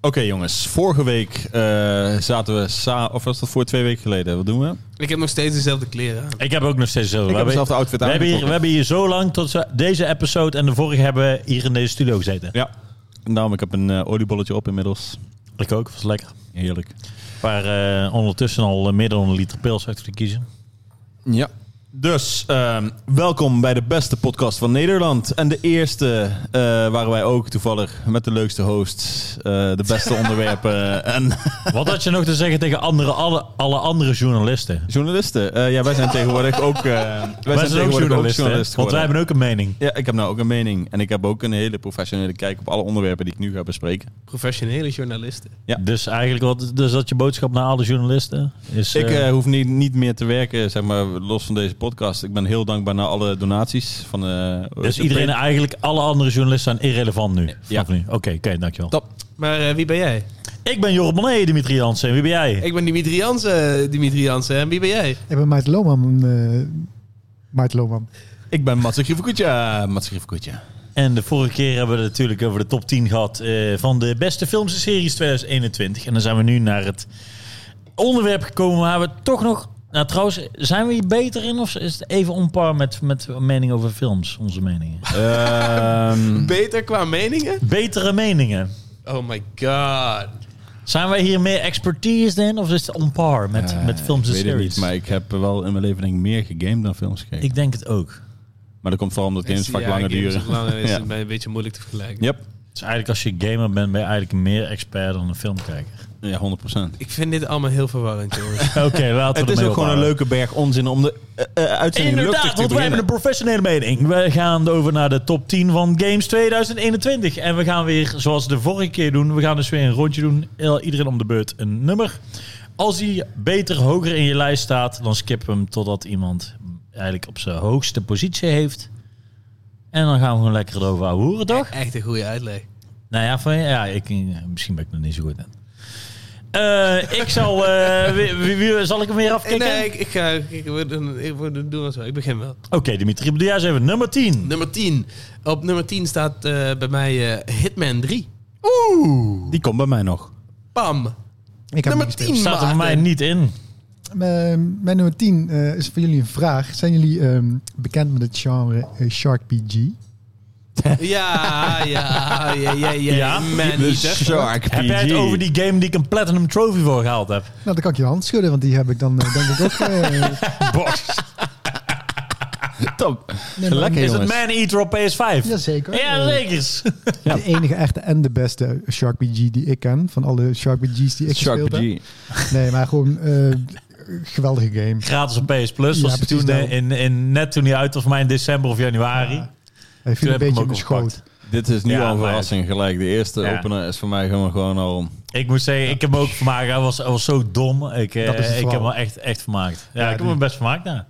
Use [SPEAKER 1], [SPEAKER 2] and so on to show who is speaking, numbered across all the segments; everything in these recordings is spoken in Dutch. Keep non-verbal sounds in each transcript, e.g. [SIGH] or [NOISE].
[SPEAKER 1] Oké jongens, vorige week eh, zaten we samen, of was dat voor twee weken geleden? Wat doen we?
[SPEAKER 2] Ik heb nog steeds dezelfde kleren aan.
[SPEAKER 3] Ik heb ook nog steeds zo.
[SPEAKER 1] Ik heb dezelfde outfit
[SPEAKER 3] we, hebben hier, we
[SPEAKER 1] aangetrokken.
[SPEAKER 3] hebben hier zo lang, tot zo- deze episode en de vorige hebben we hier in deze studio gezeten.
[SPEAKER 1] Ja, daarom ik heb een eh, oliebolletje op inmiddels.
[SPEAKER 3] Ik ook, was lekker.
[SPEAKER 1] Heerlijk.
[SPEAKER 3] Waar eh, ondertussen al eh, meer dan een liter pils uit te kiezen.
[SPEAKER 1] Ja. Dus ehm, welkom bij de beste podcast van Nederland. En de eerste eh, waren wij ook toevallig met de leukste host, eh, de
[SPEAKER 3] [LAUGHS]
[SPEAKER 1] beste onderwerpen en
[SPEAKER 3] Wat had je nog te zeggen tegen andere, alle, alle andere journalisten?
[SPEAKER 1] journalisten. Eh, ja, wij zijn tegenwoordig ook, eh, wij
[SPEAKER 3] Wij zijn ook
[SPEAKER 1] tegenwoordig
[SPEAKER 3] journalisten,
[SPEAKER 1] journalist
[SPEAKER 3] hè? want
[SPEAKER 1] geworden.
[SPEAKER 3] wij hebben ook een mening.
[SPEAKER 1] Ja, ik heb nou ook een mening en ik heb ook een hele professionele kijk op alle onderwerpen die ik nu ga bespreken.
[SPEAKER 2] Professionele journalisten.
[SPEAKER 1] Ja.
[SPEAKER 3] Dus eigenlijk, wat, dus dat je boodschap naar alle journalisten is...
[SPEAKER 1] Ik
[SPEAKER 3] eh,
[SPEAKER 1] eh, hoef niet, niet meer te werken, zeg maar, los van deze podcast. Ik ben heel dankbaar naar alle donaties. Van, eh,
[SPEAKER 3] dus
[SPEAKER 1] de
[SPEAKER 3] iedereen,
[SPEAKER 1] pre-
[SPEAKER 3] eigenlijk alle andere journalisten zijn irrelevant nu.
[SPEAKER 1] Ja.
[SPEAKER 3] Ja. nu. Oké, oké, dankjewel.
[SPEAKER 1] Top.
[SPEAKER 2] Maar eh, wie ben jij?
[SPEAKER 3] Ik ben Jorre Bonet, Dimitri Jansen. Wie ben jij?
[SPEAKER 2] Ik ben Dimitri Jansen, Dimitri Jansen. En wie ben jij?
[SPEAKER 4] Ik ben Maarten Lohman. eh Maarten Lohman.
[SPEAKER 1] Ik ben Mats [LAUGHS] Griefkoetje. Mats Griefkoetje.
[SPEAKER 3] En de vorige keer hebben we het natuurlijk over de top 10 gehad eh, van de beste films en series 2021. En dan zijn we nu naar het onderwerp gekomen waar we toch nog... Nou, trouwens, zijn we hier beter in of is het even onpar met, met mening over films, onze meningen?
[SPEAKER 1] Ehm,
[SPEAKER 2] Beter qua meningen?
[SPEAKER 3] Betere meningen.
[SPEAKER 2] Oh my god.
[SPEAKER 3] Zijn wij hier meer expertise in of is het onpar met,
[SPEAKER 1] eh,
[SPEAKER 3] met films en
[SPEAKER 1] ik weet het
[SPEAKER 3] series?
[SPEAKER 1] niet, maar ik heb wel in mijn leven denk ik meer gegamed dan films gekeken.
[SPEAKER 3] Ik denk het ook. Het
[SPEAKER 1] maar dat komt vooral omdat games vaak
[SPEAKER 2] Ja,
[SPEAKER 1] langer
[SPEAKER 2] games
[SPEAKER 1] duren.
[SPEAKER 2] is Langer is
[SPEAKER 1] [LAUGHS] ja.
[SPEAKER 2] het bij een beetje moeilijk te vergelijken.
[SPEAKER 1] Yep.
[SPEAKER 3] is Dus eigenlijk als je gamer bent, ben je eigenlijk meer expert dan een filmkijker.
[SPEAKER 1] ja, 100%.
[SPEAKER 2] Ik vind dit allemaal heel verwarrend, jongens. [LAUGHS]
[SPEAKER 3] Oké, laten
[SPEAKER 1] Het
[SPEAKER 3] we
[SPEAKER 1] is ook
[SPEAKER 3] ermee
[SPEAKER 1] gewoon een
[SPEAKER 3] ophouden.
[SPEAKER 1] leuke berg onzin om de eh, eh, uitzending luchtig
[SPEAKER 3] Inderdaad,
[SPEAKER 1] te
[SPEAKER 3] want wij
[SPEAKER 1] beginnen.
[SPEAKER 3] hebben een professionele mening. We gaan over naar de top 10 van Games 2021. En we gaan weer, zoals de vorige keer doen, we gaan dus weer een rondje doen. El- Iedereen om de beurt een nummer. Als die beter hoger in je lijst staat, dan skip hem totdat iemand eigenlijk op zijn hoogste positie heeft. En dan gaan we gewoon lekker erover horen, toch?
[SPEAKER 2] Echt een goede uitleg.
[SPEAKER 3] Nou ja, van, ja ik, misschien ben ik nog niet zo goed in. Eh, ik zal... eh, wie- wie- wie- zal ik hem weer afkicken?
[SPEAKER 2] Nee, ik, ik ga... Ik, we doen- ik, we doen het wel. Ik begin wel.
[SPEAKER 3] Oké, Dimitri, doe jij eens even nummer 10.
[SPEAKER 2] Nummer 10. Op nummer 10 staat eh, bij mij eh, Hitman 3.
[SPEAKER 1] Die komt bij mij nog.
[SPEAKER 2] Bam.
[SPEAKER 4] Ik heb hem
[SPEAKER 2] Nummer
[SPEAKER 4] niet
[SPEAKER 2] 10,
[SPEAKER 3] Staat er voor mij
[SPEAKER 2] Maarten.
[SPEAKER 3] niet in.
[SPEAKER 4] gespeeld. Mijn, mijn nummer 10 eh, is voor jullie een vraag. Zijn jullie ehm, bekend met het genre eh, Shark PG?
[SPEAKER 2] Ja, ja, ja, ja, ja.
[SPEAKER 3] Ja?
[SPEAKER 2] Man
[SPEAKER 1] De
[SPEAKER 2] eater.
[SPEAKER 1] Dus Shark
[SPEAKER 3] Heb jij het
[SPEAKER 1] PG.
[SPEAKER 3] over
[SPEAKER 1] [LAUGHS]
[SPEAKER 3] die game die ik een Platinum Trophy voor gehaald heb?
[SPEAKER 4] Nou, dan kan ik je hand schudden, want die heb ik dan eh, denk ik ook. eh, nee,
[SPEAKER 3] [LAUGHS]
[SPEAKER 4] maar-
[SPEAKER 1] Top. Lekker
[SPEAKER 3] Is het
[SPEAKER 1] jongens.
[SPEAKER 3] Man Eater op PS5?
[SPEAKER 4] Jazeker.
[SPEAKER 3] Ja,
[SPEAKER 4] Eh,
[SPEAKER 3] zeker.
[SPEAKER 4] De enige echte en de beste Shark PG die ik ken. Van alle Shark PG's die ik
[SPEAKER 1] Shark
[SPEAKER 4] gespeeld
[SPEAKER 1] PG.
[SPEAKER 4] heb. Nee, maar gewoon eh, geweldige game.
[SPEAKER 3] Gratis op PS Plus.
[SPEAKER 4] Ja,
[SPEAKER 3] was die
[SPEAKER 4] precies
[SPEAKER 3] toen, eh,
[SPEAKER 4] nou.
[SPEAKER 3] in, in, net toen hij uit was, maar in december of januari.
[SPEAKER 4] Hij
[SPEAKER 3] Toen
[SPEAKER 4] viel een
[SPEAKER 3] heb ik
[SPEAKER 4] beetje
[SPEAKER 3] hem
[SPEAKER 4] in de
[SPEAKER 3] ook opgepakt.
[SPEAKER 4] schoot.
[SPEAKER 1] Dit is nu
[SPEAKER 3] Ja,
[SPEAKER 1] al een
[SPEAKER 3] maar-
[SPEAKER 1] verrassing gelijk. De eerste
[SPEAKER 3] Ja.
[SPEAKER 1] opener is voor mij gewoon, gewoon al...
[SPEAKER 3] Ik moet zeggen, ik heb me ook vermaakt. Hij was, hij was zo dom. Ik, eh,
[SPEAKER 4] Dat is het
[SPEAKER 3] ik heb
[SPEAKER 4] verhaal.
[SPEAKER 3] me echt, echt vermaakt. Ja,
[SPEAKER 4] Ja,
[SPEAKER 3] ik heb
[SPEAKER 4] die-
[SPEAKER 3] me best vermaakt daar.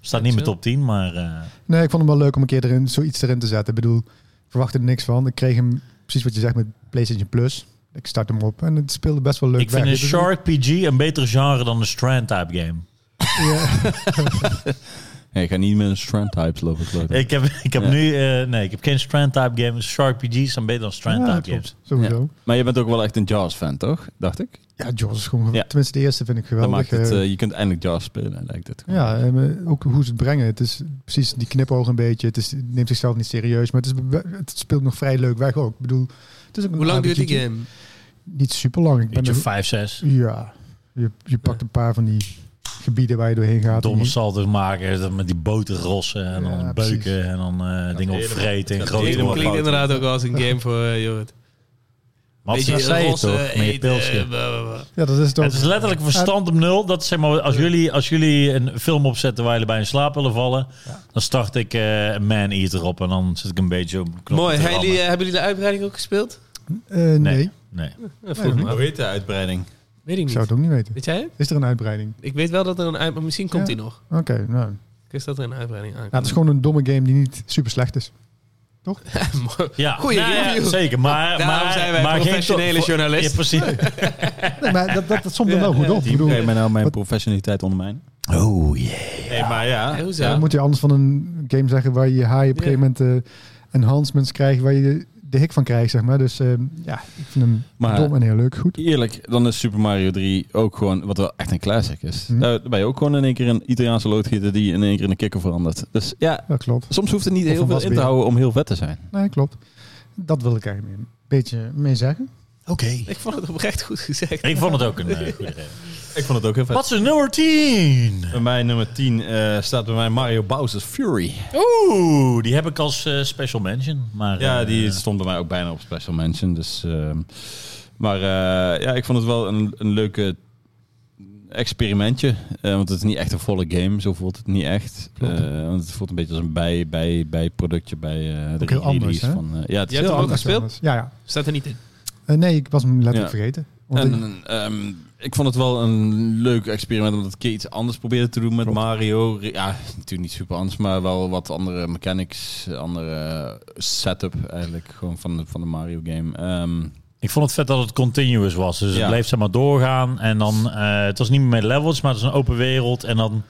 [SPEAKER 3] Staat niet in mijn
[SPEAKER 2] zo.
[SPEAKER 3] top 10, maar... eh,
[SPEAKER 4] Nee, ik vond hem wel leuk om een keer erin, zoiets erin te zetten. Ik bedoel, ik verwachtte er niks van. Ik kreeg hem, precies wat je zegt, met PlayStation Plus. Ik start hem op en het speelde best wel leuk
[SPEAKER 3] ik vind
[SPEAKER 4] weg.
[SPEAKER 3] een
[SPEAKER 4] Dus-
[SPEAKER 3] Shark PG een beter genre dan een Strand-type game.
[SPEAKER 4] Ja.
[SPEAKER 1] Nee, ik ga niet met een strand types lopen kloten.
[SPEAKER 3] Ik heb, [LAUGHS] ik heb
[SPEAKER 1] Ja.
[SPEAKER 3] nu... eh, nee, ik heb geen Strand-type game. Shark PG's zijn beter dan
[SPEAKER 4] Ja,
[SPEAKER 3] Strand-type
[SPEAKER 4] klopt.
[SPEAKER 3] games.
[SPEAKER 4] Sowieso.
[SPEAKER 1] Maar je bent ook wel echt een Jaws-fan, toch? Dacht ik.
[SPEAKER 4] Ja, Jaws is gewoon...
[SPEAKER 1] Ja.
[SPEAKER 4] Tenminste, de eerste vind ik
[SPEAKER 1] Dat
[SPEAKER 4] geweldig.
[SPEAKER 1] maakt het,
[SPEAKER 4] Eh,
[SPEAKER 1] eh, je kunt eindelijk Jaws spelen, lijkt het.
[SPEAKER 4] ja, en, eh, ook hoe ze het brengen. Het is precies die knipoog een beetje. Het, is, het neemt zichzelf niet serieus, maar het, is, be- het speelt nog vrij leuk weg ook. Ik bedoel, het is ook een
[SPEAKER 2] Hoe lang duurt die
[SPEAKER 4] ABG'tje.
[SPEAKER 2] game?
[SPEAKER 4] Niet super lang. Ik ben
[SPEAKER 3] Beetje
[SPEAKER 4] er-
[SPEAKER 3] 5, 6.
[SPEAKER 4] ja, je, je pakt een paar van die gebieden waar je doorheen gaat.
[SPEAKER 3] domme
[SPEAKER 4] En-
[SPEAKER 3] salto's maken dat met die boten rossen en
[SPEAKER 4] Ja,
[SPEAKER 3] dan beuken
[SPEAKER 4] precies.
[SPEAKER 3] en dan eh, dingen op
[SPEAKER 1] eerder-
[SPEAKER 3] vreten en
[SPEAKER 1] dat
[SPEAKER 3] grote
[SPEAKER 1] eerder
[SPEAKER 2] Klinkt, klinkt
[SPEAKER 3] doorfouten.
[SPEAKER 2] inderdaad ook als een game voor eh Jorrit.
[SPEAKER 3] Wat ze zei je toch?
[SPEAKER 2] eh,
[SPEAKER 3] Met je pilsje.
[SPEAKER 4] Ja, dat is het ook.
[SPEAKER 3] Het is letterlijk verstand op nul. Dat is zeg maar, als jullie, als jullie een film opzetten waar jullie bij in slaap willen vallen, dan start ik eh Man Eater op en dan zit ik een beetje op knop
[SPEAKER 2] Mooi. Hebben jullie, eh, hebben jullie de uitbreiding ook gespeeld?
[SPEAKER 4] Eh, nee,
[SPEAKER 3] Nee. Nee.
[SPEAKER 2] Dat vroeg me
[SPEAKER 1] Hoe
[SPEAKER 2] af.
[SPEAKER 1] heet de uitbreiding?
[SPEAKER 2] Weet ik
[SPEAKER 4] ik zou
[SPEAKER 2] niet.
[SPEAKER 4] het ook niet weten.
[SPEAKER 2] Weet jij het?
[SPEAKER 4] Is er een uitbreiding?
[SPEAKER 2] Ik weet wel dat er een uitbreiding... Misschien komt
[SPEAKER 4] Ja.
[SPEAKER 2] die nog.
[SPEAKER 4] Oké, nou. nou.
[SPEAKER 2] Ik wist dat er een uitbreiding
[SPEAKER 4] Het
[SPEAKER 2] aankomt.
[SPEAKER 4] is gewoon een domme game die niet super slecht is.
[SPEAKER 2] [LAUGHS] Mooi.
[SPEAKER 3] Ja,
[SPEAKER 2] Goeie
[SPEAKER 3] Nou ja,
[SPEAKER 2] review.
[SPEAKER 3] zeker. Maar,
[SPEAKER 2] Daarom
[SPEAKER 3] maar,
[SPEAKER 2] zijn wij
[SPEAKER 3] maar geen
[SPEAKER 2] professionele
[SPEAKER 3] top-
[SPEAKER 2] journalisten.
[SPEAKER 3] Ja, precies.
[SPEAKER 2] [LAUGHS]
[SPEAKER 4] Nee, maar dat, dat, dat somt dan wel goed op. Ik
[SPEAKER 1] Die
[SPEAKER 4] bedoel,
[SPEAKER 1] ga je mij nou mijn
[SPEAKER 4] Wat-
[SPEAKER 1] professionaliteit ondermijnen?
[SPEAKER 3] Oh yeah.
[SPEAKER 1] Nee, maar ja.
[SPEAKER 2] Hey, hoezo?
[SPEAKER 4] dan moet je anders van een game zeggen waar je haaien op een gegeven moment eh, enhancements krijgt, waar je de hik van krijg, zeg maar. Dus ehm, ja, ik vind hem
[SPEAKER 1] Maar-
[SPEAKER 4] dom en heel leuk. Goed.
[SPEAKER 1] Eerlijk, dan is Super Mario 3 ook gewoon, wat wel echt een classic is.
[SPEAKER 4] Hm.
[SPEAKER 1] Daar ben je ook gewoon in één keer een Italiaanse loodgieter die in één keer in een kikker verandert. Dus ja,
[SPEAKER 4] Dat klopt.
[SPEAKER 1] soms hoeft het niet
[SPEAKER 4] een
[SPEAKER 1] heel veel in
[SPEAKER 4] wasbeer.
[SPEAKER 1] te houden om heel vet te zijn.
[SPEAKER 4] Nee, klopt. Dat wil ik eigenlijk een beetje mee zeggen.
[SPEAKER 2] Oké. Ik vond het oprecht goed gezegd.
[SPEAKER 3] Ik vond het ook een eh, goede reden.
[SPEAKER 4] [LAUGHS]
[SPEAKER 1] Ik vond het ook heel vet.
[SPEAKER 3] Wat is de nummer 10?
[SPEAKER 1] Bij mij nummer 10 eh, staat bij mij Mario Bowser's Fury.
[SPEAKER 3] Oeh, die heb ik als eh, special mention. Maar,
[SPEAKER 1] Ja,
[SPEAKER 3] eh,
[SPEAKER 1] die stond bij mij ook bijna op Special Mention. Dus, ehm, maar eh, ja, ik vond het wel een, een leuke experimentje. Eh, want het is niet echt een volle game, zo voelt het niet echt.
[SPEAKER 4] Klopt.
[SPEAKER 1] Eh, want het voelt een beetje als een bij, bij, bijproductje bij eh de
[SPEAKER 4] Ook heel
[SPEAKER 1] release
[SPEAKER 4] anders, hè?
[SPEAKER 1] van... eh, ja, het is
[SPEAKER 2] Je hebt
[SPEAKER 1] heel
[SPEAKER 2] hem ook
[SPEAKER 1] anders.
[SPEAKER 2] gespeeld?
[SPEAKER 4] anders. Ja, ja.
[SPEAKER 2] Staat er niet in.
[SPEAKER 4] Eh, nee, ik was hem letterlijk
[SPEAKER 1] Ja.
[SPEAKER 4] vergeten. Want ik-
[SPEAKER 1] En, ehm, ik vond het wel een leuk experiment omdat ik een keer iets anders probeerde te doen met
[SPEAKER 4] Klopt.
[SPEAKER 1] Mario. Ja, natuurlijk niet super anders, maar wel wat andere mechanics, andere setup eigenlijk gewoon van de, van de Mario game. Ehm,
[SPEAKER 3] Ik vond het vet dat het continuous was. Dus
[SPEAKER 1] Ja.
[SPEAKER 3] het bleef zeg maar doorgaan. En dan, eh, het was niet meer met levels, maar het was een open wereld. En dan,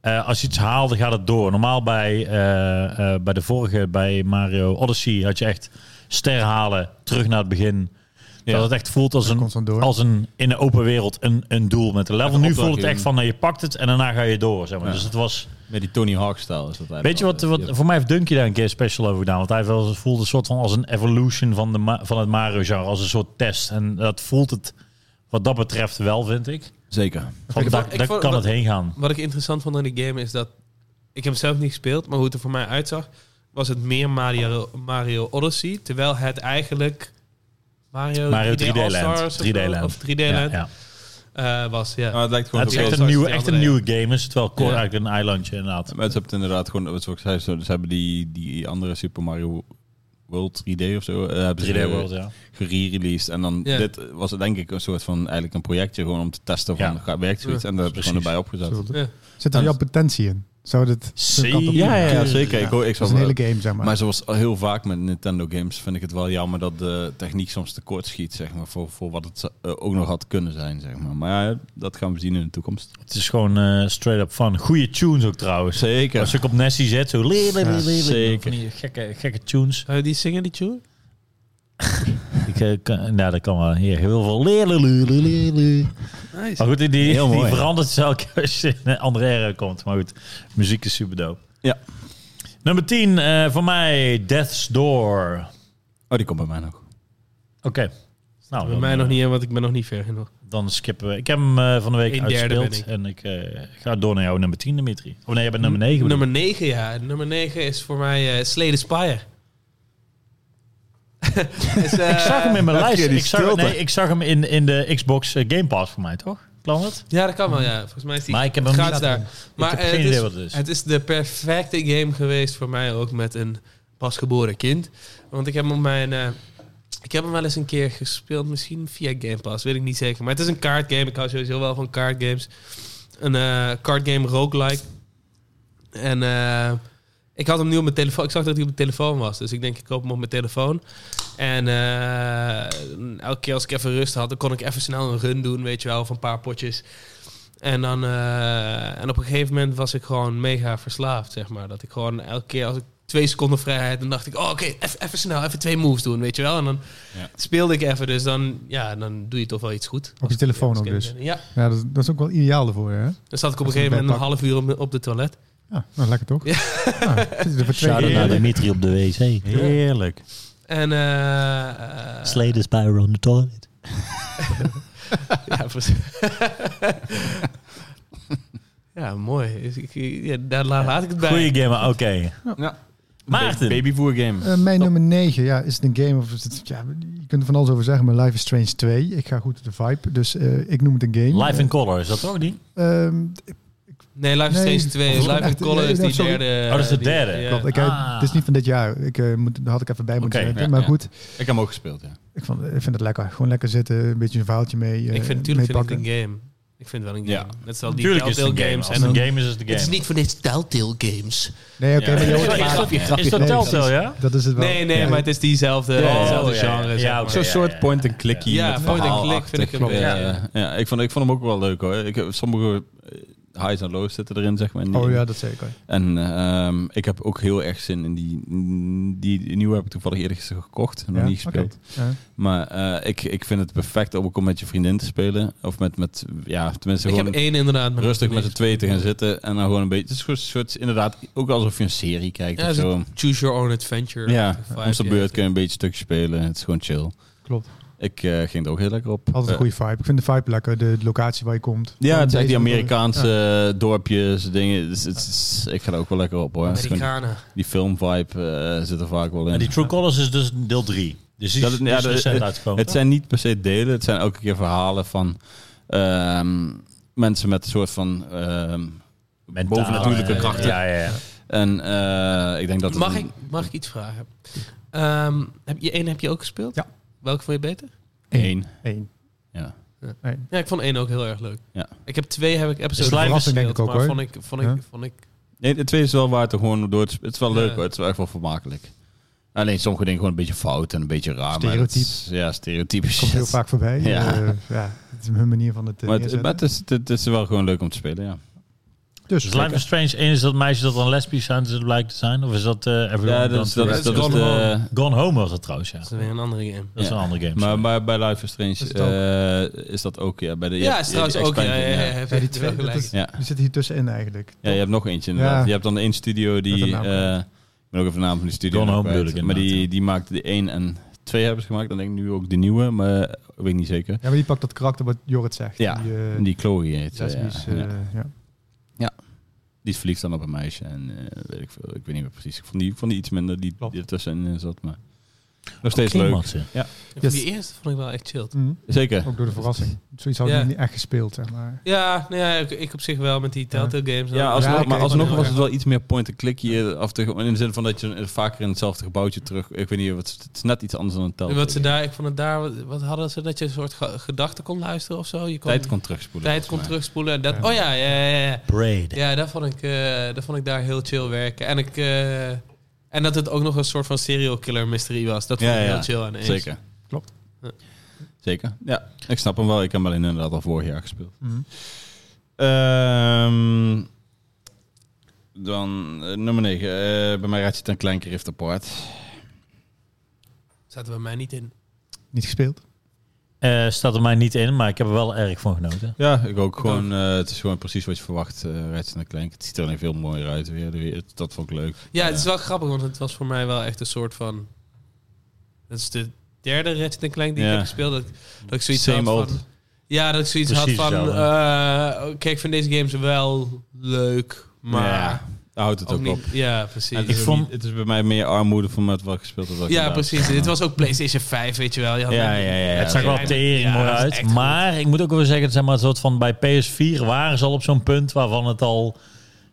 [SPEAKER 3] eh, als je iets haalde, gaat het door. Normaal bij, eh, eh, bij de vorige, bij Mario Odyssey, had je echt ster halen, terug naar het begin. Dat het echt voelt als een,
[SPEAKER 4] constant door.
[SPEAKER 3] als een in de open wereld een, een doel met een level.
[SPEAKER 1] Een
[SPEAKER 3] Nu
[SPEAKER 1] opdracht
[SPEAKER 3] voelt het echt
[SPEAKER 1] doen.
[SPEAKER 3] van, nou, je pakt het en daarna ga je door. Zeg maar.
[SPEAKER 1] Ja.
[SPEAKER 3] Dus het was,
[SPEAKER 1] Met die Tony Hawk-stijl is dat eigenlijk.
[SPEAKER 3] weet je wat,
[SPEAKER 1] wel,
[SPEAKER 3] wat
[SPEAKER 1] eh,
[SPEAKER 3] voor mij heeft Dunky daar een keer special over gedaan. Want hij wel- voelde een soort van als een evolution van, de ma- van het Mario-genre. Als een soort test. En dat voelt het wat dat betreft wel, vind ik.
[SPEAKER 1] Zeker.
[SPEAKER 3] Van,
[SPEAKER 2] ik
[SPEAKER 3] daar
[SPEAKER 2] vond- ik
[SPEAKER 3] daar
[SPEAKER 2] vond-
[SPEAKER 3] kan
[SPEAKER 2] wat-
[SPEAKER 3] het heen gaan.
[SPEAKER 2] Wat ik interessant vond aan die game is dat... Ik heb het zelf niet gespeeld, maar hoe het er voor mij uitzag... was het meer Mario, Mario Odyssey. Terwijl het eigenlijk... Mario,
[SPEAKER 3] Mario
[SPEAKER 2] 3D,
[SPEAKER 3] 3D
[SPEAKER 2] All-Stars of
[SPEAKER 3] Land.
[SPEAKER 2] zo,
[SPEAKER 3] 3D Land.
[SPEAKER 2] Of 3D
[SPEAKER 3] Ja,
[SPEAKER 2] Land
[SPEAKER 3] ja.
[SPEAKER 2] eh, was, ja.
[SPEAKER 1] Maar het lijkt gewoon
[SPEAKER 3] Het is echt een
[SPEAKER 2] zoals
[SPEAKER 3] nieuwe,
[SPEAKER 2] die
[SPEAKER 3] echt een
[SPEAKER 2] andere.
[SPEAKER 3] nieuwe game. Is het wel kort
[SPEAKER 1] Ja.
[SPEAKER 3] eigenlijk een eilandje inderdaad.
[SPEAKER 1] Mensen hebben het inderdaad gewoon, wat ik zei, ze ze hebben die, die andere Super Mario World 3D of zo. eh, hebben ze
[SPEAKER 3] 3D World, ja.
[SPEAKER 1] Gerereleased. En dan
[SPEAKER 2] Ja.
[SPEAKER 1] dit was het denk ik een soort van eigenlijk een projectje gewoon om te testen van
[SPEAKER 3] Ja.
[SPEAKER 1] gaat- werkt zoiets.
[SPEAKER 2] Ja,
[SPEAKER 1] En daar hebben ze gewoon
[SPEAKER 3] precies.
[SPEAKER 1] erbij opgezet.
[SPEAKER 4] Zo,
[SPEAKER 2] Ja.
[SPEAKER 4] Zit er
[SPEAKER 1] Ja.
[SPEAKER 4] jouw potentie in? Zou dit...
[SPEAKER 3] Zeker.
[SPEAKER 1] Ja, ja, ja,
[SPEAKER 3] Ja.
[SPEAKER 1] zeker. Ik, hoor, ik
[SPEAKER 4] Dat is
[SPEAKER 1] zou
[SPEAKER 4] een hele game, zeg maar.
[SPEAKER 1] maar zoals heel vaak met Nintendo games vind ik het wel jammer dat de techniek soms tekort schiet, zeg maar, voor, voor wat het eh, ook nog had kunnen zijn, zeg maar. Maar ja, dat gaan we zien in de toekomst.
[SPEAKER 3] Het is gewoon eh, straight up fun. Goede tunes ook trouwens.
[SPEAKER 1] Zeker.
[SPEAKER 3] Als ik op Nessie zet, zo... li- li- li- li- li-
[SPEAKER 1] Zeker.
[SPEAKER 3] van die gekke, gekke tunes.
[SPEAKER 2] Zou je die zingen, die tune?
[SPEAKER 3] Ik, eh, kan, nou, dat kan wel. Hier, heel veel... li- li- li- li- li- li.
[SPEAKER 2] Nice.
[SPEAKER 3] Maar goed, die, die,
[SPEAKER 1] Heel
[SPEAKER 3] die
[SPEAKER 1] mooi.
[SPEAKER 3] verandert zelf als je in een andere era komt. Maar goed, muziek is super dope.
[SPEAKER 1] Ja.
[SPEAKER 3] Nummer 10 eh, voor mij, Death's Door. Oké.
[SPEAKER 1] Oh, die komt bij mij nog.
[SPEAKER 3] Nou,
[SPEAKER 2] Bij
[SPEAKER 3] dan,
[SPEAKER 2] mij
[SPEAKER 3] eh,
[SPEAKER 2] nog niet in, want ik ben nog niet ver genoeg.
[SPEAKER 3] Dan skippen we. Ik heb hem eh, van de week
[SPEAKER 2] Een derde
[SPEAKER 3] uitgespeeld. En ik eh, ga door naar jouw nummer 10, Dimitri. Of nee, jij bent nummer 9.
[SPEAKER 2] Nummer 9, ja. Nummer 9 is voor mij eh Slay the Spire. [LAUGHS] Is, eh,
[SPEAKER 3] [LAUGHS] ik zag hem in mijn
[SPEAKER 1] elke
[SPEAKER 3] lijst.
[SPEAKER 1] keer die
[SPEAKER 3] Ik zag,
[SPEAKER 1] stilte.
[SPEAKER 3] nee, ik zag hem in, in de Xbox eh, Game Pass voor mij, toch? Plan het?
[SPEAKER 2] Ja, dat kan wel, ja. Volgens mij is die
[SPEAKER 3] Maar ik heb hem
[SPEAKER 2] gratis
[SPEAKER 3] niet
[SPEAKER 2] daar.
[SPEAKER 3] laten-
[SPEAKER 2] Maar
[SPEAKER 3] heb
[SPEAKER 2] eh,
[SPEAKER 3] geen dus.
[SPEAKER 2] het,
[SPEAKER 3] idee
[SPEAKER 2] is,
[SPEAKER 3] wat het is.
[SPEAKER 2] de perfecte game geweest voor mij ook met een pasgeboren kind. Want ik heb hem op mijn... eh, ik heb hem wel eens een keer gespeeld, misschien via Game Pass, weet ik niet zeker. Maar het is een kaartgame, ik hou sowieso wel van kaartgames. Een eh kaartgame roguelike. En eh, ik had hem nu op mijn telefoon. Ik zag dat hij op mijn telefoon was. Dus ik denk, ik koop hem op mijn telefoon. En eh, elke keer als ik even rust had, dan kon ik even snel een run doen, weet je wel, of een paar potjes. En, dan, eh, en op een gegeven moment was ik gewoon mega verslaafd, zeg maar. Dat ik gewoon elke keer als ik twee seconden vrijheid, dan dacht ik, oh, oké, even, even snel, even twee moves doen, weet je wel. En dan
[SPEAKER 1] Ja.
[SPEAKER 2] speelde ik even, dus dan, ja, dan doe je toch wel iets goed.
[SPEAKER 4] Op je telefoon ook dus.
[SPEAKER 2] Ja,
[SPEAKER 4] Ja, dat, dat is ook wel ideaal ervoor, hè?
[SPEAKER 2] dan zat ik op een
[SPEAKER 4] Als je
[SPEAKER 2] gegeven moment een
[SPEAKER 4] bij
[SPEAKER 2] half uur op, op de toilet.
[SPEAKER 4] Ja, nou, lekker toch?
[SPEAKER 2] Ja.
[SPEAKER 4] Ja, zit je er voor twee
[SPEAKER 3] Shout-out
[SPEAKER 4] keer
[SPEAKER 3] naar
[SPEAKER 4] in.
[SPEAKER 3] Dimitri op de wc. Heerlijk.
[SPEAKER 2] En eh, eh,
[SPEAKER 3] Slay the Spire on the toilet.
[SPEAKER 2] Ja, precies. [LAUGHS] ja, mooi. Is- ik- ja, daar la- laat ik het bij.
[SPEAKER 3] Goeie game, maar oké.
[SPEAKER 1] Ja.
[SPEAKER 3] Maarten.
[SPEAKER 1] Babyvoer game.
[SPEAKER 4] Eh, mijn nummer 9, ja, is het een game of is het, ja, je kunt er van alles over zeggen, maar Life is Strange 2. Ik ga goed op de vibe, dus eh, ik noem het een game.
[SPEAKER 3] Live in Color, is dat ook niet?
[SPEAKER 4] Eh, ehm,
[SPEAKER 2] Nee, Life is
[SPEAKER 4] Nee,
[SPEAKER 2] Strange 2.
[SPEAKER 4] volgens mij
[SPEAKER 2] Live in
[SPEAKER 4] echt-
[SPEAKER 2] Color
[SPEAKER 4] nee,
[SPEAKER 2] is
[SPEAKER 4] nee,
[SPEAKER 2] die
[SPEAKER 4] sorry.
[SPEAKER 2] derde.
[SPEAKER 3] Oh, dat is de
[SPEAKER 2] die-
[SPEAKER 3] derde.
[SPEAKER 2] ja.
[SPEAKER 4] klopt, ik, heb-
[SPEAKER 3] Ah.
[SPEAKER 4] Het is niet van dit jaar. Ik, eh, moet, daar had ik even bij moeten
[SPEAKER 3] Oké,
[SPEAKER 4] zetten.
[SPEAKER 1] ja,
[SPEAKER 4] maar
[SPEAKER 1] ja.
[SPEAKER 4] goed,
[SPEAKER 1] Ik heb hem ook gespeeld, ja.
[SPEAKER 4] ik, vond, ik vind het lekker. Gewoon lekker zitten, een beetje een verhaaltje mee eh,
[SPEAKER 2] ik vind
[SPEAKER 4] mee
[SPEAKER 2] natuurlijk vind ik
[SPEAKER 4] pakken.
[SPEAKER 2] het een game. Ik vind het wel een game.
[SPEAKER 1] Ja.
[SPEAKER 2] Net zoals die
[SPEAKER 3] Tuurlijk is het
[SPEAKER 2] Telltale
[SPEAKER 3] een game.
[SPEAKER 2] games.
[SPEAKER 3] Als
[SPEAKER 2] En
[SPEAKER 3] het
[SPEAKER 2] dan-
[SPEAKER 3] een game is, is het een
[SPEAKER 2] het is
[SPEAKER 3] game.
[SPEAKER 2] niet voor niks Telltale games.
[SPEAKER 4] Nee, oké,
[SPEAKER 1] Ja.
[SPEAKER 4] maar je
[SPEAKER 3] Is
[SPEAKER 2] [LAUGHS]
[SPEAKER 3] dat-
[SPEAKER 4] hoort het
[SPEAKER 3] is
[SPEAKER 4] wel.
[SPEAKER 3] dat-
[SPEAKER 2] Grapje, grapje.
[SPEAKER 3] Is dat
[SPEAKER 4] Nee, dat is-
[SPEAKER 3] Telltale, ja?
[SPEAKER 4] Dat is het wel.
[SPEAKER 2] Nee, nee,
[SPEAKER 4] Ja.
[SPEAKER 2] maar het is diezelfde
[SPEAKER 3] Ja, ja,
[SPEAKER 2] hetzelfde
[SPEAKER 3] Oh, ja, ja.
[SPEAKER 2] genre.
[SPEAKER 3] Ja,
[SPEAKER 2] zeg maar.
[SPEAKER 3] oké.
[SPEAKER 1] Zo'n soort point-and-clickie.
[SPEAKER 2] Ja,
[SPEAKER 1] met
[SPEAKER 2] point-and-click
[SPEAKER 1] verhaalachtig.
[SPEAKER 2] vind ik hem,
[SPEAKER 1] Ja,
[SPEAKER 2] ja.
[SPEAKER 1] ja. Ja, ik vond, ik vond hem ook wel leuk hoor. Ik, heb- sommige eh, highs en lows zitten erin, zeg maar. in die-
[SPEAKER 4] Oh ja, dat zeker.
[SPEAKER 1] En ehm, ik heb ook heel erg zin in die, die nieuwe heb ik toevallig eerder gisteren gekocht en nog
[SPEAKER 4] Ja?
[SPEAKER 1] niet gespeeld.
[SPEAKER 4] Oké. Ja.
[SPEAKER 1] Maar eh, ik, ik vind het perfect om ook om met je vriendin te spelen. Of met, met ja, tenminste
[SPEAKER 2] Ik
[SPEAKER 1] gewoon
[SPEAKER 2] heb één inderdaad. maar
[SPEAKER 1] rustig
[SPEAKER 2] dat
[SPEAKER 1] met
[SPEAKER 2] is
[SPEAKER 1] z'n tweeën te gaan zitten. En dan gewoon een beetje, het is gewoon een soort, inderdaad, ook alsof je een serie kijkt
[SPEAKER 2] Ja,
[SPEAKER 1] of
[SPEAKER 2] is het
[SPEAKER 1] zo.
[SPEAKER 2] Choose your own adventure.
[SPEAKER 1] Ja,
[SPEAKER 2] Vibe,
[SPEAKER 1] om zijn
[SPEAKER 2] ja.
[SPEAKER 1] beurt kun je een beetje stukje spelen. Het is gewoon chill.
[SPEAKER 4] Klopt.
[SPEAKER 1] Ik eh, ging er ook heel lekker op.
[SPEAKER 4] Altijd een
[SPEAKER 1] Eh,
[SPEAKER 4] goede vibe. Ik vind de vibe lekker, de locatie waar je komt.
[SPEAKER 1] Ja, het zijn die
[SPEAKER 4] Deze-
[SPEAKER 1] Amerikaanse eh, dorpjes, dingen. Dus, het is- ik ga er ook wel lekker op hoor. Het is gewoon-
[SPEAKER 2] Amerikanen.
[SPEAKER 1] die filmvibe eh, zit er vaak wel in.
[SPEAKER 3] En die True Colors is dus deel 3. Dus die
[SPEAKER 1] Dat
[SPEAKER 3] is,
[SPEAKER 1] het-
[SPEAKER 3] die
[SPEAKER 1] ja,
[SPEAKER 3] is
[SPEAKER 1] dat-
[SPEAKER 3] recent uitgekomen.
[SPEAKER 1] Het zijn niet per se delen, het zijn elke keer verhalen van ehm, mensen met een soort van ehm
[SPEAKER 3] Mentaal,
[SPEAKER 1] bovennatuurlijke
[SPEAKER 3] eh,
[SPEAKER 1] krachten.
[SPEAKER 3] Ja, ja, ja.
[SPEAKER 1] En eh, ik denk dat. het
[SPEAKER 2] Mag
[SPEAKER 1] een-
[SPEAKER 2] ik, mag ik iets vragen? Ehm, heb je één heb je ook gespeeld?
[SPEAKER 4] Ja.
[SPEAKER 2] Welke vond je beter?
[SPEAKER 1] Eén.
[SPEAKER 4] Eén.
[SPEAKER 1] Ja.
[SPEAKER 2] Ja, ik vond één ook heel erg leuk.
[SPEAKER 1] Ja.
[SPEAKER 2] Ik heb twee heb ik episode gespeeld,
[SPEAKER 4] Slijm was er denk ik ook,
[SPEAKER 2] maar
[SPEAKER 4] hoor.
[SPEAKER 2] vond ik vond ik
[SPEAKER 4] Ja.
[SPEAKER 2] vond ik
[SPEAKER 1] Nee, het tweede is wel waard om gewoon door. te sp- Het is wel leuk
[SPEAKER 2] Ja.
[SPEAKER 1] hoor, het is wel echt wel vermakelijk. Alleen sommige dingen gewoon een beetje fout en een beetje raar. maar dat is- Ja, stereotypisch.
[SPEAKER 4] Komt heel vaak voorbij.
[SPEAKER 1] Ja.
[SPEAKER 4] Ja. ja, het is hun manier van het eh,
[SPEAKER 1] Maar, het,
[SPEAKER 4] neerzetten.
[SPEAKER 1] maar het, is, het is wel gewoon leuk om te spelen, ja.
[SPEAKER 4] dus,
[SPEAKER 3] Dus Life is Strange 1 is dat meisje dat dan lesbisch zijn, dus het blijkt te zijn. Of is dat eh Everyone
[SPEAKER 1] Ja,
[SPEAKER 3] Gone
[SPEAKER 1] dat is,
[SPEAKER 3] to
[SPEAKER 1] dat
[SPEAKER 3] the-
[SPEAKER 1] is, dat is
[SPEAKER 2] Gone
[SPEAKER 1] de,
[SPEAKER 2] Home.
[SPEAKER 3] Gone Home was dat trouwens, ja.
[SPEAKER 2] dat is weer een andere game.
[SPEAKER 3] Dat is
[SPEAKER 1] Ja.
[SPEAKER 3] een andere game.
[SPEAKER 1] Maar,
[SPEAKER 3] sorry.
[SPEAKER 1] maar bij Life is Strange
[SPEAKER 4] Is het ook?
[SPEAKER 1] eh, is dat ook, ja. Bij de, je
[SPEAKER 2] Ja,
[SPEAKER 1] hebt-
[SPEAKER 2] is
[SPEAKER 1] je
[SPEAKER 2] trouwens
[SPEAKER 1] hebt
[SPEAKER 2] ook
[SPEAKER 1] die
[SPEAKER 2] ja, ja,
[SPEAKER 1] expansion,
[SPEAKER 2] ja,
[SPEAKER 1] ja.
[SPEAKER 2] heeft
[SPEAKER 4] Ja, die
[SPEAKER 2] wel
[SPEAKER 4] twee, dat
[SPEAKER 2] gelijk.
[SPEAKER 4] is-
[SPEAKER 1] Ja.
[SPEAKER 4] Die zitten hier tussenin eigenlijk.
[SPEAKER 1] Ja, je hebt nog eentje inderdaad.
[SPEAKER 4] Ja.
[SPEAKER 1] Je hebt dan één studio die...
[SPEAKER 4] Met
[SPEAKER 1] eh
[SPEAKER 4] een naam
[SPEAKER 1] ik ben ook even de naam van die studio
[SPEAKER 3] Gone
[SPEAKER 1] nog
[SPEAKER 3] Home
[SPEAKER 1] kwijt.
[SPEAKER 3] bedoel ik
[SPEAKER 1] Maar
[SPEAKER 3] inderdaad,
[SPEAKER 1] die,
[SPEAKER 3] ja.
[SPEAKER 1] die maakte de één en twee hebben ze gemaakt. Dan denk ik nu ook de nieuwe, maar eh, weet ik niet zeker.
[SPEAKER 4] Ja, maar die pakt dat karakter wat Jorrit zegt.
[SPEAKER 1] Ja,
[SPEAKER 4] die, eh,
[SPEAKER 1] En die Chloe heet. ze,
[SPEAKER 4] lesbisch,
[SPEAKER 1] ja.
[SPEAKER 4] eh,
[SPEAKER 1] Ja.
[SPEAKER 4] ja.
[SPEAKER 1] Die is verliefd dan op een meisje en eh, weet ik veel. Ik weet niet meer precies. Ik vond die, ik vond die iets minder die,
[SPEAKER 4] Klopt.
[SPEAKER 1] die ertussenin zat, maar... Nog steeds
[SPEAKER 3] Geen
[SPEAKER 1] leuk.
[SPEAKER 3] matsen.
[SPEAKER 2] Ik
[SPEAKER 4] Yes.
[SPEAKER 2] vond Die eerste vond ik wel echt chill.
[SPEAKER 4] Mm.
[SPEAKER 1] Zeker.
[SPEAKER 4] Ook door de verrassing. Zoiets hadden
[SPEAKER 2] Ja.
[SPEAKER 4] we niet echt gespeeld, zeg maar.
[SPEAKER 2] Ja, nou ja ik, ik op zich wel met die Telltale games.
[SPEAKER 1] Ja, alsnog,
[SPEAKER 4] Ja, oké,
[SPEAKER 1] maar alsnog
[SPEAKER 4] maar-
[SPEAKER 1] was het wel iets meer point-and-click hier. Af te, in de zin van dat je eh, vaker in hetzelfde gebouwtje terug... Ik weet niet, wat, het is net iets anders dan een tel.
[SPEAKER 2] Wat ze daar, ik vond het daar, wat- wat hadden ze dat je een soort ge- gedachten kon luisteren of zo? Je kon,
[SPEAKER 1] Tijd kon terugspoelen.
[SPEAKER 2] tijd kon
[SPEAKER 1] volgens mij.
[SPEAKER 2] terugspoelen. en Dat,
[SPEAKER 4] Ja.
[SPEAKER 2] Oh ja, ja, ja, ja.
[SPEAKER 3] Braid.
[SPEAKER 2] Ja, dat vond ik, eh, dat vond ik daar heel chill werken. En, ik, eh, en dat het ook nog een soort van serial killer mystery was. Dat vond
[SPEAKER 1] Ja,
[SPEAKER 2] ik
[SPEAKER 1] ja.
[SPEAKER 2] heel chill aan eens.
[SPEAKER 1] Zeker.
[SPEAKER 4] Klopt.
[SPEAKER 2] Ja.
[SPEAKER 1] Zeker. Ja, ik snap hem wel. Ik heb hem alleen inderdaad al vorig jaar gespeeld.
[SPEAKER 4] Mm.
[SPEAKER 1] Ehm, dan eh, nummer 9. bij mij raadt je het een klein keer Rift Apart.
[SPEAKER 2] Zaten we mij niet in.
[SPEAKER 4] Niet gespeeld.
[SPEAKER 3] Eh, staat er mij niet in, maar ik heb er wel erg van genoten.
[SPEAKER 1] Ja, ik ook. Gewoon, eh, het is gewoon precies wat je verwacht. eh raadt je het een klein keer. Het ziet er alleen veel mooier uit. Weer, de wereld. dat vond ik leuk.
[SPEAKER 2] Ja, het is wel grappig, want het was voor mij wel echt een soort van... Dat is de derde Ratchet Clank die
[SPEAKER 1] Ja.
[SPEAKER 2] ik heb gespeeld. Dat, dat ik zoiets
[SPEAKER 1] Same
[SPEAKER 2] had
[SPEAKER 1] old.
[SPEAKER 2] van... Ja, dat ik zoiets
[SPEAKER 3] Precies
[SPEAKER 2] had van...
[SPEAKER 3] hetzelfde.
[SPEAKER 2] eh, Oké, ik vind deze games wel leuk, maar...
[SPEAKER 1] Ja, daar houdt het
[SPEAKER 2] ook
[SPEAKER 1] ook,
[SPEAKER 2] niet,
[SPEAKER 1] op.
[SPEAKER 2] Ja,
[SPEAKER 1] En
[SPEAKER 2] precies.
[SPEAKER 1] het,
[SPEAKER 3] Ik
[SPEAKER 1] is
[SPEAKER 3] vond-
[SPEAKER 1] niet- het is bij mij meer armoede van met wat ik gespeeld heb. dan
[SPEAKER 2] ja,
[SPEAKER 1] gedaan.
[SPEAKER 2] precies. Dit was ook PlayStation 5, weet je wel. Je had
[SPEAKER 1] Ja, ja, ja.
[SPEAKER 3] het zag er wel
[SPEAKER 2] ja.
[SPEAKER 3] tering
[SPEAKER 2] Ja,
[SPEAKER 3] mooi
[SPEAKER 2] dat is
[SPEAKER 3] uit.
[SPEAKER 2] echt goed.
[SPEAKER 3] Maar ik moet ook wel zeggen, zeg maar, een soort van bij PS4 waren ze al op zo'n punt waarvan het al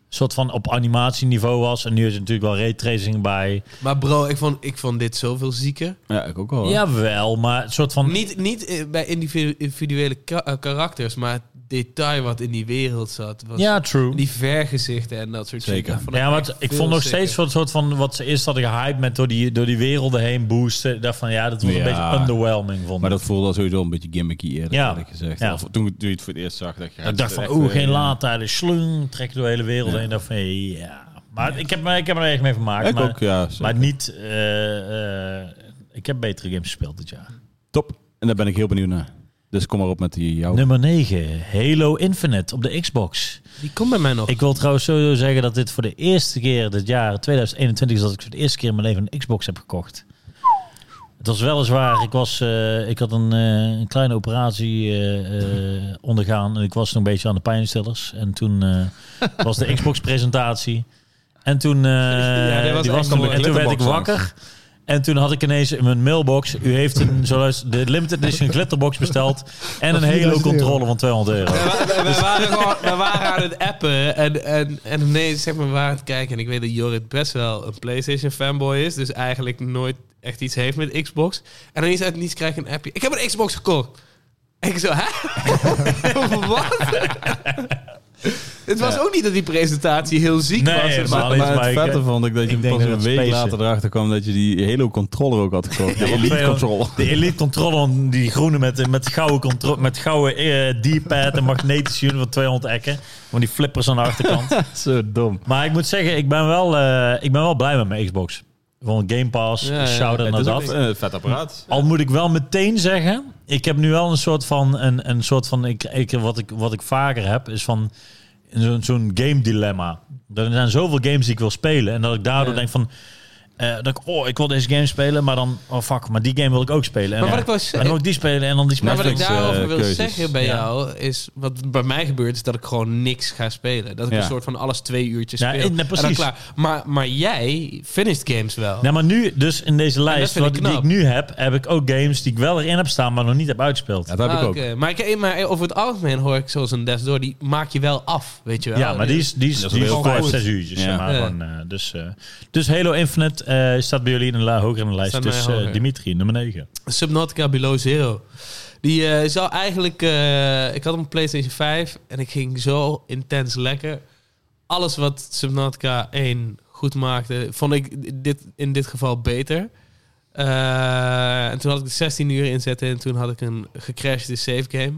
[SPEAKER 3] soort van op animatieniveau was. En nu is er natuurlijk wel raytracing bij.
[SPEAKER 2] Maar bro, ik vond, ik vond dit zoveel zieker.
[SPEAKER 1] Ja, ik ook wel.
[SPEAKER 3] Jawel, maar het soort van...
[SPEAKER 2] Niet, niet eh, bij individu- individuele ka- eh, karakters, maar het detail wat in die wereld zat. Was
[SPEAKER 3] Ja, true.
[SPEAKER 2] Die vergezichten en dat soort
[SPEAKER 1] Zeker.
[SPEAKER 2] shit, dat vond
[SPEAKER 3] Ja,
[SPEAKER 2] echt
[SPEAKER 3] want ik
[SPEAKER 2] veel
[SPEAKER 3] vond nog
[SPEAKER 2] sicker.
[SPEAKER 3] steeds wat soort van wat ze eerst hadden gehyped met door die, door die werelden heen boosten. Daarvan ja, dat was
[SPEAKER 1] Ja.
[SPEAKER 3] een beetje underwhelming vond.
[SPEAKER 1] Maar
[SPEAKER 3] ik.
[SPEAKER 1] dat voelde al sowieso een beetje gimmicky eerder,
[SPEAKER 3] Ja.
[SPEAKER 1] eerlijk gezegd.
[SPEAKER 3] Ja.
[SPEAKER 1] Of toen, toen je het voor het eerst zag, dacht je... ja,
[SPEAKER 3] ik dacht van,
[SPEAKER 1] het is echt,
[SPEAKER 3] oeh,
[SPEAKER 1] eh,
[SPEAKER 3] geen laadtijden, slung, trek door de hele wereld
[SPEAKER 1] Ja.
[SPEAKER 3] heen. Ik dacht van, ja. Maar ik heb, me- ik heb er echt mee vermaakt.
[SPEAKER 1] Ik
[SPEAKER 3] maar,
[SPEAKER 1] ook, ja. zeker.
[SPEAKER 3] maar niet, eh, eh, ik heb betere games gespeeld dit jaar.
[SPEAKER 1] Top. En daar ben ik heel benieuwd naar. Dus kom maar op met die jouw...
[SPEAKER 3] Nummer 9, Halo Infinite op de Xbox.
[SPEAKER 2] Die komt bij mij nog.
[SPEAKER 3] Ik wil trouwens sowieso zeggen dat dit voor de eerste keer dit jaar 2021 is dat ik voor de eerste keer in mijn leven een Xbox heb gekocht. Het was weliswaar, ik, was, eh, ik had een, eh, een kleine operatie eh, eh, ondergaan en ik was nog een beetje aan de pijnstillers. En toen eh, was de Xbox-presentatie. En toen, eh,
[SPEAKER 2] [LAUGHS] Ja, die was
[SPEAKER 3] die was
[SPEAKER 2] echt
[SPEAKER 3] er,
[SPEAKER 2] mooi.
[SPEAKER 3] en toen werd ik
[SPEAKER 1] Glitterbox
[SPEAKER 3] wakker. En toen had ik ineens in mijn mailbox, u heeft een, zoals de limited edition glitterbox besteld en een Halo
[SPEAKER 4] 4000 euro.
[SPEAKER 3] controller van 200 euro.
[SPEAKER 2] we, we- we waren gewoon- we waren aan het appen en, en, en ineens zeg maar, we waren aan het kijken. En ik weet dat Jorrit best wel een PlayStation fanboy is. Dus eigenlijk nooit echt iets heeft met Xbox. En ineens uit het niets krijg ik een appje. Ik [LAUGHS] heb een Xbox gekocht. En ik zo, hè? Wat? [LAUGHS] Het was
[SPEAKER 1] Ja.
[SPEAKER 2] ook niet dat die presentatie heel ziek
[SPEAKER 3] Nee,
[SPEAKER 2] was.
[SPEAKER 3] helemaal
[SPEAKER 2] maar-
[SPEAKER 3] niet.
[SPEAKER 1] Maar
[SPEAKER 3] maar
[SPEAKER 1] het
[SPEAKER 3] ik-
[SPEAKER 1] vette vond ik dat je
[SPEAKER 3] ik denk
[SPEAKER 1] pas
[SPEAKER 3] dat
[SPEAKER 1] een
[SPEAKER 3] het
[SPEAKER 1] week
[SPEAKER 3] space-
[SPEAKER 1] later erachter kwam dat je die Halo controller ook had gekocht. De
[SPEAKER 3] want
[SPEAKER 1] Elite
[SPEAKER 3] veel-
[SPEAKER 1] controller.
[SPEAKER 3] [LAUGHS] De Elite controller, die groene met, met gouden, contro- met gouden eh, D-pad en magnetische unit van 200 ekken. Van die flippers aan de achterkant.
[SPEAKER 2] [LAUGHS]
[SPEAKER 1] Zo dom.
[SPEAKER 3] Maar ik moet zeggen, ik ben wel, eh, ik ben wel blij met mijn Xbox. Van Game Pass,
[SPEAKER 2] Ja, ja.
[SPEAKER 3] shout-out naar
[SPEAKER 1] Het is
[SPEAKER 3] dat.
[SPEAKER 1] ook een vet apparaat.
[SPEAKER 3] Al moet ik wel meteen zeggen, ik heb nu wel een soort van, een, een soort van ik, ik, wat, ik, wat ik vaker heb, is van zo'n zo'n game dilemma. Er zijn zoveel games die ik wil spelen en dat ik daardoor
[SPEAKER 2] Ja.
[SPEAKER 3] denk van, eh, dat ik, oh, ik wil deze game spelen, maar dan, oh fuck, maar die game wil ik ook spelen. En
[SPEAKER 2] Maar
[SPEAKER 3] dan-
[SPEAKER 2] wat ik wou
[SPEAKER 3] en dan
[SPEAKER 2] zeggen,
[SPEAKER 3] wil ik die spelen en dan die
[SPEAKER 2] maar
[SPEAKER 3] spelen.
[SPEAKER 2] wat ik
[SPEAKER 1] Netflix,
[SPEAKER 2] daarover
[SPEAKER 1] eh,
[SPEAKER 2] wil
[SPEAKER 1] keuzes.
[SPEAKER 2] zeggen bij
[SPEAKER 3] Ja.
[SPEAKER 2] jou is, wat bij mij gebeurt, is dat ik gewoon niks ga spelen. Dat ik
[SPEAKER 1] Ja.
[SPEAKER 2] een soort van alles twee uurtjes
[SPEAKER 3] Ja,
[SPEAKER 2] speel.
[SPEAKER 3] ik- nee,
[SPEAKER 2] En dan
[SPEAKER 3] precies.
[SPEAKER 2] klaar. Maar, maar jij finished games wel.
[SPEAKER 1] Nou,
[SPEAKER 3] Nee, maar nu, dus in deze lijst
[SPEAKER 2] vind ik
[SPEAKER 3] wat, die ik
[SPEAKER 2] knap.
[SPEAKER 3] nu heb, heb ik ook games die ik wel erin heb staan, maar nog niet heb uitgespeeld.
[SPEAKER 1] Ja, dat heb
[SPEAKER 2] Ah,
[SPEAKER 1] ik ook.
[SPEAKER 2] oké. Maar, ik, maar over het algemeen hoor ik zoals een Death Door, die maak je wel af, weet je wel.
[SPEAKER 3] Ja, maar die is, die is,
[SPEAKER 1] Dat is
[SPEAKER 3] die is
[SPEAKER 1] wel
[SPEAKER 3] vijf,
[SPEAKER 1] goed.
[SPEAKER 3] zes uurtjes. zeg
[SPEAKER 1] Ja.
[SPEAKER 3] maar,
[SPEAKER 2] Ja.
[SPEAKER 3] gewoon, eh, dus, eh, dus Halo Infinite eh, staat bij jullie in de la, hoger in de lijst.
[SPEAKER 2] Staat bij
[SPEAKER 3] Dus
[SPEAKER 2] mij
[SPEAKER 3] eh,
[SPEAKER 2] hoger.
[SPEAKER 3] Dimitri, nummer 9.
[SPEAKER 2] Subnautica Below Zero. Die eh, zou eigenlijk... eh, ik had hem op PlayStation 5 en ik ging zo intens lekker. Alles wat Subnautica 1 goed maakte, vond ik dit, in dit geval beter. Eh, en toen had ik de 16 uur inzetten en toen had ik een gecrashede save game.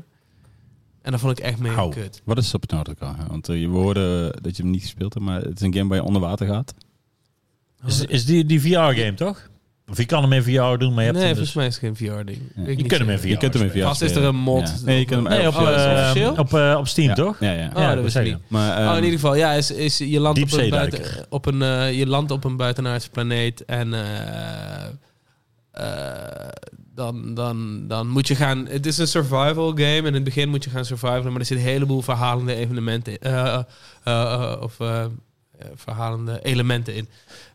[SPEAKER 2] En dat vond ik echt mega
[SPEAKER 1] Au.
[SPEAKER 2] kut.
[SPEAKER 1] Wat is Subnautica? Want eh, je hoorde dat je hem niet gespeeld hebt, maar het is een game waar je onder water gaat.
[SPEAKER 2] Dus,
[SPEAKER 3] Is, is die, die VR-game toch? Of je kan hem in VR doen, maar je hebt
[SPEAKER 2] nee,
[SPEAKER 3] hem
[SPEAKER 2] volgens
[SPEAKER 3] dus...
[SPEAKER 2] mij is het geen VR-ding. Weet
[SPEAKER 1] Je
[SPEAKER 2] ik niet
[SPEAKER 3] kunt hem
[SPEAKER 2] zeker.
[SPEAKER 3] in VR
[SPEAKER 1] je kunt hem in VR
[SPEAKER 3] spelen.
[SPEAKER 2] Vast is er een mod.
[SPEAKER 1] Ja. Nee, je kunt hem
[SPEAKER 3] Nee, op,
[SPEAKER 2] Oh, is het
[SPEAKER 3] eh,
[SPEAKER 2] officieel?
[SPEAKER 3] op, eh, op Steam,
[SPEAKER 1] Ja,
[SPEAKER 3] toch?
[SPEAKER 1] Ja, ja.
[SPEAKER 2] Oh, dat
[SPEAKER 3] dat
[SPEAKER 2] wist
[SPEAKER 3] zeg
[SPEAKER 2] ik
[SPEAKER 3] ik.
[SPEAKER 2] niet.
[SPEAKER 1] Maar,
[SPEAKER 2] oh,
[SPEAKER 1] ehm,
[SPEAKER 2] in ieder geval, ja, is, is, je, landt op een
[SPEAKER 3] Diepzeeduiker.
[SPEAKER 2] buiten, op een, eh, je landt op een buitenaardse planeet en eh, eh, dan, dan, dan moet je gaan... Het is een survival game en in het begin moet je gaan survivalen, maar er zit een heleboel verhalende evenementen in. eh, eh, eh, of eh, eh, verhalende elementen in.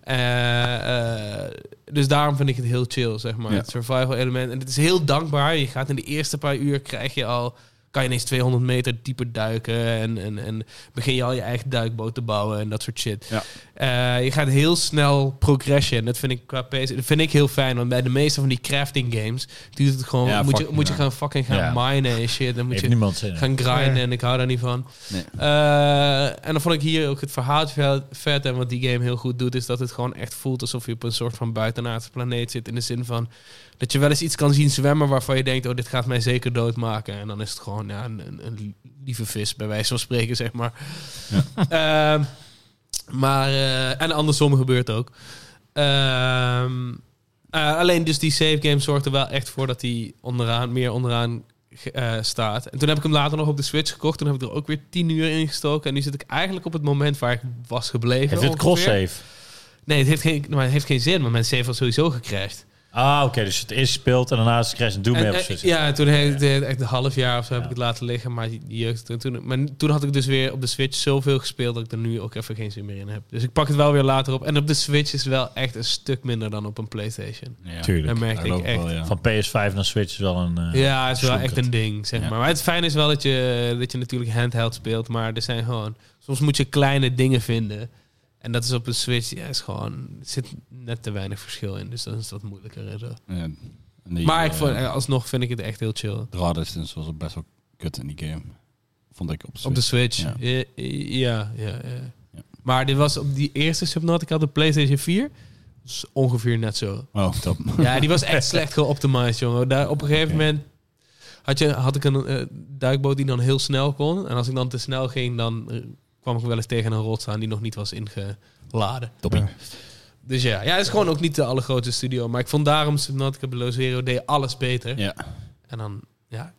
[SPEAKER 2] Eh, eh, dus daarom vind ik het heel chill, zeg maar.
[SPEAKER 1] Ja.
[SPEAKER 2] Het survival element. En het is heel dankbaar. Je gaat in de eerste paar uur krijg je al... Kan je ineens 200 meter dieper duiken. En, en, en begin je al je eigen duikboot te bouwen en dat soort shit.
[SPEAKER 1] Ja.
[SPEAKER 2] Eh, je gaat heel snel progression. Dat vind ik qua PC, dat vind ik heel fijn. Want bij de meeste van die crafting games duurt het gewoon.
[SPEAKER 1] Ja,
[SPEAKER 2] moet, je,
[SPEAKER 1] fucking
[SPEAKER 2] moet je
[SPEAKER 1] ja.
[SPEAKER 2] gaan fucking gaan
[SPEAKER 3] Ja.
[SPEAKER 2] minen en shit. Dan moet
[SPEAKER 3] Heeft
[SPEAKER 2] je
[SPEAKER 3] niemand zin in.
[SPEAKER 2] gaan grinden
[SPEAKER 4] Nee.
[SPEAKER 2] en ik hou daar niet van.
[SPEAKER 1] Nee.
[SPEAKER 2] Eh, en dan vond ik hier ook het verhaaltje vet- vet. En wat die game heel goed doet, is dat het gewoon echt voelt alsof je op een soort van buitenaardse planeet zit. In de zin van dat je wel eens iets kan zien zwemmen waarvan je denkt: oh, dit gaat mij zeker doodmaken. En dan is het gewoon ja, een, een, een lieve vis, bij wijze van spreken, zeg maar. [LAUGHS] Ehm, maar, eh, en andersom gebeurt ook. Ehm, eh, alleen dus die save game zorgt er wel echt voor dat hij onderaan, meer onderaan ge- eh, staat. En toen heb ik hem later nog op de Switch gekocht. Toen heb ik er ook weer 10 uur in gestoken. En nu zit ik eigenlijk op het moment waar ik was gebleven.
[SPEAKER 3] Heeft het
[SPEAKER 2] ongeveer.
[SPEAKER 3] cross-save?
[SPEAKER 2] Nee, het heeft geen, maar het heeft geen zin, want mijn save was sowieso gecrashed.
[SPEAKER 3] Ah, oké. dus het eerst speelt en daarna is Crash en Doom
[SPEAKER 2] En,
[SPEAKER 3] mee op
[SPEAKER 2] eh,
[SPEAKER 3] Switch.
[SPEAKER 2] ja, toen heeft het echt een half jaar of zo heb
[SPEAKER 3] Ja.
[SPEAKER 2] ik het laten liggen. Maar, die jeugd, en toen, maar toen had ik dus weer op de Switch zoveel gespeeld dat ik er nu ook even geen zin meer in heb. Dus ik pak het wel weer later op. En op de Switch is wel echt een stuk minder dan op een PlayStation.
[SPEAKER 1] ja.
[SPEAKER 3] Tuurlijk.
[SPEAKER 2] Dat merk
[SPEAKER 1] Dat
[SPEAKER 2] ik
[SPEAKER 1] geloof
[SPEAKER 2] echt.
[SPEAKER 1] wel, ja.
[SPEAKER 3] Van PS5 naar Switch is wel een... eh,
[SPEAKER 2] Ja, het is wel
[SPEAKER 3] Zoek
[SPEAKER 2] echt
[SPEAKER 3] het.
[SPEAKER 2] een ding, zeg
[SPEAKER 1] Ja.
[SPEAKER 2] maar. Maar het fijne is wel dat je, dat je natuurlijk handheld speelt, maar er zijn gewoon... Soms moet je kleine dingen vinden. En dat is op een Switch, ja, is gewoon... Er zit net te weinig verschil in, dus dan is dat moeilijker. en zo.
[SPEAKER 1] Ja. En die,
[SPEAKER 2] Maar ik
[SPEAKER 1] eh,
[SPEAKER 2] vond, alsnog vind ik het echt heel chill.
[SPEAKER 1] draw distance was ook best wel kut in die game. Vond ik op
[SPEAKER 2] Op de Switch,
[SPEAKER 1] Ja.
[SPEAKER 2] ja, ja, ja. ja.
[SPEAKER 1] Ja.
[SPEAKER 2] Maar dit was op die eerste Subnautica, de PlayStation 4... is ongeveer net zo.
[SPEAKER 1] Oh, top.
[SPEAKER 2] [LAUGHS] Ja, die was
[SPEAKER 1] [LAUGHS]
[SPEAKER 2] echt slecht geoptimized, jongen. Daar, op een gegeven
[SPEAKER 1] Oké.
[SPEAKER 2] moment had, je, had ik een eh, duikboot die dan heel snel kon. En als ik dan te snel ging, dan eh, kwam ik wel eens tegen een rots aan die nog niet was ingeladen.
[SPEAKER 1] Toppie.
[SPEAKER 4] Ja.
[SPEAKER 2] Dus ja, ja, het is gewoon ook niet de allergrootste studio. Maar ik vond daarom Subnautica Below Zero deed alles beter.
[SPEAKER 1] Ja.
[SPEAKER 2] En dan, ja,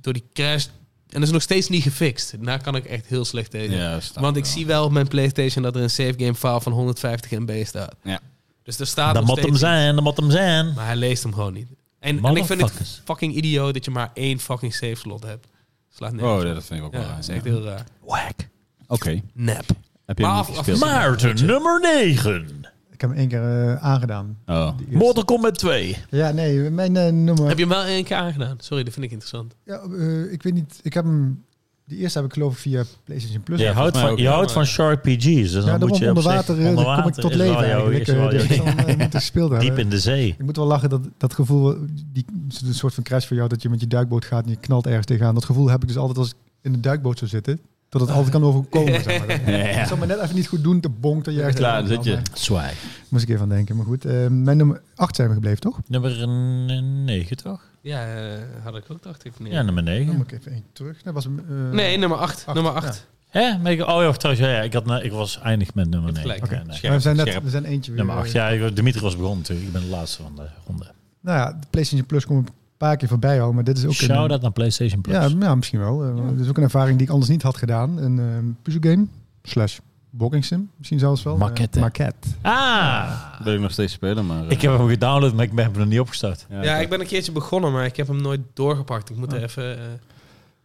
[SPEAKER 2] door die crash... En dat is nog steeds niet gefixt. Daar kan ik echt heel slecht tegen.
[SPEAKER 1] Ja, staat
[SPEAKER 2] Want ik
[SPEAKER 1] wel.
[SPEAKER 2] zie wel op mijn Playstation dat er een save game file van 150 MB staat.
[SPEAKER 1] Ja.
[SPEAKER 2] Dus er staat
[SPEAKER 3] dat
[SPEAKER 2] nog
[SPEAKER 3] moet
[SPEAKER 2] steeds
[SPEAKER 3] hem
[SPEAKER 2] iets.
[SPEAKER 3] zijn, dat moet hem zijn.
[SPEAKER 2] Maar hij leest hem gewoon niet. En, en ik vind
[SPEAKER 3] Motherfuckers.
[SPEAKER 2] het fucking idioot dat je maar één fucking save slot hebt. Slaat nergens
[SPEAKER 1] Oh,
[SPEAKER 2] op.
[SPEAKER 1] ja, dat vind ik ook wel
[SPEAKER 2] ja,
[SPEAKER 1] raar,
[SPEAKER 2] dat is
[SPEAKER 1] ja.
[SPEAKER 2] echt heel raar.
[SPEAKER 3] Whack.
[SPEAKER 1] Oké.
[SPEAKER 2] Nep.
[SPEAKER 1] Heb je hem
[SPEAKER 2] Maar
[SPEAKER 1] niet
[SPEAKER 2] af-
[SPEAKER 1] gespeeld?
[SPEAKER 2] af-
[SPEAKER 3] Maarten, nummer 9.
[SPEAKER 4] Ik heb hem één keer eh, aangedaan.
[SPEAKER 1] Oh.
[SPEAKER 4] Die eerste.
[SPEAKER 3] Mortal Kombat 2.
[SPEAKER 4] Ja, nee, mijn eh, nummer...
[SPEAKER 2] Heb je hem wel één keer aangedaan? Sorry, dat vind ik interessant.
[SPEAKER 4] Ja, eh, ik weet niet, ik heb hem... Die eerste heb ik geloof ik via PlayStation Plus.
[SPEAKER 3] Je houdt
[SPEAKER 1] mij
[SPEAKER 3] van,
[SPEAKER 1] ook,
[SPEAKER 3] je
[SPEAKER 1] ja.
[SPEAKER 3] houdt van Shark PG's. Dus dan
[SPEAKER 4] ja, daarom
[SPEAKER 3] moet je op
[SPEAKER 4] onder
[SPEAKER 3] zich-
[SPEAKER 4] water, eh,
[SPEAKER 3] onder
[SPEAKER 4] dan kom ik
[SPEAKER 3] water
[SPEAKER 4] tot
[SPEAKER 3] is wel
[SPEAKER 4] leven
[SPEAKER 3] jouw-
[SPEAKER 4] eigenlijk.
[SPEAKER 3] is
[SPEAKER 4] eh,
[SPEAKER 3] wel
[SPEAKER 4] die
[SPEAKER 3] jouw-
[SPEAKER 4] ik dan, eh, moet ik gespeeld
[SPEAKER 3] [LAUGHS]
[SPEAKER 4] hebben.
[SPEAKER 3] Diep in de zee.
[SPEAKER 4] Ik moet wel lachen, dat, dat gevoel, die, een soort van crash voor jou, dat je met je duikboot gaat en je knalt ergens tegenaan. Dat gevoel heb ik dus altijd als ik in de duikboot zou zitten. dat het altijd kan overkomen. zeg maar.
[SPEAKER 1] Ja,
[SPEAKER 4] Ik
[SPEAKER 1] ja.
[SPEAKER 4] zal me net even niet goed doen, te bonk dat je echt...
[SPEAKER 1] Klaar, dan zit je.
[SPEAKER 3] Zwaar.
[SPEAKER 4] Moest ik even aan denken, maar goed. eh, mijn nummer 8 zijn we gebleven, toch?
[SPEAKER 3] Nummer 9 toch?
[SPEAKER 2] Ja, eh, had ik ook, dacht ik. Nee,
[SPEAKER 3] Ja, nummer
[SPEAKER 4] Dan
[SPEAKER 3] 9.
[SPEAKER 4] moet ik even één terug. Dat was, hem, eh,
[SPEAKER 2] nee nummer 8.
[SPEAKER 4] acht,
[SPEAKER 2] Nummer
[SPEAKER 4] ja.
[SPEAKER 2] 8.
[SPEAKER 3] Hè? Maar ik- Oh ja, trouwens, ja, ja, ik, had, na- ik was eindig met nummer
[SPEAKER 2] Je hebt
[SPEAKER 3] 9.
[SPEAKER 2] gelijk.
[SPEAKER 3] Ja, nee.
[SPEAKER 4] maar we zijn net
[SPEAKER 1] scherp.
[SPEAKER 4] we zijn eentje weer. eh,
[SPEAKER 3] Nummer 8. Ja, ik- Dimitri was begonnen natuurlijk. Ik ben de laatste van de ronde.
[SPEAKER 4] Nou ja, de PlayStation Plus komt een paar keer voorbij al, maar dit is ook
[SPEAKER 3] Shout
[SPEAKER 4] een...
[SPEAKER 3] out naar PlayStation Plus.
[SPEAKER 4] Ja, ja, misschien wel. Eh, Dit is ook een ervaring die ik anders niet had gedaan. Een eh, puzzelgame slash walking sim, misschien zelfs wel. Eh,
[SPEAKER 3] Maquette.
[SPEAKER 4] maquette.
[SPEAKER 3] Ah!
[SPEAKER 1] Wil ik nog steeds spelen, maar... eh,
[SPEAKER 3] Ik heb hem gedownload, maar ik ben hem nog niet opgestart.
[SPEAKER 1] ja,
[SPEAKER 2] Ja, ik ben een keertje begonnen, maar ik heb hem nooit doorgepakt. Ik moet er even... eh,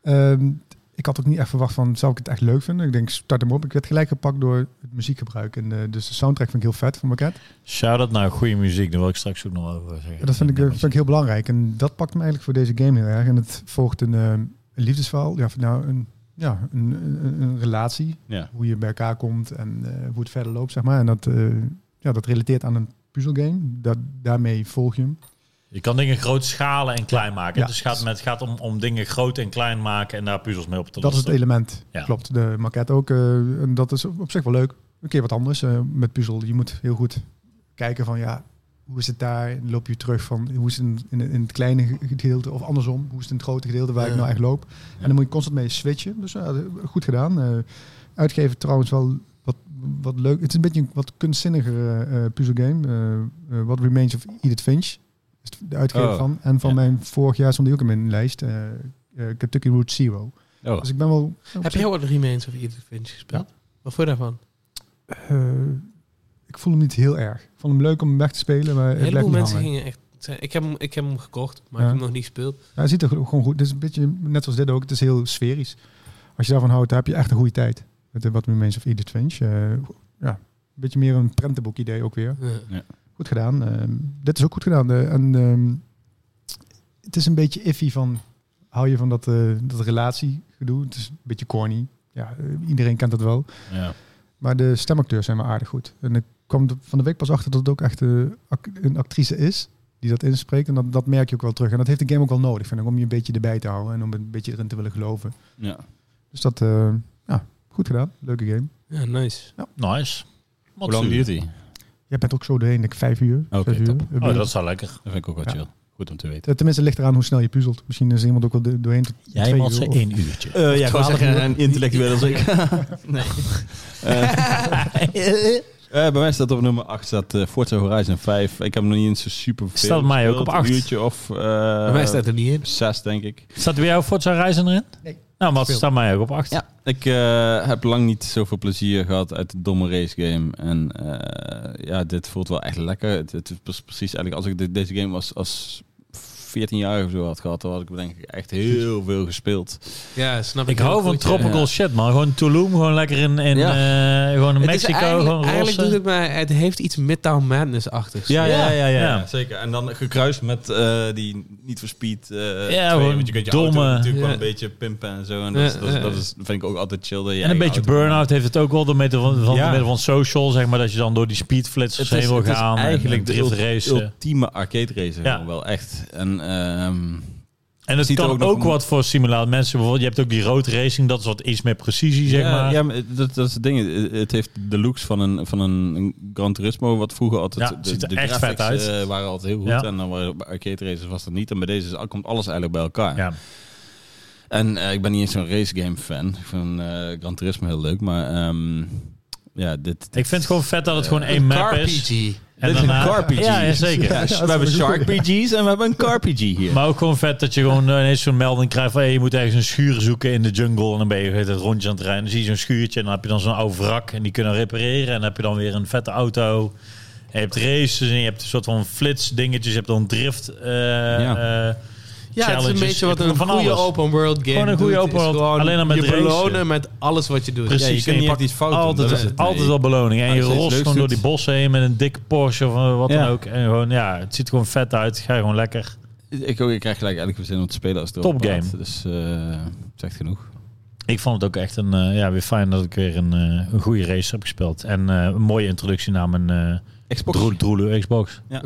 [SPEAKER 4] Ehm, ik had ook niet echt verwacht van, zou ik het echt leuk vinden? Ik denk, start hem op. Ik werd gelijk gepakt door het muziekgebruik. En, eh, dus de soundtrack vind ik heel vet van Maquette.
[SPEAKER 3] Shout out naar goede muziek. Daar wil ik straks ook nog over zeggen.
[SPEAKER 4] En dat vind ik, eh, vind ik heel belangrijk. En dat pakt me eigenlijk voor deze game heel erg. En het volgt een, eh, een liefdesverhaal. Ja, of nou, een, ja, een, een, een relatie.
[SPEAKER 1] Ja.
[SPEAKER 4] Hoe je bij elkaar komt en eh, hoe het verder loopt, zeg maar. En dat, eh, ja, dat relateert aan een puzzelgame. Dat, daarmee volg je hem.
[SPEAKER 3] Je kan dingen groot schalen en klein maken.
[SPEAKER 4] Ja.
[SPEAKER 3] Dus het gaat, met, het gaat om, om dingen groot en klein maken en daar puzzels mee op te
[SPEAKER 4] Dat is
[SPEAKER 3] lossen.
[SPEAKER 4] het element.
[SPEAKER 3] Ja.
[SPEAKER 4] Klopt. De maquette ook. eh, en dat is op zich wel leuk. Een keer wat anders eh, met puzzel. Je moet heel goed kijken van ja, hoe is het daar? En loop je terug van hoe is het in, in, in het kleine ge- gedeelte of andersom? Hoe is het in het grote gedeelte waar ik
[SPEAKER 1] Ja.
[SPEAKER 4] nou echt loop? En dan moet je constant mee switchen. Dus ja, goed gedaan. Eh, uitgeven trouwens wel wat, wat leuk. Het is een beetje een wat kunstzinnigere eh puzzelgame. Eh, eh, what Remains of Edith Finch is de uitgever
[SPEAKER 1] Oh.
[SPEAKER 4] van. En van
[SPEAKER 3] Ja.
[SPEAKER 4] mijn vorig jaar stond die ook in mijn lijst. eh, eh, Kentucky Route Zero.
[SPEAKER 1] Oh.
[SPEAKER 4] Dus ik ben wel...
[SPEAKER 2] Heb jij wat Remains of Edith Finch gespeeld? Wat vond je daarvan?
[SPEAKER 4] Eh, ik voel hem niet heel erg. Ik vond hem leuk om hem weg te spelen, maar
[SPEAKER 2] Een
[SPEAKER 4] het blijft
[SPEAKER 2] heleboel
[SPEAKER 4] niet
[SPEAKER 2] mensen
[SPEAKER 4] hangen.
[SPEAKER 2] gingen echt... zijn- Ik heb, hem, ik heb hem gekocht, maar
[SPEAKER 4] Ja.
[SPEAKER 2] ik heb hem nog niet gespeeld.
[SPEAKER 4] [LAUGHS] Ja, hij ziet er gewoon goed. Het is een beetje, net zoals dit ook, het is heel sferisch. Als je daarvan houdt, dan heb je echt een goede tijd. Met eh, wat nu mensen of Edith Finch. Eh, ja, een beetje meer een prentenboek idee ook weer.
[SPEAKER 2] Ja.
[SPEAKER 4] Goed gedaan. Eh, dit is ook goed gedaan. Eh, en, ehm, het is een beetje iffy van, hou je van dat, eh dat relatiegedoe? Het is een beetje corny. Ja, eh, iedereen kent dat wel.
[SPEAKER 1] Ja.
[SPEAKER 4] Maar de stemacteurs zijn wel aardig goed. En ik kwam de- van de week pas achter dat het ook echt eh, ac- een actrice is die dat inspreekt. En dat, dat merk je ook wel terug. En dat heeft de game ook wel nodig, vind ik, om je een beetje erbij te houden en om een beetje erin te willen geloven.
[SPEAKER 1] ja.
[SPEAKER 4] Dus dat, eh, ja, goed gedaan. Leuke game.
[SPEAKER 2] Ja, nice.
[SPEAKER 3] Nice.
[SPEAKER 1] Hoe lang duurt die?
[SPEAKER 4] Jij bent ook zo doorheen, denk ik, vijf uur.
[SPEAKER 1] Oké,
[SPEAKER 4] zes uur.
[SPEAKER 1] top.
[SPEAKER 4] Eh,
[SPEAKER 3] Oh, dat is wel lekker.
[SPEAKER 1] Dat vind ik ook wel
[SPEAKER 4] Ja.
[SPEAKER 1] chill. Goed om te weten.
[SPEAKER 4] eh, Tenminste, het ligt eraan hoe snel je puzzelt. Misschien is iemand ook wel do- doorheen tot
[SPEAKER 3] Jij
[SPEAKER 4] twee
[SPEAKER 3] had ze
[SPEAKER 4] uur. Eh. of-
[SPEAKER 3] één uurtje.
[SPEAKER 1] ja,
[SPEAKER 2] ik wou zeggen,
[SPEAKER 1] een intellectueel als
[SPEAKER 2] [LAUGHS]
[SPEAKER 1] ik. nee. Eh, bij mij staat op nummer 8 staat eh, Forza Horizon 5. Ik heb hem nog niet eens zo super veel.
[SPEAKER 3] Staat bij mij ook
[SPEAKER 1] gespeeld.
[SPEAKER 3] op acht.
[SPEAKER 1] Een uurtje of eh
[SPEAKER 2] Bij mij staat er niet in.
[SPEAKER 1] 6, denk ik.
[SPEAKER 3] Staat er bij jou Forza Horizon erin?
[SPEAKER 4] Nee.
[SPEAKER 3] Nou, maar het
[SPEAKER 4] Speel.
[SPEAKER 3] staat mij ook op acht.
[SPEAKER 1] Ja. Ik eh, heb lang niet zoveel plezier gehad uit de domme race game. En eh, ja, dit voelt wel echt lekker. Het, het is pre- precies eigenlijk als ik dit- deze game was als 14 jaar of zo had gehad, dan had ik er denk ik echt heel veel gespeeld.
[SPEAKER 2] Ja, snap ik.
[SPEAKER 3] Ik hou
[SPEAKER 2] heel
[SPEAKER 3] van
[SPEAKER 2] goed, eh, ja.
[SPEAKER 3] tropical
[SPEAKER 1] Ja.
[SPEAKER 3] shit, man. Gewoon Tulum, gewoon lekker in, in
[SPEAKER 1] Ja.
[SPEAKER 3] eh, gewoon
[SPEAKER 2] Het
[SPEAKER 3] in
[SPEAKER 2] is
[SPEAKER 3] Mexico,
[SPEAKER 2] eigenlijk-
[SPEAKER 3] gewoon
[SPEAKER 2] Eigenlijk doet
[SPEAKER 3] rossen.
[SPEAKER 2] het mij... Het heeft iets Midtown Madness-achtigs.
[SPEAKER 1] Ja, ja, ja, ja, ja,
[SPEAKER 3] Ja.
[SPEAKER 1] zeker. En dan gekruist met eh, die niet voor speed. eh, twee,
[SPEAKER 3] gewoon
[SPEAKER 1] want je kunt je
[SPEAKER 3] domme.
[SPEAKER 1] auto natuurlijk wel
[SPEAKER 2] Ja.
[SPEAKER 1] een beetje pimpen en zo. En dat, is,
[SPEAKER 2] Ja,
[SPEAKER 1] dat, is,
[SPEAKER 2] ja,
[SPEAKER 1] dat
[SPEAKER 2] ja.
[SPEAKER 1] is, vind ik ook altijd chill. dat je
[SPEAKER 3] En een
[SPEAKER 1] eigen
[SPEAKER 3] beetje
[SPEAKER 1] auto kan
[SPEAKER 3] burn-out heeft het ook wel door middel van, van,
[SPEAKER 1] Ja.
[SPEAKER 3] door middel van social, zeg maar, dat je dan door die speedflitsers heen wil gaan. en- en
[SPEAKER 1] eigenlijk de
[SPEAKER 3] drift
[SPEAKER 1] ult-
[SPEAKER 3] racen.
[SPEAKER 1] ultieme arcade racer.
[SPEAKER 3] Ja.
[SPEAKER 1] gewoon Wel echt. En ehm,
[SPEAKER 3] en het
[SPEAKER 1] ziet er
[SPEAKER 3] kan
[SPEAKER 1] ook
[SPEAKER 3] ook,
[SPEAKER 1] nog een-
[SPEAKER 3] wat voor simulator mensen. Bijvoorbeeld, je hebt ook die road racing, dat is wat iets meer precisie, zeg
[SPEAKER 1] ja,
[SPEAKER 3] maar.
[SPEAKER 1] ja, maar dat, dat is het ding. Het- Het heeft de looks van een, van een een Gran Turismo, wat vroeger altijd...
[SPEAKER 3] Ja,
[SPEAKER 1] de,
[SPEAKER 3] ziet er
[SPEAKER 1] de
[SPEAKER 3] echt
[SPEAKER 1] graphics,
[SPEAKER 3] vet uit.
[SPEAKER 1] eh, waren altijd heel goed.
[SPEAKER 3] Ja.
[SPEAKER 1] En dan waren bij arcade racers was dat niet. En bij deze is- komt alles eigenlijk bij elkaar.
[SPEAKER 3] Ja.
[SPEAKER 1] En eh, ik ben niet eens zo'n race game fan. Ik vind eh, Gran Turismo heel leuk, maar ehm, ja, dit...
[SPEAKER 3] Ik vind het gewoon vet dat het gewoon één
[SPEAKER 2] Een
[SPEAKER 3] map
[SPEAKER 2] Eh, car
[SPEAKER 3] is.
[SPEAKER 2] PG.
[SPEAKER 3] En
[SPEAKER 1] Dit is een
[SPEAKER 3] daarna-
[SPEAKER 1] car-PG.
[SPEAKER 3] Ja, ja, zeker.
[SPEAKER 4] Ja,
[SPEAKER 1] we hebben Shark PG's en we hebben een Car PG hier.
[SPEAKER 3] Maar ook gewoon vet dat je gewoon eh, ineens zo'n melding krijgt van hey, je moet ergens een schuur zoeken in de jungle en dan ben je het rondje aan het rijden. Dan zie je zo'n schuurtje en dan heb je dan zo'n oude wrak en die kunnen repareren en dan heb je dan weer een vette auto. En je hebt races en je hebt een soort van flits dingetjes, je hebt dan drift. eh,
[SPEAKER 1] Ja.
[SPEAKER 3] eh,
[SPEAKER 2] Ja, het is
[SPEAKER 3] Challenges.
[SPEAKER 2] een beetje wat
[SPEAKER 3] Je hebt
[SPEAKER 2] een
[SPEAKER 3] van
[SPEAKER 2] goede
[SPEAKER 3] alles.
[SPEAKER 2] open world game
[SPEAKER 3] Gewoon een goede
[SPEAKER 2] doet,
[SPEAKER 3] open
[SPEAKER 2] is
[SPEAKER 3] world,
[SPEAKER 2] gewoon
[SPEAKER 3] alleen dan met
[SPEAKER 2] Je
[SPEAKER 3] racen.
[SPEAKER 2] belonen met alles wat je doet.
[SPEAKER 3] Precies,
[SPEAKER 1] je kunt
[SPEAKER 3] en
[SPEAKER 1] niet echt
[SPEAKER 3] pakt
[SPEAKER 1] iets fout doen,
[SPEAKER 3] Altijd,
[SPEAKER 1] dat is het.
[SPEAKER 3] altijd
[SPEAKER 1] Nee.
[SPEAKER 3] wel beloning. En
[SPEAKER 1] Maar
[SPEAKER 3] je
[SPEAKER 1] als je iets
[SPEAKER 3] rost
[SPEAKER 1] leuks
[SPEAKER 3] gewoon door
[SPEAKER 1] doet.
[SPEAKER 3] die bossen heen met een dikke Porsche of eh, wat
[SPEAKER 1] Ja.
[SPEAKER 3] dan ook. En gewoon, ja, het ziet er gewoon vet uit. Ga je gewoon lekker.
[SPEAKER 1] Ik, ook, ik krijg gelijk elke weer zin om te spelen als het
[SPEAKER 3] Top
[SPEAKER 1] erop gaat.
[SPEAKER 3] game.
[SPEAKER 1] Dus eh zegt genoeg.
[SPEAKER 3] Ik vond het ook echt een, eh, ja, weer fijn dat ik weer een, eh, een goede race heb gespeeld. En eh, een mooie introductie naar mijn... eh,
[SPEAKER 1] Xbox.
[SPEAKER 3] Droel, droele Xbox.
[SPEAKER 2] Ja,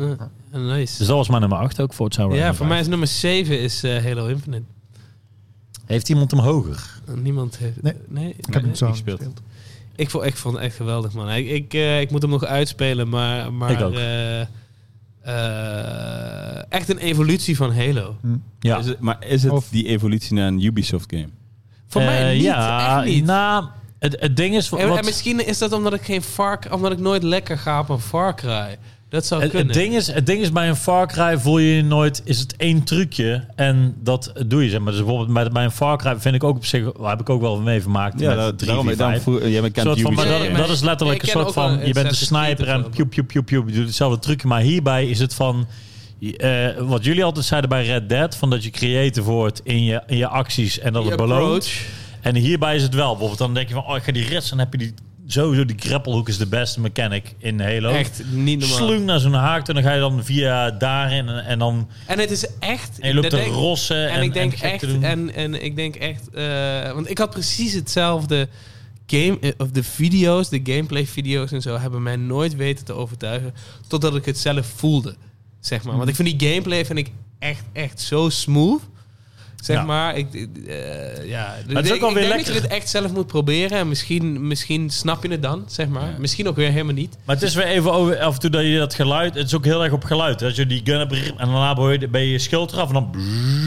[SPEAKER 2] nice.
[SPEAKER 3] Dus dat was mijn nummer 8 ook, Forza Horizon
[SPEAKER 2] Ja, voor
[SPEAKER 3] 5.
[SPEAKER 2] mij is nummer 7 is eh, Halo Infinite.
[SPEAKER 3] Heeft iemand hem hoger?
[SPEAKER 2] Eh, Niemand heeft...
[SPEAKER 4] Nee.
[SPEAKER 2] nee.
[SPEAKER 4] Ik heb hem zo
[SPEAKER 1] ik speel het.
[SPEAKER 4] gespeeld.
[SPEAKER 2] Ik vond, ik vond het echt geweldig, man. Ik, ik, eh, ik moet hem nog uitspelen, maar... maar
[SPEAKER 3] Ik ook.
[SPEAKER 2] eh, eh, echt een evolutie van Halo.
[SPEAKER 1] Is het- maar is het
[SPEAKER 4] Of-
[SPEAKER 1] die evolutie naar een Ubisoft game?
[SPEAKER 2] Voor mij
[SPEAKER 3] Eh,
[SPEAKER 2] niet,
[SPEAKER 3] ja,
[SPEAKER 2] echt niet.
[SPEAKER 3] Nou, het, het ding is... Wat,
[SPEAKER 2] en, en misschien is dat omdat ik geen Far omdat ik nooit lekker ga op een Far Cry. Dat zou
[SPEAKER 3] het, het
[SPEAKER 2] kunnen.
[SPEAKER 3] ding is, het ding is, bij een Far Cry voel je je nooit... Is het één trucje en dat doe je, zeg maar. Dus bijvoorbeeld bij, bij een Far Cry vind ik ook op zich... Daar heb ik ook wel mee vermaakt
[SPEAKER 1] Ja,
[SPEAKER 3] met
[SPEAKER 1] dat,
[SPEAKER 3] 3
[SPEAKER 1] daarom, daarom vroeg, jij bent kent
[SPEAKER 3] soort van, maar
[SPEAKER 1] Ubisoft
[SPEAKER 3] dat,
[SPEAKER 2] Nee,
[SPEAKER 1] game.
[SPEAKER 2] maar-
[SPEAKER 3] dat is letterlijk
[SPEAKER 2] ik
[SPEAKER 3] een
[SPEAKER 2] ken
[SPEAKER 3] soort
[SPEAKER 2] ook wel
[SPEAKER 3] van...
[SPEAKER 2] een
[SPEAKER 3] Je bent een
[SPEAKER 2] Assassin's Creed
[SPEAKER 3] sniper en
[SPEAKER 2] ervan.
[SPEAKER 3] piep, piep, piep, piep. Je doet hetzelfde trucje. Maar hierbij is het van... eh, wat jullie altijd zeiden bij Red Dead... van dat je creative wordt in je, in je acties en dat
[SPEAKER 2] Die
[SPEAKER 3] het beloont.
[SPEAKER 2] approach.
[SPEAKER 3] En hierbij is het wel. Bijvoorbeeld dan denk je van... oh, ik ga die rits... dan heb je die, sowieso die grapplehoek is de beste mechanic in Halo.
[SPEAKER 2] Echt niet normaal.
[SPEAKER 3] Slung naar zo'n haak en dan ga je dan via daarin en, en dan
[SPEAKER 2] En het is echt...
[SPEAKER 3] en je loopt
[SPEAKER 2] dat
[SPEAKER 3] te
[SPEAKER 2] denk-
[SPEAKER 3] rossen en,
[SPEAKER 2] En, ik denk
[SPEAKER 3] gek
[SPEAKER 2] echt,
[SPEAKER 3] te doen.
[SPEAKER 2] en, en ik denk echt, eh, want ik had precies hetzelfde game, eh, of de video's, de gameplay video's en zo, hebben mij nooit weten te overtuigen, totdat ik het zelf voelde, zeg maar. Want ik vind die gameplay vind ik echt, echt zo smooth. Zeg
[SPEAKER 3] Ja.
[SPEAKER 2] maar, ik, eh, ja. Dus
[SPEAKER 3] ook
[SPEAKER 2] ik-
[SPEAKER 3] wel
[SPEAKER 2] ik
[SPEAKER 3] weer
[SPEAKER 2] denk
[SPEAKER 3] lekker.
[SPEAKER 2] dat je het echt zelf moet proberen. En misschien, misschien snap je het dan, zeg maar.
[SPEAKER 1] Ja.
[SPEAKER 2] Misschien ook weer helemaal niet.
[SPEAKER 3] Maar het is weer even over, af en toe dat je dat geluid, het is ook heel erg op geluid. Als je die gun hebt brrr, en daarna hoor je, ben je je schild eraf en dan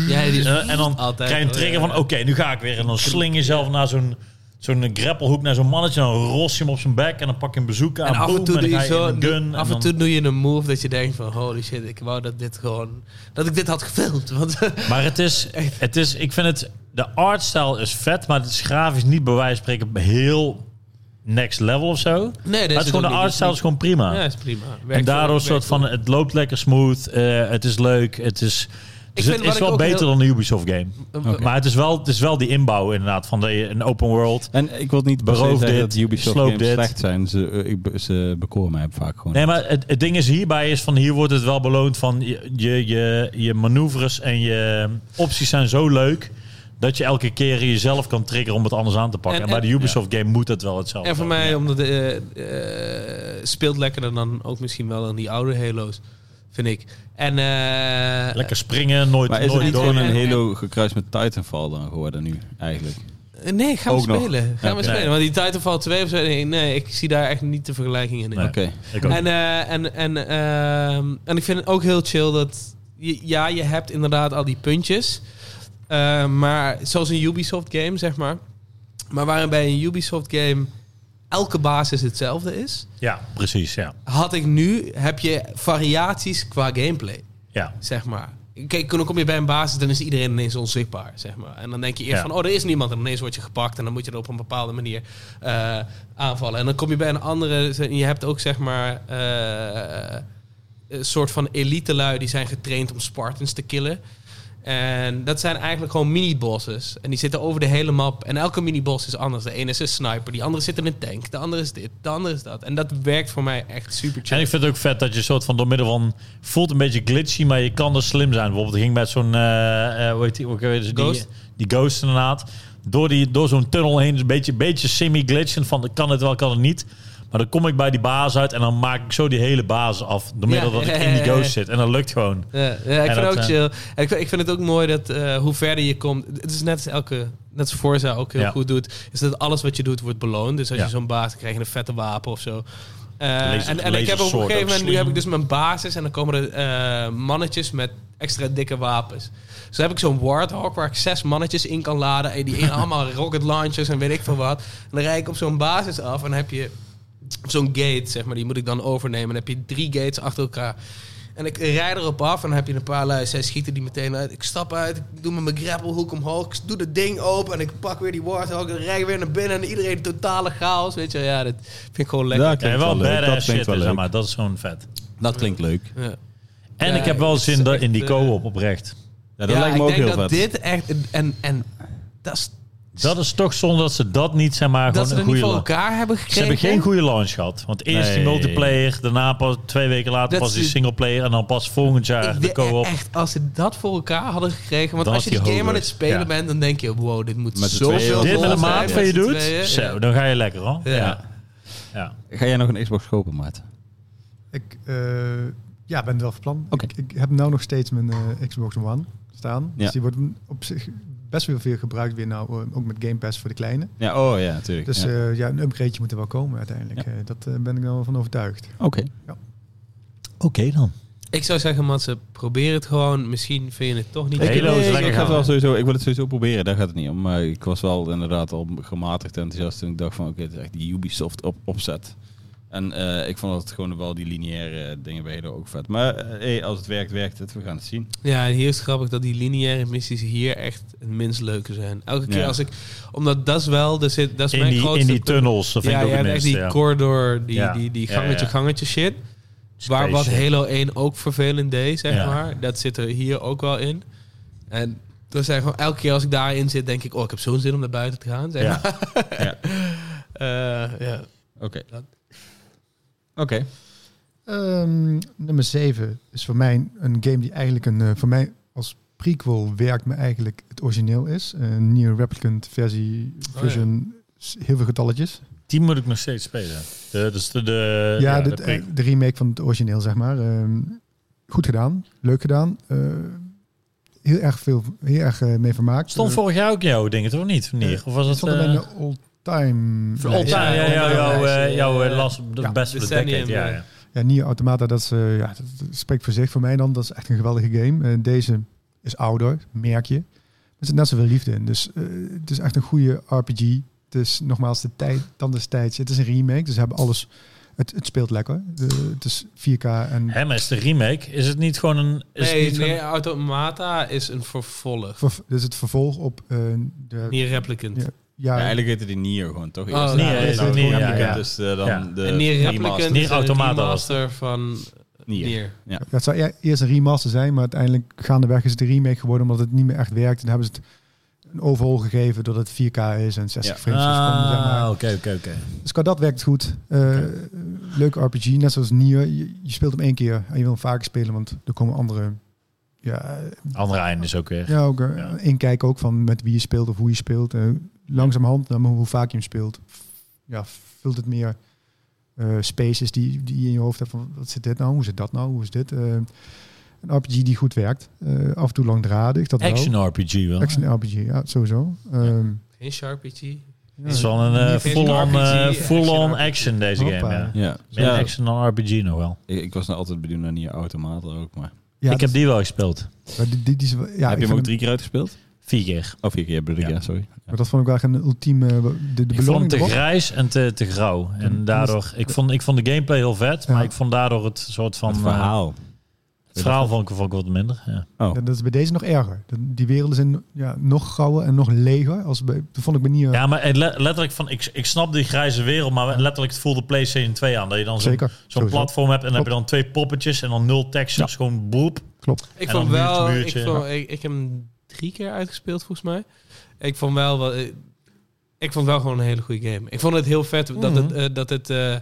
[SPEAKER 2] Ja, die is
[SPEAKER 3] Eh, en dan
[SPEAKER 2] altijd,
[SPEAKER 3] krijg je een trigger van
[SPEAKER 2] eh,
[SPEAKER 3] oké, nu ga ik weer. En dan sling je zelf naar zo'n zo'n greppelhoek naar zo'n mannetje en dan ros je hem op zijn bek en dan pak je hem bezoek aan.
[SPEAKER 2] En af en
[SPEAKER 3] boem,
[SPEAKER 2] toe
[SPEAKER 3] dan
[SPEAKER 2] doe je
[SPEAKER 3] ga
[SPEAKER 2] zo.
[SPEAKER 3] in een gun.
[SPEAKER 2] af en,
[SPEAKER 3] dan-
[SPEAKER 2] toe doe je een move dat je denkt van holy shit, ik wou dat dit gewoon. Dat ik dit had gefilmd. Want [LAUGHS]
[SPEAKER 3] Maar het is, het is, ik vind het, de artstyle is vet, maar het is grafisch niet bij wijze van spreken heel next level of zo. Maar
[SPEAKER 2] nee, dat
[SPEAKER 3] het is gewoon de artstyle is gewoon prima.
[SPEAKER 2] dus Ja, is prima. Werkt
[SPEAKER 3] En daardoor
[SPEAKER 2] wel,
[SPEAKER 3] soort
[SPEAKER 2] werkt
[SPEAKER 3] van,
[SPEAKER 2] wel.
[SPEAKER 3] het loopt lekker smooth, eh, het is leuk, het is... Dus
[SPEAKER 2] vind
[SPEAKER 3] het
[SPEAKER 2] wat
[SPEAKER 3] is
[SPEAKER 2] ik
[SPEAKER 3] wel
[SPEAKER 2] ook
[SPEAKER 3] beter
[SPEAKER 2] heel-
[SPEAKER 3] dan de Ubisoft game. Maar het is, wel, het is wel die inbouw inderdaad, van de, een open world.
[SPEAKER 1] En ik wil niet per se
[SPEAKER 3] Beroof
[SPEAKER 1] zeggen
[SPEAKER 3] dit,
[SPEAKER 1] dat Ubisoft
[SPEAKER 3] sloop
[SPEAKER 1] games
[SPEAKER 3] dit.
[SPEAKER 1] slecht zijn. Ze, eh, ik, be- ze bekoren mij vaak gewoon.
[SPEAKER 3] Nee, maar het, het ding is hierbij is van hier wordt het wel beloond van je, je, je, je manoeuvres en je opties zijn zo leuk dat je elke keer jezelf kan triggeren om het anders aan te pakken.
[SPEAKER 2] En-
[SPEAKER 3] En, bij
[SPEAKER 2] en-
[SPEAKER 3] de Ubisoft game moet dat wel hetzelfde.
[SPEAKER 2] En voor
[SPEAKER 3] zijn.
[SPEAKER 2] mij,
[SPEAKER 3] Ja.
[SPEAKER 2] omdat eh, eh, speelt lekkerder dan ook misschien wel dan die oude Halo's, vind ik. En eh,
[SPEAKER 3] lekker springen, nooit,
[SPEAKER 1] Maar is het
[SPEAKER 3] nooit
[SPEAKER 1] niet
[SPEAKER 3] door.
[SPEAKER 1] gewoon
[SPEAKER 2] en-
[SPEAKER 1] een Halo gekruist met Titanfall dan geworden nu eigenlijk?
[SPEAKER 2] eh, Nee, gaan we
[SPEAKER 1] Ook nog.
[SPEAKER 2] spelen. Gaan we
[SPEAKER 1] Oké.
[SPEAKER 2] spelen. Want die Titanfall 2 of zo, nee, nee, ik zie daar echt niet de vergelijking in.
[SPEAKER 3] Nee.
[SPEAKER 1] Oké.
[SPEAKER 3] Ik ook.
[SPEAKER 2] En, eh, en, en, ehm, en ik vind het ook heel chill dat... Je, ja, je hebt inderdaad al die puntjes. Eh, maar zoals een Ubisoft game, zeg maar. Maar waarbij een Ubisoft game elke basis hetzelfde is...
[SPEAKER 3] ja, precies. Ja.
[SPEAKER 2] had ik nu... heb je variaties qua gameplay,
[SPEAKER 3] Ja.
[SPEAKER 2] zeg maar. Kijk, dan kom je bij een basis, dan is iedereen ineens onzichtbaar, zeg maar. En dan denk je eerst
[SPEAKER 3] Ja.
[SPEAKER 2] van, oh, er is niemand. En ineens word je gepakt en dan moet je er op een bepaalde manier eh, aanvallen. En dan kom je bij een andere... Je hebt ook, zeg maar... eh, een soort van elite lui die zijn getraind om Spartans te killen. En dat zijn eigenlijk gewoon mini-bosses. En die zitten over de hele map. En elke mini-boss is anders. De ene is een sniper, die andere zit in een tank. De andere is dit, de andere is dat. En dat werkt voor mij echt super
[SPEAKER 3] En
[SPEAKER 2] chill.
[SPEAKER 3] ik vind het ook vet dat je soort van door middel van voelt een beetje glitchy, maar je kan er slim zijn. Bijvoorbeeld, ik ging met zo'n eh, eh, hoe heet die, ook alweer, dus
[SPEAKER 2] Ghost?
[SPEAKER 3] die, die ghost inderdaad door die door zo'n tunnel heen, dus een beetje, beetje semi glitchend van kan het wel, kan het niet. Maar dan kom ik bij die baas uit en dan maak ik zo die hele baas af door middel
[SPEAKER 2] Ja,
[SPEAKER 3] dat
[SPEAKER 2] ja,
[SPEAKER 3] ik in
[SPEAKER 2] [LAUGHS]
[SPEAKER 3] die
[SPEAKER 2] ja, ja,
[SPEAKER 3] ghost
[SPEAKER 2] ja.
[SPEAKER 3] zit en dat lukt gewoon.
[SPEAKER 2] Ja, ja, ik vind
[SPEAKER 3] dat,
[SPEAKER 2] het ook
[SPEAKER 3] eh,
[SPEAKER 2] chill. En ik, vind- ik vind het ook mooi dat eh, hoe verder je komt... Het is net als elke... Net als Forza ook heel
[SPEAKER 3] Ja.
[SPEAKER 2] goed doet. Is dat alles wat je doet wordt beloond. Dus als
[SPEAKER 3] Ja.
[SPEAKER 2] je zo'n baas krijgt, een vette wapen of zo. Eh,
[SPEAKER 3] Laser-
[SPEAKER 2] en en ik heb op
[SPEAKER 3] lasersoort
[SPEAKER 2] een
[SPEAKER 3] ook
[SPEAKER 2] gegeven moment... Nu
[SPEAKER 3] slim.
[SPEAKER 2] heb ik dus mijn basis en dan komen er eh, mannetjes met extra dikke wapens. Dus dan heb ik zo'n Warthog waar ik zes mannetjes in kan laden. En die
[SPEAKER 3] [LAUGHS]
[SPEAKER 2] in allemaal rocket launchers en weet ik veel wat. En dan rijd ik op zo'n basis af en dan heb je zo'n gate, zeg maar. Die moet ik dan overnemen. Dan heb je drie gates achter elkaar. En ik rijd erop af en dan heb je een paar lui. Zij schieten die meteen uit. Ik stap uit, ik doe met mijn grappelhoek omhoog. Ik doe dat ding open en ik pak weer die Warthog. En rijd ik weer naar binnen en iedereen totale chaos. Weet je, ja, dat vind ik gewoon lekker.
[SPEAKER 1] Dat
[SPEAKER 3] Ja,
[SPEAKER 1] klinkt
[SPEAKER 3] wel
[SPEAKER 1] wel leuk, dat
[SPEAKER 3] badass
[SPEAKER 1] klinkt
[SPEAKER 3] shit,
[SPEAKER 1] wel
[SPEAKER 3] zeg
[SPEAKER 1] leuk.
[SPEAKER 3] maar. Dat is gewoon vet.
[SPEAKER 1] Dat klinkt leuk.
[SPEAKER 2] Ja.
[SPEAKER 3] En
[SPEAKER 2] Ja,
[SPEAKER 3] ik heb wel
[SPEAKER 2] het is
[SPEAKER 3] zin dat- in
[SPEAKER 2] echt,
[SPEAKER 3] die
[SPEAKER 2] eh,
[SPEAKER 3] co-op oprecht.
[SPEAKER 1] Ja, dat lijkt me
[SPEAKER 2] ik
[SPEAKER 1] ook
[SPEAKER 2] denk
[SPEAKER 1] heel
[SPEAKER 2] dat
[SPEAKER 1] vet.
[SPEAKER 2] dit echt... En, en dat is...
[SPEAKER 3] Dat is toch zonde dat ze dat niet zijn, maar
[SPEAKER 2] Dat ze
[SPEAKER 3] gewoon
[SPEAKER 2] het
[SPEAKER 3] een
[SPEAKER 2] niet
[SPEAKER 3] goede
[SPEAKER 2] voor
[SPEAKER 3] la-
[SPEAKER 2] elkaar hebben gekregen.
[SPEAKER 3] Ze hebben geen goede launch gehad. Want eerst die
[SPEAKER 1] Nee.
[SPEAKER 3] multiplayer, daarna pas twee weken later
[SPEAKER 2] Dat
[SPEAKER 3] pas
[SPEAKER 2] is
[SPEAKER 3] die
[SPEAKER 2] de-
[SPEAKER 3] singleplayer en dan pas volgend jaar
[SPEAKER 2] Ik
[SPEAKER 3] Eh,
[SPEAKER 2] eh,
[SPEAKER 3] de
[SPEAKER 2] denk
[SPEAKER 3] co-op.
[SPEAKER 2] echt, als ze dat voor elkaar hadden gekregen. Want
[SPEAKER 3] Dan
[SPEAKER 2] als je
[SPEAKER 3] had
[SPEAKER 2] die
[SPEAKER 3] hij
[SPEAKER 2] game aan
[SPEAKER 3] hoger.
[SPEAKER 2] het spelen
[SPEAKER 3] Ja.
[SPEAKER 2] bent, dan denk je: wow, dit moet
[SPEAKER 1] Met z'n tweeën.
[SPEAKER 2] zoveel
[SPEAKER 3] Dit met
[SPEAKER 2] lol
[SPEAKER 3] een
[SPEAKER 2] zijn
[SPEAKER 3] maat van je
[SPEAKER 2] met z'n
[SPEAKER 3] doet,
[SPEAKER 2] tweeën.
[SPEAKER 3] zo, dan ga je lekker hoor.
[SPEAKER 2] Ja.
[SPEAKER 3] Ja. Ja.
[SPEAKER 1] Ga jij nog een Xbox kopen, Maarten?
[SPEAKER 4] Ik eh, ja, ben wel van plan.
[SPEAKER 1] Oké.
[SPEAKER 4] Ik, ik heb nu nog steeds mijn eh, Xbox One staan.
[SPEAKER 1] Ja.
[SPEAKER 4] Dus die wordt op zich best wel veel gebruikt weer nou, eh, ook met Game Pass voor de kleine.
[SPEAKER 1] Ja, oh ja, natuurlijk.
[SPEAKER 4] Dus
[SPEAKER 1] ja.
[SPEAKER 4] eh, ja, een upgradeje moet er wel komen uiteindelijk.
[SPEAKER 1] Ja.
[SPEAKER 4] Eh, dat eh, ben ik nou wel van overtuigd.
[SPEAKER 1] Oké.
[SPEAKER 3] Oké dan.
[SPEAKER 2] Ik zou zeggen, Matze, probeer het gewoon. Misschien vind je het toch niet.
[SPEAKER 3] Hey,
[SPEAKER 1] Ik,
[SPEAKER 3] Halo is
[SPEAKER 1] nee,
[SPEAKER 3] lekker
[SPEAKER 1] ik, ga het
[SPEAKER 3] gaan,
[SPEAKER 1] wel
[SPEAKER 3] hè?
[SPEAKER 1] sowieso, ik wil het sowieso proberen, daar gaat het niet om. Maar ik was wel inderdaad al gematigd enthousiast toen ik dacht van... Oké, het is echt die Ubisoft op, opzet. En eh, ik vond dat gewoon wel die lineaire dingen bij Halo ook vet. Maar eh, hey, als het werkt, werkt het. We gaan het zien.
[SPEAKER 2] Ja, en hier is het grappig dat die lineaire missies hier echt het minst leuke zijn. Elke keer
[SPEAKER 1] Ja.
[SPEAKER 2] als ik... Omdat dat is wel... Dus dat is
[SPEAKER 3] In
[SPEAKER 2] mijn
[SPEAKER 3] die,
[SPEAKER 2] grootste...
[SPEAKER 3] in die tunnels, dat vind
[SPEAKER 2] ja,
[SPEAKER 3] ik ook
[SPEAKER 2] ja,
[SPEAKER 3] het
[SPEAKER 2] echt
[SPEAKER 3] minste,
[SPEAKER 2] die
[SPEAKER 3] ja.
[SPEAKER 2] corridor, die,
[SPEAKER 3] Ja.
[SPEAKER 2] die, die
[SPEAKER 3] Ja, ja,
[SPEAKER 2] gangetje,
[SPEAKER 3] ja.
[SPEAKER 2] gangetje shit. Waar wat
[SPEAKER 3] Spaceship.
[SPEAKER 2] Halo 1 ook vervelend deed, zeg
[SPEAKER 3] Ja.
[SPEAKER 2] maar. Dat zit er hier ook wel in. En dus zijn gewoon elke keer als ik daarin zit, denk ik... Oh, ik heb zo'n zin om naar buiten te gaan, zeg
[SPEAKER 3] Ja.
[SPEAKER 2] maar.
[SPEAKER 1] Ja.
[SPEAKER 2] Eh, ja.
[SPEAKER 1] Oké.
[SPEAKER 2] Dat-
[SPEAKER 1] Oké.
[SPEAKER 4] Ehm, nummer 7 is voor mij een game die eigenlijk een, eh, voor mij als prequel werkt, maar eigenlijk het origineel is. Een nieuwe Replicant versie,
[SPEAKER 2] ja.
[SPEAKER 4] version, s- heel veel getalletjes.
[SPEAKER 3] Die moet ik nog steeds spelen. De, dus de, de,
[SPEAKER 4] ja,
[SPEAKER 3] de
[SPEAKER 4] dit, eh,
[SPEAKER 3] prequel.
[SPEAKER 4] de, remake van het origineel, zeg maar. Ehm, goed gedaan, leuk gedaan. Eh, heel erg veel, heel erg eh, mee vermaakt.
[SPEAKER 3] Stond
[SPEAKER 4] Eh,
[SPEAKER 3] vorig jaar ook in jouw dingen, toch of niet? Niet? Of was
[SPEAKER 4] het
[SPEAKER 3] het...
[SPEAKER 4] stond er
[SPEAKER 3] eh,
[SPEAKER 4] bij de all-time.
[SPEAKER 3] voor all-time,
[SPEAKER 4] lijst.
[SPEAKER 3] ja, ja,
[SPEAKER 2] Ja,
[SPEAKER 3] jouw, jouw,
[SPEAKER 2] ja,
[SPEAKER 3] eh,
[SPEAKER 2] ja.
[SPEAKER 3] jouw eh, last, de
[SPEAKER 4] Ja.
[SPEAKER 3] best of the
[SPEAKER 2] Decennium,
[SPEAKER 3] decade, ja, ja.
[SPEAKER 4] Ja, Nier Automata, dat, is, eh, ja, dat, dat spreekt voor zich voor mij dan. Dat is echt een geweldige game. Eh, deze is ouder, merk je. Er zit net zoveel liefde in. Dus eh, het is echt een goede RPG. Het is nogmaals de tijd, dan is tijd. Het is een remake, dus ze hebben alles... Het, het speelt lekker. De- het is 4K en...
[SPEAKER 3] Hè, maar is de remake, is het niet gewoon een... Is het
[SPEAKER 2] eh. Nee,
[SPEAKER 3] niet
[SPEAKER 2] nee,
[SPEAKER 3] gewoon-
[SPEAKER 2] Automata is een vervolg.
[SPEAKER 4] ver- Dit is het vervolg op eh, de...
[SPEAKER 2] Niet replicant.
[SPEAKER 4] Ja.
[SPEAKER 1] Ja,
[SPEAKER 4] Ja,
[SPEAKER 1] eigenlijk heette die Nier gewoon, toch?
[SPEAKER 2] Oh,
[SPEAKER 1] Eerst.
[SPEAKER 2] Nier
[SPEAKER 1] Ja,
[SPEAKER 2] heette
[SPEAKER 1] is
[SPEAKER 4] het
[SPEAKER 1] ook
[SPEAKER 4] Nier,
[SPEAKER 1] Replicant,
[SPEAKER 3] ja, ja.
[SPEAKER 1] Dus eh, dan
[SPEAKER 3] Ja.
[SPEAKER 1] de
[SPEAKER 2] en Nier
[SPEAKER 1] remaster.
[SPEAKER 2] Replicant
[SPEAKER 3] Nier
[SPEAKER 2] is een
[SPEAKER 3] Automata was
[SPEAKER 2] remaster van
[SPEAKER 1] Nier.
[SPEAKER 2] Nier.
[SPEAKER 4] Ja, het zou e- eerst een remaster zijn, maar uiteindelijk gaandeweg is het een remake geworden omdat het niet meer echt werkt. En dan hebben ze het een overhaul gegeven doordat het 4K is en 60
[SPEAKER 1] Ja.
[SPEAKER 4] frames per seconde, zeg maar.
[SPEAKER 3] Ah, oké, oké, oké.
[SPEAKER 4] Dus qua dat werkt goed. Eh, Leuk RPG, net zoals Nier. Je, je speelt hem één keer en je wil hem vaker spelen, want er komen andere... Ja, eh,
[SPEAKER 3] Andere einde is ook weer.
[SPEAKER 4] ja ook eh,
[SPEAKER 3] Ja.
[SPEAKER 4] inkijk ook van met wie je speelt of hoe je speelt. Eh, langzamerhand, naar hoe vaak je hem speelt, ja, vult het meer eh, spaces die, die je in je hoofd hebt. Van, wat zit dit nou? Hoe zit dat nou? Hoe is dit? Eh, een RPG die goed werkt. Eh, af en toe langdradig, dat wel.
[SPEAKER 3] Action RPG wel.
[SPEAKER 4] Action RPG, ja, sowieso. Ehm,
[SPEAKER 2] Geen Sharpie G.
[SPEAKER 3] Het is wel een eh,
[SPEAKER 2] Action
[SPEAKER 3] full-on eh,
[SPEAKER 2] RPG,
[SPEAKER 3] full-on
[SPEAKER 2] action
[SPEAKER 3] action deze
[SPEAKER 4] Hoppa.
[SPEAKER 3] game, ja.
[SPEAKER 1] Ja.
[SPEAKER 3] Meer
[SPEAKER 1] Ja,
[SPEAKER 3] action dan RPG nog wel.
[SPEAKER 1] Ik, ik was nou altijd benieuwd naar Nier Automata ook, maar...
[SPEAKER 4] ja,
[SPEAKER 3] ik heb die wel gespeeld.
[SPEAKER 4] dat- maar die, die, die is wel- ja,
[SPEAKER 1] heb
[SPEAKER 4] ik
[SPEAKER 1] je
[SPEAKER 4] vind
[SPEAKER 1] hem ook
[SPEAKER 4] hem-
[SPEAKER 1] drie keer uitgespeeld?
[SPEAKER 3] Vier keer.
[SPEAKER 1] Of vier keer, bedoel ik,
[SPEAKER 3] Ja.
[SPEAKER 1] ja, sorry.
[SPEAKER 4] maar dat vond ik wel echt een ultieme... eh, De, de
[SPEAKER 3] ik vond hem
[SPEAKER 4] beloning
[SPEAKER 3] te
[SPEAKER 4] erop.
[SPEAKER 3] grijs en te, te grauw. En
[SPEAKER 4] was-
[SPEAKER 3] daardoor, ik vond, ik vond de gameplay heel vet,
[SPEAKER 4] Ja.
[SPEAKER 3] maar ik vond daardoor het soort van...
[SPEAKER 1] het
[SPEAKER 3] eh,
[SPEAKER 1] verhaal.
[SPEAKER 3] het verhaal vond ik, vond ik wat minder, ja.
[SPEAKER 1] Oh.
[SPEAKER 4] Ja, dat is bij deze nog erger. Dat- Die werelden zijn ja, nog grauwer en nog leger. Als bij, dat vond ik bij Nier
[SPEAKER 3] Ja, maar het le- letterlijk van, ik, ik snap die grijze wereld, maar letterlijk het voelde PlayStation 2 aan. Dat je dan zo'n
[SPEAKER 4] zeker.
[SPEAKER 3] zo'n
[SPEAKER 4] Sowieso.
[SPEAKER 3] platform hebt en dan heb je
[SPEAKER 4] Klopt.
[SPEAKER 3] dan twee poppetjes en dan nul textures, gewoon boep.
[SPEAKER 4] Klopt.
[SPEAKER 2] Ik
[SPEAKER 3] En
[SPEAKER 2] vond
[SPEAKER 3] dan muurtje,
[SPEAKER 2] wel,
[SPEAKER 3] muurtje.
[SPEAKER 2] Ik, vond, ik, ik heb hem drie keer uitgespeeld volgens mij. Ik vond wel, wel eh, ik vond wel gewoon een hele goede game. Ik vond het heel vet dat het,
[SPEAKER 3] Mhm.
[SPEAKER 2] eh, dat het eh,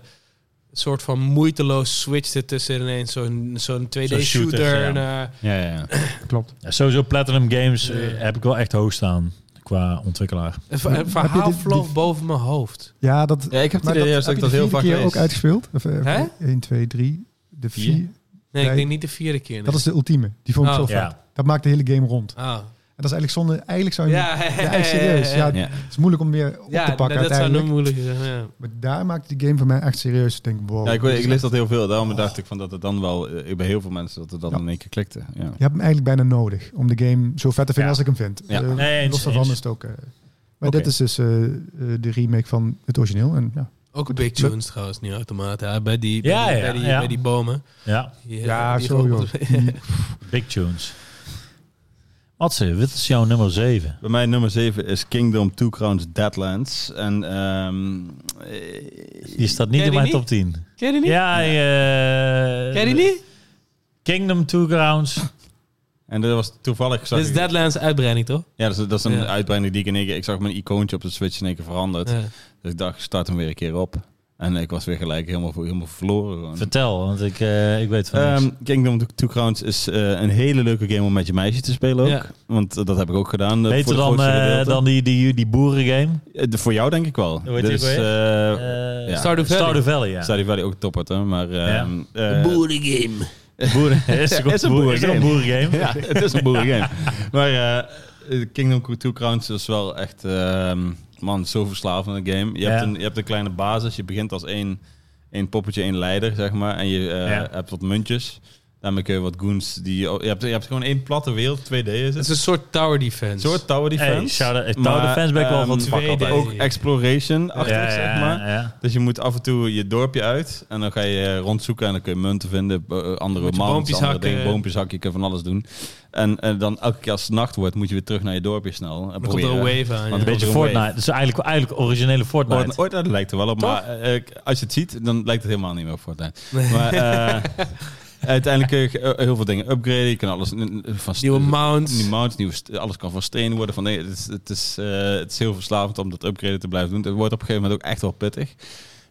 [SPEAKER 2] soort van moeiteloos switchte tussen ineens zo'n zo'n 2D
[SPEAKER 3] Zo'n
[SPEAKER 2] shooter, eh,
[SPEAKER 3] shooter, ja.
[SPEAKER 2] naar-
[SPEAKER 1] Ja, ja, ja.
[SPEAKER 4] Klopt.
[SPEAKER 3] Ja, sowieso Platinum Games eh,
[SPEAKER 2] Ja.
[SPEAKER 3] heb ik wel echt hoog staan qua ontwikkelaar.
[SPEAKER 2] een,
[SPEAKER 4] Heb
[SPEAKER 2] ver-
[SPEAKER 4] je
[SPEAKER 2] een
[SPEAKER 4] dit-
[SPEAKER 2] verhaal
[SPEAKER 4] dit-
[SPEAKER 2] vloog boven mijn hoofd.
[SPEAKER 4] Ja, dat,
[SPEAKER 1] Ja, ik heb het
[SPEAKER 4] maar
[SPEAKER 1] idee juist dat
[SPEAKER 4] heb
[SPEAKER 1] ik
[SPEAKER 4] je
[SPEAKER 1] dat
[SPEAKER 4] de
[SPEAKER 1] heel
[SPEAKER 4] vierde
[SPEAKER 1] vaak
[SPEAKER 4] keer
[SPEAKER 1] lees.
[SPEAKER 4] ook uitgespeeld. Of,
[SPEAKER 2] Hè?
[SPEAKER 4] 1, 2, 3. De
[SPEAKER 1] Vier?
[SPEAKER 4] 4.
[SPEAKER 2] Nee,
[SPEAKER 4] Nee.
[SPEAKER 2] ik denk niet de vierde keer. nee.
[SPEAKER 4] Dat is de ultieme. Die vond ik
[SPEAKER 2] Oh.
[SPEAKER 4] zo vet.
[SPEAKER 3] Ah, Ja.
[SPEAKER 4] Dat maakt de hele game rond.
[SPEAKER 2] Ah.
[SPEAKER 4] En dat is eigenlijk zonde. Eigenlijk zou je... Ja.
[SPEAKER 2] Ja,
[SPEAKER 4] echt serieus. Ja,
[SPEAKER 1] Ja.
[SPEAKER 4] Het is moeilijk om weer op
[SPEAKER 2] Ja,
[SPEAKER 4] te pakken
[SPEAKER 2] dat, dat zou nog
[SPEAKER 4] uiteindelijk.
[SPEAKER 2] moeilijker zijn. Ja.
[SPEAKER 4] Maar daar maakt die game voor mij echt serieus. Ik denk, wow.
[SPEAKER 1] Ja, ik,
[SPEAKER 4] dit
[SPEAKER 1] weet-
[SPEAKER 4] is
[SPEAKER 1] ik lees dat heel veel. Daarom dacht ik van dat het dan wel eh, bij heel veel mensen dat het dan
[SPEAKER 4] Ja.
[SPEAKER 1] in één keer klikte. Ja.
[SPEAKER 4] Je hebt hem eigenlijk bijna nodig om de game zo vet te vinden
[SPEAKER 3] Ja.
[SPEAKER 4] als ik hem vind.
[SPEAKER 1] Ja.
[SPEAKER 4] Eh,
[SPEAKER 3] Nee, eens,
[SPEAKER 4] los daarvan
[SPEAKER 3] eens.
[SPEAKER 4] is het ook. eh, maar
[SPEAKER 1] Oké.
[SPEAKER 4] dit is dus eh, eh, de remake van het origineel. En, ja.
[SPEAKER 2] Ook Big Tunes trouwens, niet automata. Bij die, bij
[SPEAKER 3] Ja,
[SPEAKER 2] die,
[SPEAKER 3] ja,
[SPEAKER 2] bij die,
[SPEAKER 3] ja.
[SPEAKER 2] bij die bomen.
[SPEAKER 3] Ja,
[SPEAKER 2] Die-
[SPEAKER 4] Ja,
[SPEAKER 2] die
[SPEAKER 4] zo joh.
[SPEAKER 2] robot-
[SPEAKER 4] Die-
[SPEAKER 3] Big Tunes. Matze, dit is jouw nummer 7.
[SPEAKER 1] Bij mij nummer 7 is Kingdom Two Crowns Deadlands. En ehm, eh,
[SPEAKER 3] Die staat niet
[SPEAKER 2] Ken
[SPEAKER 3] in
[SPEAKER 2] je
[SPEAKER 3] mijn
[SPEAKER 2] die
[SPEAKER 3] top 10.
[SPEAKER 2] [LAUGHS] Ken je die niet?
[SPEAKER 3] Ja, eh,
[SPEAKER 2] Ken je die niet?
[SPEAKER 3] Kingdom Two Grounds.
[SPEAKER 1] en dat was toevallig. Zag
[SPEAKER 2] Dit is
[SPEAKER 1] ik-
[SPEAKER 2] Deadlands uitbreiding, toch?
[SPEAKER 1] ja, dat is, dat is een
[SPEAKER 2] Ja.
[SPEAKER 1] uitbreiding die ik in één keer. Ik zag mijn icoontje op de Switch in één keer veranderd.
[SPEAKER 2] Ja.
[SPEAKER 1] Dus ik dacht, start hem weer een keer op. En ik was weer gelijk helemaal, helemaal verloren. gewoon.
[SPEAKER 3] Vertel, want ik, eh, ik weet van niks.
[SPEAKER 1] Ehm, Kingdom Two Crowns is eh, een hele leuke game om met je meisje te spelen ook.
[SPEAKER 2] Ja.
[SPEAKER 1] Want eh, dat heb ik ook gedaan. eh, voor
[SPEAKER 3] Beter
[SPEAKER 1] het
[SPEAKER 3] dan,
[SPEAKER 1] grootste
[SPEAKER 3] eh,
[SPEAKER 1] gedeelte.
[SPEAKER 3] dan die, die, die boerengame.
[SPEAKER 1] Eh, de- voor jou denk ik wel.
[SPEAKER 3] Hoe heet die
[SPEAKER 1] dus,
[SPEAKER 3] ook
[SPEAKER 1] eh,
[SPEAKER 3] Eh,
[SPEAKER 1] ja.
[SPEAKER 2] Stardew Valley.
[SPEAKER 3] Stardew Valley, ja.
[SPEAKER 1] Stardew Valley ook top uit, hè? Maar,
[SPEAKER 3] Ja.
[SPEAKER 1] ehm,
[SPEAKER 2] Een
[SPEAKER 1] eh, [LAUGHS]
[SPEAKER 2] boerengame.
[SPEAKER 3] Boeren- [LAUGHS] is ook
[SPEAKER 1] Is een
[SPEAKER 3] boer- is ook een
[SPEAKER 1] boerengame.
[SPEAKER 3] boerengame. [LAUGHS]
[SPEAKER 1] ja, het is een boerengame. maar eh, eh, Kingdom Come 2 Crowns is wel echt, ehm, man, zo verslavend een game. Je,
[SPEAKER 3] Ja.
[SPEAKER 1] hebt een, je hebt een kleine basis, je begint als één, één poppetje, één leider, zeg maar. En je eh,
[SPEAKER 3] Ja.
[SPEAKER 1] hebt wat muntjes. Daarmee kun je wat goons. Die, oh, je, hebt, je hebt gewoon één platte wereld, 2D is
[SPEAKER 2] Het
[SPEAKER 1] het.
[SPEAKER 2] is een soort tower
[SPEAKER 1] Een
[SPEAKER 2] defense.
[SPEAKER 1] soort tower defense.
[SPEAKER 3] Hey, shout-out- eh,
[SPEAKER 1] Maar,
[SPEAKER 3] Tower Defense ben ik wel
[SPEAKER 1] ehm,
[SPEAKER 3] van het vak
[SPEAKER 2] tweede-
[SPEAKER 3] altijd.
[SPEAKER 1] Ook exploration [LAUGHS] achter,
[SPEAKER 3] Ja,
[SPEAKER 1] zeg
[SPEAKER 3] ja,
[SPEAKER 1] maar.
[SPEAKER 3] ja.
[SPEAKER 1] Dus je moet af en toe je dorpje uit. En dan ga je rondzoeken en dan kun je munten vinden. eh, Andere
[SPEAKER 2] Moet je
[SPEAKER 1] maanden,
[SPEAKER 2] boompjes
[SPEAKER 1] andere
[SPEAKER 2] hakken.
[SPEAKER 1] dingen. Boompjes hakken, je kan van alles doen. En, en dan elke keer als het nacht wordt, moet je weer terug naar je dorpje snel. En
[SPEAKER 2] Dan komt er een
[SPEAKER 1] proberen-
[SPEAKER 2] wave aan.
[SPEAKER 1] Want
[SPEAKER 2] ja.
[SPEAKER 3] Een beetje
[SPEAKER 1] Overwave.
[SPEAKER 3] Fortnite. Dat is eigenlijk, eigenlijk originele Fortnite.
[SPEAKER 1] Ooit, ooit dat lijkt er wel op, maar eh, als je het ziet, dan lijkt het helemaal niet meer op Fortnite.
[SPEAKER 2] Nee.
[SPEAKER 1] Maar
[SPEAKER 2] [LAUGHS]
[SPEAKER 1] eh, uiteindelijk kun je eh, heel veel dingen upgraden. Je kan alles eh, van st-
[SPEAKER 2] Nieuwe mounts.
[SPEAKER 1] nieuwe mounts, nieuwe st- alles kan van steen worden. Van, nee, het, is, het, is, eh, het is heel verslavend om dat upgraden te blijven doen. Het wordt op een gegeven moment ook echt wel pittig.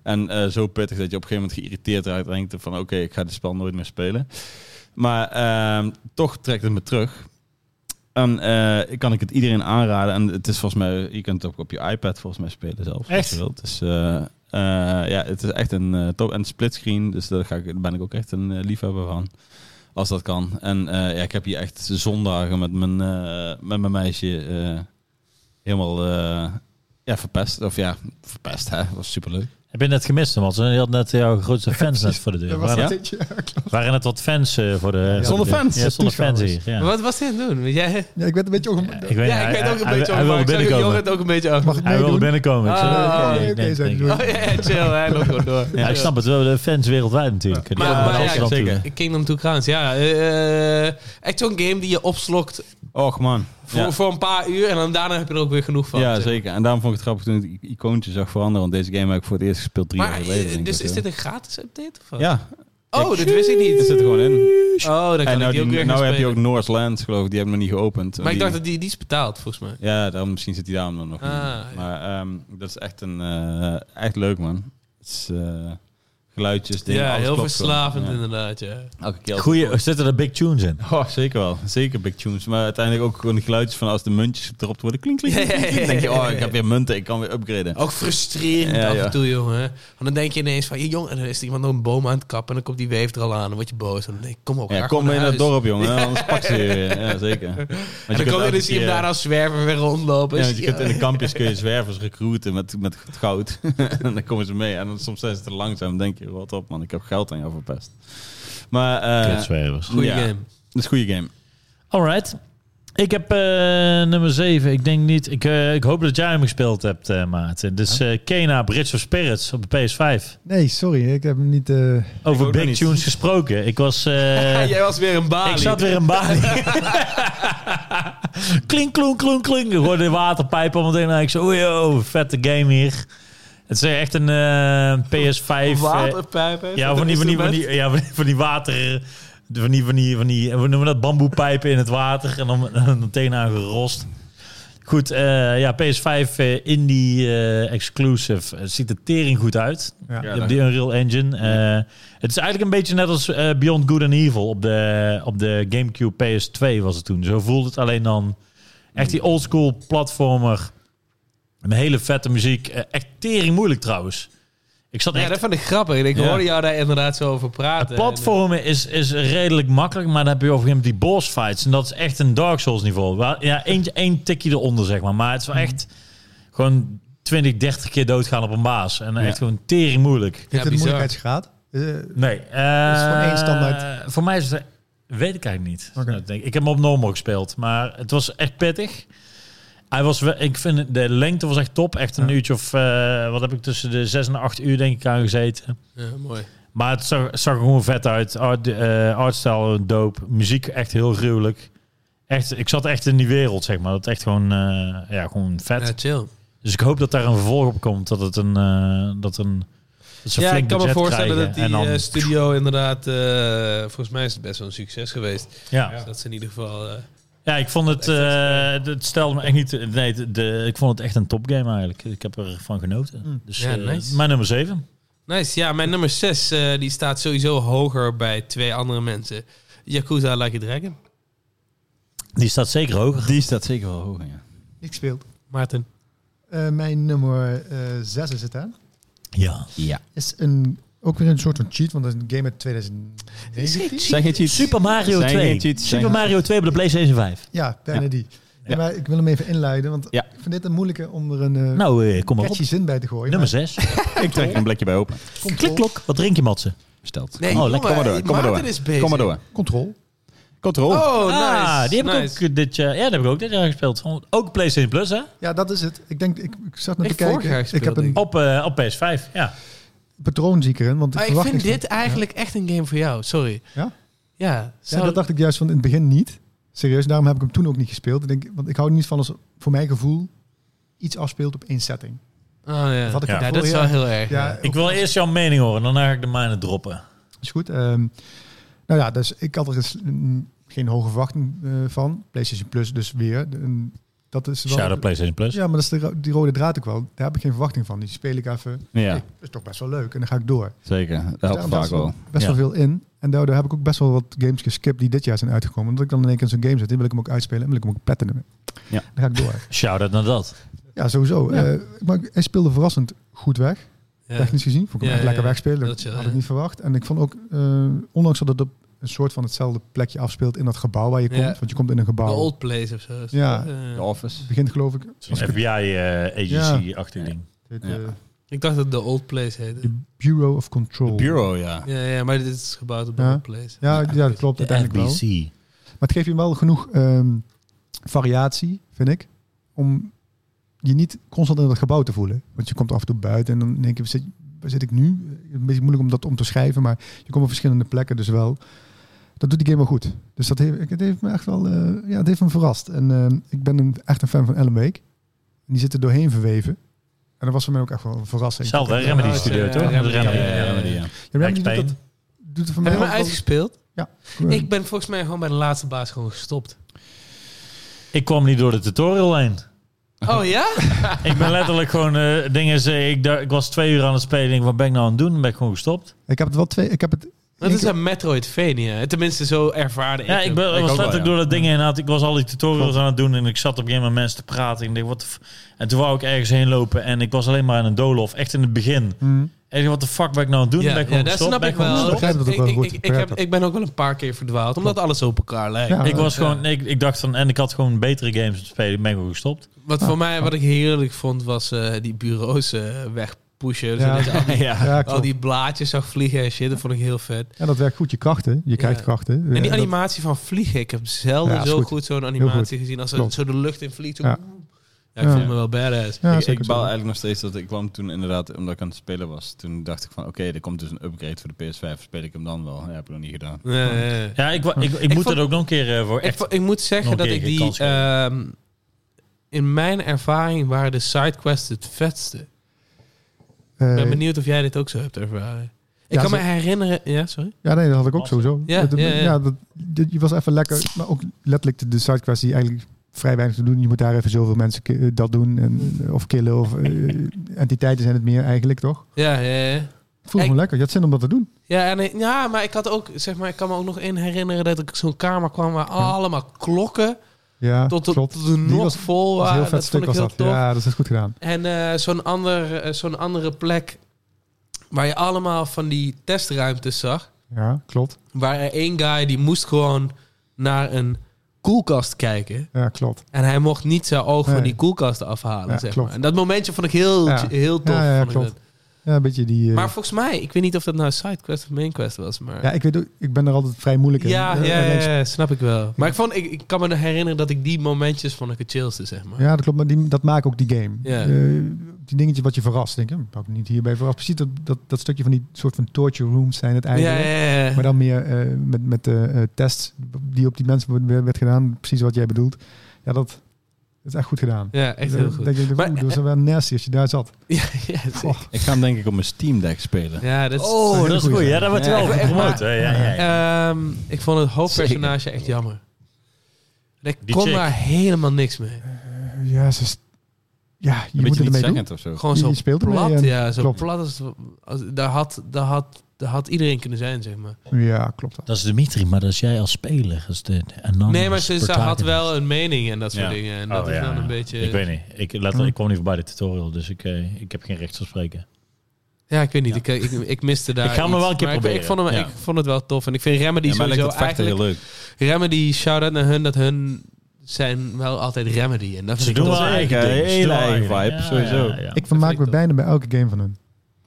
[SPEAKER 1] En eh, zo pittig dat je op een gegeven moment geïrriteerd raakt en denkt van oké, ik ga dit spel nooit meer spelen. Maar ehm, toch trekt het me terug. En eh, kan ik het iedereen aanraden. En het is volgens mij, je kunt het ook op je iPad volgens mij spelen zelf. als
[SPEAKER 3] Echt?
[SPEAKER 1] je wilt. Dus eh, eh, ja, het is echt een eh, top. En splitscreen, dus daar, ga ik, daar ben ik ook echt een eh, liefhebber van. Als dat kan. En eh, ja, ik heb hier echt zondagen met mijn, eh, met mijn meisje eh, helemaal eh, ja, verpest. Of ja, verpest hè. was superleuk.
[SPEAKER 3] Heb je net gemist, want je had net jouw grootste fans net voor de deur.
[SPEAKER 4] Dat was
[SPEAKER 3] Waren,
[SPEAKER 4] het eentje.
[SPEAKER 3] waren net wat fans eh, voor de... voor
[SPEAKER 1] Zonder
[SPEAKER 3] de deur.
[SPEAKER 1] fans.
[SPEAKER 3] Ja, zonder fans
[SPEAKER 4] Toeschouwers.
[SPEAKER 3] hier. Ja.
[SPEAKER 2] Maar Wat was hij aan het doen? Want Jij,
[SPEAKER 4] [LAUGHS] Ja, ik werd een beetje ongemoed.
[SPEAKER 3] Ik weet,
[SPEAKER 2] ja, ik
[SPEAKER 3] hij-
[SPEAKER 2] weet ook een
[SPEAKER 3] hij-
[SPEAKER 2] beetje
[SPEAKER 3] Hij
[SPEAKER 2] over.
[SPEAKER 3] wilde
[SPEAKER 2] Ik zag
[SPEAKER 3] binnenkomen.
[SPEAKER 2] het ook een beetje over.
[SPEAKER 4] Mag ik
[SPEAKER 3] Hij
[SPEAKER 4] meedoen?
[SPEAKER 3] wilde binnenkomen. Ik zei,
[SPEAKER 2] Ah,
[SPEAKER 3] oké,
[SPEAKER 2] oké,
[SPEAKER 3] nee,
[SPEAKER 4] oké,
[SPEAKER 3] nee,
[SPEAKER 4] zei
[SPEAKER 3] nee.
[SPEAKER 4] hij.
[SPEAKER 2] Oh ja, ja, chill. Hij loopt gewoon door.
[SPEAKER 3] Ja, ik snap het wel. De fans wereldwijd natuurlijk. Die
[SPEAKER 2] Maar-
[SPEAKER 3] allemaal
[SPEAKER 2] maar ja,
[SPEAKER 3] Amsterdam
[SPEAKER 1] zeker.
[SPEAKER 3] toe.
[SPEAKER 2] Ja. Kingdom Two Crowns, ja. eh, eh, echt zo'n game die je opslokt
[SPEAKER 1] Och man.
[SPEAKER 2] voor,
[SPEAKER 1] Ja.
[SPEAKER 2] voor een paar uur en dan daarna heb je er ook weer genoeg van.
[SPEAKER 1] Ja,
[SPEAKER 2] zeg.
[SPEAKER 1] zeker. En daarom vond ik het grappig toen ik het i- icoontje zag veranderen. Want deze game heb ik voor het eerst gespeeld drie
[SPEAKER 2] Maar,
[SPEAKER 1] jaar
[SPEAKER 2] eh,
[SPEAKER 1] geleden. denk ik
[SPEAKER 2] dus
[SPEAKER 1] of
[SPEAKER 2] is
[SPEAKER 1] zo.
[SPEAKER 2] dit een gratis update? Of wat?
[SPEAKER 1] Ja,
[SPEAKER 2] Oh, dit wist ik niet.
[SPEAKER 1] er zit er gewoon in.
[SPEAKER 2] Oh, dan kan
[SPEAKER 1] En
[SPEAKER 2] ik
[SPEAKER 1] nou,
[SPEAKER 2] die ook
[SPEAKER 1] die,
[SPEAKER 2] weer
[SPEAKER 1] nou
[SPEAKER 2] gaan
[SPEAKER 1] heb je ook
[SPEAKER 2] spelen.
[SPEAKER 1] North Land, geloof ik. Die hebben we nog niet geopend.
[SPEAKER 2] Maar ik
[SPEAKER 1] Die-
[SPEAKER 2] dacht dat die, die is betaald, volgens mij.
[SPEAKER 1] Ja, dan, misschien zit die daar dan nog.
[SPEAKER 2] Ah,
[SPEAKER 1] niet.
[SPEAKER 2] ja.
[SPEAKER 1] Maar ehm, dat is echt, een, eh, echt leuk, man. Het is, eh, geluidjes, dingen.
[SPEAKER 2] ja,
[SPEAKER 1] alles
[SPEAKER 2] heel
[SPEAKER 1] klopt gewoon.
[SPEAKER 2] verslavend
[SPEAKER 1] Ja.
[SPEAKER 2] inderdaad, ja.
[SPEAKER 1] Elke keer als-
[SPEAKER 3] Goeie, zitten er big tunes in?
[SPEAKER 1] Oh, zeker wel. Zeker big tunes. Maar uiteindelijk ook gewoon de geluidjes van als de muntjes gedropt worden. Klink, klink, klink, klink. Dan denk je, oh, ik heb weer munten. Ik kan weer upgraden.
[SPEAKER 2] Ook frustrerend
[SPEAKER 1] Ja,
[SPEAKER 2] af
[SPEAKER 1] ja.
[SPEAKER 2] en toe, jongen. Want dan denk je ineens van, "Ja, jong, en dan is er iemand nog een boom aan het kappen en dan komt die weef er al aan. Dan word je boos. En dan denk ik, kom op,
[SPEAKER 1] Ja,
[SPEAKER 2] ga
[SPEAKER 1] kom
[SPEAKER 2] gewoon
[SPEAKER 1] mee naar het
[SPEAKER 2] huis.
[SPEAKER 1] dorp, jongen. Anders pak ze je weer. [LAUGHS] Ja, zeker. Want
[SPEAKER 2] En dan, kom je, dan zie je hem daar als zwerver weer rondlopen.
[SPEAKER 1] Ja,
[SPEAKER 2] Ja,
[SPEAKER 1] want je kunt in de kampjes [LAUGHS] kun je zwervers recruiten met, met het goud. [LAUGHS] en dan komen ze mee. En dan, soms zijn ze te langzaam. Dan denk je, wat op man, ik heb geld aan jou verpest. Maar eh,
[SPEAKER 3] Kutzwervers.
[SPEAKER 2] Goeie
[SPEAKER 1] ja,
[SPEAKER 2] game.
[SPEAKER 1] Dat is een goede game.
[SPEAKER 3] Alright. Ik heb eh, nummer 7. Ik denk niet. Ik, eh, ik hoop dat jij hem gespeeld hebt, eh Maarten. Dus eh Kena, Bridge of Spirits op de PS5.
[SPEAKER 4] Nee, sorry. Ik heb hem niet... eh,
[SPEAKER 1] Ik
[SPEAKER 3] Over
[SPEAKER 1] ook nog
[SPEAKER 3] Big
[SPEAKER 1] niet.
[SPEAKER 3] Tunes gesproken. Ik
[SPEAKER 2] [LAUGHS]
[SPEAKER 3] was.
[SPEAKER 2] [LAUGHS]
[SPEAKER 3] eh,
[SPEAKER 2] Jij was weer een balie.
[SPEAKER 3] ik zat weer in Bali. klink, klonk, klonk, klink. Ik hoorde de waterpijp allemaal tegen. En ik zo, oei, oh, vette game hier. Het is echt een eh, PS5. eh,
[SPEAKER 2] Waterpijpen.
[SPEAKER 3] ja, van die, van, die, van, die, ja, van die- van die water... Van die, van die, van die, hoe noemen we dat? Bamboepijpen in het water. En dan, dan tegenaan gerost. Goed, eh, ja, PS5 eh, Indie eh, Exclusive. Het ziet er tering goed uit.
[SPEAKER 4] ja.
[SPEAKER 1] Ja.
[SPEAKER 3] Je hebt die Unreal Engine. Eh, het is eigenlijk een beetje net als eh, Beyond Good and Evil op de, op de GameCube PS2 was het toen. Zo voelt het alleen dan. Echt die oldschool platformer. Een hele vette muziek. Eh, echt tering moeilijk trouwens. Ik zat
[SPEAKER 2] Ja,
[SPEAKER 3] echt...
[SPEAKER 2] dat eh, vond ik grappig. Ik
[SPEAKER 1] Ja.
[SPEAKER 2] hoorde jou daar inderdaad zo over praten.
[SPEAKER 3] Het platformen is, is redelijk makkelijk, maar dan heb je op een gegeven moment die boss fights. En dat is echt een Dark Souls niveau. Wel, Ja, één, één tikje eronder, zeg maar. Maar het is
[SPEAKER 2] Hmm.
[SPEAKER 3] wel echt gewoon 20, 30 keer doodgaan op een baas. En echt gewoon tering moeilijk.
[SPEAKER 4] Heeft het een
[SPEAKER 2] bizar.
[SPEAKER 4] moeilijkheidsgraad? Eh,
[SPEAKER 3] Nee.
[SPEAKER 4] is gewoon
[SPEAKER 3] eh,
[SPEAKER 4] één standaard.
[SPEAKER 3] Voor mij is het... Weet ik eigenlijk niet.
[SPEAKER 4] Oké.
[SPEAKER 3] Nou, ik denk- Ik heb hem op normal gespeeld, maar het was echt pittig. Hij was, wel- ik vind het- de lengte was echt top. Echt een
[SPEAKER 4] Ja.
[SPEAKER 3] uurtje of... eh, wat heb ik tussen de 6 en 8 uur denk ik aan gezeten.
[SPEAKER 2] Ja, mooi.
[SPEAKER 3] Maar het zag, zag er gewoon vet uit. Art, eh, artstyle dope. Muziek echt heel gruwelijk. Echt, ik zat echt in die wereld, zeg maar. Dat echt gewoon, eh, ja, gewoon vet.
[SPEAKER 2] Ja, chill.
[SPEAKER 3] Dus ik hoop dat daar een vervolg op komt. Dat het een... eh, dat een dat ze
[SPEAKER 2] Ja,
[SPEAKER 3] flink
[SPEAKER 2] ik kan me
[SPEAKER 3] budget
[SPEAKER 2] voorstellen
[SPEAKER 3] krijgen
[SPEAKER 2] dat
[SPEAKER 3] en
[SPEAKER 2] die
[SPEAKER 3] dan-
[SPEAKER 2] eh, studio inderdaad... eh, volgens mij is het best wel een succes geweest.
[SPEAKER 3] ja.
[SPEAKER 2] Dus dat ze in ieder geval... eh,
[SPEAKER 3] Ja, ik vond het, eh het stelde me echt niet. Nee, de, de- ik vond het echt een topgame eigenlijk. Ik heb ervan genoten.
[SPEAKER 4] Mm.
[SPEAKER 3] Dus,
[SPEAKER 2] Ja,
[SPEAKER 3] eh,
[SPEAKER 2] nice.
[SPEAKER 3] Mijn nummer 7.
[SPEAKER 2] nice. Ja, mijn nummer 6 die staat sowieso hoger bij twee andere mensen. Yakuza Lucky Dragon.
[SPEAKER 3] Die staat zeker hoger.
[SPEAKER 1] Die staat zeker wel hoog, ja.
[SPEAKER 4] ik speelt.
[SPEAKER 2] Maarten.
[SPEAKER 4] Eh, mijn nummer 6 is het, hè?
[SPEAKER 3] Ja.
[SPEAKER 1] ja.
[SPEAKER 4] Is een, ook weer een soort van cheat, want dat is een game uit 2019.
[SPEAKER 1] Zijn geen cheats.
[SPEAKER 3] Super Mario
[SPEAKER 1] Zijn geen
[SPEAKER 3] 2.
[SPEAKER 1] cheats, zijn
[SPEAKER 3] Super
[SPEAKER 1] geen-
[SPEAKER 3] Mario 2 op de PlayStation 5.
[SPEAKER 4] Ja, bijna
[SPEAKER 1] Ja.
[SPEAKER 4] die.
[SPEAKER 1] Ja.
[SPEAKER 4] Maar ik wil hem even inleiden, want
[SPEAKER 1] Ja.
[SPEAKER 4] ik vind dit een moeilijke om er een eh
[SPEAKER 3] Nou, eh, kom maar op.
[SPEAKER 4] catchy zin bij te gooien.
[SPEAKER 3] Nummer
[SPEAKER 1] [LAUGHS]
[SPEAKER 3] 6.
[SPEAKER 1] Ik trek er een blikje bij open.
[SPEAKER 3] Klikklok. Wat drink je, Matze?
[SPEAKER 1] Besteld.
[SPEAKER 2] Nee,
[SPEAKER 3] Oh,
[SPEAKER 2] jongen,
[SPEAKER 3] lekker.
[SPEAKER 1] Kom maar door, kom maar door.
[SPEAKER 2] Maarten is bezig.
[SPEAKER 1] Kom maar door.
[SPEAKER 4] maar Control.
[SPEAKER 1] Control.
[SPEAKER 2] Oh, nice.
[SPEAKER 3] Ah, die heb
[SPEAKER 2] nice.
[SPEAKER 3] ik ook dit jaar. Ja, die heb ik ook dit jaar gespeeld. Ook PlayStation Plus, hè?
[SPEAKER 4] Ja, dat is het. Ik denk, ik, ik zat naar
[SPEAKER 2] Ik
[SPEAKER 4] te
[SPEAKER 2] vorig jaar
[SPEAKER 4] kijken.
[SPEAKER 2] gespeeld,
[SPEAKER 4] Ik heb een
[SPEAKER 2] denk
[SPEAKER 3] Op, eh, op PS5. Ja.
[SPEAKER 4] patroon zie ik erin, want ik
[SPEAKER 2] Maar ik
[SPEAKER 4] verwacht
[SPEAKER 2] vind
[SPEAKER 4] niks
[SPEAKER 2] dit eigenlijk echt een game voor jou. Sorry.
[SPEAKER 4] Ja?
[SPEAKER 2] Ja.
[SPEAKER 4] van- Ja,
[SPEAKER 2] zou-
[SPEAKER 4] dat dacht ik juist van in het begin niet. Serieus, daarom heb ik hem toen ook niet gespeeld. Ik denk, want ik hou er niet van als voor mijn gevoel iets afspeelt op één setting.
[SPEAKER 2] Oh, ja.
[SPEAKER 4] Dat had ik
[SPEAKER 2] ja,
[SPEAKER 4] het
[SPEAKER 2] dat is wel
[SPEAKER 4] vorig
[SPEAKER 2] heel erg.
[SPEAKER 4] Ja,
[SPEAKER 2] ja.
[SPEAKER 3] Ik wil eerst jouw mening horen, daarna ga ik de mijne droppen.
[SPEAKER 4] Is goed. Ehm, nou ja, dus ik had er eens, mm, geen hoge verwachting eh, van. PlayStation Plus dus weer. De- een- dat is wel,
[SPEAKER 3] Shout out PlayStation Plus.
[SPEAKER 4] Ja, maar dat is de, ro- die rode draad ook wel. Daar heb ik geen verwachting van. Die speel ik even.
[SPEAKER 1] Ja,
[SPEAKER 4] Dat is toch best wel leuk. En dan ga ik door.
[SPEAKER 1] zeker. Dat helpt
[SPEAKER 4] Daar
[SPEAKER 1] vaak
[SPEAKER 4] best wel-
[SPEAKER 1] wel.
[SPEAKER 4] Best
[SPEAKER 3] Ja.
[SPEAKER 4] wel veel in. En daardoor heb ik ook best wel wat games geskipt die dit jaar zijn uitgekomen. Omdat ik dan in één keer in zo'n game zit, die wil ik hem ook uitspelen en wil ik hem ook platinum.
[SPEAKER 1] Ja.
[SPEAKER 4] Dan ga ik door.
[SPEAKER 3] Shout out naar dat.
[SPEAKER 4] Ja, sowieso.
[SPEAKER 3] Ja.
[SPEAKER 4] Eh, maar hij speelde verrassend goed weg.
[SPEAKER 2] Ja.
[SPEAKER 4] Technisch gezien vond ik hem
[SPEAKER 2] Ja,
[SPEAKER 4] echt
[SPEAKER 2] ja,
[SPEAKER 4] lekker
[SPEAKER 2] ja.
[SPEAKER 4] wegspelen.
[SPEAKER 2] Heel
[SPEAKER 4] Dat
[SPEAKER 2] chill,
[SPEAKER 4] had
[SPEAKER 2] ja.
[SPEAKER 4] ik niet verwacht. En ik vond ook, eh, ondanks dat het op een soort van hetzelfde plekje afspeelt in dat gebouw waar je
[SPEAKER 2] Ja.
[SPEAKER 4] komt. Want je komt in een
[SPEAKER 2] De
[SPEAKER 4] gebouw.
[SPEAKER 2] Old Place of zo.
[SPEAKER 4] Ja.
[SPEAKER 1] De
[SPEAKER 2] Eh,
[SPEAKER 1] Office.
[SPEAKER 4] Het begint geloof ik.
[SPEAKER 3] Zo'n eh, FBI-agency-achtig ding.
[SPEAKER 4] Het
[SPEAKER 1] Ja.
[SPEAKER 4] eh,
[SPEAKER 2] ik dacht dat de Old Place heette.
[SPEAKER 4] Bureau of Control.
[SPEAKER 1] Bureau, ja.
[SPEAKER 2] Ja, ja, maar dit is gebouwd op de
[SPEAKER 4] Ja.
[SPEAKER 2] Old Place.
[SPEAKER 4] Ja, ja, dat klopt
[SPEAKER 3] De
[SPEAKER 4] uiteindelijk wel.
[SPEAKER 3] NBC.
[SPEAKER 4] Maar het geeft je wel genoeg ehm, variatie, vind ik. Om je niet constant in dat gebouw te voelen. Want je komt af en toe buiten en dan denk je, waar zit, waar zit ik nu? Een beetje moeilijk om dat om te schrijven, maar je komt op verschillende plekken dus wel. Dat doet die game wel goed. Dus dat heeft, ik- het heeft me echt wel, eh, ja, het heeft me verrast. En ehm, ik ben een, echt een fan van Alan Wake. En die zit er doorheen verweven. En dat was voor mij ook echt wel een verrassing.
[SPEAKER 3] Zelfde hè?
[SPEAKER 4] Ja,
[SPEAKER 3] Remedy
[SPEAKER 2] Ja,
[SPEAKER 3] Studio,
[SPEAKER 2] ja,
[SPEAKER 3] toch?
[SPEAKER 2] Remedy,
[SPEAKER 3] Remedy,
[SPEAKER 2] ja, ja,
[SPEAKER 3] Remedy,
[SPEAKER 1] ja.
[SPEAKER 4] Remedy doet
[SPEAKER 3] Max
[SPEAKER 4] dat, doet het
[SPEAKER 2] Heb
[SPEAKER 4] voor mij
[SPEAKER 2] je hem
[SPEAKER 4] ook wel-
[SPEAKER 2] uitgespeeld?
[SPEAKER 4] [LAUGHS] Ja.
[SPEAKER 2] Ik ben volgens mij gewoon bij de laatste baas gewoon gestopt.
[SPEAKER 3] Ik kwam niet door de tutorial heen.
[SPEAKER 2] Oh ja?
[SPEAKER 3] ik ben letterlijk gewoon... eh ding is, eh, ik, da- ik was twee uur aan het spelen. Ik denk, wat ben ik nou aan het doen? Dan ben ik gewoon gestopt.
[SPEAKER 4] Ik heb het wel twee. Ik heb het.
[SPEAKER 2] Dat
[SPEAKER 4] één
[SPEAKER 2] is
[SPEAKER 4] keer-
[SPEAKER 2] een Metroidvania. Tenminste, zo ervaarde ik
[SPEAKER 3] Ja, ik,
[SPEAKER 2] hem.
[SPEAKER 3] ben,
[SPEAKER 1] ik
[SPEAKER 3] was
[SPEAKER 1] ook wel,
[SPEAKER 3] letterlijk
[SPEAKER 1] ja.
[SPEAKER 3] door dat ding heen. had- Ik was al die tutorials
[SPEAKER 4] Klopt.
[SPEAKER 3] aan het doen. En ik zat op een gegeven moment met mensen te praten. En, ik denk, what the f- en toen wou ik ergens heen lopen. En ik was alleen maar in een doolhof. Echt in het begin.
[SPEAKER 4] Mm.
[SPEAKER 3] En wat de fuck ben ik nou aan het doen?
[SPEAKER 2] Ja,
[SPEAKER 3] ben ik
[SPEAKER 2] ja,
[SPEAKER 3] gewoon
[SPEAKER 2] dat
[SPEAKER 3] gestopt?
[SPEAKER 2] snap
[SPEAKER 3] ben
[SPEAKER 2] ik
[SPEAKER 3] gewoon
[SPEAKER 2] wel.
[SPEAKER 4] Ik
[SPEAKER 3] gestopt?
[SPEAKER 4] begrijp dat ook
[SPEAKER 2] ik,
[SPEAKER 4] wel goed.
[SPEAKER 2] ik- ik,
[SPEAKER 4] Begrijp
[SPEAKER 2] heb,
[SPEAKER 4] dat.
[SPEAKER 2] ik ben ook wel een paar keer verdwaald, omdat alles op elkaar lijkt.
[SPEAKER 4] Ja.
[SPEAKER 3] Ik was
[SPEAKER 2] Ja.
[SPEAKER 3] gewoon... Ik, ik dacht van... En ik had gewoon betere games om te spelen. Ik ben gewoon gestopt.
[SPEAKER 2] Wat voor mij, wat ik heerlijk vond, was eh, die bureaus eh, wegpushen. Dus
[SPEAKER 4] Ja.
[SPEAKER 2] dat je al, die,
[SPEAKER 4] Ja, klopt.
[SPEAKER 2] al die blaadjes zag vliegen en shit, dat vond ik heel vet.
[SPEAKER 4] Ja, dat werkt goed. Je krachten. Je krijgt krachten. Eh,
[SPEAKER 2] En die
[SPEAKER 4] Ja, dat-
[SPEAKER 2] animatie van vliegen, ik heb zelden
[SPEAKER 4] Ja, is
[SPEAKER 2] zo goed,
[SPEAKER 4] goed.
[SPEAKER 2] zo'n
[SPEAKER 4] Heel
[SPEAKER 2] animatie gezien. Als ze
[SPEAKER 4] Klopt.
[SPEAKER 2] zo de lucht in vliegt. zo- Ja.
[SPEAKER 4] Ja.
[SPEAKER 2] ik
[SPEAKER 4] Ja.
[SPEAKER 2] voel me wel badass.
[SPEAKER 4] Ja,
[SPEAKER 1] ik, ik
[SPEAKER 4] zeker
[SPEAKER 1] baal
[SPEAKER 4] zo.
[SPEAKER 1] eigenlijk nog steeds dat ik kwam toen inderdaad, omdat ik aan het spelen was. Toen dacht ik van, oké, er komt dus een upgrade voor de PS5. Speel ik hem dan wel? Ja, heb ik nog niet gedaan.
[SPEAKER 2] Ja, ja, ja.
[SPEAKER 3] Ja, ik, wa- ik, ik,
[SPEAKER 2] Ik
[SPEAKER 3] moet
[SPEAKER 2] vond-
[SPEAKER 3] dat ook nog een keer eh, voor
[SPEAKER 2] Ik,
[SPEAKER 3] echt...
[SPEAKER 2] vo- ik moet zeggen
[SPEAKER 3] nog
[SPEAKER 2] dat
[SPEAKER 3] een
[SPEAKER 2] ik
[SPEAKER 3] keer een kans
[SPEAKER 2] die...
[SPEAKER 3] geven.
[SPEAKER 2] ehm, in mijn ervaring waren de sidequests het vetste. Ik ben
[SPEAKER 4] Eh,
[SPEAKER 2] benieuwd of jij dit ook zo hebt ervaren. Ik
[SPEAKER 4] Ja,
[SPEAKER 2] kan
[SPEAKER 4] zo-
[SPEAKER 2] me herinneren... Ja, sorry?
[SPEAKER 4] Ja, nee, dat had ik ook
[SPEAKER 3] Lastig.
[SPEAKER 4] sowieso.
[SPEAKER 2] Ja,
[SPEAKER 4] Dat- dat-
[SPEAKER 2] ja, ja.
[SPEAKER 4] dat, dat- je was even lekker, maar ook letterlijk de, de sidequest die eigenlijk vrij weinig te doen. Je moet daar even zoveel mensen ki- eh, dat doen en,
[SPEAKER 2] Mm.
[SPEAKER 4] of killen
[SPEAKER 2] [LAUGHS]
[SPEAKER 4] of eh, entiteiten zijn het meer eigenlijk, toch?
[SPEAKER 2] Ja, ja, ja.
[SPEAKER 4] Ik voelde
[SPEAKER 2] Ik-
[SPEAKER 4] me lekker. Je had zin om dat te doen.
[SPEAKER 2] Ja, en, ik- ja, maar ik had ook, zeg maar, ik kan me ook nog in herinneren dat ik zo'n kamer kwam waar allemaal klokken
[SPEAKER 4] Ja,
[SPEAKER 2] tot de,
[SPEAKER 4] klopt.
[SPEAKER 2] tot de
[SPEAKER 4] Die
[SPEAKER 2] nok
[SPEAKER 4] was-
[SPEAKER 2] vol
[SPEAKER 4] was een
[SPEAKER 2] waren.
[SPEAKER 4] heel
[SPEAKER 2] Dat,
[SPEAKER 4] vet stuk
[SPEAKER 2] vond ik
[SPEAKER 4] was
[SPEAKER 2] heel
[SPEAKER 4] dat.
[SPEAKER 2] tof.
[SPEAKER 4] Ja, dat is goed gedaan.
[SPEAKER 2] En eh, zo'n ander, eh, zo'n andere plek waar je allemaal van die testruimtes zag.
[SPEAKER 4] Ja, klopt.
[SPEAKER 2] Waar er één guy die moest gewoon naar een koelkast kijken.
[SPEAKER 4] Ja, klopt.
[SPEAKER 2] En hij mocht niet zijn oog van
[SPEAKER 4] Nee.
[SPEAKER 2] die koelkasten afhalen.
[SPEAKER 4] Ja,
[SPEAKER 2] zeg
[SPEAKER 4] klopt.
[SPEAKER 2] maar. En dat momentje vond ik heel,
[SPEAKER 4] Ja.
[SPEAKER 2] heel tof.
[SPEAKER 4] Ja, ja,
[SPEAKER 2] vond ik
[SPEAKER 4] klopt.
[SPEAKER 2] dat.
[SPEAKER 4] Ja, een beetje die... eh,
[SPEAKER 2] Maar volgens mij, ik weet niet of dat nou sidequest of mainquest was. Maar...
[SPEAKER 4] ja, ik weet ook, ik ben er altijd vrij moeilijk in.
[SPEAKER 2] Ja,
[SPEAKER 4] Eh,
[SPEAKER 2] ja,
[SPEAKER 4] en dan-
[SPEAKER 2] ja, snap ik wel. Maar ik, vond, ik, ik kan me herinneren dat ik die momentjes vond ik het chillste, zeg maar.
[SPEAKER 4] Ja, dat klopt. Maar die, dat maakt ook die game.
[SPEAKER 2] Ja.
[SPEAKER 4] Eh, die dingetje wat je verrast. Denk je, hm, hou ik niet hierbij verrast. Precies dat, dat, dat stukje van die soort van torture rooms zijn het
[SPEAKER 2] ja,
[SPEAKER 4] eigenlijk.
[SPEAKER 2] ja, ja.
[SPEAKER 4] Maar dan meer eh, met, met eh, eh, tests die op die mensen werd- werd, werd gedaan. Precies wat jij bedoelt. Ja, dat, dat is echt goed gedaan. Eh,
[SPEAKER 2] Ja, echt heel goed.
[SPEAKER 4] Denk ik,
[SPEAKER 2] Maar-
[SPEAKER 4] oeh, dat was wel nasty als je daar zat.
[SPEAKER 2] [LAUGHS] Ja, ja, zeker.
[SPEAKER 4] Oh,
[SPEAKER 1] Ik ga hem denk ik op mijn Steam Deck spelen.
[SPEAKER 2] ja dat is...
[SPEAKER 3] Oh, dat is
[SPEAKER 4] goeie.
[SPEAKER 3] goed. Ja, dat wordt
[SPEAKER 1] Ja,
[SPEAKER 3] wel
[SPEAKER 2] ik-
[SPEAKER 3] gepromoot. hè. Ja, ja, ja.
[SPEAKER 2] Ehm, ik vond het hoofdpersonage echt jammer. Ik
[SPEAKER 3] Die
[SPEAKER 2] kon
[SPEAKER 3] chick.
[SPEAKER 2] daar helemaal niks mee.
[SPEAKER 4] ja, ze is- ja, je
[SPEAKER 1] Een
[SPEAKER 4] moet
[SPEAKER 1] beetje
[SPEAKER 4] het
[SPEAKER 1] niet
[SPEAKER 4] ermee doen.
[SPEAKER 1] zeggend of zo.
[SPEAKER 2] Gewoon
[SPEAKER 4] Die-
[SPEAKER 2] zo
[SPEAKER 4] die speelt ermee,
[SPEAKER 2] plat.
[SPEAKER 4] en-
[SPEAKER 2] ja, zo
[SPEAKER 4] klopt.
[SPEAKER 2] plat als, als- daar, had, daar, had, daar had iedereen kunnen zijn, zeg maar.
[SPEAKER 4] Ja, klopt.
[SPEAKER 3] Dat is Dimitri, maar dat is jij als speler. Dat is de anonymous
[SPEAKER 2] Nee, maar ze, ze had
[SPEAKER 3] protagonist.
[SPEAKER 2] wel eh, een mening en dat soort
[SPEAKER 1] Ja.
[SPEAKER 2] dingen. En
[SPEAKER 3] Oh,
[SPEAKER 2] dat is
[SPEAKER 3] ja,
[SPEAKER 2] dan
[SPEAKER 3] ja.
[SPEAKER 2] een beetje...
[SPEAKER 3] Ik weet niet. Ik, laat, ik kwam niet voorbij de tutorial, dus ik, eh, ik heb geen recht van spreken.
[SPEAKER 2] Ja, ik weet niet.
[SPEAKER 3] Ja.
[SPEAKER 2] Ik, ik, ik miste daar
[SPEAKER 3] Ik ga hem
[SPEAKER 2] iets.
[SPEAKER 3] wel een keer
[SPEAKER 2] Maar ik- Ik,
[SPEAKER 3] proberen.
[SPEAKER 2] vond, hem,
[SPEAKER 3] Ja.
[SPEAKER 2] ik vond het wel tof. En ik vind Remedy
[SPEAKER 1] Ja, maar lijkt
[SPEAKER 2] sowieso
[SPEAKER 1] het vechten
[SPEAKER 2] eigenlijk...
[SPEAKER 1] heel leuk.
[SPEAKER 2] Remedy, shout-out naar hun, dat hun zijn wel altijd remedy. En dat vind
[SPEAKER 3] Ze
[SPEAKER 2] ik
[SPEAKER 3] doen
[SPEAKER 2] wel
[SPEAKER 3] wel
[SPEAKER 1] wel
[SPEAKER 3] eigen
[SPEAKER 1] eigen-
[SPEAKER 3] ding.
[SPEAKER 1] hele
[SPEAKER 3] Ze doen wel
[SPEAKER 1] eigen
[SPEAKER 3] eigen
[SPEAKER 1] vibe,
[SPEAKER 3] ding. Ja,
[SPEAKER 1] sowieso.
[SPEAKER 3] ja, ja.
[SPEAKER 4] Ik vermaak
[SPEAKER 2] vind ik
[SPEAKER 4] me
[SPEAKER 2] wel.
[SPEAKER 4] bijna bij elke game van hun.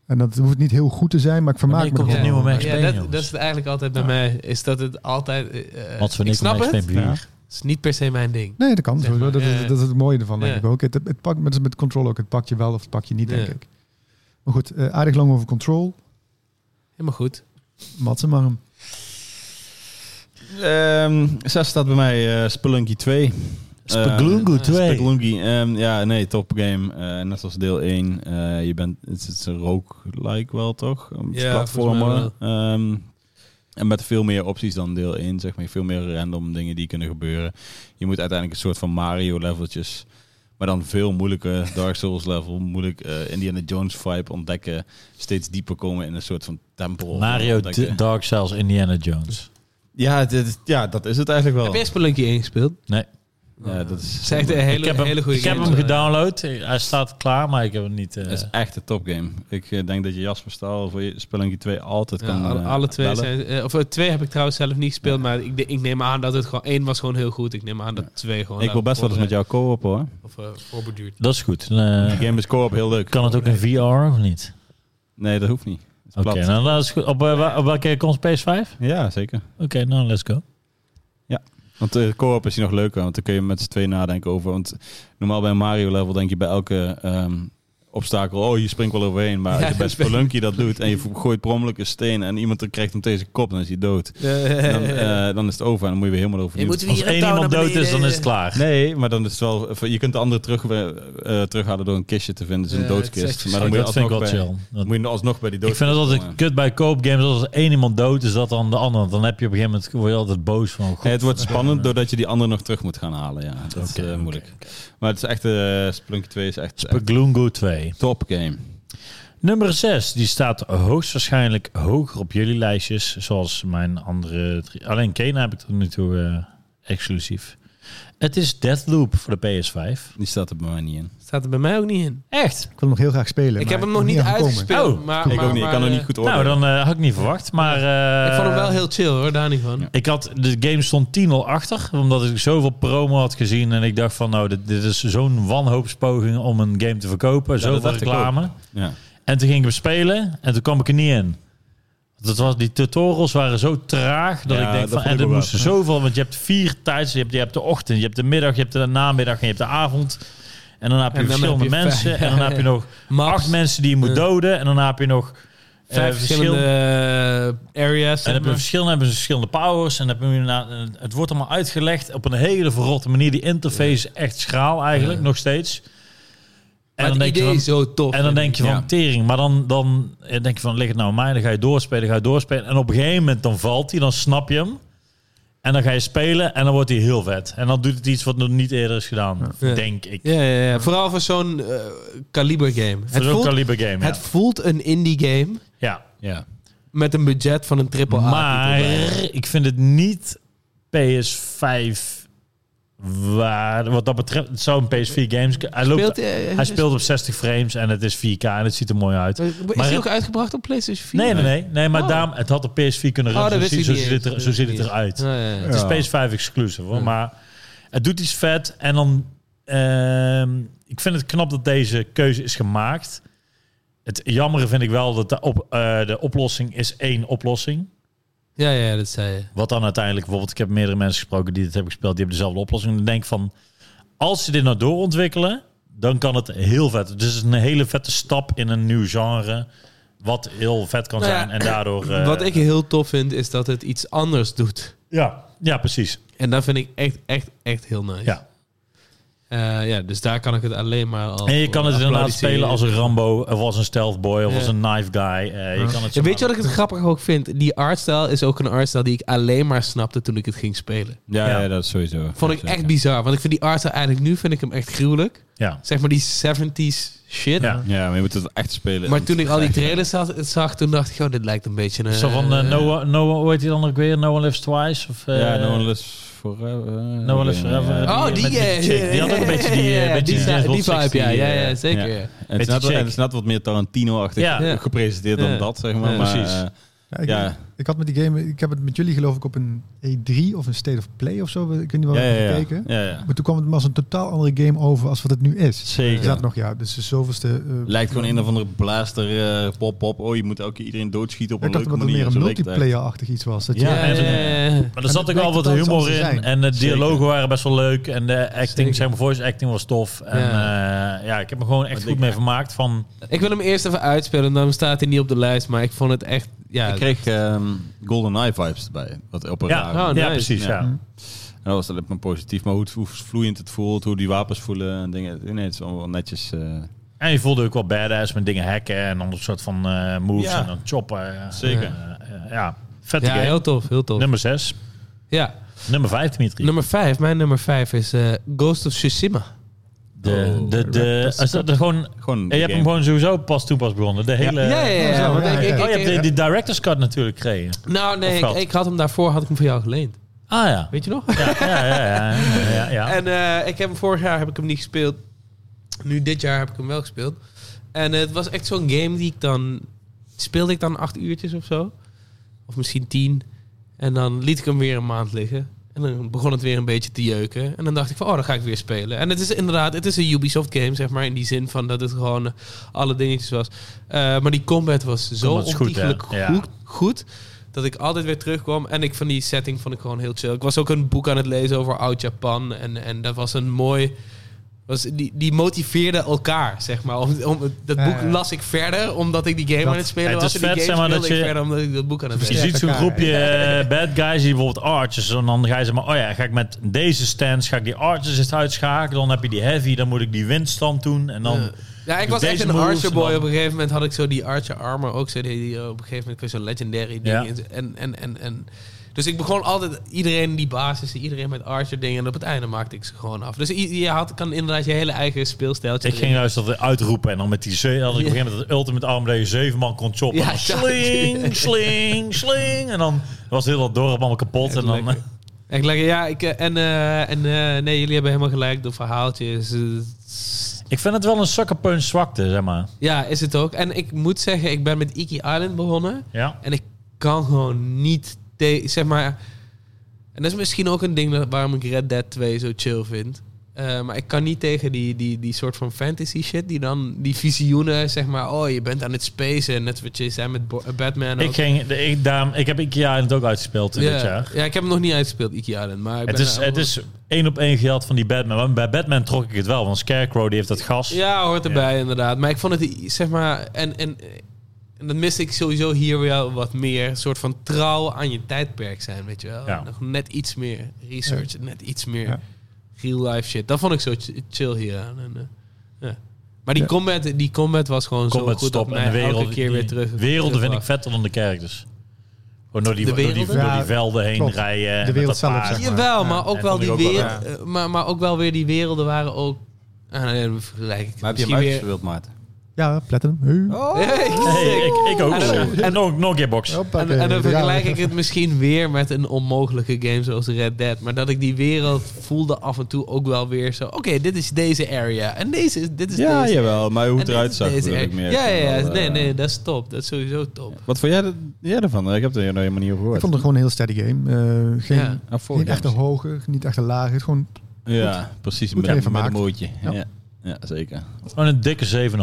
[SPEAKER 4] En dat hoeft niet heel goed te zijn, maar ik vermaak
[SPEAKER 3] Wanneer
[SPEAKER 4] me
[SPEAKER 3] komt
[SPEAKER 4] er
[SPEAKER 3] het
[SPEAKER 4] wel.
[SPEAKER 3] nieuwe Max
[SPEAKER 2] ja,
[SPEAKER 3] Payne,
[SPEAKER 2] dat,
[SPEAKER 3] jongens?
[SPEAKER 2] dat is het eigenlijk altijd bij
[SPEAKER 3] Ja.
[SPEAKER 2] mij. Is dat het altijd... eh, eh,
[SPEAKER 3] Wat voor
[SPEAKER 2] ik
[SPEAKER 3] niks
[SPEAKER 2] snap
[SPEAKER 3] Max
[SPEAKER 2] het.
[SPEAKER 3] Payne
[SPEAKER 2] Het
[SPEAKER 3] bier.
[SPEAKER 4] Ja.
[SPEAKER 2] is niet per se mijn ding.
[SPEAKER 4] Nee, dat kan.
[SPEAKER 2] Zeg
[SPEAKER 4] sowieso.
[SPEAKER 2] maar,
[SPEAKER 4] dat,
[SPEAKER 2] ja,
[SPEAKER 4] is,
[SPEAKER 2] ja.
[SPEAKER 4] dat is het mooie ervan, denk
[SPEAKER 2] Ja.
[SPEAKER 4] ik ook. Het, het pakt, maar dat is met Control ook. Het pak je wel of het pak je niet, denk
[SPEAKER 2] Ja.
[SPEAKER 4] ik. Maar goed, eh, aardig lang over Control.
[SPEAKER 2] Helemaal goed.
[SPEAKER 4] Mats en Marm.
[SPEAKER 1] Ehm, zes staat bij mij eh Spelunky 2.
[SPEAKER 3] Spaglungu
[SPEAKER 2] Eh,
[SPEAKER 3] 2.
[SPEAKER 1] Spelunky, ehm, ja, nee, top game. Eh, net als deel 1. eh, je bent, het is een roguelike wel, toch? Een
[SPEAKER 2] Ja,
[SPEAKER 1] platformer.
[SPEAKER 2] volgens
[SPEAKER 1] Ehm, en met veel meer opties dan deel 1, zeg maar. Veel meer random dingen die kunnen gebeuren. Je moet uiteindelijk een soort van Mario-leveltjes... Maar dan veel moeilijke [LAUGHS] Dark Souls level, moeilijk eh, Indiana Jones vibe ontdekken. Steeds dieper komen in een soort van tempel.
[SPEAKER 3] Mario,
[SPEAKER 1] ontdekken.
[SPEAKER 3] D- Dark Souls, Indiana Jones.
[SPEAKER 1] Ja, dit, ja, dat is het eigenlijk
[SPEAKER 3] Oh.
[SPEAKER 1] wel.
[SPEAKER 2] Heb je Spelunky 1 gespeeld?
[SPEAKER 3] Nee. Eh,
[SPEAKER 1] Ja, dat is,
[SPEAKER 2] Het is echt een hele,
[SPEAKER 3] ik heb hem,
[SPEAKER 2] hele goede
[SPEAKER 3] ik heb
[SPEAKER 2] game.
[SPEAKER 3] hem gedownload. Hij staat klaar, maar ik heb hem niet... eh,
[SPEAKER 1] dat is echt een topgame. Ik eh, denk dat je Jasper Staal voor je Spelunky 2 altijd
[SPEAKER 2] Ja,
[SPEAKER 1] kan
[SPEAKER 2] alle,
[SPEAKER 1] eh,
[SPEAKER 2] alle twee
[SPEAKER 1] bellen.
[SPEAKER 2] zijn... eh, of eh, twee heb ik trouwens zelf niet gespeeld, maar ik, de- ik neem aan dat het gewoon... één was gewoon heel goed. Ik neem aan dat twee gewoon...
[SPEAKER 1] Ik wil best wel eens met jou co-op hoor.
[SPEAKER 2] Of eh,
[SPEAKER 3] [LAUGHS]
[SPEAKER 2] voorbeduurd.
[SPEAKER 3] dat is goed. Eh,
[SPEAKER 1] Die game is co-op heel leuk.
[SPEAKER 3] kan het ook in VR of niet?
[SPEAKER 1] Nee, dat hoeft niet. Het is
[SPEAKER 3] Oké,
[SPEAKER 1] plat.
[SPEAKER 3] nou dat is goed. Op, eh, wa- op welke console PS5?
[SPEAKER 1] Ja, zeker.
[SPEAKER 3] Oké, nou let's go.
[SPEAKER 1] Want eh co-op is hier nog leuker, want dan kun je met z'n twee nadenken over. Want normaal bij een Mario level denk je bij elke ehm, obstakel, oh je springt wel overheen. Maar als je
[SPEAKER 2] Ja,
[SPEAKER 1] bij
[SPEAKER 2] [LAUGHS] dat ben-
[SPEAKER 1] Spelunky dat doet en je gooit per ongeluk een steen en iemand krijgt hem tegen zijn kop, dan is hij dood.
[SPEAKER 2] [LAUGHS]
[SPEAKER 1] Dan, eh, dan is het over en dan moet je weer helemaal overnieuw.
[SPEAKER 3] Als één iemand dood is, dan is het klaar.
[SPEAKER 1] Nee, maar dan is het wel. Je kunt de andere terug, eh, terughalen door een kistje te vinden. Dus een
[SPEAKER 2] Ja, het is
[SPEAKER 1] doodkist.
[SPEAKER 2] echt
[SPEAKER 1] Maar dan
[SPEAKER 3] Kijk,
[SPEAKER 1] moet je,
[SPEAKER 3] dat vind ik
[SPEAKER 1] alsnog
[SPEAKER 3] wel
[SPEAKER 1] bij,
[SPEAKER 3] chill. Dat-
[SPEAKER 1] moet je alsnog bij die
[SPEAKER 3] ik
[SPEAKER 1] doodkist.
[SPEAKER 3] vind het altijd
[SPEAKER 1] komen.
[SPEAKER 3] kut bij koopgames. Als er één iemand dood is, dat dan de ander. Dan heb je op een gegeven moment word je altijd boos van. God,
[SPEAKER 1] Nee, het wordt spannend doordat je die andere nog terug moet gaan halen. Ja, dat is
[SPEAKER 3] Oké,
[SPEAKER 1] eh,
[SPEAKER 3] oké,
[SPEAKER 1] moeilijk. Maar het is echt. eh Splunky 2 is echt. echt
[SPEAKER 3] Glungo 2.
[SPEAKER 1] top game.
[SPEAKER 3] Nummer 6, die staat hoogstwaarschijnlijk hoger op jullie lijstjes. Zoals mijn andere drie. Alleen Kena heb ik tot nu toe eh, exclusief. Het is Deathloop voor de PS5.
[SPEAKER 1] Die staat er bij mij niet in.
[SPEAKER 2] Staat er bij mij ook niet in.
[SPEAKER 3] Echt?
[SPEAKER 4] Ik wil hem nog heel graag spelen.
[SPEAKER 2] Ik
[SPEAKER 4] maar
[SPEAKER 2] heb hem
[SPEAKER 4] ik
[SPEAKER 2] nog
[SPEAKER 4] ben
[SPEAKER 2] niet
[SPEAKER 4] aangekomen.
[SPEAKER 2] uitgespeeld.
[SPEAKER 3] Oh,
[SPEAKER 2] maar,
[SPEAKER 1] ik
[SPEAKER 2] maar-
[SPEAKER 1] ook niet. Ik
[SPEAKER 2] maar,
[SPEAKER 1] kan er niet
[SPEAKER 2] eh,
[SPEAKER 1] goed
[SPEAKER 3] Nou,
[SPEAKER 1] oordelen.
[SPEAKER 3] dan eh, had ik niet verwacht. Maar,
[SPEAKER 2] Ik
[SPEAKER 3] eh,
[SPEAKER 2] vond hem wel heel chill hoor, daar niet van.
[SPEAKER 1] Ja.
[SPEAKER 3] Ik had, de game stond 10 al achter, omdat ik zoveel promo had gezien. En ik dacht van, nou, dit, dit is zo'n wanhoopspoging om een game te verkopen.
[SPEAKER 1] dat
[SPEAKER 3] zoveel
[SPEAKER 1] dacht ik
[SPEAKER 3] reclame.
[SPEAKER 1] ja.
[SPEAKER 3] En toen ging ik hem spelen en toen kwam ik er niet in. Dat was, die tutorials waren zo traag dat
[SPEAKER 1] Ja,
[SPEAKER 3] ik denk
[SPEAKER 1] dat
[SPEAKER 3] van...
[SPEAKER 1] vond
[SPEAKER 3] En
[SPEAKER 1] ik
[SPEAKER 3] er
[SPEAKER 1] ook
[SPEAKER 3] moesten zoveel, want je hebt vier tijds. Je hebt, je hebt de ochtend, je hebt de middag, je hebt de namiddag en je hebt de avond. En dan heb je
[SPEAKER 2] En dan heb
[SPEAKER 3] verschillende
[SPEAKER 2] je
[SPEAKER 3] mensen.
[SPEAKER 2] vijf-
[SPEAKER 3] en dan heb je nog
[SPEAKER 2] Maps,
[SPEAKER 3] acht mensen die je moet
[SPEAKER 2] Ja.
[SPEAKER 3] doden. En dan heb je nog... eh,
[SPEAKER 2] vijf
[SPEAKER 3] verschil-
[SPEAKER 2] verschillende eh, areas.
[SPEAKER 3] en
[SPEAKER 2] zeg
[SPEAKER 3] hebben
[SPEAKER 2] maar.
[SPEAKER 3] verschillende, hebben ze verschillende powers. En hebben we na- het wordt allemaal uitgelegd op een hele verrotte manier. Die interface is echt schraal eigenlijk,
[SPEAKER 2] Ja.
[SPEAKER 3] nog steeds. En
[SPEAKER 2] Maar
[SPEAKER 3] dan,
[SPEAKER 2] het
[SPEAKER 3] denk je
[SPEAKER 2] idee
[SPEAKER 3] van,
[SPEAKER 2] is zo tof.
[SPEAKER 3] en dan denk je van,
[SPEAKER 1] Ja.
[SPEAKER 3] tering. Maar dan, dan denk je van, ligt het nou aan mij? Dan ga je doorspelen, ga je doorspelen. En op een gegeven moment dan valt hij, dan snap je hem. En dan ga je spelen en dan wordt hij heel vet. En dan doet het iets wat nog niet eerder is gedaan,
[SPEAKER 2] Ja.
[SPEAKER 3] denk ik.
[SPEAKER 2] Ja, ja, ja. Vooral voor zo'n eh, kaliber game.
[SPEAKER 3] Voor
[SPEAKER 2] Het
[SPEAKER 3] zo'n
[SPEAKER 2] voelt,
[SPEAKER 3] kaliber game,
[SPEAKER 2] het voelt een indie game
[SPEAKER 3] ja.
[SPEAKER 1] ja.
[SPEAKER 2] met een budget van een triple A.
[SPEAKER 3] Maar ik vind het niet PS5 waar. Wat dat betreft, het zou een PS4 games. Hij, loopt,
[SPEAKER 2] eh,
[SPEAKER 3] hij speelt op 60 frames en het is 4K en het ziet er mooi uit.
[SPEAKER 2] Is
[SPEAKER 3] maar-
[SPEAKER 2] hij ook uitgebracht op PlayStation 4?
[SPEAKER 3] Nee, nee, nee. nee maar
[SPEAKER 2] Oh.
[SPEAKER 3] daarom, het had op PS4 kunnen
[SPEAKER 2] Oh, dat
[SPEAKER 3] runnen. zo,
[SPEAKER 2] wist
[SPEAKER 3] ziet-
[SPEAKER 2] ik niet
[SPEAKER 3] zo, ziet
[SPEAKER 2] eens.
[SPEAKER 3] het er- zo ziet het
[SPEAKER 2] Ja.
[SPEAKER 3] eruit.
[SPEAKER 2] Ja, ja, ja.
[SPEAKER 3] Het
[SPEAKER 1] Ja.
[SPEAKER 3] is PS5 exclusive hoor.
[SPEAKER 2] Ja.
[SPEAKER 3] Maar het doet iets vet. En dan. ehm, ik vind het knap dat deze keuze is gemaakt. Het jammere vind ik wel dat de, op, eh, de oplossing is één oplossing.
[SPEAKER 2] Ja, ja, dat zei je.
[SPEAKER 3] Wat dan uiteindelijk, bijvoorbeeld, ik heb meerdere mensen gesproken die dit hebben gespeeld, die hebben dezelfde oplossing. Dan denk ik van, als ze dit nou doorontwikkelen, dan kan het heel vet. Dus het is een hele vette stap in een nieuw genre, wat heel vet kan
[SPEAKER 2] Nou ja,
[SPEAKER 3] zijn. En daardoor...
[SPEAKER 2] [CLEARS THROAT]
[SPEAKER 3] eh,
[SPEAKER 2] Wat ik heel tof vind, is dat het iets anders doet.
[SPEAKER 3] Ja, ja, precies.
[SPEAKER 2] En dat vind ik echt, echt, echt heel nice.
[SPEAKER 3] Ja.
[SPEAKER 2] Eh, ja, dus daar kan ik het alleen maar al
[SPEAKER 3] En je kan
[SPEAKER 1] Oh,
[SPEAKER 3] het
[SPEAKER 2] voor
[SPEAKER 3] inderdaad
[SPEAKER 2] applaudisseren.
[SPEAKER 3] spelen als een Rambo, of als een stealth boy, of
[SPEAKER 2] Ja.
[SPEAKER 3] als een knife guy. Eh, je kan het
[SPEAKER 2] Ja,
[SPEAKER 3] zo
[SPEAKER 2] weet je
[SPEAKER 3] maar-
[SPEAKER 2] wat ik het grappig ook vind? Die artstyle is ook een artstyle die ik alleen maar snapte toen ik het ging spelen.
[SPEAKER 1] Ja,
[SPEAKER 3] Ja.
[SPEAKER 1] ja, dat is sowieso.
[SPEAKER 2] Vond ik
[SPEAKER 1] Zeker.
[SPEAKER 2] echt bizar. Want ik vind die artstyle eigenlijk nu vind ik hem echt gruwelijk.
[SPEAKER 3] Ja.
[SPEAKER 2] Zeg maar die 70s shit.
[SPEAKER 3] Ja.
[SPEAKER 1] Ja, maar je moet het echt spelen.
[SPEAKER 2] Maar toen ik al die trailers zag, zag toen dacht ik, oh, dit lijkt een beetje een...
[SPEAKER 3] Zo van eh, Noah, Noah, hoe heet die dan ook weer? No One Lives Twice? Of, eh,
[SPEAKER 1] Ja, eh, No One Lives Forever.
[SPEAKER 3] No One Lives Forever.
[SPEAKER 1] Ja.
[SPEAKER 2] Oh, die,
[SPEAKER 3] met die chick. Die
[SPEAKER 2] [LAUGHS]
[SPEAKER 3] had ook een beetje die, eh,
[SPEAKER 2] ja,
[SPEAKER 3] beetje
[SPEAKER 2] die,
[SPEAKER 3] die
[SPEAKER 2] die
[SPEAKER 3] Xbox
[SPEAKER 2] vibe, ja.
[SPEAKER 3] 60,
[SPEAKER 2] Ja,
[SPEAKER 3] eh,
[SPEAKER 2] ja, zeker.
[SPEAKER 1] En het, is
[SPEAKER 3] Met
[SPEAKER 1] net,
[SPEAKER 3] die
[SPEAKER 1] en
[SPEAKER 3] chick.
[SPEAKER 1] het is net wat meer Tarantino-achtig
[SPEAKER 3] Ja.
[SPEAKER 1] gepresenteerd
[SPEAKER 2] Ja.
[SPEAKER 1] dan dat, zeg maar.
[SPEAKER 2] Ja.
[SPEAKER 1] maar
[SPEAKER 3] Precies.
[SPEAKER 1] eh,
[SPEAKER 4] Ja, ik,
[SPEAKER 1] Ja.
[SPEAKER 4] ik had met die game, ik heb het met jullie geloof ik op een E3 of een State of Play of zo. Ik weet niet wel
[SPEAKER 1] Ja, ja, ja.
[SPEAKER 4] gekeken.
[SPEAKER 1] ja, ja.
[SPEAKER 4] Maar toen kwam het maar als een totaal andere game over als wat het nu is.
[SPEAKER 3] Zeker.
[SPEAKER 4] Is dat nog, ja. Dus de zoveelste... eh,
[SPEAKER 1] Lijkt gewoon een of andere blaster eh, pop-pop. Oh, je moet elke iedereen doodschieten op een
[SPEAKER 4] Ik dacht
[SPEAKER 1] leuke
[SPEAKER 4] dat het
[SPEAKER 1] manier.
[SPEAKER 4] meer een
[SPEAKER 1] Zo leek het eigenlijk.
[SPEAKER 4] multiplayer-achtig iets was. Dat je-
[SPEAKER 3] Ja, en-
[SPEAKER 2] eh,
[SPEAKER 3] eh, Maar er
[SPEAKER 4] En
[SPEAKER 3] zat
[SPEAKER 4] het
[SPEAKER 3] ook wel
[SPEAKER 4] blijkt
[SPEAKER 3] wat
[SPEAKER 4] totaal
[SPEAKER 3] humor in.
[SPEAKER 4] hetzelfde te zijn.
[SPEAKER 3] En de
[SPEAKER 1] Zeker.
[SPEAKER 3] dialogen waren best wel leuk. En de acting,
[SPEAKER 2] Zeker.
[SPEAKER 3] zeg maar, voice acting was tof. En eh, ja, ik heb me gewoon echt
[SPEAKER 1] Wat
[SPEAKER 3] goed
[SPEAKER 1] ik-
[SPEAKER 3] mee vermaakt van...
[SPEAKER 2] Ik wil hem eerst even uitspelen, dan staat hij niet op de lijst. Maar ik vond het echt... Ja,
[SPEAKER 1] Ik kreeg ehm Golden Eye vibes erbij. Wat op een
[SPEAKER 3] Ja,
[SPEAKER 1] rare
[SPEAKER 2] oh,
[SPEAKER 1] manier.
[SPEAKER 3] ja,
[SPEAKER 2] nice.
[SPEAKER 3] precies, ja.
[SPEAKER 4] Ja.
[SPEAKER 1] En Dat was alleen maar positief. Maar hoe, het- hoe vloeiend het voelt, hoe die wapens voelen en dingen. Nee, het is allemaal wel netjes. eh,
[SPEAKER 3] En je voelde ook wel badass met dingen hacken en ander soort van eh, moves
[SPEAKER 1] Ja.
[SPEAKER 3] en dan choppen.
[SPEAKER 1] Zeker.
[SPEAKER 3] Eh, eh, ja, vette
[SPEAKER 2] ja
[SPEAKER 3] game.
[SPEAKER 2] heel tof, heel tof.
[SPEAKER 3] Nummer 6.
[SPEAKER 2] ja.
[SPEAKER 3] Nummer 5, Dimitri.
[SPEAKER 2] Nummer 5, mijn nummer 5 is eh, Ghost of Tsushima.
[SPEAKER 3] de, de, de,
[SPEAKER 1] Oh,
[SPEAKER 3] is dat er gewoon...
[SPEAKER 1] gewoon
[SPEAKER 3] Eh, Je hebt hem gewoon sowieso pas toen pas begonnen. De hele...
[SPEAKER 2] ja, ja, ja.
[SPEAKER 4] zo,
[SPEAKER 2] want
[SPEAKER 4] ja,
[SPEAKER 2] ik-
[SPEAKER 4] ja.
[SPEAKER 2] ik-
[SPEAKER 3] Oh, je
[SPEAKER 2] ik-
[SPEAKER 3] hebt de, die director's cut natuurlijk gekregen.
[SPEAKER 2] nou, nee,
[SPEAKER 3] Of
[SPEAKER 2] ik,
[SPEAKER 3] geld.
[SPEAKER 2] ik had hem daarvoor had ik hem voor jou geleend.
[SPEAKER 3] Ah ja.
[SPEAKER 2] Weet je nog?
[SPEAKER 3] Ja, ja, ja. ja, ja, ja, ja.
[SPEAKER 2] En eh, ik heb hem vorig jaar heb ik hem niet gespeeld. Nu dit jaar heb ik hem wel gespeeld. En eh, het was echt zo'n game die ik dan speelde ik dan acht uurtjes of zo, of misschien tien. En dan liet ik hem weer een maand liggen. En dan begon het weer een beetje te jeuken. En dan dacht ik van, oh, dan ga ik weer spelen. En het is inderdaad, het is een Ubisoft game, zeg maar. In die zin van dat het gewoon eh, alle dingetjes was. Eh, maar die combat was zo
[SPEAKER 3] Combat is goed,
[SPEAKER 2] ontiegelijk
[SPEAKER 3] hè?
[SPEAKER 2] goed,
[SPEAKER 3] Ja.
[SPEAKER 2] goed, Dat ik altijd weer terugkwam. En ik van die setting vond ik gewoon heel chill. Ik was ook een boek aan het lezen over oud-Japan. En, en dat was een mooi... Was, die, die motiveerde elkaar, zeg maar. Om, om, dat
[SPEAKER 4] Ja,
[SPEAKER 2] boek
[SPEAKER 4] ja.
[SPEAKER 2] las ik verder, omdat ik die game
[SPEAKER 4] Dat-
[SPEAKER 2] aan het spelen
[SPEAKER 3] Het
[SPEAKER 2] was.
[SPEAKER 3] is
[SPEAKER 2] en die
[SPEAKER 3] vet,
[SPEAKER 2] game
[SPEAKER 3] zeg maar,
[SPEAKER 2] speelde ik
[SPEAKER 3] dat je-
[SPEAKER 2] verder, omdat ik dat boek aan het
[SPEAKER 3] Je
[SPEAKER 2] lezen
[SPEAKER 4] Ja,
[SPEAKER 3] ziet zo'n
[SPEAKER 4] elkaar,
[SPEAKER 3] groepje eh, bad guys die bijvoorbeeld archers. En dan ga je zeg maar, oh ja, ga ik met deze stance ga ik die archers eens uitschakelen. Dan heb je die heavy, dan moet ik die windstand doen. En dan,
[SPEAKER 2] Ja, ik
[SPEAKER 3] Doe
[SPEAKER 2] was echt
[SPEAKER 3] deze
[SPEAKER 2] een
[SPEAKER 3] moves
[SPEAKER 2] Archer
[SPEAKER 3] en
[SPEAKER 2] boy.
[SPEAKER 3] dan-
[SPEAKER 2] Op een gegeven moment had ik zo die Archer armor ook. Zo die, die, eh, op een gegeven moment kreeg zo'n legendary ding.
[SPEAKER 3] Ja.
[SPEAKER 2] En, en, en, en, dus ik begon altijd iedereen die basis, iedereen met Archer dingen. En op het einde maakte ik ze gewoon af. Dus i- je had, kan inderdaad je hele eigen speelstijltje
[SPEAKER 3] ik ging
[SPEAKER 2] erin.
[SPEAKER 3] juist dat uitroepen. En dan met die ze- had ik op een gegeven moment dat ultimate arm dat je zeven man kon choppen.
[SPEAKER 2] Ja,
[SPEAKER 3] en dan
[SPEAKER 2] ja.
[SPEAKER 3] sling, sling, sling. En dan was heel dat dorp allemaal kapot. En dan, eh,
[SPEAKER 2] Lekker. Echt lekker, ja. Ik, eh, en eh, en eh, nee, jullie hebben helemaal gelijk. De verhaaltjes. eh,
[SPEAKER 3] ik vind het wel een sucker punch zwakte, zeg maar.
[SPEAKER 2] Ja, is het ook. En ik moet zeggen, ik ben met Iki Island begonnen.
[SPEAKER 3] Ja.
[SPEAKER 2] En ik kan gewoon niet tegen, zeg maar... En dat is misschien ook een ding dat- waarom ik Red Dead 2 zo chill vind. Eh, maar ik kan niet tegen die, die, die soort van fantasy shit. Die dan, die visioenen, zeg maar... Oh, je bent aan het spacen. Net wat je zei met Bo- eh, Batman ook.
[SPEAKER 3] Ik, ging, de- ik, daarom, ik heb Ikea het ook uitgespeeld eh,
[SPEAKER 2] ja.
[SPEAKER 3] dit jaar.
[SPEAKER 2] Ja, ik heb hem nog niet uitgespeeld, Iki Island. Maar ik
[SPEAKER 3] Het
[SPEAKER 2] ben
[SPEAKER 3] is,
[SPEAKER 2] er-
[SPEAKER 3] het is één op één geld van die Batman. Maar bij Batman trok ik het wel, want Scarecrow die heeft dat gas.
[SPEAKER 2] Ja, hoort erbij inderdaad. Maar ik vond het, zeg maar, en, en, en dat miste ik sowieso hier wel wat meer. Een soort van trouw aan je tijdperk zijn, weet je wel.
[SPEAKER 3] Ja.
[SPEAKER 2] Nog net iets meer research, net iets meer
[SPEAKER 4] Ja.
[SPEAKER 2] real life shit. Dat vond ik zo ch- chill hier aan. En, eh, ja. Maar die,
[SPEAKER 4] Ja.
[SPEAKER 2] combat, die combat was gewoon
[SPEAKER 3] Combat
[SPEAKER 2] zo goed dat
[SPEAKER 3] stop en
[SPEAKER 2] mij
[SPEAKER 3] de wereld.
[SPEAKER 2] elke keer weer
[SPEAKER 3] die
[SPEAKER 2] terug.
[SPEAKER 3] werelden vind ik
[SPEAKER 2] terugbracht.
[SPEAKER 3] vetter dan de characters. Gewoon door die,
[SPEAKER 2] De
[SPEAKER 3] door die,
[SPEAKER 2] werelden?
[SPEAKER 3] door die
[SPEAKER 4] Ja,
[SPEAKER 3] velden heen
[SPEAKER 4] klopt.
[SPEAKER 3] rijden. en
[SPEAKER 4] De wereld
[SPEAKER 3] met dat
[SPEAKER 4] zelf,
[SPEAKER 3] paard.
[SPEAKER 4] zeg maar.
[SPEAKER 2] Jawel,
[SPEAKER 4] Ja.
[SPEAKER 2] maar ook
[SPEAKER 3] En
[SPEAKER 2] wel
[SPEAKER 3] vond ik
[SPEAKER 2] die
[SPEAKER 3] ook wel-
[SPEAKER 2] wereld, eh, maar, maar ook wel weer die werelden waren ook. Ah, nee, dan vergelijk ik het
[SPEAKER 1] Maar heb je hem
[SPEAKER 2] misschien weer.
[SPEAKER 1] uitgespeeld, Maarten?
[SPEAKER 4] Ja, platinum. Hey.
[SPEAKER 2] Oh. [LAUGHS]
[SPEAKER 3] Hey, ik, ik ook.
[SPEAKER 2] En-
[SPEAKER 3] wel.
[SPEAKER 2] en-
[SPEAKER 3] nog, nog een keer box.
[SPEAKER 4] Hoppakee,
[SPEAKER 2] En, en dan
[SPEAKER 4] daar gaan
[SPEAKER 2] vergelijk
[SPEAKER 4] eh, we.
[SPEAKER 2] ik
[SPEAKER 1] [LAUGHS]
[SPEAKER 2] het misschien weer met een onmogelijke game zoals Red Dead. Maar dat ik die wereld voelde af en toe ook wel weer zo... Oké, dit is deze area. En deze is, dit is
[SPEAKER 1] Ja,
[SPEAKER 2] deze.
[SPEAKER 1] jawel. Maar hoe
[SPEAKER 2] en
[SPEAKER 1] het
[SPEAKER 2] dit
[SPEAKER 1] eruit
[SPEAKER 2] is
[SPEAKER 1] zag,
[SPEAKER 2] deze
[SPEAKER 1] bedoel ik
[SPEAKER 2] area.
[SPEAKER 1] meer.
[SPEAKER 2] Ja, ja, ja.
[SPEAKER 1] Van, eh,
[SPEAKER 2] Nee, nee, dat is top. Dat is sowieso top.
[SPEAKER 1] Wat vond jij, er- jij ervan? Ik heb er helemaal niet over
[SPEAKER 4] Ik
[SPEAKER 1] gehoord.
[SPEAKER 4] vond het gewoon een heel steady game. Eh, geen,
[SPEAKER 2] Ja.
[SPEAKER 1] Ah, vorig
[SPEAKER 4] niet
[SPEAKER 1] jaar
[SPEAKER 4] echt een
[SPEAKER 1] misschien.
[SPEAKER 4] hoge, niet echt een lage. Het gewoon
[SPEAKER 1] Ja, precies.
[SPEAKER 4] Goed
[SPEAKER 1] Met, met
[SPEAKER 4] erin
[SPEAKER 1] een
[SPEAKER 4] vermaakt.
[SPEAKER 1] mooitje. Ja.
[SPEAKER 4] Ja.
[SPEAKER 1] Ja. zeker.
[SPEAKER 3] Gewoon een dikke 7,5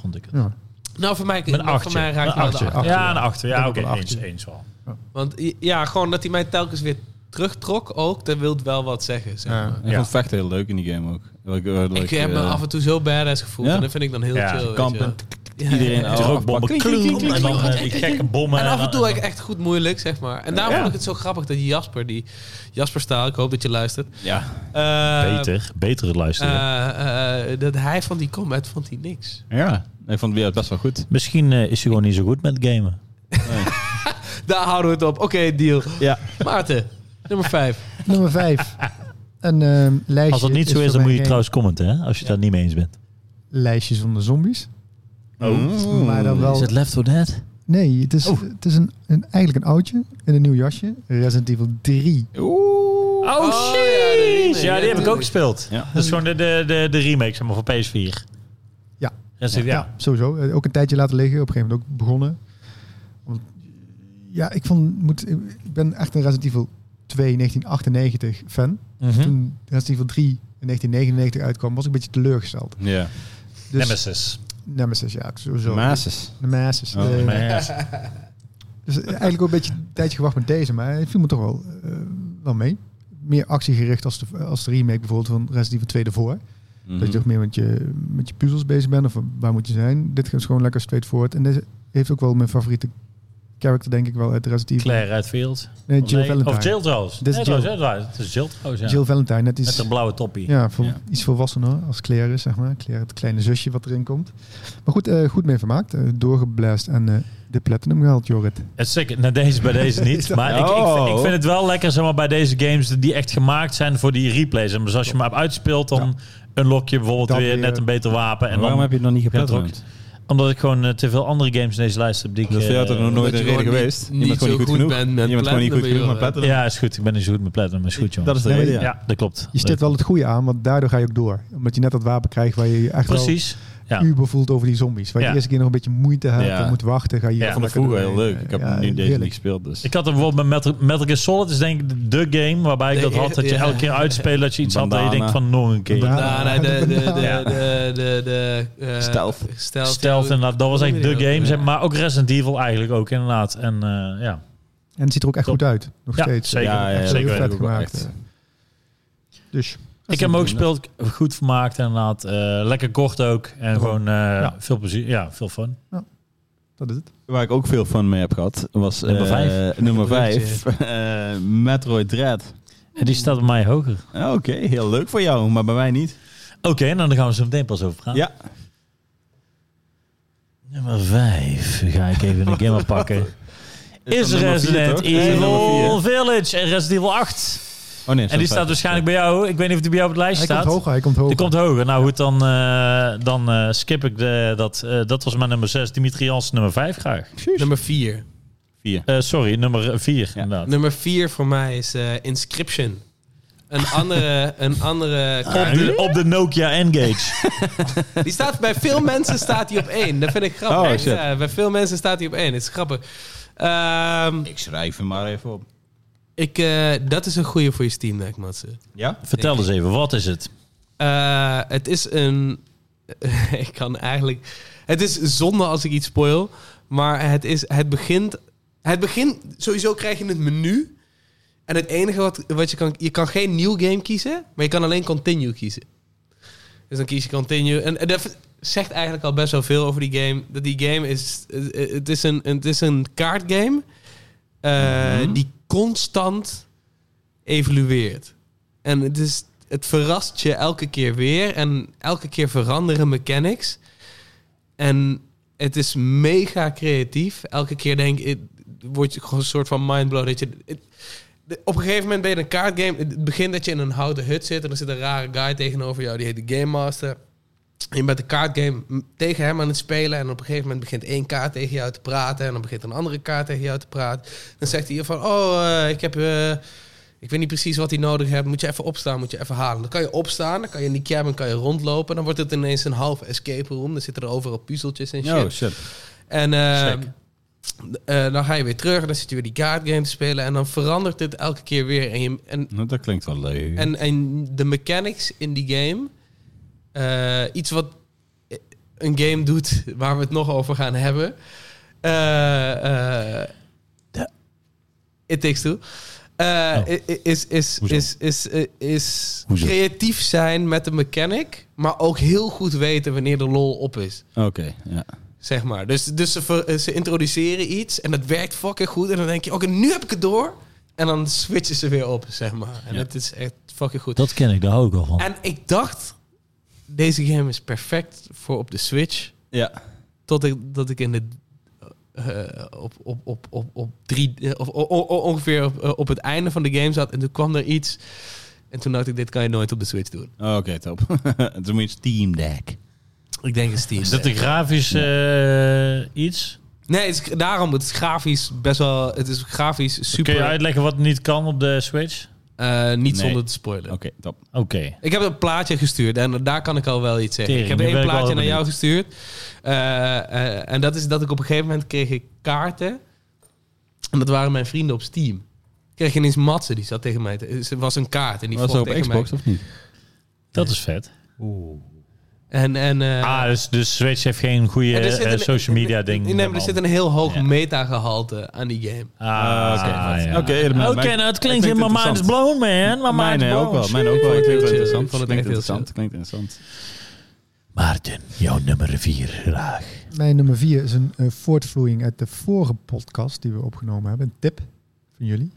[SPEAKER 3] vond ik het.
[SPEAKER 4] ja,
[SPEAKER 2] Nou, voor mij,
[SPEAKER 3] Een
[SPEAKER 2] voor
[SPEAKER 3] achtje.
[SPEAKER 2] mij raakt
[SPEAKER 3] Een
[SPEAKER 2] hij wel de
[SPEAKER 3] achtje.
[SPEAKER 2] achter.
[SPEAKER 3] Ja, een achter.
[SPEAKER 4] Ik
[SPEAKER 3] Ja,
[SPEAKER 4] denk
[SPEAKER 3] oké.
[SPEAKER 4] ook wel een
[SPEAKER 3] Eens,
[SPEAKER 4] achtje.
[SPEAKER 3] eens wel.
[SPEAKER 2] Want ja, gewoon dat hij mij telkens weer terugtrok ook. Dat wil wel wat zeggen, zeg
[SPEAKER 4] Ja.
[SPEAKER 2] maar.
[SPEAKER 1] Ik
[SPEAKER 3] Ja.
[SPEAKER 1] vond vechten heel leuk in die game ook. Wat Ik, wat
[SPEAKER 2] Ik heb me
[SPEAKER 1] eh,
[SPEAKER 2] af en toe zo badass gevoeld.
[SPEAKER 1] Ja.
[SPEAKER 2] En dat vind ik dan heel
[SPEAKER 3] Ja,
[SPEAKER 2] chill. weet je
[SPEAKER 1] kampen.
[SPEAKER 2] wel. Ja,
[SPEAKER 1] Iedereen
[SPEAKER 2] ja,
[SPEAKER 1] af-
[SPEAKER 3] De rookbommen.
[SPEAKER 1] afpakken. Klink, klink, klink,
[SPEAKER 3] En dan
[SPEAKER 1] klink,
[SPEAKER 3] eh, die gekke bommen.
[SPEAKER 2] En af en toe
[SPEAKER 3] dan-
[SPEAKER 2] echt goed moeilijk, zeg maar. En daarom
[SPEAKER 3] Ja.
[SPEAKER 2] vond ik het zo grappig dat Jasper, die Jasper Staal, ik hoop dat je luistert.
[SPEAKER 1] Ja.
[SPEAKER 2] eh,
[SPEAKER 3] Beter. Beter luisteren.
[SPEAKER 2] eh, eh, dat hij van die combat vond hij niks.
[SPEAKER 1] ja. Ik vond het weer best wel goed.
[SPEAKER 3] Misschien eh, is hij gewoon niet zo goed met gamen.
[SPEAKER 2] Daar houden we het op. Oké, deal.
[SPEAKER 1] Ja.
[SPEAKER 2] Maarten, nummer 5.
[SPEAKER 4] Nummer
[SPEAKER 3] [LAUGHS]
[SPEAKER 4] 5. Een ehm, lijstje.
[SPEAKER 3] Als dat niet zo is,
[SPEAKER 4] voor
[SPEAKER 3] dan
[SPEAKER 4] mij
[SPEAKER 3] moet je
[SPEAKER 4] geen
[SPEAKER 3] trouwens commenten, hè? Als je het daar niet mee eens bent.
[SPEAKER 4] Lijstje zonder zombies.
[SPEAKER 1] Oh.
[SPEAKER 4] Maar dan
[SPEAKER 3] Is
[SPEAKER 4] wel.
[SPEAKER 3] het Left 4 Dead?
[SPEAKER 4] Nee, het is,
[SPEAKER 3] Oh.
[SPEAKER 4] het is een, een, eigenlijk een oudje in een nieuw jasje. Resident Evil 3.
[SPEAKER 1] Oeh.
[SPEAKER 2] Oh, ja, de remake.
[SPEAKER 3] Ja,
[SPEAKER 2] Ja,
[SPEAKER 3] die heb ik ook
[SPEAKER 2] tuurlijk.
[SPEAKER 3] gespeeld.
[SPEAKER 1] Ja.
[SPEAKER 3] Dat is gewoon de, de, de, de remake, zeg maar, voor PS4.
[SPEAKER 4] Ja.
[SPEAKER 3] Resident- ja.
[SPEAKER 4] Sowieso. Eh, Ook een tijdje laten liggen. Op een gegeven moment ook begonnen. Want ja, ik, vond, moet, ik ben echt een Resident Evil 2 1998 fan.
[SPEAKER 3] Mhm. Hm?
[SPEAKER 4] Toen Resident Evil 3 in 1999 uitkwam, was ik een beetje teleurgesteld.
[SPEAKER 1] Ja.
[SPEAKER 4] Dus,
[SPEAKER 3] Nemesis.
[SPEAKER 4] Nemesis, ja, sowieso.
[SPEAKER 1] Masis.
[SPEAKER 4] De Nemesis.
[SPEAKER 1] Oh,
[SPEAKER 4] eh,
[SPEAKER 3] Nemesis.
[SPEAKER 4] Dus eigenlijk ook een beetje een tijdje gewacht met deze, maar het viel me toch wel, eh, wel mee. Meer actiegericht als de, als de remake bijvoorbeeld van Resident Evil 2 ervoor.
[SPEAKER 1] Mhm.
[SPEAKER 4] Dat je toch meer met je, met je puzzels bezig bent of waar moet je zijn. Dit gaat gewoon lekker straightforward. En deze heeft ook wel mijn favoriete character, denk ik wel, uit Resident Evil.
[SPEAKER 3] Claire Redfield.
[SPEAKER 4] Nee,
[SPEAKER 3] Of
[SPEAKER 4] Jill
[SPEAKER 3] nee,
[SPEAKER 4] Valentine.
[SPEAKER 3] Of Jill trouwens.
[SPEAKER 4] Dit is
[SPEAKER 3] Nee,
[SPEAKER 4] Jill.
[SPEAKER 3] trouwens, ja, Het is Jill trouwens, ja.
[SPEAKER 4] Jill Valentine, net
[SPEAKER 3] Met
[SPEAKER 4] iets,
[SPEAKER 3] een blauwe toppie.
[SPEAKER 4] ja, vol,
[SPEAKER 1] Ja.
[SPEAKER 4] iets volwassener als Claire is, zeg maar. Claire, het kleine zusje wat erin komt. Maar goed, eh, goed mee vermaakt. eh, doorgeblast en eh, de platinum gehaald, Jorrit.
[SPEAKER 3] Het is zeker, nou, deze bij deze [LAUGHS] niet. Maar ik, ik, ik vind het wel lekker zeg maar, bij deze games die echt gemaakt zijn voor die replays. En dus als je hem hebt uitspeelt, dan unlock je bijvoorbeeld
[SPEAKER 4] Dan
[SPEAKER 3] weer,
[SPEAKER 4] weer-
[SPEAKER 3] net een beter wapen. En
[SPEAKER 1] waarom
[SPEAKER 3] dan,
[SPEAKER 1] heb je het nog niet
[SPEAKER 3] geplatinumd?
[SPEAKER 1] geplatinumd?
[SPEAKER 3] Omdat ik gewoon eh, te veel andere games in deze lijst heb die ik...
[SPEAKER 1] Dat is voor jou
[SPEAKER 3] eh,
[SPEAKER 1] toch nog nooit
[SPEAKER 2] Omdat
[SPEAKER 1] een
[SPEAKER 2] je
[SPEAKER 1] reden
[SPEAKER 2] gewoon
[SPEAKER 1] geweest?
[SPEAKER 2] niet- niet zo goed bent met eh.
[SPEAKER 1] je bent gewoon niet goed genoeg
[SPEAKER 2] platinum,
[SPEAKER 1] met
[SPEAKER 2] joh.
[SPEAKER 1] platinum.
[SPEAKER 3] Ja, is goed. Ik ben niet zo goed met platinum, maar is goed, jongen.
[SPEAKER 1] Dat is de
[SPEAKER 4] Nee,
[SPEAKER 1] reden,
[SPEAKER 3] ja.
[SPEAKER 1] ja.
[SPEAKER 3] dat klopt.
[SPEAKER 4] Je stipt wel het goede aan, want daardoor ga je ook door. Omdat je net dat wapen krijgt waar je je echt wel
[SPEAKER 3] Precies. Ja.
[SPEAKER 4] uber voelt over die zombies. Waar je
[SPEAKER 3] Ja.
[SPEAKER 4] de eerste keer nog een beetje moeite hebt
[SPEAKER 1] Ja.
[SPEAKER 4] en moet wachten. Ga je
[SPEAKER 3] Ja,
[SPEAKER 1] Ik vond het
[SPEAKER 4] lekker
[SPEAKER 1] vroeger heel
[SPEAKER 4] doorheen.
[SPEAKER 1] leuk. Ik heb
[SPEAKER 4] Ja,
[SPEAKER 1] nu deze
[SPEAKER 4] heerlijk.
[SPEAKER 1] niet gespeeld, dus.
[SPEAKER 3] Ik had er bijvoorbeeld met Metal, Metal Gear Solid, is denk ik de game waarbij ik dat had. Dat je
[SPEAKER 2] Ja.
[SPEAKER 3] elke keer uitspeelt, dat je iets had dat je denkt
[SPEAKER 1] Bandana.
[SPEAKER 3] van nog een keer.
[SPEAKER 4] Bandana.
[SPEAKER 2] Nou, nee, de, de, de,
[SPEAKER 3] Ja.
[SPEAKER 2] de, de, de, eh,
[SPEAKER 1] Stealth.
[SPEAKER 2] Stealth.
[SPEAKER 3] Stealth
[SPEAKER 2] ja.
[SPEAKER 3] inderdaad, dat was eigenlijk de game.
[SPEAKER 2] Ja.
[SPEAKER 3] zeg Maar ook Resident Evil eigenlijk ook inderdaad. En eh, ja,
[SPEAKER 4] En het ziet er ook echt
[SPEAKER 3] Top.
[SPEAKER 4] goed uit. Nog
[SPEAKER 3] Ja,
[SPEAKER 4] steeds.
[SPEAKER 3] zeker.
[SPEAKER 1] Ja, ja, ja,
[SPEAKER 4] Echt
[SPEAKER 3] zeker
[SPEAKER 4] heel
[SPEAKER 1] weten.
[SPEAKER 4] vet gemaakt.
[SPEAKER 1] Echt. eh.
[SPEAKER 4] Dus.
[SPEAKER 3] ik heb hem ook gespeeld, goed vermaakt inderdaad. Eh, lekker kort ook. En gewoon eh, veel plezier, ja, veel fun.
[SPEAKER 4] Dat is het.
[SPEAKER 1] Waar ik ook veel fun mee heb gehad, was
[SPEAKER 3] Nummer
[SPEAKER 1] eh,
[SPEAKER 3] vijf.
[SPEAKER 1] nummer
[SPEAKER 2] Leuk,
[SPEAKER 1] 5 [LAUGHS] eh, Metroid Dread.
[SPEAKER 3] En die staat bij mij hoger.
[SPEAKER 1] Oké, heel leuk voor jou, maar bij mij niet.
[SPEAKER 3] Oké, nou dan gaan we zo meteen pas over praten.
[SPEAKER 1] Ja.
[SPEAKER 3] Nummer 5 ga ik even een [LAUGHS] game pakken. Is
[SPEAKER 1] dat nummer vier,
[SPEAKER 3] Resident
[SPEAKER 1] toch? Nee, nummer
[SPEAKER 3] Evil
[SPEAKER 1] vier.
[SPEAKER 3] Village en Resident Evil 8.
[SPEAKER 1] Oh nee,
[SPEAKER 3] En die staat waarschijnlijk bij jou. Ik weet niet of die bij jou op het lijstje
[SPEAKER 4] Hij komt
[SPEAKER 3] staat.
[SPEAKER 4] hoger, hij komt hoger.
[SPEAKER 3] Die komt hoger. Nou goed, dan, eh, dan eh, skip ik de, dat. eh, dat was mijn nummer 6. Dimitri Jans nummer 5 graag.
[SPEAKER 2] Nummer 4.
[SPEAKER 1] 4.
[SPEAKER 3] Eh, sorry, nummer 4
[SPEAKER 1] Ja.
[SPEAKER 3] inderdaad.
[SPEAKER 2] Nummer 4 voor mij is eh, Inscription. Een andere, een andere
[SPEAKER 3] Op de, Eh, op de Nokia [LAUGHS] N-Gage.
[SPEAKER 2] Die staat bij veel mensen staat die op één. Dat vind ik grappig.
[SPEAKER 1] Oh, shit.
[SPEAKER 2] Ja, bij veel mensen staat die op één. Dat is grappig. Ehm,
[SPEAKER 1] Ik schrijf hem maar even op.
[SPEAKER 2] ik, eh, dat is een goede voor je Steam Deck, Matze.
[SPEAKER 1] Ja?
[SPEAKER 3] Vertel eens even, wat is het?
[SPEAKER 2] Eh, het is een. [LAUGHS] ik kan eigenlijk. Het is zonde als ik iets spoil. Maar het, is, het begint. Het begint. Sowieso krijg je het menu. En het enige wat, wat je kan. Je kan geen nieuw game kiezen. Maar je kan alleen continue kiezen. Dus dan kies je continue. En, en dat zegt eigenlijk al best wel veel over die game. Dat die game is. eh, eh, Het is een, het is een kaartgame. eh,
[SPEAKER 1] Mhm.
[SPEAKER 2] Die constant evolueert. En het, is, het verrast je elke keer weer. En elke keer veranderen mechanics. En het is mega creatief. Elke keer denk ik, word je gewoon een soort van mindblow. Dat je, het- de- op een gegeven moment ben je in een kaartgame. Het begint dat je in een houten hut zit. En er zit een rare guy tegenover jou. Die heet de Game Master. En je bent de kaartgame m- tegen hem aan het spelen. En op een gegeven moment begint één kaart tegen jou te praten. En dan begint een andere kaart tegen jou te praten. Dan zegt hij van, oh, eh, ik heb... eh, ik weet niet precies wat hij nodig hebt. Moet je even opstaan, moet je even halen. Dan kan je opstaan, dan kan je in die cabin kan je rondlopen. Dan wordt het ineens een halve escape room. Dan zitten er overal puzzeltjes en shit.
[SPEAKER 1] Oh, shit.
[SPEAKER 2] En eh,
[SPEAKER 3] Sick.
[SPEAKER 2] eh, dan ga je weer terug en dan zit je weer die card game te spelen. En dan verandert dit elke keer weer. En, je, en,
[SPEAKER 1] Nou, dat klinkt wel leuk.
[SPEAKER 2] en, en de mechanics in die game. eh, iets wat een game doet waar we het nog over gaan hebben. Eh, eh, it takes two. Eh, i- i- is, is,
[SPEAKER 3] Hoezo?
[SPEAKER 2] is, is, eh, is
[SPEAKER 1] Hoezo?
[SPEAKER 2] creatief zijn met de mechanic, maar ook heel goed weten wanneer de lol op is.
[SPEAKER 1] Oké, ja.
[SPEAKER 2] Zeg maar. Dus, dus ze, ver- ze introduceren iets en dat werkt fucking goed. En dan denk je, oké, nu heb ik het door. En dan switchen ze weer op, zeg maar. En
[SPEAKER 1] Ja.
[SPEAKER 2] dat is echt fucking goed.
[SPEAKER 3] Dat ken ik, daar hou ik al van.
[SPEAKER 2] En ik dacht, deze game is perfect voor op de Switch.
[SPEAKER 1] Ja.
[SPEAKER 2] Tot ik, dat ik in de... eh, op, op, op, op, op drie... eh, of, o- o- o- ongeveer op, eh, op het einde van de game zat. En toen kwam er iets. En toen dacht ik, dit kan je nooit op de Switch doen.
[SPEAKER 1] Oké, top. [LAUGHS] Het is meer Steam Deck.
[SPEAKER 2] Ik denk een Steam.
[SPEAKER 3] Is dat een grafisch eh, iets?
[SPEAKER 2] Nee, het is, daarom, het is grafisch best wel... Het is grafisch super...
[SPEAKER 3] Kun je uitleggen wat niet kan op de Switch?
[SPEAKER 2] Eh, niet
[SPEAKER 1] Nee.
[SPEAKER 2] zonder te spoilen.
[SPEAKER 1] Oké, top.
[SPEAKER 3] Oké.
[SPEAKER 2] Ik heb een plaatje gestuurd en daar kan ik al wel iets zeggen.
[SPEAKER 3] Tering,
[SPEAKER 2] ik
[SPEAKER 3] nu
[SPEAKER 2] heb
[SPEAKER 3] ben
[SPEAKER 2] één
[SPEAKER 3] ik wel
[SPEAKER 2] plaatje naar
[SPEAKER 3] heel
[SPEAKER 2] jou gestuurd. Eh, eh, en dat is dat ik op een gegeven moment kreeg ik kaarten. En dat waren mijn vrienden op Steam. Ik kreeg ineens Matze, die zat tegen mij. te- eh, Ze was een kaart en die
[SPEAKER 1] Was
[SPEAKER 2] vocht
[SPEAKER 1] dat op
[SPEAKER 2] tegen
[SPEAKER 1] Xbox
[SPEAKER 2] mij.
[SPEAKER 1] of niet?
[SPEAKER 3] Dat is vet.
[SPEAKER 2] En, en, eh,
[SPEAKER 3] ah, dus, dus Switch heeft geen goede
[SPEAKER 2] en er zit
[SPEAKER 3] eh,
[SPEAKER 2] een-
[SPEAKER 3] social media ding.
[SPEAKER 2] Nee, maar er zit een heel hoog meta-gehalte aan die game.
[SPEAKER 3] Ah, oké. ja.
[SPEAKER 1] Oké, helemaal.
[SPEAKER 3] Oké, nou het klinkt in my mind is blown, man. My mind
[SPEAKER 1] Mijn eh,
[SPEAKER 3] is
[SPEAKER 1] ook wel.
[SPEAKER 3] blown.
[SPEAKER 1] Mijn ook wel. Ik vind het interessant.
[SPEAKER 2] Vond het
[SPEAKER 1] Klinkt
[SPEAKER 2] echt heel
[SPEAKER 1] interessant. Klinkt interessant.
[SPEAKER 3] Maarten, jouw nummer vier graag.
[SPEAKER 4] Mijn nummer vier is een eh, voortvloeiing uit de vorige podcast die we opgenomen hebben. Een tip van jullie.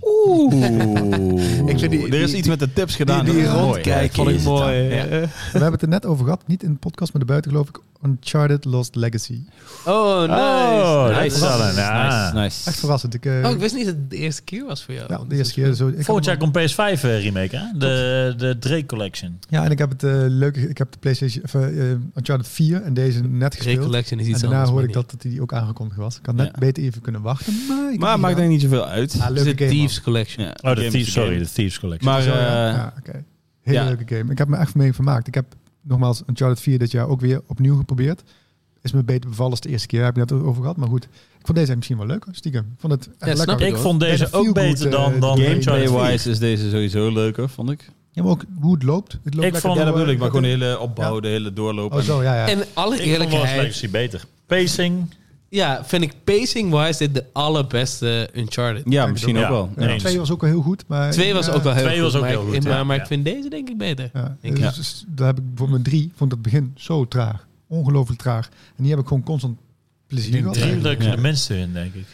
[SPEAKER 1] Oeh.
[SPEAKER 4] Ik vind die-
[SPEAKER 1] er is
[SPEAKER 4] die-
[SPEAKER 1] iets met de tips gedaan.
[SPEAKER 4] die
[SPEAKER 1] Dat is mooi.
[SPEAKER 4] rondkijken
[SPEAKER 1] Vond ik
[SPEAKER 4] is het
[SPEAKER 1] mooi.
[SPEAKER 4] We hebben het er net over gehad. Niet in de podcast, maar erbuiten geloof ik. Uncharted Lost Legacy.
[SPEAKER 2] Oh, nice.
[SPEAKER 3] Oh, dat is wel een-
[SPEAKER 1] Nice,
[SPEAKER 3] ja.
[SPEAKER 1] nice, nice.
[SPEAKER 4] Echt verrassend. Ik, eh,
[SPEAKER 2] Oh, ik wist niet dat het de eerste keer was voor jou.
[SPEAKER 4] ja, de eerste keer. Zo, ik had
[SPEAKER 3] Vorig jaar
[SPEAKER 4] hem al-
[SPEAKER 3] komt PS5 eh, remake, hè? De, de Drake Collection.
[SPEAKER 4] Ja, en ik heb het eh, leuke. Ik heb de PlayStation of, eh, eh, Uncharted 4 en deze net gespeeld.
[SPEAKER 2] Recollection is
[SPEAKER 4] En
[SPEAKER 2] iets
[SPEAKER 4] daarna
[SPEAKER 2] anders.
[SPEAKER 4] hoorde ik
[SPEAKER 2] maar
[SPEAKER 4] dat, dat die ook aangekondigd was. Ik had net
[SPEAKER 1] Ja.
[SPEAKER 4] beter even kunnen wachten. Maar, ik
[SPEAKER 1] Maar maakt eigenlijk
[SPEAKER 4] denk
[SPEAKER 1] niet zoveel uit.
[SPEAKER 4] Ah,
[SPEAKER 2] niet. Het
[SPEAKER 4] leuke
[SPEAKER 2] is
[SPEAKER 4] game.
[SPEAKER 2] de
[SPEAKER 4] man.
[SPEAKER 2] Thieves Collection.
[SPEAKER 1] Ja,
[SPEAKER 3] Oh,
[SPEAKER 1] game
[SPEAKER 3] de
[SPEAKER 1] is
[SPEAKER 3] Thieves,
[SPEAKER 1] game.
[SPEAKER 3] sorry, de Thieves Collection.
[SPEAKER 1] Maar
[SPEAKER 4] Zo, ja,
[SPEAKER 1] eh,
[SPEAKER 4] ja, oké. Hele
[SPEAKER 1] ja.
[SPEAKER 4] leuke game. Ik heb me echt mee vermaakt. Ik heb nogmaals Uncharted 4 dit jaar ook weer opnieuw geprobeerd. Is me beter bevallen als de eerste keer. Daar heb ik net over gehad. Maar goed, ik vond deze misschien wel leuker, stiekem. Vond het echt
[SPEAKER 2] snap
[SPEAKER 4] lekker.
[SPEAKER 2] ik
[SPEAKER 3] ik vond
[SPEAKER 4] Bijna
[SPEAKER 3] deze ook
[SPEAKER 4] feel-good,
[SPEAKER 3] beter
[SPEAKER 4] eh,
[SPEAKER 3] dan, dan
[SPEAKER 4] game.
[SPEAKER 3] Uncharted
[SPEAKER 4] Play-wise.
[SPEAKER 3] 4.
[SPEAKER 1] Gameplay-wise is deze sowieso leuker, vond ik.
[SPEAKER 4] Ja, maar ook hoe het loopt. Het loopt
[SPEAKER 3] Ik
[SPEAKER 4] lekker
[SPEAKER 3] vond-
[SPEAKER 4] door.
[SPEAKER 1] Ja, dat bedoel ik. Maar gewoon de
[SPEAKER 4] het-
[SPEAKER 1] hele opbouw, de hele doorloop.
[SPEAKER 4] Oh zo, ja, ja.
[SPEAKER 2] En alle
[SPEAKER 3] Ik vond Lost
[SPEAKER 2] eerlijkheid,
[SPEAKER 3] Legacy beter. Pacing.
[SPEAKER 2] ja, vind ik pacing-wise dit de allerbeste Uncharted.
[SPEAKER 1] Ja, misschien ook
[SPEAKER 3] Ja.
[SPEAKER 1] wel.
[SPEAKER 4] Ja,
[SPEAKER 3] Nee.
[SPEAKER 4] twee was ook wel heel goed. Maar
[SPEAKER 2] Twee was
[SPEAKER 4] ja,
[SPEAKER 2] ook wel heel
[SPEAKER 3] Twee
[SPEAKER 2] goed.
[SPEAKER 3] was ook
[SPEAKER 2] maar
[SPEAKER 3] heel
[SPEAKER 2] ik-
[SPEAKER 3] goed,
[SPEAKER 2] in-
[SPEAKER 3] ja.
[SPEAKER 2] Maar, maar ik
[SPEAKER 3] Ja.
[SPEAKER 2] vind deze denk ik beter.
[SPEAKER 4] Ja,
[SPEAKER 2] denk
[SPEAKER 4] dus,
[SPEAKER 1] ik.
[SPEAKER 4] dus daar heb ik voor mijn drie vond het begin zo traag. Ongelooflijk traag. En die heb ik gewoon constant plezier gehad.
[SPEAKER 3] Drie
[SPEAKER 4] eigenlijk.
[SPEAKER 3] lukken
[SPEAKER 1] Ja.
[SPEAKER 3] de mensen in, denk ik.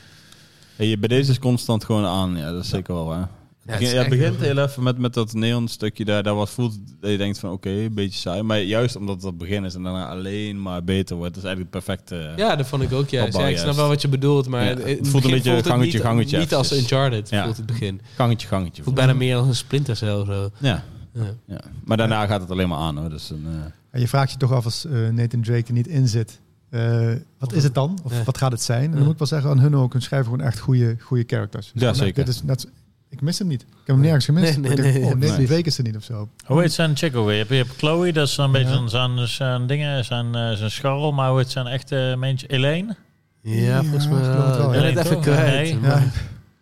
[SPEAKER 1] Hey, je- bij deze is constant gewoon aan. Ja, dat is zeker wel. Hè.
[SPEAKER 2] Ja, het
[SPEAKER 1] Ja,
[SPEAKER 2] is
[SPEAKER 1] het
[SPEAKER 2] echt heel
[SPEAKER 1] begint
[SPEAKER 2] goed.
[SPEAKER 1] heel even met, met dat neon stukje daar. Daar wat voelt dat je denkt van oké, een beetje saai. Maar juist omdat het het begin is en daarna alleen maar beter wordt. Dat is eigenlijk het perfecte.
[SPEAKER 2] Ja, dat vond ik ook juist.
[SPEAKER 1] Opbouw
[SPEAKER 2] Ja, ik
[SPEAKER 1] juist.
[SPEAKER 2] snap wel wat je bedoelt, maar
[SPEAKER 1] Ja,
[SPEAKER 2] het,
[SPEAKER 1] het
[SPEAKER 2] in
[SPEAKER 1] voelt een
[SPEAKER 2] begin
[SPEAKER 1] beetje
[SPEAKER 2] voelt het
[SPEAKER 1] gangetje,
[SPEAKER 2] niet,
[SPEAKER 1] gangetje
[SPEAKER 2] Niet als
[SPEAKER 1] eventjes.
[SPEAKER 2] Uncharted
[SPEAKER 1] Ja.
[SPEAKER 2] voelt het begin.
[SPEAKER 1] Gangetje, gangetje.
[SPEAKER 2] Voelt bijna meer als een Splinter Cell of zo.
[SPEAKER 1] Ja,
[SPEAKER 2] Ja.
[SPEAKER 1] ja. Maar daarna gaat het alleen maar aan hoor. Dus een, eh,
[SPEAKER 4] En je vraagt je toch af als eh, Nathan Drake er niet in zit. eh, wat is het dan? Of
[SPEAKER 2] Ja.
[SPEAKER 4] wat gaat het zijn? En
[SPEAKER 2] Ja.
[SPEAKER 4] dan moet ik wel zeggen, aan hun ook. Hun schrijven gewoon echt goede, goede characters. Dus
[SPEAKER 1] Ja,
[SPEAKER 4] van, eh,
[SPEAKER 1] zeker.
[SPEAKER 4] Dit is net, zo- ik mis hem niet. Ik heb hem nergens gemist.
[SPEAKER 2] Nee, nee,
[SPEAKER 4] Ik dacht,
[SPEAKER 2] nee,
[SPEAKER 4] oh, Nathan
[SPEAKER 1] nee.
[SPEAKER 4] Drake is er niet of zo.
[SPEAKER 3] Hoe heet zijn chick ook weer? Je hebt- Je hebt Chloe, dat is een beetje
[SPEAKER 4] Ja.
[SPEAKER 3] zijn- zijn, zijn dingen, zijn, eh, zijn scharrel. Maar hoe heet zijn echte mensen? Elaine?
[SPEAKER 4] Ja, volgens mij ik geloof het wel,
[SPEAKER 2] Ik
[SPEAKER 4] ja.
[SPEAKER 2] ben het even
[SPEAKER 3] Nee,
[SPEAKER 2] kwijt.
[SPEAKER 3] toch?
[SPEAKER 2] maar-
[SPEAKER 4] Ja,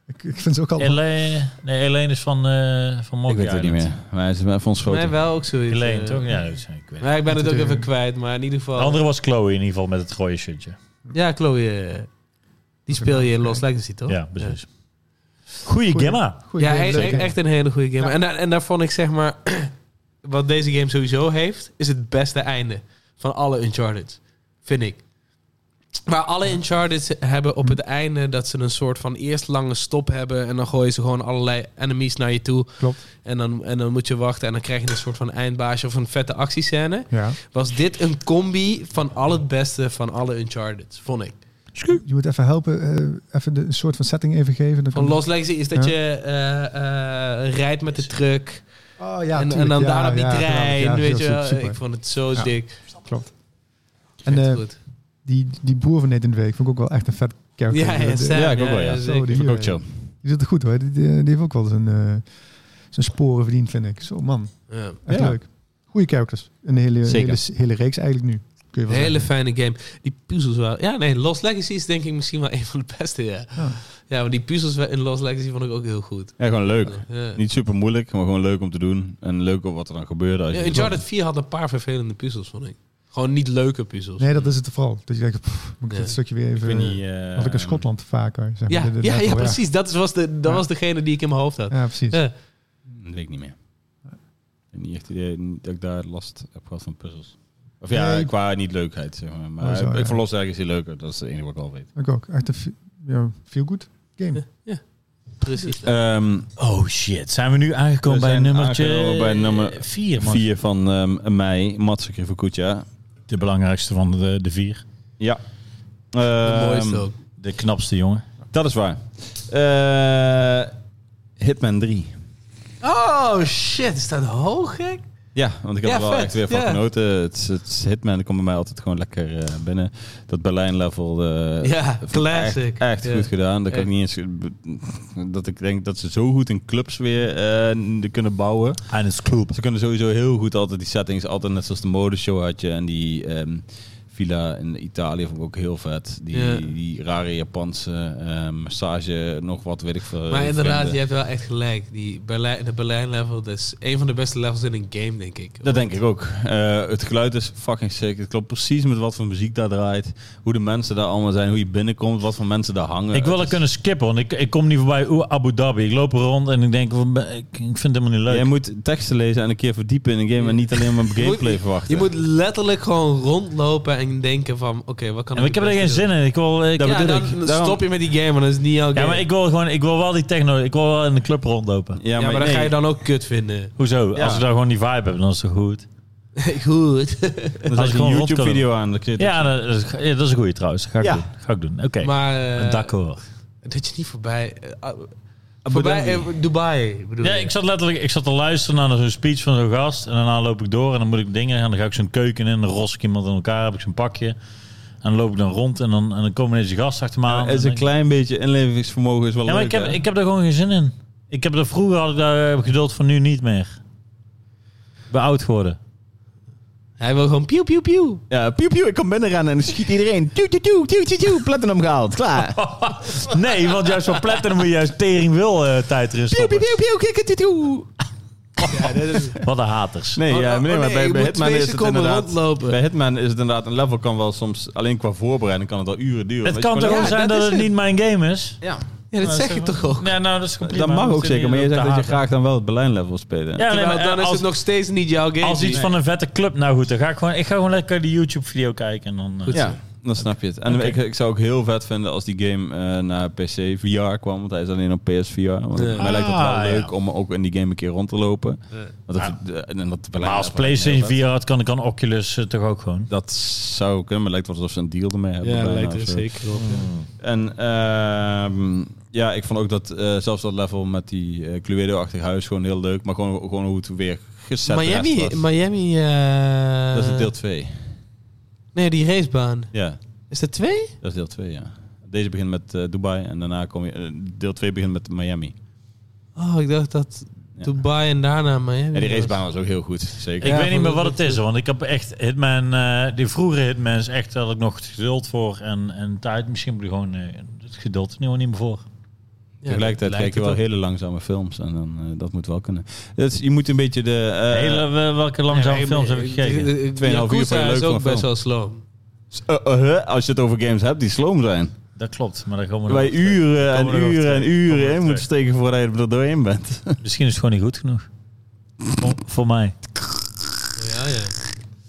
[SPEAKER 4] ik, ik vind ze ook altijd...
[SPEAKER 3] Elaine, nee, Elaine is van, eh van
[SPEAKER 1] ik
[SPEAKER 3] Monkey
[SPEAKER 1] weet het niet
[SPEAKER 3] Island.
[SPEAKER 1] meer. Maar hij is mij van schoten.
[SPEAKER 2] Mij wel ook zoiets.
[SPEAKER 3] Elaine,
[SPEAKER 2] eh.
[SPEAKER 3] toch? Ja, dat is- ik weet het.
[SPEAKER 2] Maar ik ben het ook
[SPEAKER 4] De-
[SPEAKER 2] even kwijt, maar in ieder
[SPEAKER 3] De
[SPEAKER 2] geval...
[SPEAKER 3] andere was Chloe in ieder geval met het rode shirtje.
[SPEAKER 2] Ja, Chloe, eh, die speel je in Lost Legacy, toch?
[SPEAKER 3] Ja, precies. Goeie,
[SPEAKER 4] Goeie.
[SPEAKER 3] gamma.
[SPEAKER 4] goede
[SPEAKER 2] ja,
[SPEAKER 4] game,
[SPEAKER 2] e-
[SPEAKER 4] leuke
[SPEAKER 2] e-
[SPEAKER 4] game.
[SPEAKER 2] echt een hele goede game. En, daar- en daar vond ik zeg maar, [CLEARS THROAT] wat deze game sowieso heeft, is het beste einde van alle Uncharted, vind ik. Waar alle Uncharted hebben op
[SPEAKER 4] Hm.
[SPEAKER 2] het einde dat ze een soort van eerst lange stop hebben en dan gooien ze gewoon allerlei enemies naar je toe.
[SPEAKER 4] Klopt.
[SPEAKER 2] En dan, en dan moet je wachten en dan krijg je een soort van eindbaasje of een vette actiescène.
[SPEAKER 4] Ja.
[SPEAKER 2] Was dit een combi van al het beste van alle Uncharted, vond ik.
[SPEAKER 4] Je moet even helpen, eh, even de, een soort van setting even geven. Dan
[SPEAKER 2] Van
[SPEAKER 4] kan-
[SPEAKER 2] Lost Legacy is dat
[SPEAKER 4] Ja.
[SPEAKER 2] je eh, eh, rijdt met de truck.
[SPEAKER 4] Oh, ja,
[SPEAKER 2] en, en
[SPEAKER 4] tuurlijk.
[SPEAKER 2] dan
[SPEAKER 4] Ja,
[SPEAKER 2] daarna op die
[SPEAKER 4] ja,
[SPEAKER 2] trein,
[SPEAKER 4] geweldig. Ja,
[SPEAKER 2] weet
[SPEAKER 4] heel
[SPEAKER 2] je wel.
[SPEAKER 4] super, super.
[SPEAKER 2] Ik vond het zo
[SPEAKER 4] Ja.
[SPEAKER 2] dik.
[SPEAKER 4] Klopt. En
[SPEAKER 2] En,
[SPEAKER 4] eh,
[SPEAKER 2] goed.
[SPEAKER 4] die, die boer van Nathan Drake vond ik ook wel echt een vet character.
[SPEAKER 2] Ja, ja,
[SPEAKER 4] Dat-
[SPEAKER 2] Sam,
[SPEAKER 1] ja, ik ook wel, ja.
[SPEAKER 4] Zo,
[SPEAKER 2] zeker.
[SPEAKER 1] Die vond ik ook chill.
[SPEAKER 4] Die doet het goed hoor. Die, die- die heeft ook wel zijn, eh, zijn sporen verdiend, vind ik. Zo man,
[SPEAKER 2] Ja.
[SPEAKER 4] echt
[SPEAKER 1] Ja.
[SPEAKER 4] leuk. Goeie characters. Een hele, hele,
[SPEAKER 1] Zeker.
[SPEAKER 4] hele reeks eigenlijk nu. Kun je
[SPEAKER 2] Een
[SPEAKER 4] wel
[SPEAKER 2] hele
[SPEAKER 4] zeggen.
[SPEAKER 2] fijne game. Die puzzels wel. Ja, nee, Lost Legacy is denk ik misschien wel [LAUGHS] een van de beste. Ja,
[SPEAKER 4] Ja.
[SPEAKER 2] ja maar die puzzels wel- in Lost Legacy vond ik ook heel goed.
[SPEAKER 1] Ja, gewoon leuk.
[SPEAKER 2] Ja.
[SPEAKER 1] Eh, Niet super moeilijk, maar gewoon leuk om te doen. En leuk op wat er dan gebeurde. Als
[SPEAKER 2] Ja,
[SPEAKER 1] je
[SPEAKER 2] Uncharted 4 had een paar vervelende puzzels, vond ik. Gewoon niet leuke puzzels.
[SPEAKER 4] Nee, dat is het vooral. Dat je denkt, pff, moet ik
[SPEAKER 2] Ja.
[SPEAKER 4] dat stukje weer
[SPEAKER 3] Ik
[SPEAKER 4] even...
[SPEAKER 3] weet
[SPEAKER 4] Had
[SPEAKER 3] niet... eh,
[SPEAKER 4] ik in Schotland vaker. Zeg maar.
[SPEAKER 2] ehm, ja,
[SPEAKER 4] Dit- dit
[SPEAKER 2] ja,
[SPEAKER 4] level,
[SPEAKER 2] ja, precies. Dat, is- was, de, dat
[SPEAKER 4] Ja.
[SPEAKER 2] was degene die ik in mijn hoofd had.
[SPEAKER 4] Ja, precies.
[SPEAKER 2] Ja.
[SPEAKER 1] Dat hmm, weet ik niet meer. Ik heb niet echt het idee dat ik daar last heb gehad van puzzels. Of ja,
[SPEAKER 4] Nee.
[SPEAKER 1] qua niet leukheid, zeg maar. Maar
[SPEAKER 4] Oh, zo,
[SPEAKER 1] ik
[SPEAKER 4] ja.
[SPEAKER 1] vond Lost Legacy leuker. Dat is het enige wat ik al weet.
[SPEAKER 4] Ik ook. Echt een fe- ja, feel good game.
[SPEAKER 2] Precies.
[SPEAKER 1] Ehm,
[SPEAKER 3] Oh shit, zijn we nu aangekomen
[SPEAKER 1] We
[SPEAKER 3] bij
[SPEAKER 1] zijn
[SPEAKER 3] nummertje
[SPEAKER 1] aangekomen bij nummer
[SPEAKER 3] 4.
[SPEAKER 1] vier van ehm mei, Matsu Krivokucha.
[SPEAKER 3] De belangrijkste van de, de vier.
[SPEAKER 1] Ja.
[SPEAKER 2] de mooiste
[SPEAKER 1] Ehm,
[SPEAKER 2] ook.
[SPEAKER 3] De knapste jongen.
[SPEAKER 1] Dat is waar. Eh, Hitman 3.
[SPEAKER 2] Oh shit, is dat hoog gek?
[SPEAKER 1] Ja, want ik heb
[SPEAKER 2] Ja,
[SPEAKER 1] er wel
[SPEAKER 2] vet.
[SPEAKER 1] echt weer van
[SPEAKER 2] Ja.
[SPEAKER 1] genoten. Het, is- het is Hitman dat komt bij mij altijd gewoon lekker eh, binnen. Dat Berlijn-level. eh,
[SPEAKER 2] Ja,
[SPEAKER 1] vond ik Echt,
[SPEAKER 2] classic.
[SPEAKER 1] echt
[SPEAKER 2] Ja.
[SPEAKER 1] goed gedaan. Dat, kan ik
[SPEAKER 2] Echt.
[SPEAKER 1] niet eens, dat ik denk dat ze zo goed in clubs weer eh, kunnen bouwen.
[SPEAKER 3] En het klopt.
[SPEAKER 1] Ze kunnen sowieso heel goed altijd die settings, altijd net zoals de modeshow had je en die ehm, villa in Italië vond ik ook heel vet. Die,
[SPEAKER 2] Ja.
[SPEAKER 1] die rare Japanse eh, massage, nog wat weet ik veel.
[SPEAKER 2] Maar inderdaad,
[SPEAKER 1] vreemde.
[SPEAKER 2] je hebt wel echt gelijk. Die Berlijn, de Berlijn-level, dat is een van de beste levels in een game, denk ik.
[SPEAKER 1] Dat denk ik ook. Eh, het geluid is fucking sick. Het klopt precies met wat voor muziek daar draait. Hoe de mensen daar allemaal zijn. Hoe je binnenkomt. Wat voor mensen daar hangen.
[SPEAKER 3] Ik wil
[SPEAKER 1] Het
[SPEAKER 3] er
[SPEAKER 1] is-
[SPEAKER 3] kunnen skippen, want ik, ik kom niet voorbij Oeh, Abu Dhabi. Ik loop er rond en ik denk, wat ben- ik, ik vind het helemaal niet leuk.
[SPEAKER 1] Jij moet teksten lezen en een keer verdiepen in een game. En niet alleen maar gameplay
[SPEAKER 2] [LAUGHS] je-
[SPEAKER 1] verwachten.
[SPEAKER 2] Je moet letterlijk gewoon rondlopen en denken van, oké, wat kan
[SPEAKER 3] en ik heb er geen zin in. Ik wil, ik,
[SPEAKER 1] Dat
[SPEAKER 2] Ja,
[SPEAKER 1] bedoel ik.
[SPEAKER 2] dan, dan
[SPEAKER 1] Daarom-
[SPEAKER 2] stop je met die game, want dat is niet jouw game.
[SPEAKER 3] ja, maar ik wil gewoon, ik wil wel die techno, ik wil wel in de club rondlopen.
[SPEAKER 1] Ja,
[SPEAKER 2] maar dat
[SPEAKER 1] nee.
[SPEAKER 2] ga je dan ook kut
[SPEAKER 3] [LAUGHS]
[SPEAKER 2] vinden.
[SPEAKER 3] Hoezo?
[SPEAKER 1] Ja.
[SPEAKER 3] Als ik daar gewoon die vibe heb, dan is het goed.
[SPEAKER 2] Goed.
[SPEAKER 1] Dan
[SPEAKER 3] Als
[SPEAKER 1] zet
[SPEAKER 3] ik
[SPEAKER 1] je een
[SPEAKER 3] gewoon rond kan
[SPEAKER 1] YouTube-video aan. Dan zit
[SPEAKER 3] Ja, dat is, ja, dat is een goeie trouwens. Dat ga ik
[SPEAKER 1] Ja.
[SPEAKER 3] doen. Ga ik doen. Oké.
[SPEAKER 2] Maar eh,
[SPEAKER 3] D'accord.
[SPEAKER 2] dat je niet voorbij... eh, ah,
[SPEAKER 1] Abu
[SPEAKER 2] voorbij
[SPEAKER 1] Dhabi.
[SPEAKER 2] eh, Dubai, bedoel
[SPEAKER 3] Ja,
[SPEAKER 2] je.
[SPEAKER 3] ik zat letterlijk, ik zat te luisteren naar zo'n speech van zo'n gast. En daarna loop ik door en dan moet ik dingen en dan ga ik zo'n keuken in. Dan ros ik iemand in elkaar, heb ik zo'n pakje. En dan loop ik dan rond en dan, en dan komen deze gasten achter me aan.
[SPEAKER 1] is
[SPEAKER 3] En
[SPEAKER 1] een
[SPEAKER 3] dan-
[SPEAKER 1] klein beetje inlevingsvermogen is wel
[SPEAKER 3] Ja, maar
[SPEAKER 1] leuk.
[SPEAKER 3] ik heb,
[SPEAKER 1] hè?
[SPEAKER 3] ik heb daar gewoon geen zin in. Ik heb er, vroeger had ik daar eh, geduld van, nu niet meer. Ik ben oud geworden.
[SPEAKER 2] Hij wil gewoon piu, piu, piu.
[SPEAKER 1] Ja, piep, piep, ik kom binnenrennen en ik schiet iedereen. Tuut, tuut, tuut, tuut, tuut, tuut, platinum gehaald,
[SPEAKER 3] [LAUGHS]
[SPEAKER 1] klaar.
[SPEAKER 3] Nee, want juist van platten moet je juist tering wil eh, tijd erin
[SPEAKER 1] Piep, piep,
[SPEAKER 3] stoppen.
[SPEAKER 1] piep, piep, kikken, tuut, tuut.
[SPEAKER 2] Ja, dat [LAUGHS] is...
[SPEAKER 3] Wat een haters.
[SPEAKER 1] Nee,
[SPEAKER 2] Oh,
[SPEAKER 1] ja,
[SPEAKER 2] oh,
[SPEAKER 1] nee,
[SPEAKER 2] oh,
[SPEAKER 1] maar
[SPEAKER 2] nee,
[SPEAKER 1] bij,
[SPEAKER 2] je
[SPEAKER 1] bij
[SPEAKER 2] moet
[SPEAKER 1] Hitman
[SPEAKER 2] twee
[SPEAKER 1] is het
[SPEAKER 2] seconden
[SPEAKER 1] inderdaad...
[SPEAKER 2] rondlopen.
[SPEAKER 1] Bij Hitman is het inderdaad... Een level kan wel soms... Alleen qua voorbereiding kan het al uren duren.
[SPEAKER 3] Het
[SPEAKER 1] want je
[SPEAKER 3] kan toch
[SPEAKER 1] gewoon-
[SPEAKER 3] gewoon
[SPEAKER 2] Ja,
[SPEAKER 3] zijn
[SPEAKER 2] dat
[SPEAKER 3] dat,
[SPEAKER 2] is
[SPEAKER 3] het
[SPEAKER 2] het.
[SPEAKER 3] niet mijn game is?
[SPEAKER 1] Ja,
[SPEAKER 2] Ja, dat
[SPEAKER 3] Nou,
[SPEAKER 2] zeg
[SPEAKER 3] zeg
[SPEAKER 2] je
[SPEAKER 3] maar.
[SPEAKER 2] toch ook.
[SPEAKER 3] Nee, nou, dat is gewoon prima.
[SPEAKER 1] dat mag
[SPEAKER 3] Dan
[SPEAKER 1] ook
[SPEAKER 3] zit
[SPEAKER 1] zeker. Maar je
[SPEAKER 3] op
[SPEAKER 1] zegt
[SPEAKER 3] te
[SPEAKER 1] dat je
[SPEAKER 3] haken.
[SPEAKER 1] graag dan wel het Berlijn-level wil spelen.
[SPEAKER 3] Ja, nee,
[SPEAKER 2] Terwijl
[SPEAKER 3] maar,
[SPEAKER 2] dan
[SPEAKER 3] eh,
[SPEAKER 2] is
[SPEAKER 3] als,
[SPEAKER 2] het nog steeds niet jouw game.
[SPEAKER 3] als iets van een vette club, nou goed, dan ga ik gewoon, ik ga gewoon lekker die YouTube-video kijken. En dan, eh,
[SPEAKER 2] Goed.
[SPEAKER 1] Ja, dan snap je het. En
[SPEAKER 3] Oké.
[SPEAKER 1] ik, ik zou ook heel vet vinden als die game eh, naar PC VR kwam. Want hij is alleen op PSVR. Want
[SPEAKER 2] Ja.
[SPEAKER 1] mij lijkt het wel
[SPEAKER 3] Ah, ja.
[SPEAKER 1] leuk om ook in die game een keer rond te lopen.
[SPEAKER 2] Ja.
[SPEAKER 1] Want dat, eh, en dat
[SPEAKER 3] maar als
[SPEAKER 1] Berlijn-level-
[SPEAKER 3] PlayStation 4 had, kan ik dan Oculus eh, toch ook gewoon.
[SPEAKER 1] Dat zou kunnen, maar het lijkt wel alsof ze een deal ermee hebben.
[SPEAKER 2] Ja,
[SPEAKER 1] bijna
[SPEAKER 2] lijkt
[SPEAKER 1] of
[SPEAKER 2] er
[SPEAKER 1] zo.
[SPEAKER 2] zeker op.
[SPEAKER 3] Hmm.
[SPEAKER 1] En ehm, ja, ik vond ook dat eh, zelfs dat level met die eh, Cluedo-achtig huis gewoon heel leuk. Maar gewoon, gewoon hoe het weer gezet de
[SPEAKER 2] Miami,
[SPEAKER 1] rest was.
[SPEAKER 2] Miami... eh,
[SPEAKER 1] Dat is deel 2.
[SPEAKER 2] Nee, die racebaan.
[SPEAKER 1] Ja,
[SPEAKER 2] Is dat twee?
[SPEAKER 1] dat is deel 2, ja. Deze begint met eh, Dubai en daarna kom je... eh, deel 2 begint met Miami.
[SPEAKER 2] Oh, ik dacht dat
[SPEAKER 1] Ja.
[SPEAKER 2] Dubai en daarna Miami
[SPEAKER 1] En die
[SPEAKER 2] was.
[SPEAKER 1] racebaan was ook heel goed, zeker.
[SPEAKER 3] Ik
[SPEAKER 2] Ja,
[SPEAKER 3] weet niet
[SPEAKER 2] voor-
[SPEAKER 3] meer wat het is, hoor, want ik heb echt Hitman, eh, die vroegere Hitman is echt, daar had ik nog het geduld voor en, en tijd. Misschien moet ik gewoon eh, het geduld er nu gewoon niet meer
[SPEAKER 1] Eh,
[SPEAKER 3] voor.
[SPEAKER 2] Ja,
[SPEAKER 1] Tegelijkertijd
[SPEAKER 2] dat
[SPEAKER 1] kijk
[SPEAKER 2] lijkt
[SPEAKER 1] je wel
[SPEAKER 2] het
[SPEAKER 1] hele langzame films en dan, eh, dat moet wel kunnen. Dus je moet een beetje de... eh,
[SPEAKER 3] Hele, eh, welke langzame
[SPEAKER 2] op.
[SPEAKER 3] films heb ik gekeken?
[SPEAKER 2] De- de- de
[SPEAKER 1] Tweeënhalf uur voor
[SPEAKER 2] Yakuza
[SPEAKER 1] je
[SPEAKER 2] is
[SPEAKER 1] leuk
[SPEAKER 2] ook
[SPEAKER 1] van
[SPEAKER 2] best
[SPEAKER 1] film.
[SPEAKER 2] wel slow.
[SPEAKER 1] eh, eh, hè, als je het over games hebt die sloom zijn.
[SPEAKER 3] Dat klopt, maar daar komen we
[SPEAKER 1] Waar je
[SPEAKER 3] nog op terug.
[SPEAKER 1] uren
[SPEAKER 3] Komen
[SPEAKER 1] en
[SPEAKER 3] we nog op
[SPEAKER 1] uren en
[SPEAKER 3] terug. Komen we
[SPEAKER 1] uren
[SPEAKER 3] nog
[SPEAKER 1] in moet
[SPEAKER 3] terug.
[SPEAKER 1] steken voordat je er doorheen bent.
[SPEAKER 3] Misschien is het gewoon niet goed genoeg. Voor, voor mij.
[SPEAKER 2] Ja, ja.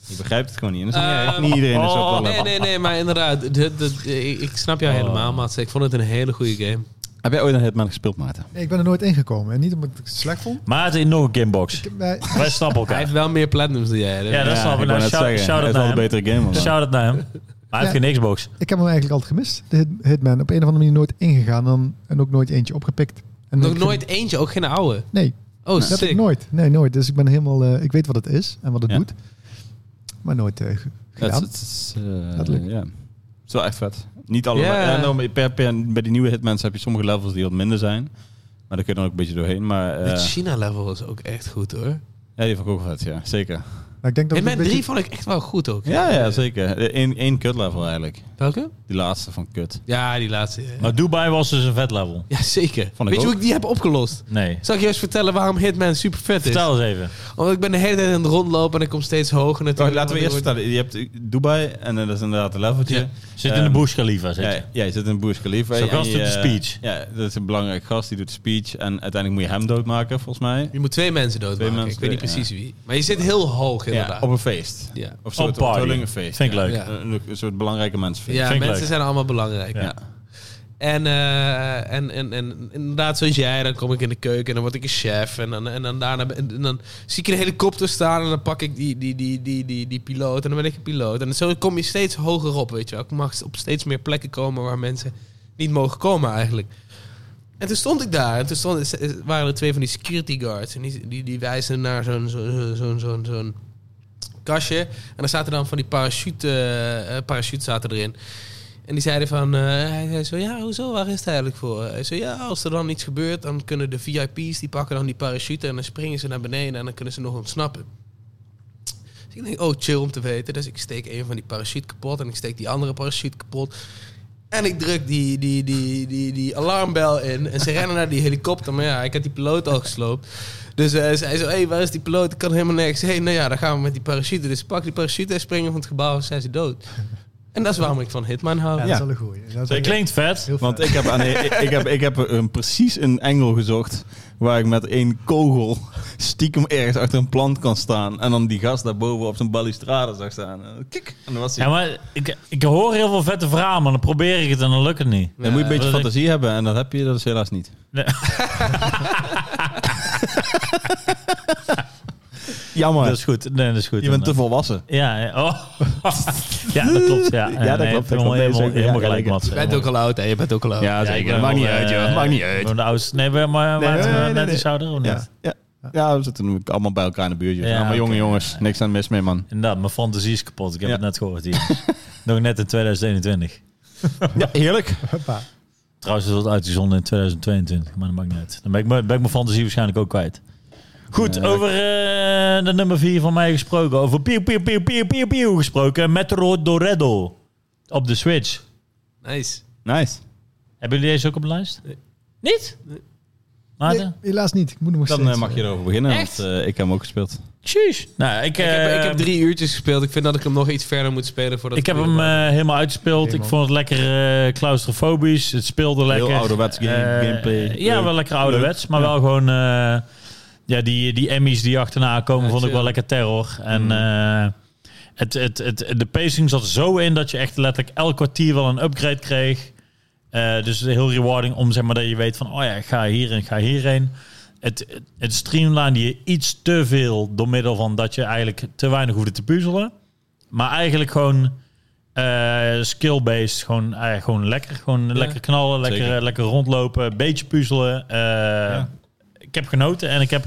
[SPEAKER 1] Je begrijpt het gewoon niet. En dan
[SPEAKER 2] Eh,
[SPEAKER 1] zeg je, niet iedereen is op
[SPEAKER 3] oh,
[SPEAKER 1] wel
[SPEAKER 2] Nee, nee, nee, maar inderdaad. de- de- ik- ik snap jou
[SPEAKER 3] Oh.
[SPEAKER 2] helemaal, Mats. Ik vond het een hele goede game.
[SPEAKER 1] Heb jij ooit een Hitman gespeeld, Maarten?
[SPEAKER 4] Nee, ik ben er nooit ingekomen. En niet omdat ik het slecht vond.
[SPEAKER 3] Maar het is nog een Gamebox.
[SPEAKER 4] Ik heb, eh, nee,
[SPEAKER 3] Wij snappen
[SPEAKER 2] Hij
[SPEAKER 3] elkaar.
[SPEAKER 2] heeft wel meer platinums dan jij. dat
[SPEAKER 3] Ja, dat
[SPEAKER 2] weet ik.
[SPEAKER 3] snap ik.
[SPEAKER 1] wou
[SPEAKER 3] Nou,
[SPEAKER 1] net
[SPEAKER 3] shout-
[SPEAKER 1] zeggen,
[SPEAKER 3] shout-out
[SPEAKER 1] het is
[SPEAKER 3] naar
[SPEAKER 1] wel een
[SPEAKER 3] hem.
[SPEAKER 1] betere game. man.
[SPEAKER 3] Shout-out naar hem. Maar hij heeft
[SPEAKER 4] Ja.
[SPEAKER 3] geen Xbox.
[SPEAKER 4] ik heb hem eigenlijk altijd gemist. De Hit- Hitman. Op een of andere manier nooit ingegaan. En, en ook nooit eentje opgepikt. En ik
[SPEAKER 2] Nog
[SPEAKER 4] vind-
[SPEAKER 2] nooit eentje, ook geen oude.
[SPEAKER 4] Nee,
[SPEAKER 2] Oh,
[SPEAKER 4] dat heb
[SPEAKER 2] sick.
[SPEAKER 4] ik nooit. Nee, nooit. Dus ik ben helemaal... eh, ik weet wat het is en wat het
[SPEAKER 1] Ja.
[SPEAKER 4] doet. Maar nooit eh, ge-
[SPEAKER 1] Ja,
[SPEAKER 4] gedaan.
[SPEAKER 1] het is, eh,
[SPEAKER 4] Letterlijk.
[SPEAKER 1] ja. Het is wel echt vet. Niet allemaal.
[SPEAKER 2] Ja.
[SPEAKER 1] Ja. nou, maar per, per, bij die nieuwe Hitmans heb je sommige levels die wat minder zijn. Maar daar kun je dan ook een beetje doorheen. Maar eh,
[SPEAKER 2] Het China-level is ook echt goed, hoor.
[SPEAKER 1] ja, die vond ik ook vet, ja. Zeker.
[SPEAKER 4] Maar ik denk dat
[SPEAKER 2] En
[SPEAKER 4] het
[SPEAKER 2] mijn
[SPEAKER 4] een beetje-
[SPEAKER 2] drie vond ik echt wel goed ook.
[SPEAKER 1] Ja, ja, zeker. Eén één kut level eigenlijk.
[SPEAKER 2] Welke?
[SPEAKER 1] Die laatste van kut.
[SPEAKER 2] Ja, die laatste. ja.
[SPEAKER 3] Maar Dubai was dus een vet level.
[SPEAKER 2] Ja, zeker.
[SPEAKER 1] Vond ik
[SPEAKER 2] Weet je
[SPEAKER 1] ook.
[SPEAKER 2] hoe ik die heb opgelost?
[SPEAKER 3] Nee.
[SPEAKER 2] Zal ik je eens vertellen waarom Hitman super vet is?
[SPEAKER 3] Vertel eens even.
[SPEAKER 2] Want ik ben de hele tijd aan het rondlopen en ik kom steeds hoger natuurlijk.
[SPEAKER 1] Oh, laten we eerst
[SPEAKER 2] Want ik
[SPEAKER 1] vertellen. Je hebt Dubai en eh, dat is inderdaad een leveltje.
[SPEAKER 2] Ja.
[SPEAKER 3] Zit in de
[SPEAKER 1] Ehm,
[SPEAKER 3] Bush Khalifa, zit
[SPEAKER 1] Ja,
[SPEAKER 3] je.
[SPEAKER 1] ja, je zit in Burj Khalifa.
[SPEAKER 3] Zo'n
[SPEAKER 1] en
[SPEAKER 3] gast
[SPEAKER 1] je,
[SPEAKER 3] doet de
[SPEAKER 1] eh,
[SPEAKER 3] speech.
[SPEAKER 1] Ja, dat is een belangrijk gast. Die doet de speech. En uiteindelijk moet je hem doodmaken, volgens mij.
[SPEAKER 2] word- Je moet twee mensen doodmaken.
[SPEAKER 1] Twee mensen,
[SPEAKER 2] ik weet niet
[SPEAKER 1] ja.
[SPEAKER 2] precies wie. Maar je zit heel hoog
[SPEAKER 1] Ja,
[SPEAKER 2] inderdaad.
[SPEAKER 1] op een feest.
[SPEAKER 2] ja.
[SPEAKER 1] Of
[SPEAKER 3] Op
[SPEAKER 1] zo'n
[SPEAKER 3] party.
[SPEAKER 1] onthullingfeest.
[SPEAKER 3] Vind ik
[SPEAKER 1] Ja.
[SPEAKER 3] leuk.
[SPEAKER 2] Ja.
[SPEAKER 1] Een, een soort belangrijke mensenfeest.
[SPEAKER 2] Ja,
[SPEAKER 3] Vind ik
[SPEAKER 2] mensen
[SPEAKER 3] leuk.
[SPEAKER 2] zijn allemaal belangrijk.
[SPEAKER 3] Ja.
[SPEAKER 1] Ja.
[SPEAKER 2] En, eh, en, en, en inderdaad, zoals jij, dan kom ik in de keuken en dan word ik een chef. En dan, en dan, daarna, ben- en dan zie ik een helikopter staan en dan pak ik die, die, die, die, die, die piloot en dan ben ik een piloot. En zo kom je steeds hoger op, weet je wel. Ik mag op steeds meer plekken komen waar mensen niet mogen komen eigenlijk. En toen stond ik daar en toen stond, waren er twee van die security guards. En die, die, die wijzen naar zo'n zo'n zo'n zo'n zo'n zo'n kastje. En daar zaten dan van die parachute, eh, eh, parachute zaten erin. En die zeiden van, eh, hij zei zo, ja, hoezo, waar is het eigenlijk voor? Hij zei, ja, als er dan iets gebeurt, dan kunnen de VIP's, die pakken dan die parachute en dan springen ze naar beneden en dan kunnen ze nog ontsnappen. Dus Ik denk, oh, chill om te weten. Dus ik steek een van die parachute kapot en ik steek die andere parachute kapot. En ik druk die, die, die, die, die alarmbel in. En ze rennen naar die helikopter. Maar ja, ik had die piloot al gesloopt. Dus eh, zij zo, hé, hey, waar is die piloot? Ik kan helemaal nergens heen. Nou ja, dan gaan we met die parachute. Dus ik pak die parachute en springen van het gebouw. En zijn ze dood. En dat is waarom ik van Hitman hou.
[SPEAKER 4] Ja, dat
[SPEAKER 1] Ja.
[SPEAKER 4] is wel een goeie. Dat is wel
[SPEAKER 3] Dat klinkt vet.
[SPEAKER 4] heel
[SPEAKER 1] Want
[SPEAKER 4] fijn.
[SPEAKER 1] ik heb, aan, ik, ik heb, ik heb een, precies een engel gezocht waar ik met één kogel stiekem ergens achter een plant kan staan. En dan die gast daarboven op zijn balustrade zag staan. En dan kik, en dan was hij.
[SPEAKER 3] Ja, maar ik, ik hoor heel veel vette verhalen, maar dan probeer ik het en dan lukt het niet.
[SPEAKER 1] dan moet je een beetje
[SPEAKER 3] dat ik-
[SPEAKER 1] fantasie hebben en dat heb je, dat is helaas niet.
[SPEAKER 3] Nee.
[SPEAKER 1] [LAUGHS] Jammer.
[SPEAKER 3] Dat is goed. Nee, dat is goed.
[SPEAKER 1] Dus je bent te
[SPEAKER 3] En,
[SPEAKER 1] volwassen.
[SPEAKER 3] eh, Ja, ja. oh. [LAUGHS] ja, dat klopt. Ja,
[SPEAKER 1] [LAUGHS] Ja, dat
[SPEAKER 3] Nee,
[SPEAKER 1] klopt, dat klopt. Nee,
[SPEAKER 3] helemaal- Helemaal,
[SPEAKER 1] zeker. Ja,
[SPEAKER 3] helemaal gelijk,
[SPEAKER 1] gelijk.
[SPEAKER 3] Mats.
[SPEAKER 2] Je bent ook al oud, hè? Je bent ook al oud.
[SPEAKER 1] Ja,
[SPEAKER 3] ik
[SPEAKER 1] zeker.
[SPEAKER 3] ben
[SPEAKER 1] maakt
[SPEAKER 3] wel,
[SPEAKER 1] niet uit,
[SPEAKER 3] eh,
[SPEAKER 1] joh. Maakt niet uit.
[SPEAKER 3] gewoon de oudste. Nee, maar, maar
[SPEAKER 1] Nee,
[SPEAKER 3] maar-
[SPEAKER 1] nee,
[SPEAKER 3] maar-
[SPEAKER 1] nee,
[SPEAKER 3] net
[SPEAKER 1] nee.
[SPEAKER 3] iets ouder of
[SPEAKER 1] Ja,
[SPEAKER 3] niet?
[SPEAKER 1] ja. ja, we zitten nu allemaal bij elkaar in de buurt. joh.
[SPEAKER 3] Ja,
[SPEAKER 1] Ja, maar jongen,
[SPEAKER 3] oké.
[SPEAKER 1] jongens, niks aan het mis mee, man.
[SPEAKER 3] Inderdaad, mijn fantasie is kapot. Ik heb
[SPEAKER 1] Ja.
[SPEAKER 3] het net
[SPEAKER 2] [LAUGHS]
[SPEAKER 3] gehoord hier. Nog net in 2021.
[SPEAKER 1] Ja, heerlijk.
[SPEAKER 4] Hoppa.
[SPEAKER 3] Trouwens is dat uitgezonden in 2022, maar dat maakt niet uit. Dan ben ik, mijn- ben ik mijn fantasie waarschijnlijk ook kwijt. Goed,
[SPEAKER 1] Nee,
[SPEAKER 3] over eh, de nummer 4 van mij gesproken. Over piu, piu, piu, piu, piu, piu gesproken. Metro Doredo op de Switch.
[SPEAKER 2] Nice.
[SPEAKER 1] Nice.
[SPEAKER 3] Hebben jullie deze ook op de lijst?
[SPEAKER 2] Nee.
[SPEAKER 3] Niet?
[SPEAKER 2] Nee.
[SPEAKER 3] Maarten?
[SPEAKER 4] Nee, helaas niet. Ik moet nog
[SPEAKER 1] Dan eh,
[SPEAKER 4] steeds,
[SPEAKER 1] mag je
[SPEAKER 4] eh,
[SPEAKER 1] erover beginnen,
[SPEAKER 3] Echt?
[SPEAKER 1] want eh, ik heb hem ook gespeeld.
[SPEAKER 3] Tjees. Nou, ik,
[SPEAKER 2] ik, heb, ik heb
[SPEAKER 3] eh,
[SPEAKER 2] drie uurtjes gespeeld. Ik vind dat ik hem nog iets verder moet spelen voordat
[SPEAKER 3] Ik heb
[SPEAKER 2] het
[SPEAKER 3] hem
[SPEAKER 2] weer-
[SPEAKER 3] eh, helemaal uitgespeeld.
[SPEAKER 4] Helemaal.
[SPEAKER 3] Ik vond het lekker eh, claustrofobisch. Het speelde lekker.
[SPEAKER 1] ouderwets game-
[SPEAKER 3] Eh,
[SPEAKER 1] gameplay.
[SPEAKER 3] Ja, wel lekker ouderwets. Maar wel gewoon... eh, ja, die, die Emmys die achterna komen
[SPEAKER 2] Ja,
[SPEAKER 3] vond ik
[SPEAKER 2] chill.
[SPEAKER 3] wel lekker terror. En
[SPEAKER 1] Mm.
[SPEAKER 3] eh, het, het, het, de pacing zat zo in dat je echt letterlijk elk kwartier wel een upgrade kreeg. Eh, dus heel rewarding om zeg maar dat je weet van... Oh ja, ik ga hier en ik ga hierheen. Het, het, het streamline je iets te veel door middel van dat je eigenlijk te weinig hoefde te puzzelen. Maar eigenlijk gewoon eh, skill-based. Gewoon, eh, gewoon lekker. Gewoon lekker knallen, lekker, eh,
[SPEAKER 1] Zeker.
[SPEAKER 3] lekker rondlopen, een beetje puzzelen. Eh, Ik heb genoten en ik heb...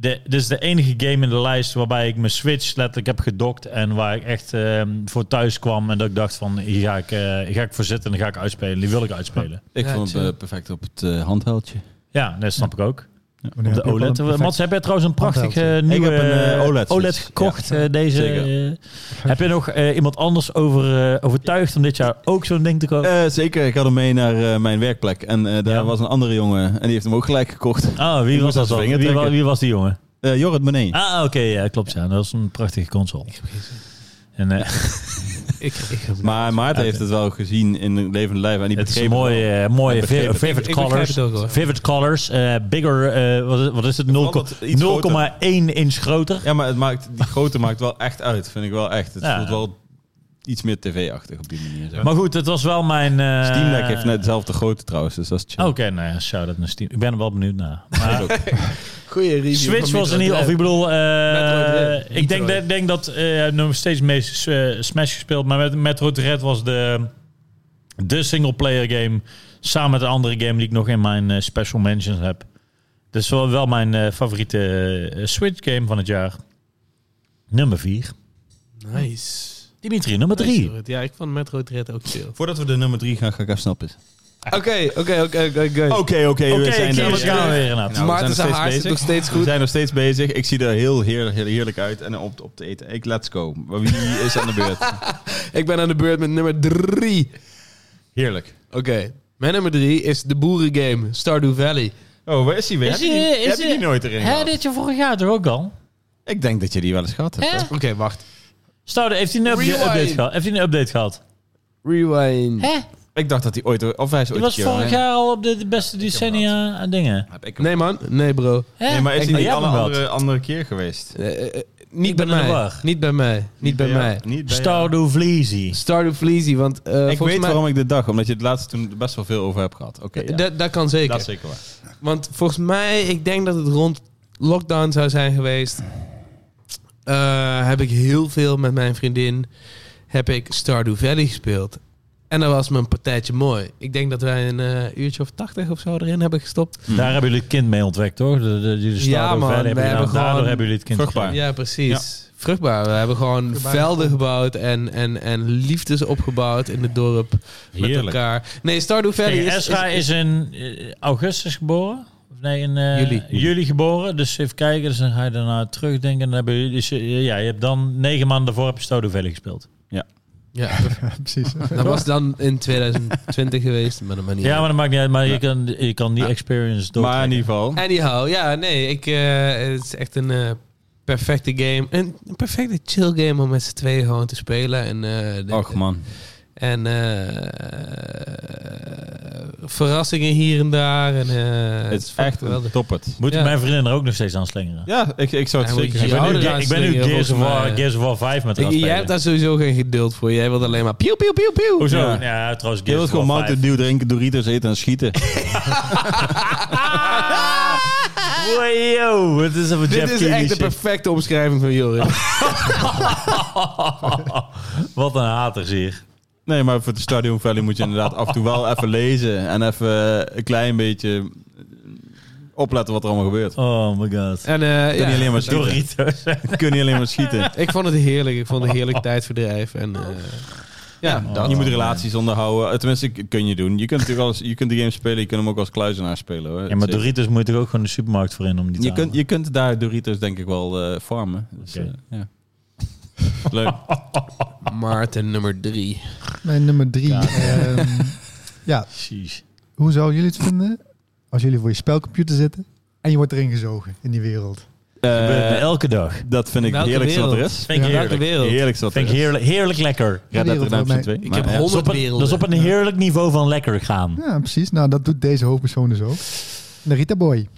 [SPEAKER 3] De, dit is de enige game in de lijst waarbij ik mijn Switch letterlijk heb gedokt. En waar ik echt eh, voor thuis kwam. En dat ik dacht van, hier ga ik, eh, hier ga ik voor zitten en die ga ik uitspelen. Die wil ik uitspelen.
[SPEAKER 1] Ik
[SPEAKER 2] Ja,
[SPEAKER 1] vond het
[SPEAKER 2] chill.
[SPEAKER 1] eh, perfect op het eh, handheldje.
[SPEAKER 3] Ja, dat snap ik ook.
[SPEAKER 4] wanneer
[SPEAKER 3] De
[SPEAKER 4] heb je
[SPEAKER 1] E
[SPEAKER 4] ook al een
[SPEAKER 3] OLED.
[SPEAKER 1] eh,
[SPEAKER 4] perfect-
[SPEAKER 3] Mats, heb jij trouwens een prachtige
[SPEAKER 4] Handheld,
[SPEAKER 3] nieuwe
[SPEAKER 1] Ik heb een, eh,
[SPEAKER 3] eh,
[SPEAKER 1] OLED switch.
[SPEAKER 3] gekocht? eh, deze,
[SPEAKER 1] Zeker.
[SPEAKER 3] eh, heb je nog eh, iemand anders over, eh, overtuigd om dit jaar ook zo'n ding te kopen?
[SPEAKER 1] Eh, zeker, ik had hem mee naar eh, mijn werkplek. En eh, daar
[SPEAKER 3] Ja.
[SPEAKER 1] was een andere jongen en die heeft hem ook gelijk gekocht.
[SPEAKER 3] ah, wie
[SPEAKER 1] ik
[SPEAKER 3] was
[SPEAKER 1] moet
[SPEAKER 3] dat
[SPEAKER 1] dat
[SPEAKER 3] dan?
[SPEAKER 1] vinger
[SPEAKER 3] Wie, wa-
[SPEAKER 1] trekken.
[SPEAKER 3] wie was die jongen?
[SPEAKER 1] Eh Jorrit Mené.
[SPEAKER 3] Ah, oké, ja, klopt. Ja. Dat was een prachtige console. En, eh,
[SPEAKER 2] Ik, ik, heb-
[SPEAKER 1] Maar Maarten
[SPEAKER 3] Ja,
[SPEAKER 1] heeft het wel gezien in levende lijf. En die
[SPEAKER 3] het is een
[SPEAKER 1] begreep
[SPEAKER 3] mooie,
[SPEAKER 1] wel.
[SPEAKER 3] eh, mooie
[SPEAKER 1] Hij begreep
[SPEAKER 3] vi-
[SPEAKER 1] het.
[SPEAKER 3] vivid
[SPEAKER 2] Ik- ik begrijp
[SPEAKER 3] colors.
[SPEAKER 2] het ook, hoor.
[SPEAKER 3] vivid colors. eh, bigger, eh, wat, is- wat is het?
[SPEAKER 1] verandert iets groter.
[SPEAKER 3] 0,1 inch groter.
[SPEAKER 1] Ja, maar het maakt, die grootte maakt wel echt uit, vind ik wel echt. Het
[SPEAKER 3] Ja.
[SPEAKER 1] voelt wel iets meer tv-achtig op die manier. Zeg.
[SPEAKER 3] Maar goed, het was wel mijn... eh,
[SPEAKER 1] Steam Deck heeft net dezelfde grootte trouwens, dus dat is chill.
[SPEAKER 3] Oké, nou ja, shout-out naar Steam. Ik ben er wel benieuwd [LAUGHS] naar. Maar,
[SPEAKER 2] Goeie review.
[SPEAKER 3] Switch
[SPEAKER 2] van
[SPEAKER 3] was in ieder
[SPEAKER 2] Metroid
[SPEAKER 3] geval, ik bedoel, eh,
[SPEAKER 2] Metroid Dread.
[SPEAKER 3] ik denk,
[SPEAKER 2] Metroid.
[SPEAKER 3] dat- denk dat eh nog steeds meest eh, Smash gespeeld, maar met Metro Dread was de, de singleplayer game samen met een andere game die ik nog in mijn eh, special mentions heb. Dus wel, wel mijn eh, favoriete eh, Switch game van het jaar. Nummer 4.
[SPEAKER 2] Dread. Nice.
[SPEAKER 3] Dimitri, nummer 3.
[SPEAKER 2] Metroid. Ja, ik vond Metro Dread ook chill.
[SPEAKER 1] Voordat we de nummer drie gaan, ga ik even snappen.
[SPEAKER 2] [LAUGHS] Oké, oké, oké, oké.
[SPEAKER 1] Oké, oké,
[SPEAKER 3] Oké, hier we gaan weer inderdaad.
[SPEAKER 1] Nou, Oh, we zijn
[SPEAKER 2] Maarten
[SPEAKER 1] nog
[SPEAKER 2] zijn
[SPEAKER 1] steeds
[SPEAKER 2] haar zit
[SPEAKER 1] bezig.
[SPEAKER 2] nog steeds
[SPEAKER 1] We
[SPEAKER 2] goed.
[SPEAKER 1] zijn nog steeds bezig. Ik zie er heel heerlijk, heel heerlijk uit en op, op te eten. Ik, let's go. Maar Wie is aan de beurt?
[SPEAKER 2] Ik ben aan de beurt met nummer drie.
[SPEAKER 1] Heerlijk.
[SPEAKER 2] Oké. Mijn nummer drie is de boerengame Stardew Valley.
[SPEAKER 1] Oh, waar is hij weer?
[SPEAKER 3] Is
[SPEAKER 1] heb je die,
[SPEAKER 3] die- is
[SPEAKER 1] heb je die
[SPEAKER 3] die-
[SPEAKER 1] nooit erin
[SPEAKER 3] Hè,
[SPEAKER 1] gehad?
[SPEAKER 3] dit je vorig jaar toch ook al?
[SPEAKER 1] Ik denk dat je die wel eens gehad hebt.
[SPEAKER 3] Hè?
[SPEAKER 1] hoor.
[SPEAKER 2] Oké, wacht.
[SPEAKER 3] Stoude, heeft hij een update,
[SPEAKER 2] Rewind.
[SPEAKER 3] update gehad? Heeft hij een update gehad?
[SPEAKER 2] Rewind.
[SPEAKER 3] Hè?
[SPEAKER 1] Ik dacht dat hij ooit... Of hij is
[SPEAKER 3] Die
[SPEAKER 1] ooit
[SPEAKER 3] was
[SPEAKER 1] een keer
[SPEAKER 3] vorig
[SPEAKER 1] online-
[SPEAKER 3] jaar al op de, de beste decennia aan dingen.
[SPEAKER 1] Heb ik hem.
[SPEAKER 2] Nee man, nee bro.
[SPEAKER 3] Hè?
[SPEAKER 1] Nee, maar is
[SPEAKER 3] Ik-
[SPEAKER 1] hij niet
[SPEAKER 3] jij
[SPEAKER 1] al een
[SPEAKER 3] hebt hem
[SPEAKER 1] andere,
[SPEAKER 3] gehad.
[SPEAKER 1] andere keer geweest?
[SPEAKER 2] Eh, eh, eh, niet,
[SPEAKER 3] Ik
[SPEAKER 2] bij
[SPEAKER 3] ben in de
[SPEAKER 2] mij.
[SPEAKER 3] war.
[SPEAKER 2] niet bij mij. Niet bij
[SPEAKER 1] jou?
[SPEAKER 2] mij.
[SPEAKER 1] Niet bij jou?
[SPEAKER 3] Stardew Valley.
[SPEAKER 2] Stardew Valley, want eh,
[SPEAKER 1] ik
[SPEAKER 2] volgens
[SPEAKER 1] weet
[SPEAKER 2] mij... Eh,
[SPEAKER 1] waarom ik dit dacht. Omdat je het laatste toen best wel veel over hebt gehad. Oké, ja.
[SPEAKER 2] Dat- Dat kan zeker.
[SPEAKER 1] dat is zeker waar.
[SPEAKER 2] Want volgens mij, ik denk dat het rond lockdown zou zijn geweest. Eh, heb ik heel veel met mijn vriendin heb ik Stardew Valley gespeeld. En dat was mijn partijtje mooi. Ik denk dat wij een eh, uurtje of tachtig of zo erin hebben gestopt.
[SPEAKER 3] Daar hebben jullie het kind mee ontwekt, toch? De, de, de, de Stardew
[SPEAKER 2] Hm. Ja, man,
[SPEAKER 3] Valley hebben
[SPEAKER 2] we
[SPEAKER 3] jullie-
[SPEAKER 2] hebben
[SPEAKER 3] daardoor
[SPEAKER 2] gewoon
[SPEAKER 3] hebben jullie het kind
[SPEAKER 1] vruchtbaar.
[SPEAKER 3] gekregen.
[SPEAKER 2] Ja, precies. Vruchtbaar. We hebben gewoon velden gebouwd en, en, en liefdes opgebouwd in het dorp met
[SPEAKER 1] Heerlijk.
[SPEAKER 2] elkaar. Nee, Stardew Valley
[SPEAKER 3] Kijk,
[SPEAKER 2] is,
[SPEAKER 3] Ezra
[SPEAKER 2] is-
[SPEAKER 3] is in eh, augustus geboren. Of nee, in eh,
[SPEAKER 2] Juli.
[SPEAKER 3] juli geboren. Dus even kijken. Dus dan ga je daarna terugdenken. Dan hebben jullie, dus, eh, ja, je hebt dan negen maanden daarvoor heb je Stado Valley gespeeld.
[SPEAKER 2] Ja,
[SPEAKER 4] [LAUGHS] Ja, precies. [LAUGHS]
[SPEAKER 2] dat was dan in 2020 geweest, maar dat maakt niet
[SPEAKER 3] Ja, maar dat maakt niet uit. Maar je,
[SPEAKER 1] Ja.
[SPEAKER 3] kan, je kan die
[SPEAKER 2] Ja.
[SPEAKER 3] experience door.
[SPEAKER 1] Maar in ieder geval,
[SPEAKER 2] Anyhow, ja, nee, ik, eh, het is echt een eh, perfecte game. Een een perfecte chill game om met z'n tweeën gewoon te spelen. En, eh, de-
[SPEAKER 1] ach man.
[SPEAKER 2] En eh, verrassingen hier en daar. En, eh,
[SPEAKER 1] Het is
[SPEAKER 2] fucking
[SPEAKER 1] echt een
[SPEAKER 2] geweldig.
[SPEAKER 1] toppert.
[SPEAKER 3] Moet
[SPEAKER 2] Ja.
[SPEAKER 3] mijn vriendin er ook nog steeds aan slingeren?
[SPEAKER 1] Ja, ik, ik zou het zeker
[SPEAKER 2] Hij moet
[SPEAKER 3] Ik
[SPEAKER 2] Die
[SPEAKER 3] ben, nu,
[SPEAKER 2] oude
[SPEAKER 3] Ge- ik ben nu
[SPEAKER 2] aanslingeren,
[SPEAKER 3] Gears of,
[SPEAKER 2] volgens
[SPEAKER 3] War,
[SPEAKER 2] mij.
[SPEAKER 3] Gears of War 5 met haar
[SPEAKER 2] Ik- Jij hebt daar sowieso geen geduld voor. Jij wilt alleen maar pieuw, pieuw, pieuw, pieuw.
[SPEAKER 3] Hoezo?
[SPEAKER 1] Ja.
[SPEAKER 3] Ja, trouwens
[SPEAKER 1] Je
[SPEAKER 3] Gears
[SPEAKER 1] wilt
[SPEAKER 3] of War
[SPEAKER 1] gewoon
[SPEAKER 3] 5.
[SPEAKER 1] Mountain Dew drinken, Doritos eten en schieten. [LAUGHS]
[SPEAKER 3] Wow, yo, het is even
[SPEAKER 2] Ah! Dit
[SPEAKER 3] Jeff
[SPEAKER 2] is
[SPEAKER 3] Keighley
[SPEAKER 2] echt de
[SPEAKER 3] shit.
[SPEAKER 2] perfecte omschrijving van Joris.
[SPEAKER 1] Oh.
[SPEAKER 3] Wat een hater hier.
[SPEAKER 1] Nee, maar voor de Stadium Valley moet je inderdaad af en toe wel even lezen. En even eh, een klein beetje eh, opletten wat er allemaal gebeurt.
[SPEAKER 3] Oh my god.
[SPEAKER 2] En eh,
[SPEAKER 1] Kun je alleen maar schieten.
[SPEAKER 3] Doritos.
[SPEAKER 1] Je kunt niet alleen maar schieten.
[SPEAKER 2] ik vond het heerlijk. Ik vond het heerlijk
[SPEAKER 1] Oh.
[SPEAKER 2] tijdverdrijf. En, eh, ja,
[SPEAKER 3] Ja.
[SPEAKER 2] dat.
[SPEAKER 1] Je moet relaties onderhouden. Eh, Tenminste, k- kun je doen. Je kunt, natuurlijk alles, je kunt de game spelen, je kunt hem ook als kluizenaar spelen. Hoor.
[SPEAKER 3] Ja, maar Doritos moet je toch ook gewoon de supermarkt voor in om die te
[SPEAKER 1] je, kunt,
[SPEAKER 3] halen?
[SPEAKER 1] je kunt daar Doritos denk ik wel eh, farmen. Dus,
[SPEAKER 3] Oké.
[SPEAKER 1] eh,
[SPEAKER 2] [LAUGHS]
[SPEAKER 1] ja. Leuk. Oh.
[SPEAKER 2] Maarten nummer drie.
[SPEAKER 4] Mijn nummer drie.
[SPEAKER 3] Ja.
[SPEAKER 4] ehm, ja,
[SPEAKER 3] Precies.
[SPEAKER 4] hoe zouden jullie het vinden als jullie voor je spelcomputer zitten en je wordt erin gezogen in die wereld?
[SPEAKER 1] Eh,
[SPEAKER 3] Gebeurt me elke dag.
[SPEAKER 1] dat vind ik
[SPEAKER 2] Welke
[SPEAKER 1] heerlijk wat er
[SPEAKER 2] wereld?
[SPEAKER 1] is.
[SPEAKER 3] Vind ik
[SPEAKER 4] Ja,
[SPEAKER 3] heerlijk.
[SPEAKER 2] Welke wereld?
[SPEAKER 1] Heerlijk wat er
[SPEAKER 3] Vind
[SPEAKER 1] is.
[SPEAKER 3] ik heerlijk, heerlijk lekker.
[SPEAKER 1] Red Dead
[SPEAKER 4] Wereld voor
[SPEAKER 1] Redemption
[SPEAKER 4] mij.
[SPEAKER 1] 2.
[SPEAKER 2] Ik
[SPEAKER 1] maar,
[SPEAKER 2] heb
[SPEAKER 1] ja.
[SPEAKER 3] Dat is, op
[SPEAKER 2] honderd
[SPEAKER 3] een, dat is
[SPEAKER 2] werelden.
[SPEAKER 3] op een heerlijk niveau van lekker gaan.
[SPEAKER 4] Ja, precies. Nou, dat doet deze hoofdpersoon dus ook. Narita Boy.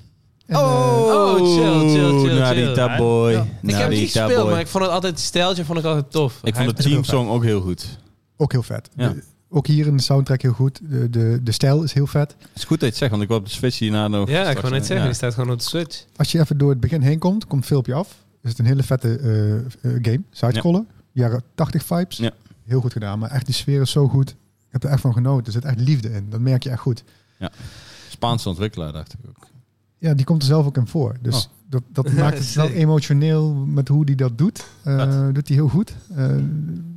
[SPEAKER 4] En, eh,
[SPEAKER 2] Oh, chill, chill, chill,
[SPEAKER 1] Narita
[SPEAKER 3] chill.
[SPEAKER 1] boy.
[SPEAKER 4] Ja.
[SPEAKER 2] Ik heb het niet
[SPEAKER 1] Narita
[SPEAKER 2] gespeeld,
[SPEAKER 1] boy.
[SPEAKER 2] maar ik vond het altijd het stijltje vond ik altijd tof.
[SPEAKER 1] Nou, Ik
[SPEAKER 2] Hij-
[SPEAKER 1] vond de team song ook heel goed.
[SPEAKER 4] ook heel vet.
[SPEAKER 1] Ja.
[SPEAKER 4] De- ook hier in de soundtrack heel goed. De, de, de stijl is heel vet.
[SPEAKER 1] Het is goed dat je het zegt, want ik wil op de Switch hierna nog...
[SPEAKER 2] Ja, ik
[SPEAKER 1] straks-
[SPEAKER 2] wou net zeggen,
[SPEAKER 1] ja.
[SPEAKER 2] die staat gewoon op de Switch.
[SPEAKER 4] Als je even door het begin heen komt, komt veel op je af. Is het een hele vette eh, eh, game. Sidescroller. Jaren 80 vibes.
[SPEAKER 1] Ja.
[SPEAKER 4] Heel goed gedaan. Maar echt, die sfeer is zo goed. Ik heb er echt van genoten. Er zit echt liefde in. Dat merk je echt goed.
[SPEAKER 1] Spaanse ontwikkelaar, dacht ik ook.
[SPEAKER 4] Ja, die komt er zelf ook in voor. Dus
[SPEAKER 1] Oh.
[SPEAKER 4] dat, dat maakt het wel
[SPEAKER 2] Sick.
[SPEAKER 4] emotioneel met hoe die dat doet. Eh,
[SPEAKER 1] Vet.
[SPEAKER 4] doet hij heel goed. Eh,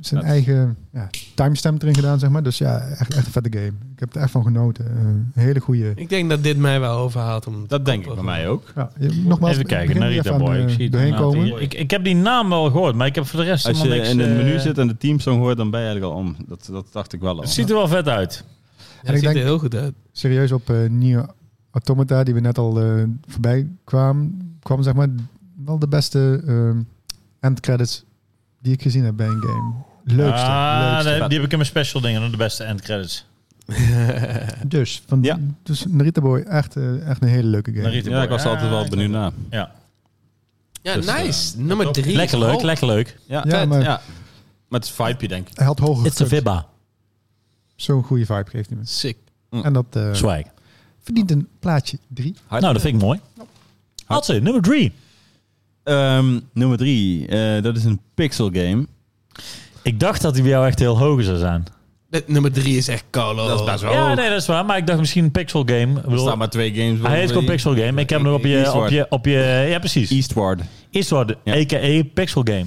[SPEAKER 4] zijn
[SPEAKER 1] Vet.
[SPEAKER 4] eigen ja, timestamp erin gedaan, zeg maar. Dus ja, echt, echt een vette game. Ik heb er echt van genoten. Eh, een hele goede.
[SPEAKER 2] Ik denk dat dit mij wel overhaalt om...
[SPEAKER 1] Dat denk ik bij mij ook.
[SPEAKER 4] Ja, je- nogmaals,
[SPEAKER 3] Even kijken,
[SPEAKER 4] begin er
[SPEAKER 3] Narita
[SPEAKER 4] even aan,
[SPEAKER 3] Boy.
[SPEAKER 4] eh,
[SPEAKER 3] Ik zie het
[SPEAKER 4] doorheen
[SPEAKER 3] inderdaad
[SPEAKER 4] komen.
[SPEAKER 3] hier. Ik, ik heb die naam wel gehoord, maar ik heb voor de rest
[SPEAKER 1] Als je
[SPEAKER 3] helemaal niks...
[SPEAKER 1] in het menu
[SPEAKER 3] eh,
[SPEAKER 1] zit en de teamsong hoort, dan ben je eigenlijk al om. Dat, dat dacht ik wel al.
[SPEAKER 3] Het ziet er wel vet uit.
[SPEAKER 2] Ja, dat
[SPEAKER 4] ik
[SPEAKER 2] ziet er
[SPEAKER 4] denk-
[SPEAKER 2] heel goed uit.
[SPEAKER 4] Serieus op eh Nier Automata, die we net al eh, voorbij kwamen, kwam zeg maar wel de beste eh, endcredits die ik gezien heb bij een game. Leukste.
[SPEAKER 3] Ah,
[SPEAKER 4] leukste.
[SPEAKER 3] nee, die heb ik in mijn special dingen, de beste endcredits.
[SPEAKER 4] Dus, van,
[SPEAKER 1] Ja.
[SPEAKER 4] dus Narita Boy, echt, eh, echt een hele leuke game.
[SPEAKER 3] Narita
[SPEAKER 1] Ja, ik was er altijd wel
[SPEAKER 3] Ah,
[SPEAKER 1] benieuwd naar.
[SPEAKER 2] Ja,
[SPEAKER 1] Dus,
[SPEAKER 2] nice.
[SPEAKER 1] eh,
[SPEAKER 2] Nummer
[SPEAKER 1] top.
[SPEAKER 2] drie.
[SPEAKER 3] Lekker leuk,
[SPEAKER 2] Oh,
[SPEAKER 3] lekker leuk.
[SPEAKER 1] Ja,
[SPEAKER 4] Ja,
[SPEAKER 1] vet,
[SPEAKER 4] maar-
[SPEAKER 1] ja. Maar het is vibe, denk ik.
[SPEAKER 4] Hij had hoger
[SPEAKER 3] It's a
[SPEAKER 4] gekund.
[SPEAKER 3] vibba.
[SPEAKER 4] Zo'n goede vibe geeft hij me.
[SPEAKER 2] Sick.
[SPEAKER 4] En dat eh,
[SPEAKER 3] Swag.
[SPEAKER 4] verdient een plaatje 3.
[SPEAKER 3] Nou, dat vind ik mooi. Had ze, nummer drie.
[SPEAKER 1] Ehm, nummer drie, eh, dat is een pixel game.
[SPEAKER 3] Ik dacht dat die bij jou echt heel hoog zou zijn.
[SPEAKER 2] Dit Nummer drie is echt kolo.
[SPEAKER 1] Dat is best wel-
[SPEAKER 3] Ja,
[SPEAKER 1] hoog.
[SPEAKER 3] nee, dat is waar. Maar ik dacht misschien een pixel game. Ik
[SPEAKER 1] Er
[SPEAKER 3] bedoel,
[SPEAKER 1] staan maar twee games.
[SPEAKER 3] hij heeft gewoon pixel game. Ik heb hem nog op je, op je, op je... Ja, precies.
[SPEAKER 1] Eastward.
[SPEAKER 3] Eastward,
[SPEAKER 1] Ja.
[SPEAKER 3] a.k.a. pixel game.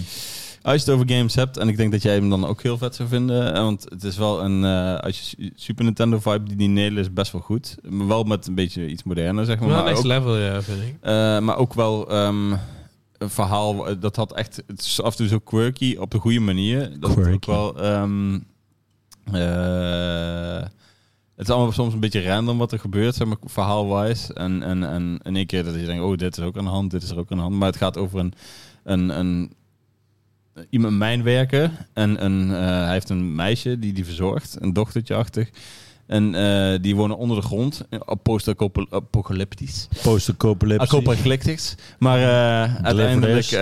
[SPEAKER 1] Als je het over games hebt, en ik denk dat jij hem dan ook heel vet zou vinden. eh, Want het is wel een. eh, als je Super Nintendo vibe die die Nederland is best wel goed. Maar Wel met een beetje iets moderner, zeg maar.
[SPEAKER 2] Wel
[SPEAKER 1] maar,
[SPEAKER 2] next
[SPEAKER 1] ook,
[SPEAKER 2] level, ja, vind ik.
[SPEAKER 1] eh, maar ook wel ehm, een verhaal. eh, Dat had echt. Het is af en toe zo quirky op de goede manier. Dat het ook
[SPEAKER 3] Quirky.
[SPEAKER 1] wel. ehm, eh, het is allemaal soms een beetje random wat er gebeurt, zeg maar, verhaalwijs. En, en, en in één keer dat je denkt, oh, dit is ook aan de hand, dit is er ook aan de hand. Maar het gaat over een, een, een iemand mijnwerker. En een, eh, hij heeft een meisje die die verzorgt, een dochtertje-achtig. En eh, die wonen onder de grond, eh, post-apocalyptisch.
[SPEAKER 3] Poster
[SPEAKER 1] Apocalyptics. Maar eh, uiteindelijk
[SPEAKER 3] Deliverance.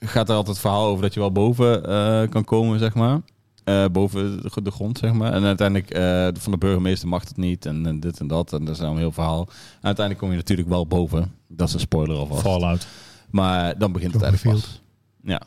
[SPEAKER 1] eh, gaat er altijd het verhaal over dat je wel boven eh, kan komen, zeg maar. Eh, boven de gr- de grond, zeg maar. En uiteindelijk, eh, van de burgemeester mag het niet. En, en dit en dat. En dat is nou een heel verhaal. En uiteindelijk kom je natuurlijk wel boven. Dat is een spoiler alvast.
[SPEAKER 3] Fallout.
[SPEAKER 1] Maar dan begint het eigenlijk pas. Ja.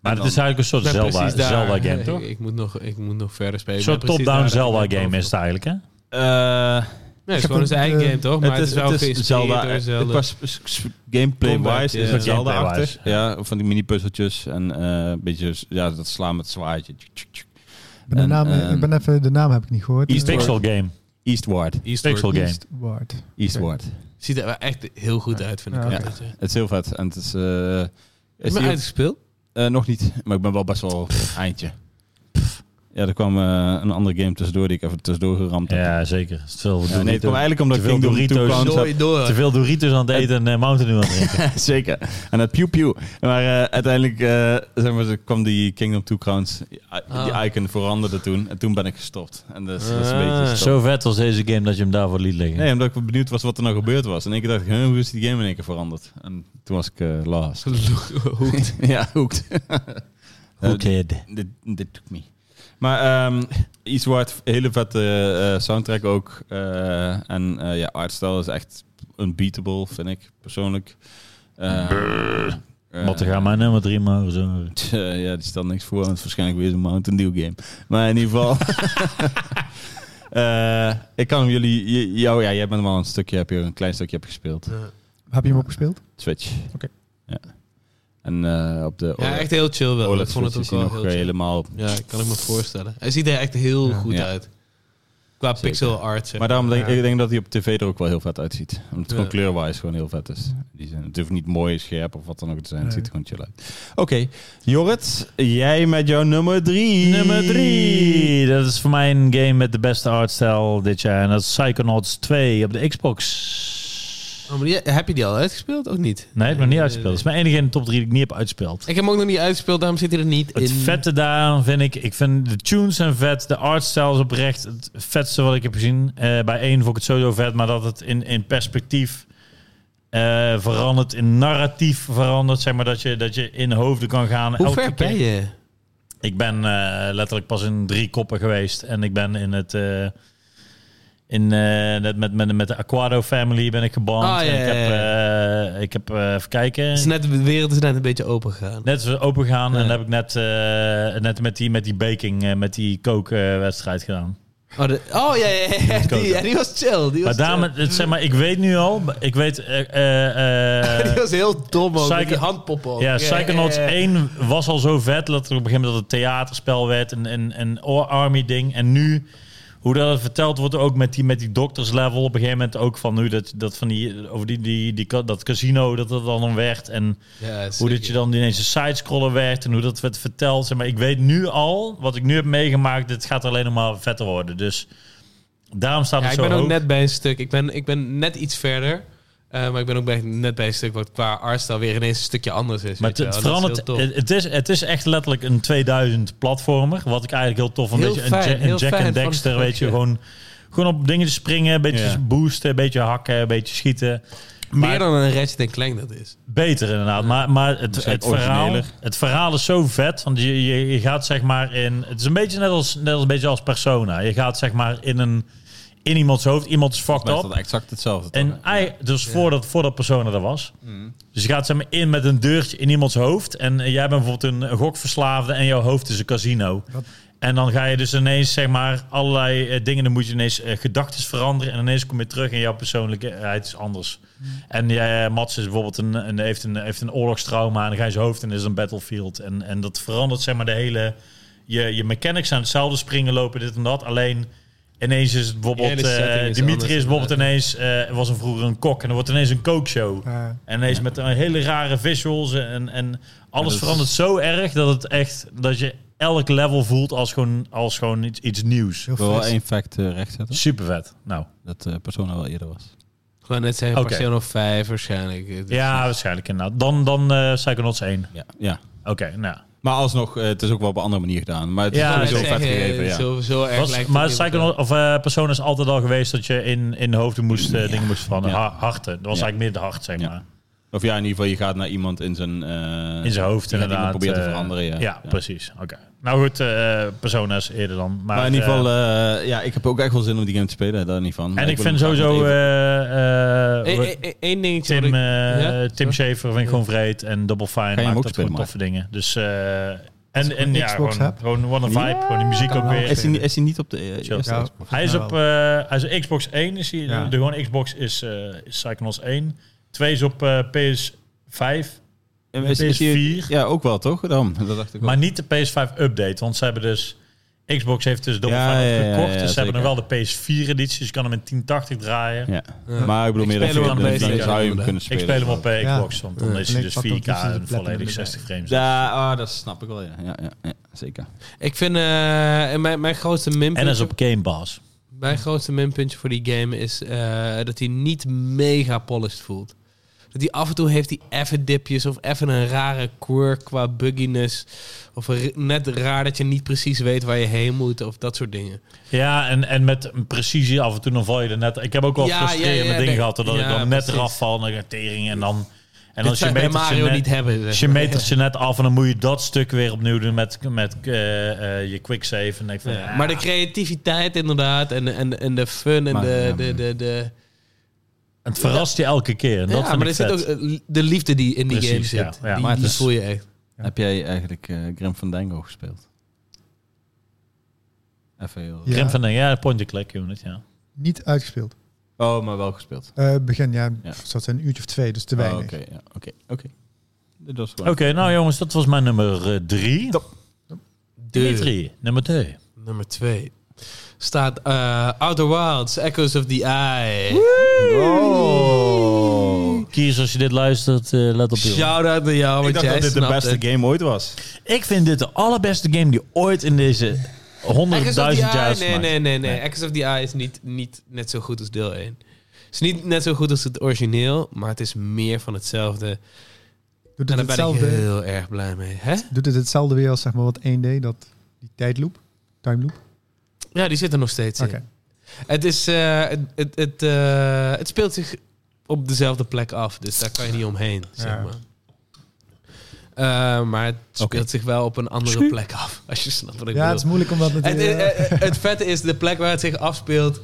[SPEAKER 3] Maar
[SPEAKER 1] En
[SPEAKER 3] het is
[SPEAKER 1] dan-
[SPEAKER 3] eigenlijk een soort
[SPEAKER 2] Ik ben
[SPEAKER 3] Zelda,
[SPEAKER 2] precies daar.
[SPEAKER 3] Zelda game,
[SPEAKER 2] Ik-
[SPEAKER 3] toch?
[SPEAKER 2] Ik moet nog, ik moet nog verder spelen.
[SPEAKER 3] Een
[SPEAKER 2] Ik ben
[SPEAKER 3] soort
[SPEAKER 2] precies
[SPEAKER 3] top-down
[SPEAKER 2] daar.
[SPEAKER 3] Zelda game is het eigenlijk, hè?
[SPEAKER 1] Eh,
[SPEAKER 2] Nee, het is
[SPEAKER 4] Ik
[SPEAKER 2] gewoon
[SPEAKER 4] heb
[SPEAKER 2] zijn
[SPEAKER 4] een,
[SPEAKER 2] eigen
[SPEAKER 4] eh,
[SPEAKER 2] game, toch? Maar het is wel
[SPEAKER 1] het
[SPEAKER 2] geïnspireerd
[SPEAKER 1] Zelda.
[SPEAKER 2] door
[SPEAKER 1] Het
[SPEAKER 2] Zelda.
[SPEAKER 1] was
[SPEAKER 2] Combat,
[SPEAKER 1] gameplay-wise
[SPEAKER 2] ja.
[SPEAKER 1] is het
[SPEAKER 3] Gameplay-wise,
[SPEAKER 1] Zelda-achtig. Ja, van die mini-puzzeltjes en eh, een beetje s- ja, dat slaan met zwaardje. Tjuk, tjuk, tjuk.
[SPEAKER 4] Ik ben de
[SPEAKER 1] En,
[SPEAKER 4] naam,
[SPEAKER 1] ehm,
[SPEAKER 4] ik ben even, de naam heb ik niet gehoord.
[SPEAKER 1] East
[SPEAKER 4] Eh,
[SPEAKER 3] Pixel game.
[SPEAKER 1] Eastward.
[SPEAKER 2] Eastward.
[SPEAKER 3] Pixel game.
[SPEAKER 4] Eastward.
[SPEAKER 1] Eastward.
[SPEAKER 2] Ziet er echt heel goed uit, vind ik.
[SPEAKER 4] Ja.
[SPEAKER 2] ook.
[SPEAKER 1] Ja.
[SPEAKER 2] Dat, eh.
[SPEAKER 1] Het is heel vet. En het is... eh,
[SPEAKER 2] Is
[SPEAKER 1] is
[SPEAKER 2] maar
[SPEAKER 1] die-
[SPEAKER 2] uitgespeeld?
[SPEAKER 1] eh, nog niet, maar ik ben wel best wel eindje. Ja, er kwam eh, een andere game tussendoor die ik even tussendoor geramd heb.
[SPEAKER 3] Ja, zeker. Het is Te veel
[SPEAKER 1] Ja, nee, het kwam
[SPEAKER 3] Doritos,
[SPEAKER 1] eigenlijk omdat
[SPEAKER 3] Te
[SPEAKER 1] ik
[SPEAKER 3] veel
[SPEAKER 1] King Doom 2
[SPEAKER 3] Doritos.
[SPEAKER 1] Clowns heb-
[SPEAKER 2] Nooit door.
[SPEAKER 3] te veel Doritos aan het eten en eh, Mountain Dew aan het drinken.
[SPEAKER 1] [LAUGHS] Zeker. En het pew pew. Maar eh, uiteindelijk eh, zeg maar, ze kwam die Kingdom Two Crowns, eh, die
[SPEAKER 2] Ah.
[SPEAKER 1] icon veranderde toen. En toen ben ik gestopt. En dat is, dat is een
[SPEAKER 2] Ah.
[SPEAKER 1] beetje gestopt.
[SPEAKER 3] Zo vet was deze game dat je hem daarvoor liet liggen.
[SPEAKER 1] Nee, omdat ik benieuwd was wat er nou gebeurd was. En ik dacht ik, huh, hoe is die game in één keer veranderd? En toen was ik eh last.
[SPEAKER 2] [LAUGHS] Hoekt.
[SPEAKER 1] [LAUGHS] ja, hoekt.
[SPEAKER 3] Who cared?
[SPEAKER 1] Dit dit took me. Maar ehm Eastward, hele vette eh, soundtrack ook. Eh, en eh, ja, artstyle is echt unbeatable, vind ik persoonlijk. Eh, eh,
[SPEAKER 3] Wat gaan mijn nummer drie maar zo.
[SPEAKER 1] Eh, ja, die stelt niks voor, want het is waarschijnlijk weer zo'n Mountain Dew game. Maar in ieder geval... Eh, ik kan hem jullie... j- Jou, ja, jij bent hem al een stukje, heb je een klein stukje hebt gespeeld.
[SPEAKER 4] Heb je hem ook gespeeld?
[SPEAKER 1] Switch.
[SPEAKER 4] Oké.
[SPEAKER 1] Ja. En eh, op de
[SPEAKER 2] Ja, echt heel chill wel. ik
[SPEAKER 1] OLED
[SPEAKER 2] vond
[SPEAKER 1] Switch
[SPEAKER 2] het
[SPEAKER 1] is
[SPEAKER 2] ook
[SPEAKER 1] hij
[SPEAKER 2] wel
[SPEAKER 1] nog
[SPEAKER 2] heel
[SPEAKER 1] eh,
[SPEAKER 2] chill.
[SPEAKER 1] helemaal...
[SPEAKER 2] Ja, ik kan ik me voorstellen. Hij ziet er echt heel
[SPEAKER 4] Ja.
[SPEAKER 2] goed
[SPEAKER 1] Ja.
[SPEAKER 2] uit. Qua pixel art. zeg
[SPEAKER 1] Maar daarom denk
[SPEAKER 2] Ja.
[SPEAKER 1] ik denk dat hij op tv er ook wel heel vet uitziet. Omdat het gewoon
[SPEAKER 2] Ja.
[SPEAKER 1] kleurwijs gewoon heel vet is. Die zijn, het hoeft niet mooi, scherp of wat dan ook te zijn. Het
[SPEAKER 4] Nee.
[SPEAKER 1] ziet er gewoon chill uit. Oké, Jorrit, jij met jouw nummer drie.
[SPEAKER 3] Nummer drie. Dat is voor mij een game met de beste artstijl dit jaar. En dat is Psychonauts 2 op de Xbox.
[SPEAKER 2] Oh, maar die- heb je die al uitgespeeld? Ook niet?
[SPEAKER 3] Nee, ik heb nog niet uitgespeeld.
[SPEAKER 2] nee.
[SPEAKER 3] Dat is mijn enige in de top 3 die ik niet heb uitgespeeld.
[SPEAKER 2] Ik heb hem ook nog niet uitgespeeld, daarom zit hij er niet
[SPEAKER 3] Het
[SPEAKER 2] in.
[SPEAKER 3] vette daar vind ik, ik vind de tunes zijn vet, de artstyle is oprecht het vetste wat ik heb gezien. Eh, bij één vond ik het sowieso vet, maar dat het in, in perspectief eh, verandert, in narratief verandert, zeg maar dat je, dat je in hoofden kan gaan.
[SPEAKER 2] Hoe
[SPEAKER 3] Elke
[SPEAKER 2] ver
[SPEAKER 3] keer-
[SPEAKER 2] ben je?
[SPEAKER 3] Ik ben eh, letterlijk pas in drie koppen geweest en ik ben in het eh, in eh, net met, met, met de Aquado family ben ik geband.
[SPEAKER 2] Ah,
[SPEAKER 3] En
[SPEAKER 2] ja,
[SPEAKER 3] ik heb,
[SPEAKER 2] ja,
[SPEAKER 3] eh, ik heb eh, even kijken.
[SPEAKER 2] Het is net, de wereld is net een beetje open gegaan.
[SPEAKER 3] Net zo open gaan
[SPEAKER 2] Ja.
[SPEAKER 3] en heb ik net, eh, net met, die, met die baking, eh, met die kookwedstrijd gedaan.
[SPEAKER 2] Oh, de- oh, ja, ja, ja.
[SPEAKER 3] koken.
[SPEAKER 2] Die, ja, die was chill. Die was,
[SPEAKER 3] Maar daarom,
[SPEAKER 2] chill.
[SPEAKER 3] het, zeg maar, ik weet nu al, ik weet, eh, eh, eh,
[SPEAKER 2] [LAUGHS] die was heel dom ook. met
[SPEAKER 3] Psycho-
[SPEAKER 2] die handpoppen ook.
[SPEAKER 3] ja, Psychonauts
[SPEAKER 2] ja, ja.
[SPEAKER 3] 1 was al zo vet, dat er op een gegeven moment dat het theaterspel werd en een, een army ding. En nu, hoe dat het verteld wordt ook met die, met die doctors level, op een gegeven moment ook van nu dat, dat van die, over die, die, die, ka- dat casino, dat dat dan werd en...
[SPEAKER 2] Ja,
[SPEAKER 3] Hoe
[SPEAKER 2] zeker.
[SPEAKER 3] dat je dan ineens een sidescroller werd en hoe dat werd verteld. Zeg maar ik weet nu al, wat ik nu heb meegemaakt, dit gaat alleen nog maar vetter worden. Dus daarom staat
[SPEAKER 2] Ja,
[SPEAKER 3] het
[SPEAKER 2] ik
[SPEAKER 3] zo
[SPEAKER 2] ben ook
[SPEAKER 3] hoog.
[SPEAKER 2] net bij een stuk. Ik ben, ik ben net iets verder. eh, maar ik ben ook bij, net bij een stuk wat qua artstyle weer ineens een stukje anders is.
[SPEAKER 3] maar
[SPEAKER 2] weet
[SPEAKER 3] het,
[SPEAKER 2] je wel.
[SPEAKER 3] het
[SPEAKER 2] Dat is heel
[SPEAKER 3] verandert,
[SPEAKER 2] tof.
[SPEAKER 3] het, het is, het is echt letterlijk een 2000 platformer. Wat ik eigenlijk heel tof vond.
[SPEAKER 2] Heel
[SPEAKER 3] Weet je, een,
[SPEAKER 2] fijn,
[SPEAKER 3] Ja- een
[SPEAKER 2] heel
[SPEAKER 3] Jack
[SPEAKER 2] fijn
[SPEAKER 3] en
[SPEAKER 2] van
[SPEAKER 3] Dexter,
[SPEAKER 2] het
[SPEAKER 3] weet je.
[SPEAKER 2] stukje.
[SPEAKER 3] Gewoon, gewoon op dingetjes springen, een beetje
[SPEAKER 1] Ja.
[SPEAKER 3] boosten, een beetje hakken, een beetje schieten.
[SPEAKER 2] Meer dan een Ratchet Clank dat is.
[SPEAKER 3] Beter inderdaad, maar, maar het, het,
[SPEAKER 1] Waarschijnlijk
[SPEAKER 3] verhaal,
[SPEAKER 1] origineler.
[SPEAKER 3] het verhaal is zo vet. Want je, je, je gaat zeg maar in... Het is een beetje net als, net als, een beetje als Persona. Je gaat zeg maar in, een, in iemands hoofd. Iemand is fucked
[SPEAKER 1] Maar is
[SPEAKER 3] up.
[SPEAKER 1] dat exact hetzelfde? toch?
[SPEAKER 3] En ei- dus voordat, voordat Persona er was.
[SPEAKER 2] Mm.
[SPEAKER 3] Dus je gaat zeg maar in met een deurtje in iemands hoofd. En eh, jij bent bijvoorbeeld een gokverslaafde en jouw hoofd is een casino.
[SPEAKER 4] Wat?
[SPEAKER 3] En dan ga je dus ineens zeg maar allerlei eh, dingen. Dan moet je ineens eh, gedachtes veranderen. En ineens kom je terug en jouw persoonlijkheid is anders.
[SPEAKER 2] Mm.
[SPEAKER 3] En jij, Mats is bijvoorbeeld een, een, heeft een, heeft een oorlogstrauma. En dan ga je zijn hoofd in is een battlefield. En, en dat verandert zeg maar de hele... Je, je mechanics zijn hetzelfde springen, lopen, dit en dat. Alleen ineens is het bijvoorbeeld...
[SPEAKER 2] Ja, de setting
[SPEAKER 3] eh,
[SPEAKER 2] is
[SPEAKER 3] Dimitri
[SPEAKER 2] anders,
[SPEAKER 3] is bijvoorbeeld ineens... eh, was een vroeger een kok. En dan wordt ineens een kookshow.
[SPEAKER 4] Eh,
[SPEAKER 3] En ineens met een hele rare visuals en, en alles
[SPEAKER 1] dat is-
[SPEAKER 3] verandert zo erg dat het echt dat je elk level voelt als gewoon, als gewoon iets, iets nieuws.
[SPEAKER 4] heel
[SPEAKER 1] Ik wil wel
[SPEAKER 4] fris.
[SPEAKER 1] één fact eh, rechtzetten.
[SPEAKER 3] Super vet. Nou.
[SPEAKER 1] Dat eh Persona wel eerder was.
[SPEAKER 2] Gewoon net zeggen,
[SPEAKER 3] Oké.
[SPEAKER 2] Persona 5 waarschijnlijk. Het is-
[SPEAKER 1] dus-
[SPEAKER 3] Ja, waarschijnlijk inderdaad. Dan, dan eh Psychonauts 1.
[SPEAKER 1] Ja. ja.
[SPEAKER 3] Oké, nou.
[SPEAKER 1] Maar alsnog, eh, het is ook wel op een andere manier gedaan. Maar het is
[SPEAKER 3] Ja,
[SPEAKER 1] wel
[SPEAKER 2] Net
[SPEAKER 1] zo
[SPEAKER 3] eh,
[SPEAKER 2] zeggen,
[SPEAKER 1] vet gegeven, ja.
[SPEAKER 2] Zo, zo erg
[SPEAKER 3] Was-
[SPEAKER 2] lijkt het
[SPEAKER 3] maar
[SPEAKER 2] niet op
[SPEAKER 3] Psychonauts, of, eh, Persona is altijd al geweest dat je in, in hoofden moest, eh, dingen moest veranderen.
[SPEAKER 1] Ja.
[SPEAKER 3] Ha- harten. Dat was
[SPEAKER 1] Ja.
[SPEAKER 3] eigenlijk meer de hart, zeg
[SPEAKER 1] Ja.
[SPEAKER 3] maar.
[SPEAKER 1] Of ja, in ieder geval, je gaat naar iemand in zijn... eh,
[SPEAKER 3] In zijn
[SPEAKER 1] je
[SPEAKER 3] hoofd
[SPEAKER 1] gaat
[SPEAKER 3] inderdaad.
[SPEAKER 1] iemand proberen
[SPEAKER 3] eh,
[SPEAKER 1] te veranderen, ja.
[SPEAKER 3] precies. Oké. Nou goed, eh Persona is eerder dan. Maar,
[SPEAKER 1] Maar, in ieder
[SPEAKER 3] eh,
[SPEAKER 1] geval, eh, ja, ik heb ook echt wel zin om die game te spelen, daar niet van. Maar
[SPEAKER 3] en ik
[SPEAKER 1] wil
[SPEAKER 3] vind
[SPEAKER 1] hem graag
[SPEAKER 3] sowieso...
[SPEAKER 1] nog even-
[SPEAKER 3] eh, eh,
[SPEAKER 2] Eén één- één dingetje.
[SPEAKER 3] Tim,
[SPEAKER 2] wat ik-
[SPEAKER 3] eh,
[SPEAKER 2] Ja?
[SPEAKER 3] Tim Schafer vind ik gewoon vreed. En Double Fine
[SPEAKER 1] hem
[SPEAKER 3] maakt
[SPEAKER 1] ook
[SPEAKER 3] dat
[SPEAKER 1] spelen,
[SPEAKER 3] gewoon toffe dingen. dingen. Dus, eh, en en
[SPEAKER 4] gewoon
[SPEAKER 3] ja,
[SPEAKER 4] Xbox
[SPEAKER 3] gewoon,
[SPEAKER 4] hebt.
[SPEAKER 3] gewoon What a Vibe.
[SPEAKER 1] Ja,
[SPEAKER 3] Gewoon die muziek
[SPEAKER 4] kan
[SPEAKER 3] ook
[SPEAKER 4] wel.
[SPEAKER 3] weer.
[SPEAKER 1] Is hij, is hij niet op de eh,
[SPEAKER 3] Chill.
[SPEAKER 1] eerste
[SPEAKER 4] Ja.
[SPEAKER 1] Xbox?
[SPEAKER 3] Hij is op eh, hij is op Xbox 1. Is hij,
[SPEAKER 4] Ja.
[SPEAKER 3] De gewone Xbox is, eh is Psychonauts 1. 2 is op eh, PS5.
[SPEAKER 1] En is- is hij-
[SPEAKER 3] PS4.
[SPEAKER 1] Ja, ook wel, toch? Dan, dat dacht ik ook.
[SPEAKER 3] Maar niet de PS5 update. Want ze hebben dus... Xbox heeft dus Double
[SPEAKER 1] Ja,
[SPEAKER 3] Fine
[SPEAKER 1] ja, ja,
[SPEAKER 3] gekocht.
[SPEAKER 1] ja,
[SPEAKER 3] dus ze
[SPEAKER 1] zeker.
[SPEAKER 3] hebben nog wel de PS4-editie. Dus je kan hem in 1080 draaien.
[SPEAKER 1] Ja.
[SPEAKER 2] eh,
[SPEAKER 1] Maar ik bedoel meer
[SPEAKER 2] Ik
[SPEAKER 1] dat je,
[SPEAKER 2] speel
[SPEAKER 1] dan,
[SPEAKER 2] hem op
[SPEAKER 1] dan
[SPEAKER 2] deze
[SPEAKER 1] zou je hem
[SPEAKER 2] kant,
[SPEAKER 1] kunnen
[SPEAKER 3] Ik
[SPEAKER 1] spelen.
[SPEAKER 3] speel hem op eh,
[SPEAKER 4] Ja.
[SPEAKER 3] Xbox, want dan
[SPEAKER 2] Ja.
[SPEAKER 3] is hij
[SPEAKER 4] En ik
[SPEAKER 3] dus
[SPEAKER 4] pak ook
[SPEAKER 3] 4K
[SPEAKER 4] liefst de
[SPEAKER 3] en
[SPEAKER 4] platinum
[SPEAKER 3] volledig
[SPEAKER 4] erbij.
[SPEAKER 3] 60 frames.
[SPEAKER 1] Ja, ah, dat snap ik wel, ja. Ja, ja, ja zeker.
[SPEAKER 2] Ik vind eh, en mijn, mijn grootste minpuntje...
[SPEAKER 3] En dat is op Game Pass.
[SPEAKER 2] Mijn grootste minpuntje voor die game is eh, dat hij niet mega polished voelt. Dat hij af en toe heeft hij even dipjes of even een rare quirk qua bugginess. Of een r- net raar dat je niet precies weet waar je heen moet of dat soort dingen.
[SPEAKER 3] Ja, en, en met een precisie af en toe dan val je er net... Ik heb ook wel
[SPEAKER 2] Ja,
[SPEAKER 3] frustrerende
[SPEAKER 2] ja, ja,
[SPEAKER 3] dingen
[SPEAKER 2] nee.
[SPEAKER 3] gehad, dat ik
[SPEAKER 2] Ja,
[SPEAKER 3] dan net
[SPEAKER 2] precies.
[SPEAKER 3] eraf val en dan ga ik tering en dan... En
[SPEAKER 2] dat
[SPEAKER 3] als je
[SPEAKER 2] zou je bij
[SPEAKER 3] metertje
[SPEAKER 2] Mario
[SPEAKER 3] net-
[SPEAKER 2] niet hebben.
[SPEAKER 3] Dus
[SPEAKER 2] Zeg.
[SPEAKER 3] je metert
[SPEAKER 2] [LAUGHS]
[SPEAKER 3] ze net af en dan moet je dat stuk weer opnieuw doen met, met eh, eh, je quick save. En ik van,
[SPEAKER 2] Ja,
[SPEAKER 3] ja.
[SPEAKER 2] Maar de creativiteit inderdaad en, en, en de fun en
[SPEAKER 1] Maar,
[SPEAKER 2] de...
[SPEAKER 1] ja,
[SPEAKER 2] de, de, de
[SPEAKER 3] het verrast je elke keer. En dat
[SPEAKER 2] ja,
[SPEAKER 3] vind
[SPEAKER 2] maar
[SPEAKER 3] ik
[SPEAKER 2] er zit
[SPEAKER 3] vet.
[SPEAKER 2] ook eh, de liefde die in die
[SPEAKER 3] Precies,
[SPEAKER 2] game zit.
[SPEAKER 3] ja. Ja,
[SPEAKER 2] die,
[SPEAKER 3] maar het
[SPEAKER 2] die
[SPEAKER 3] is-
[SPEAKER 2] voel je echt.
[SPEAKER 1] Heb jij eigenlijk eh Grim Fandango gespeeld? Even heel...
[SPEAKER 4] Ja.
[SPEAKER 3] Grim van den- ja, point-and-click unit, ja.
[SPEAKER 4] Niet uitgespeeld.
[SPEAKER 1] Oh, maar wel gespeeld.
[SPEAKER 4] Eh, begin, ja,
[SPEAKER 1] Ja.
[SPEAKER 4] dat zat een uurtje of twee, dus te
[SPEAKER 1] Oh,
[SPEAKER 4] weinig.
[SPEAKER 1] Oké, ja, oké, oké. Dit was gewoon...
[SPEAKER 3] Oké, nou jongens, dat was mijn nummer eh, drie.
[SPEAKER 4] Top.
[SPEAKER 3] Nee,
[SPEAKER 2] Deur.
[SPEAKER 3] drie. Nummer twee.
[SPEAKER 2] Nummer 2 staat eh, Outer Wilds, Echoes of the Eye.
[SPEAKER 1] Oh.
[SPEAKER 3] Kies als je dit luistert, eh, let op je.
[SPEAKER 2] Shout out naar jou, want
[SPEAKER 1] Ik dacht
[SPEAKER 2] jij
[SPEAKER 1] dat dit de
[SPEAKER 2] snapt
[SPEAKER 1] beste
[SPEAKER 2] het.
[SPEAKER 1] game ooit was.
[SPEAKER 3] Ik vind dit de allerbeste game die ooit in deze
[SPEAKER 2] Echoes of the
[SPEAKER 3] honderdduizend jaar
[SPEAKER 2] Eye,
[SPEAKER 3] is
[SPEAKER 2] nee,
[SPEAKER 3] gemaakt.
[SPEAKER 2] nee, nee, nee.
[SPEAKER 3] Nee.
[SPEAKER 2] Echoes of the Eye is niet, niet net zo goed als deel 1. Het is niet net zo goed als het origineel, maar het is meer van hetzelfde.
[SPEAKER 4] Doet,
[SPEAKER 2] En
[SPEAKER 4] het
[SPEAKER 2] daar ben ik
[SPEAKER 4] hetzelfde,
[SPEAKER 2] heel erg blij mee. Hè?
[SPEAKER 4] doet het hetzelfde weer als zeg maar wat 1D, dat, die tijdloop? Timeloop?
[SPEAKER 2] Ja, die zit er nog steeds
[SPEAKER 4] Oké.
[SPEAKER 2] in. Het, is, eh, het, het, het, eh, het speelt zich op dezelfde plek af, dus daar kan je niet omheen, zeg
[SPEAKER 4] Ja.
[SPEAKER 2] maar. Eh, maar het speelt
[SPEAKER 1] Oké.
[SPEAKER 2] zich wel op een andere
[SPEAKER 3] Schuur.
[SPEAKER 2] plek af, [LAUGHS] als je snapt wat ik
[SPEAKER 4] Ja, het
[SPEAKER 2] bedoel.
[SPEAKER 4] is moeilijk omdat het...
[SPEAKER 2] Het,
[SPEAKER 4] eh,
[SPEAKER 2] eh, eh, het vette is, de plek waar het zich afspeelt...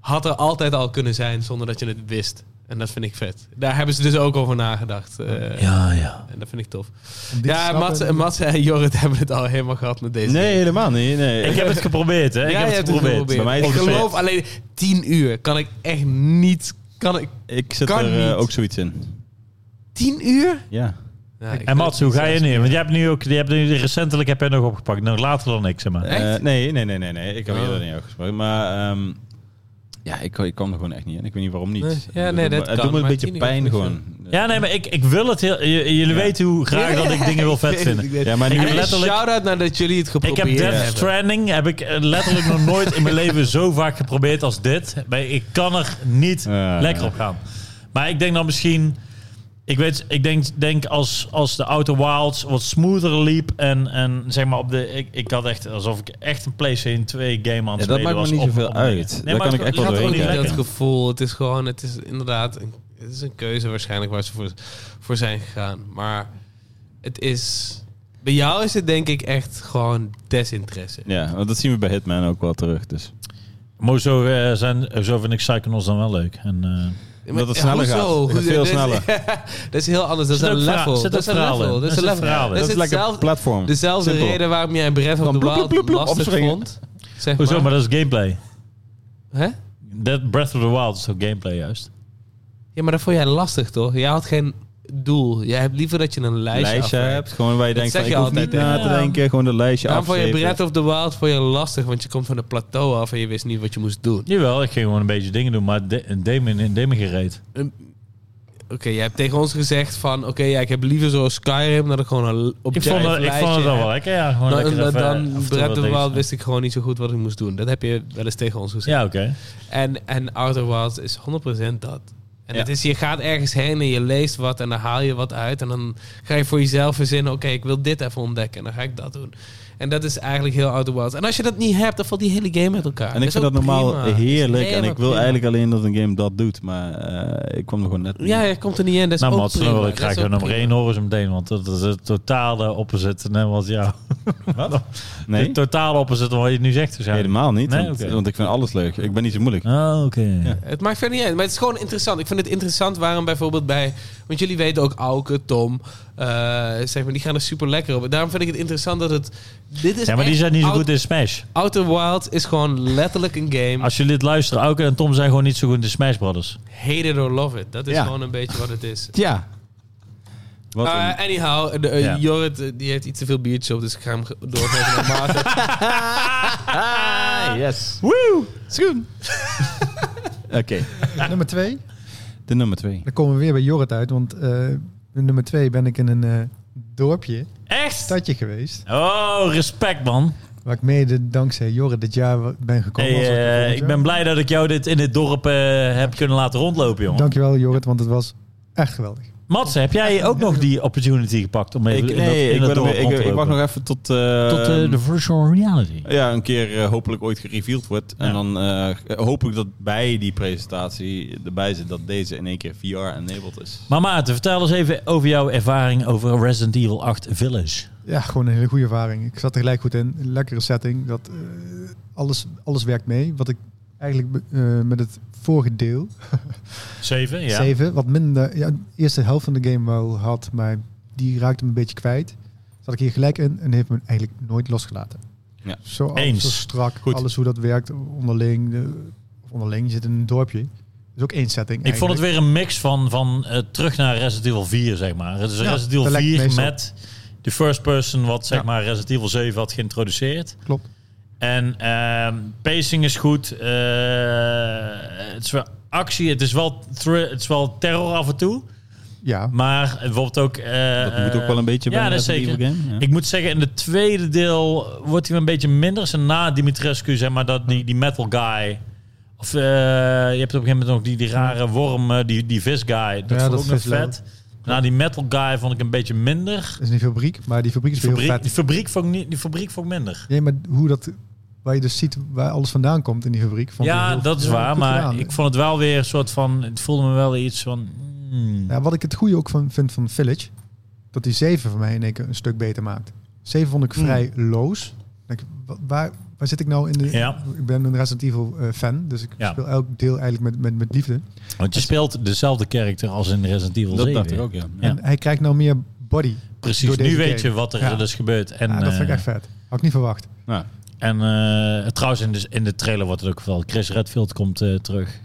[SPEAKER 2] had er altijd al kunnen zijn zonder dat je het wist. En dat vind ik vet. Daar hebben ze dus ook over nagedacht. eh,
[SPEAKER 3] Ja, ja.
[SPEAKER 2] En dat vind ik tof.
[SPEAKER 4] om dit te
[SPEAKER 2] Ja,
[SPEAKER 4] snappen-
[SPEAKER 2] Mats, eh, Mats en Jorrit [LAUGHS] hebben het al helemaal gehad met deze
[SPEAKER 1] Nee,
[SPEAKER 2] game.
[SPEAKER 1] helemaal niet. Nee.
[SPEAKER 3] Ik heb het geprobeerd, hè. Ik
[SPEAKER 2] Jij
[SPEAKER 3] heb
[SPEAKER 2] hebt
[SPEAKER 3] het geprobeerd.
[SPEAKER 1] Bij mij is
[SPEAKER 2] Ik
[SPEAKER 1] het
[SPEAKER 2] geloof alleen 10 uur. Kan ik echt niet... Kan ik
[SPEAKER 1] Ik zit
[SPEAKER 2] Kan
[SPEAKER 1] er eh,
[SPEAKER 2] niet.
[SPEAKER 1] ook zoiets in.
[SPEAKER 2] 10 uur?
[SPEAKER 1] Ja.
[SPEAKER 2] Ja, ik
[SPEAKER 3] En Mats, hoe ga je
[SPEAKER 2] niet?
[SPEAKER 3] nu? Want jij hebt nu ook, je hebt nu, recentelijk heb jij nog opgepakt. Nou, later dan niks, hè, maar.
[SPEAKER 1] Eh,
[SPEAKER 2] Echt?
[SPEAKER 1] nee, nee, nee, nee, nee. Ik heb
[SPEAKER 2] Oh.
[SPEAKER 1] eerder niet over gesproken. Maar ehm, ja, ik, ik kwam er gewoon echt niet in. Ik weet niet waarom niet.
[SPEAKER 2] Nee,
[SPEAKER 1] Het
[SPEAKER 2] ja,
[SPEAKER 1] doet
[SPEAKER 2] nee,
[SPEAKER 1] me-
[SPEAKER 2] dat
[SPEAKER 1] het doet
[SPEAKER 2] kan,
[SPEAKER 1] me een
[SPEAKER 2] maar
[SPEAKER 1] beetje
[SPEAKER 2] tien
[SPEAKER 1] pijn
[SPEAKER 2] is goed,
[SPEAKER 1] gewoon.
[SPEAKER 3] Ja, nee, maar ik, ik wil het heel... j- jullie weten hoe graag dat [LAUGHS] ik dingen wil vet vinden.
[SPEAKER 1] Ja, maar nu
[SPEAKER 3] Ik heb
[SPEAKER 2] En een
[SPEAKER 3] letterlijk-
[SPEAKER 2] shout-out naar dat jullie het
[SPEAKER 3] Ik
[SPEAKER 2] geprobeerd
[SPEAKER 3] heb Death
[SPEAKER 2] hebben.
[SPEAKER 3] Stranding heb ik eh, letterlijk nog nooit in mijn leven zo vaak geprobeerd als dit. Maar ik kan er niet
[SPEAKER 1] Ja,
[SPEAKER 3] lekker
[SPEAKER 1] ja.
[SPEAKER 3] op gaan. Maar ik denk dan misschien... Ik weet, ik denk, denk als, als de Outer Wilds wat smoother liep en, en zeg maar op de... Ik, ik had echt alsof ik echt een PlayStation 2 game aan het
[SPEAKER 1] Ja, dat
[SPEAKER 3] spelen
[SPEAKER 1] maakt me
[SPEAKER 3] was
[SPEAKER 1] niet
[SPEAKER 3] op-
[SPEAKER 1] zoveel
[SPEAKER 3] op dingen.
[SPEAKER 1] uit. Daar
[SPEAKER 3] maar
[SPEAKER 1] kan
[SPEAKER 3] het
[SPEAKER 1] ik echt wel
[SPEAKER 3] gaat
[SPEAKER 1] doorheen
[SPEAKER 3] gewoon niet
[SPEAKER 1] kijken.
[SPEAKER 2] dat
[SPEAKER 3] lekker.
[SPEAKER 2] gevoel. Het is gewoon, het is inderdaad, een, het is een keuze waarschijnlijk waar ze voor, voor zijn gegaan. Maar het is, bij jou is het denk ik echt gewoon desinteresse.
[SPEAKER 1] Ja, want dat zien we bij Hitman ook wel terug. Dus.
[SPEAKER 3] Maar zo, eh, zijn, zo vind ik Psychonauts dan wel leuk. En, eh,
[SPEAKER 1] Dat het sneller gaat.
[SPEAKER 2] Hoezo?
[SPEAKER 1] Dat het veel
[SPEAKER 2] [LAUGHS] Dat is-
[SPEAKER 1] sneller.
[SPEAKER 2] dat is heel anders. Dat is
[SPEAKER 3] Zit
[SPEAKER 2] een
[SPEAKER 3] ook verhaal-
[SPEAKER 2] level.
[SPEAKER 3] zit
[SPEAKER 2] Dat
[SPEAKER 3] ook
[SPEAKER 2] is een
[SPEAKER 3] verhaal
[SPEAKER 2] level.
[SPEAKER 3] in.
[SPEAKER 2] Dat is een level.
[SPEAKER 3] verhaal in.
[SPEAKER 2] Dat
[SPEAKER 1] Dat
[SPEAKER 2] is
[SPEAKER 1] is lekker
[SPEAKER 2] hetzelfde- dus-
[SPEAKER 1] platform.
[SPEAKER 2] dezelfde
[SPEAKER 1] Simpel.
[SPEAKER 2] reden waarom jij Breath of
[SPEAKER 1] Dan
[SPEAKER 2] the
[SPEAKER 1] bloep,
[SPEAKER 2] Wild
[SPEAKER 1] bloep, bloep,
[SPEAKER 2] lastig
[SPEAKER 1] opspringen.
[SPEAKER 2] vond. Zeg
[SPEAKER 3] hoezo,
[SPEAKER 2] maar.
[SPEAKER 3] maar dat is gameplay.
[SPEAKER 2] Hè?
[SPEAKER 3] That Breath of the Wild is ook gameplay juist.
[SPEAKER 2] Ja, maar dat vond jij lastig, toch? Jij had geen doel. Jij hebt liever dat je een lijstje,
[SPEAKER 1] lijstje
[SPEAKER 2] afwerkt.
[SPEAKER 1] hebt, gewoon waar je
[SPEAKER 2] Dat
[SPEAKER 1] denkt van
[SPEAKER 2] zeg
[SPEAKER 1] ik
[SPEAKER 2] je
[SPEAKER 1] hoef
[SPEAKER 2] altijd,
[SPEAKER 1] niet na
[SPEAKER 3] hè?
[SPEAKER 1] te denken, gewoon een lijstje
[SPEAKER 2] Daarom vond je
[SPEAKER 1] afstrepen.
[SPEAKER 2] Breath of the Wild vond je lastig, want je komt van een plateau af en je wist niet wat je moest doen.
[SPEAKER 3] Jawel, ik ging gewoon een beetje dingen doen, maar de- Damon in Damon gereed.
[SPEAKER 2] Oké, jij hebt tegen ons gezegd van, oké, ja, ik heb liever zoals Skyrim dat ik gewoon een
[SPEAKER 3] Ik
[SPEAKER 2] objectief
[SPEAKER 3] vond, het,
[SPEAKER 2] lijstje
[SPEAKER 3] ik vond het wel
[SPEAKER 2] heb.
[SPEAKER 3] wel lekker, ja. Gewoon
[SPEAKER 2] Dan,
[SPEAKER 3] lekker
[SPEAKER 2] dan,
[SPEAKER 3] even,
[SPEAKER 2] dan
[SPEAKER 3] eh, af en toe
[SPEAKER 2] Breath
[SPEAKER 3] wat
[SPEAKER 2] of the
[SPEAKER 3] lezen.
[SPEAKER 2] Wild wist ik gewoon niet zo goed wat ik moest doen. Dat heb je wel eens tegen ons gezegd.
[SPEAKER 3] Ja, oké.
[SPEAKER 2] En, en Outer Wilds is 100% dat. En
[SPEAKER 1] Ja.
[SPEAKER 2] het is, je gaat ergens heen en je leest wat en dan haal je wat uit. En dan ga je voor jezelf verzinnen, oké, ik wil dit even ontdekken. En dan ga ik dat doen. En dat is eigenlijk heel Outer Wilds. En als je dat niet hebt, dan valt die hele game met elkaar.
[SPEAKER 1] En ik
[SPEAKER 2] is
[SPEAKER 1] vind
[SPEAKER 2] ook
[SPEAKER 1] dat normaal
[SPEAKER 2] prima. Is
[SPEAKER 1] heerlijk. En
[SPEAKER 2] helemaal
[SPEAKER 1] ik wil
[SPEAKER 2] prima.
[SPEAKER 1] eigenlijk alleen dat een game dat doet. Maar eh, ik kwam er gewoon net niet.
[SPEAKER 2] Ja, je komt er niet in. Dat is
[SPEAKER 3] Nou,
[SPEAKER 2] ook
[SPEAKER 3] Mats, dan
[SPEAKER 2] prima.
[SPEAKER 3] wil ik
[SPEAKER 2] Dat
[SPEAKER 3] graag
[SPEAKER 2] is
[SPEAKER 3] weer
[SPEAKER 2] ook
[SPEAKER 3] nummer
[SPEAKER 2] prima.
[SPEAKER 3] 1 horen zo meteen, want dat is het totale opposite. Net was
[SPEAKER 1] [LAUGHS]
[SPEAKER 3] jou. [LAUGHS] Wat?
[SPEAKER 1] nee,
[SPEAKER 3] Het totale opposite van wat je nu zegt. Dus ja.
[SPEAKER 1] helemaal niet.
[SPEAKER 3] Nee,
[SPEAKER 1] want,
[SPEAKER 3] oké.
[SPEAKER 1] want ik vind alles leuk. Ik ben niet zo moeilijk.
[SPEAKER 3] Ah, oké.
[SPEAKER 2] Het maakt verder niet uit, maar het is gewoon interessant. Ik vind het interessant waarom bijvoorbeeld bij... Want jullie weten ook Auke, Tom, eh, zeg maar, die gaan er super lekker op. Daarom vind ik het interessant dat het... Dit is
[SPEAKER 3] Ja, maar die
[SPEAKER 2] echt
[SPEAKER 3] zijn niet zo
[SPEAKER 2] Out-
[SPEAKER 3] goed in Smash.
[SPEAKER 2] Outer Wilds is gewoon letterlijk een game.
[SPEAKER 3] Als jullie dit luisteren, Auke en Tom zijn gewoon niet zo goed in Smash Brothers.
[SPEAKER 2] Hate it or love it. Dat is
[SPEAKER 1] Ja.
[SPEAKER 2] gewoon een beetje wat het is.
[SPEAKER 1] Ja. Wat
[SPEAKER 2] Eh,
[SPEAKER 1] een-
[SPEAKER 2] anyhow, de, eh,
[SPEAKER 3] Ja.
[SPEAKER 2] Jorrit eh, die heeft iets te veel biertje op, dus ik ga hem ge- doorgeven naar Maarten.
[SPEAKER 1] yes.
[SPEAKER 3] Woe!
[SPEAKER 1] Schoen. [LAUGHS] Oké,
[SPEAKER 4] Nummer twee.
[SPEAKER 1] de nummer twee.
[SPEAKER 4] Dan komen we weer bij Jorrit uit, want eh, in nummer twee ben ik in een eh, dorpje,
[SPEAKER 3] Echt?
[SPEAKER 4] stadje geweest.
[SPEAKER 3] Oh, respect man.
[SPEAKER 4] Waar ik mede dankzij Jorrit dit jaar ben gekomen.
[SPEAKER 3] Hey,
[SPEAKER 4] als ik
[SPEAKER 3] eh,
[SPEAKER 4] volgend
[SPEAKER 3] ik
[SPEAKER 4] jaar.
[SPEAKER 3] ben blij dat ik jou dit in dit dorp eh, heb kunnen laten rondlopen, jongen.
[SPEAKER 4] Dankjewel Jorrit, want het was echt geweldig.
[SPEAKER 3] Mats, heb jij ook nog die opportunity gepakt om even
[SPEAKER 1] Ik,
[SPEAKER 3] in dat,
[SPEAKER 1] nee,
[SPEAKER 3] in
[SPEAKER 1] ik, ben
[SPEAKER 3] dat
[SPEAKER 1] er
[SPEAKER 3] dorp
[SPEAKER 1] weer-
[SPEAKER 3] rond
[SPEAKER 1] ik,
[SPEAKER 3] te
[SPEAKER 1] ik wacht
[SPEAKER 3] lopen?
[SPEAKER 1] nog even tot... eh,
[SPEAKER 3] Tot eh, de virtual reality.
[SPEAKER 1] Ja, een keer eh, hopelijk ooit gereveeld wordt.
[SPEAKER 3] Ja.
[SPEAKER 1] En dan eh, hoop ik dat bij die presentatie erbij zit dat deze in één keer VR-enabled is.
[SPEAKER 3] Maar Maarten, vertel eens even over jouw ervaring over Resident Evil 8 Village.
[SPEAKER 4] Ja, gewoon een hele goede ervaring. Ik zat er gelijk goed in. Een lekkere setting. Dat, eh, alles, alles werkt mee. Wat ik eigenlijk be- eh, met het vorige deel,
[SPEAKER 3] 7,
[SPEAKER 4] 7, wat minder... Ja, de eerste helft van de game wel had, maar die raakte me een beetje kwijt. Zat ik hier gelijk in en heeft me eigenlijk nooit losgelaten.
[SPEAKER 1] Ja.
[SPEAKER 4] Zo, alles
[SPEAKER 3] Eens.
[SPEAKER 4] zo strak,
[SPEAKER 3] Goed.
[SPEAKER 4] alles hoe dat werkt onderling. De, of onderling, je zit in een dorpje. Dat is ook één setting
[SPEAKER 3] Ik vond het
[SPEAKER 4] eigenlijk.
[SPEAKER 3] weer een mix van, van eh, terug naar Resident Evil 4, zeg maar. Het is
[SPEAKER 4] Ja,
[SPEAKER 3] Resident Evil
[SPEAKER 4] dat lijkt me
[SPEAKER 3] 4
[SPEAKER 4] meestal.
[SPEAKER 3] met de first person wat zeg
[SPEAKER 4] Ja.
[SPEAKER 3] maar Resident Evil 7 had geïntroduceerd.
[SPEAKER 4] Klopt.
[SPEAKER 3] En ehm, pacing is goed. eh, het is wel actie. Het is wel, thr- het is wel terror af en toe.
[SPEAKER 4] Ja,
[SPEAKER 3] Maar bijvoorbeeld ook... eh,
[SPEAKER 1] dat moet ook wel een beetje
[SPEAKER 3] ja,
[SPEAKER 1] bij
[SPEAKER 3] dat is
[SPEAKER 1] Resident
[SPEAKER 3] zeker.
[SPEAKER 1] Evil game. Ja.
[SPEAKER 3] Ik moet zeggen, in het tweede deel wordt hij een beetje minder. Zijn na Dimitrescu, zeg maar, dat, die, die metal guy. Of eh, je hebt op een gegeven moment nog die, die rare worm, eh, die, die vis guy. Dat
[SPEAKER 4] Ja,
[SPEAKER 3] vond ik
[SPEAKER 4] dat
[SPEAKER 3] ook nog
[SPEAKER 4] vis wel.
[SPEAKER 3] vet. Na die metal guy vond ik een beetje minder.
[SPEAKER 4] dat is een fabriek, maar die fabriek
[SPEAKER 3] Die
[SPEAKER 4] is weer heel
[SPEAKER 3] fabriek,
[SPEAKER 4] vet.
[SPEAKER 3] die fabriek, vond ik niet, die fabriek vond ik minder.
[SPEAKER 4] Nee, maar hoe dat, waar je dus ziet waar alles vandaan komt in die fabriek. vond ik
[SPEAKER 3] ja,
[SPEAKER 4] heel-
[SPEAKER 3] dat is
[SPEAKER 4] heel
[SPEAKER 3] waar.
[SPEAKER 4] goed
[SPEAKER 3] Maar
[SPEAKER 4] gedaan.
[SPEAKER 3] ik vond het wel weer een soort van... Het voelde me wel iets van... hmm.
[SPEAKER 4] Ja, wat ik het goede ook van, vind van Village, dat die 7 voor mij in één keer een stuk beter maakt. 7 vond
[SPEAKER 3] Hmm.
[SPEAKER 4] ik vrij loos. Denk, ik, wa- waar, waar zit ik nou in de...
[SPEAKER 3] Ja.
[SPEAKER 4] Ik ben een Resident Evil eh, fan, dus ik
[SPEAKER 3] Ja.
[SPEAKER 4] speel elk deel eigenlijk met, met, met liefde.
[SPEAKER 3] Want je speelt dezelfde karakter als in Resident Evil
[SPEAKER 1] Dat
[SPEAKER 3] 7.
[SPEAKER 1] dacht ik ook, ja.
[SPEAKER 3] Ja.
[SPEAKER 4] En hij krijgt nou meer body.
[SPEAKER 3] Precies,
[SPEAKER 4] Door
[SPEAKER 3] nu
[SPEAKER 4] deze
[SPEAKER 3] weet
[SPEAKER 4] game.
[SPEAKER 3] je wat er
[SPEAKER 4] Ja.
[SPEAKER 3] dus gebeurt. En,
[SPEAKER 4] En, dat vind ik
[SPEAKER 3] eh,
[SPEAKER 4] echt vet. Had ik niet verwacht.
[SPEAKER 1] Nou,
[SPEAKER 3] En eh, trouwens, in de, in de trailer wordt het ook wel. Chris Redfield komt eh, terug.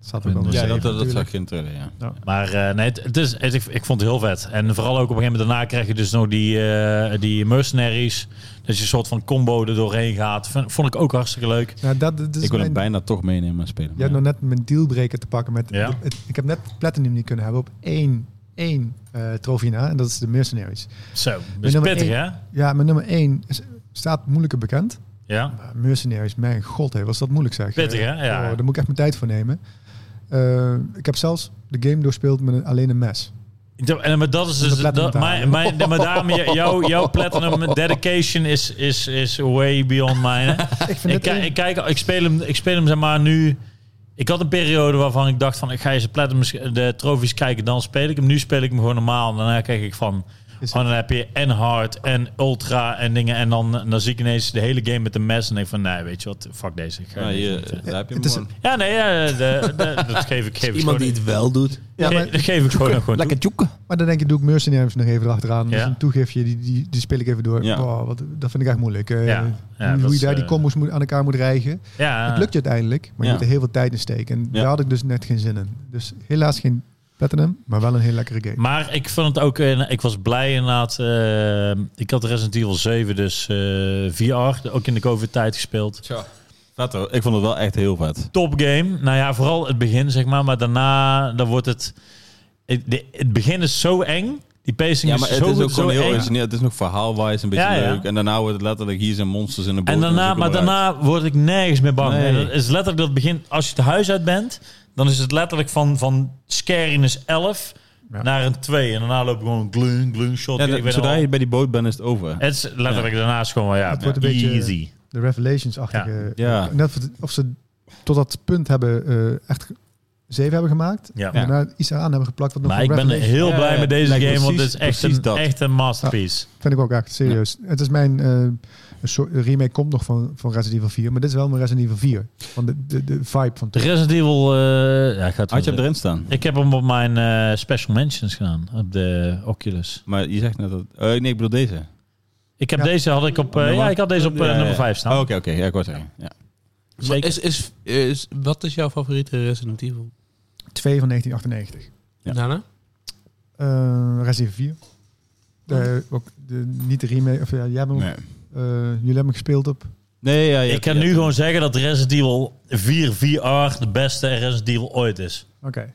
[SPEAKER 4] Zat ook wel
[SPEAKER 3] Ja,
[SPEAKER 4] een
[SPEAKER 1] ja,
[SPEAKER 4] zeven
[SPEAKER 1] dat, dat, dat zag
[SPEAKER 4] natuurlijk.
[SPEAKER 1] ik in het trailer, ja.
[SPEAKER 3] Maar eh, nee, het, het is, het- ik, ik vond het heel vet. En vooral ook op een gegeven moment daarna krijg je dus nog die, eh, die mercenaries. Dat je een soort van combo er doorheen gaat. Vond, vond ik ook hartstikke leuk.
[SPEAKER 4] Nou, dat, dat is
[SPEAKER 1] ik wil hem
[SPEAKER 4] mijn,
[SPEAKER 1] bijna toch meenemen en spelen.
[SPEAKER 4] Je hebt nog net mijn dealbreaker te pakken met...
[SPEAKER 3] Ja.
[SPEAKER 4] het- ik heb net Platinum niet kunnen hebben op één, één eh trofee na. En dat is de Mercenaries.
[SPEAKER 3] Zo, dat is
[SPEAKER 4] nummer
[SPEAKER 3] Dus pittig hè?
[SPEAKER 4] Ja, maar nummer 1 staat moeilijker bekend.
[SPEAKER 3] Ja.
[SPEAKER 4] Maar Mercenaries, Eh, mijn god, hé, was dat moeilijk zeg.
[SPEAKER 3] Pittig hè?
[SPEAKER 4] Oh,
[SPEAKER 3] Ja.
[SPEAKER 4] daar moet ik echt mijn tijd voor nemen. Eh, ik heb zelfs de game doorspeeld met een- alleen een mes.
[SPEAKER 3] Ik dacht- En, maar dat is
[SPEAKER 4] Met
[SPEAKER 3] dus...
[SPEAKER 4] de
[SPEAKER 3] Dat,
[SPEAKER 4] platinum
[SPEAKER 3] maar, maar, maar daarom, jou- jouw jouw platinum dedication is, is, is way beyond mine. hè?
[SPEAKER 4] [LAUGHS] Ik vind
[SPEAKER 3] Ik,
[SPEAKER 4] het
[SPEAKER 3] kijk, ik, kijk, ik speel hem, ik speel hem zeg maar nu. Ik had een periode waarvan ik dacht van ik ga eens de platinums, de trofies kijken, dan speel ik hem. Nu speel ik hem gewoon normaal en daarna kijk ik van.
[SPEAKER 4] Is-
[SPEAKER 3] oh, dan heb je en hard en ultra en dingen en dan, dan zie ik ineens de hele game met een mes en denk van nee, weet je wat, fuck deze. Ik ga
[SPEAKER 1] Ja,
[SPEAKER 3] niet
[SPEAKER 1] hier,
[SPEAKER 3] zitten.
[SPEAKER 1] daar heb je
[SPEAKER 4] Het
[SPEAKER 1] hem
[SPEAKER 4] is-
[SPEAKER 1] gewoon.
[SPEAKER 3] ja nee, ja, de- de- dat geef ik, geef ik gewoon.
[SPEAKER 2] Iemand die het wel doet.
[SPEAKER 4] Ja,
[SPEAKER 3] ge-
[SPEAKER 4] maar,
[SPEAKER 3] dat geef ik gewoon nog gewoon toe.
[SPEAKER 1] tjoeken.
[SPEAKER 4] maar dan denk je, doe ik Mercenaries nog even erachteraan. Dus
[SPEAKER 3] Ja.
[SPEAKER 4] een toegiftje, die, die, die speel ik even door.
[SPEAKER 1] Ja.
[SPEAKER 4] Wow, wat, dat vind ik echt moeilijk. Eh,
[SPEAKER 3] Ja. Ja,
[SPEAKER 4] hoe
[SPEAKER 3] dat
[SPEAKER 4] hoe je
[SPEAKER 3] is,
[SPEAKER 4] daar die
[SPEAKER 3] eh,
[SPEAKER 4] combos moet, aan elkaar moet rijgen.
[SPEAKER 3] Ja,
[SPEAKER 4] Het lukt je uiteindelijk, maar
[SPEAKER 1] Ja.
[SPEAKER 4] je moet er heel veel tijd in steken. En
[SPEAKER 1] Ja.
[SPEAKER 4] daar had ik dus net geen zin in. Dus helaas geen Platinum, maar wel een heel lekkere game.
[SPEAKER 3] Maar ik vond het ook, eh, ik was blij inderdaad. eh, ik had Resident Evil 7, dus eh, VR, ook in de COVID-tijd gespeeld.
[SPEAKER 1] Vet hoor. Ik vond het wel echt heel vet.
[SPEAKER 3] top game. Nou ja, vooral het begin, zeg maar. Maar daarna, dan wordt het... Het, de- het begin is zo eng. Die pacing
[SPEAKER 1] Ja,
[SPEAKER 3] is
[SPEAKER 1] maar
[SPEAKER 3] zo,
[SPEAKER 1] het is ook
[SPEAKER 3] zo
[SPEAKER 1] gewoon heel
[SPEAKER 3] eng.
[SPEAKER 1] origineel. Het is nog verhaalwijs een beetje
[SPEAKER 3] Ja, ja.
[SPEAKER 1] leuk. En daarna wordt het letterlijk hier zijn monsters in de boot.
[SPEAKER 3] En daarna,
[SPEAKER 1] zo
[SPEAKER 3] maar
[SPEAKER 1] eruit.
[SPEAKER 3] daarna word ik nergens meer bang.
[SPEAKER 1] Nee.
[SPEAKER 3] En dat is letterlijk dat begin... Als je het huis uit bent, dan is het letterlijk van, van scariness 11
[SPEAKER 4] Ja.
[SPEAKER 3] naar een 2. En daarna loop ik gewoon glung, glung, shot.
[SPEAKER 1] Ja,
[SPEAKER 3] ik
[SPEAKER 1] dat-
[SPEAKER 3] ben
[SPEAKER 1] zodra
[SPEAKER 3] al-
[SPEAKER 1] je bij die boot bent, is het over.
[SPEAKER 3] Het is letterlijk daarnaast gewoon, ja,
[SPEAKER 4] Het wordt een beetje-
[SPEAKER 3] easy.
[SPEAKER 4] De Revelations-achtige.
[SPEAKER 1] Ja. Ja.
[SPEAKER 4] En dat we- of ze tot dat punt hebben eh, echt zeven hebben gemaakt.
[SPEAKER 3] Ja.
[SPEAKER 4] En daarna iets aan hebben geplakt. Wat nog
[SPEAKER 3] Maar
[SPEAKER 4] van
[SPEAKER 3] ik ben
[SPEAKER 4] Revelations-
[SPEAKER 3] heel
[SPEAKER 1] Ja,
[SPEAKER 3] blij
[SPEAKER 1] ja,
[SPEAKER 3] met deze
[SPEAKER 1] lijkt
[SPEAKER 3] game, want het
[SPEAKER 1] precies-
[SPEAKER 3] is echt
[SPEAKER 1] precies
[SPEAKER 3] een,
[SPEAKER 1] dat.
[SPEAKER 3] echt een masterpiece.
[SPEAKER 4] Vind ik ook echt, serieus. Het is mijn eh, een soort een remake komt nog van, van Resident Evil 4, maar dit is wel mijn Resident Evil 4. Van de, de, de vibe van
[SPEAKER 3] De
[SPEAKER 4] toen.
[SPEAKER 3] Resident Evil... eh, ja, gaat
[SPEAKER 1] Had je hem erin staan?
[SPEAKER 3] Ik heb hem op mijn eh, special mentions gedaan, op de Oculus.
[SPEAKER 1] Maar je zegt net dat... eh, nee, ik bedoel deze.
[SPEAKER 3] Ik heb
[SPEAKER 4] Ja.
[SPEAKER 3] deze had ik op, eh,
[SPEAKER 1] Nummer?
[SPEAKER 3] ja, ik had deze op eh,
[SPEAKER 1] Ja, ja, ja.
[SPEAKER 3] nummer 5 staan.
[SPEAKER 1] Oh, Oké, oké. Ja, ik wou zeggen. Ja.
[SPEAKER 3] Zeker.
[SPEAKER 2] Is, is, is, wat is jouw favoriete Resident Evil? Nou,
[SPEAKER 4] 2 van 1998.
[SPEAKER 1] Ja.
[SPEAKER 2] Daarna?
[SPEAKER 4] eh Resident Evil 4. Eh,
[SPEAKER 3] Oh.
[SPEAKER 4] ook de, niet de remake. Of, ja, jij hebt hem,
[SPEAKER 1] Nee,
[SPEAKER 4] eh, jullie hebben hem gespeeld op.
[SPEAKER 1] nee ja, je
[SPEAKER 3] Ik
[SPEAKER 1] hebt-
[SPEAKER 3] kan
[SPEAKER 1] je
[SPEAKER 3] nu
[SPEAKER 1] hebt-
[SPEAKER 3] gewoon zeggen dat Resident Evil 4 VR de beste Resident Evil ooit is.
[SPEAKER 4] Oké.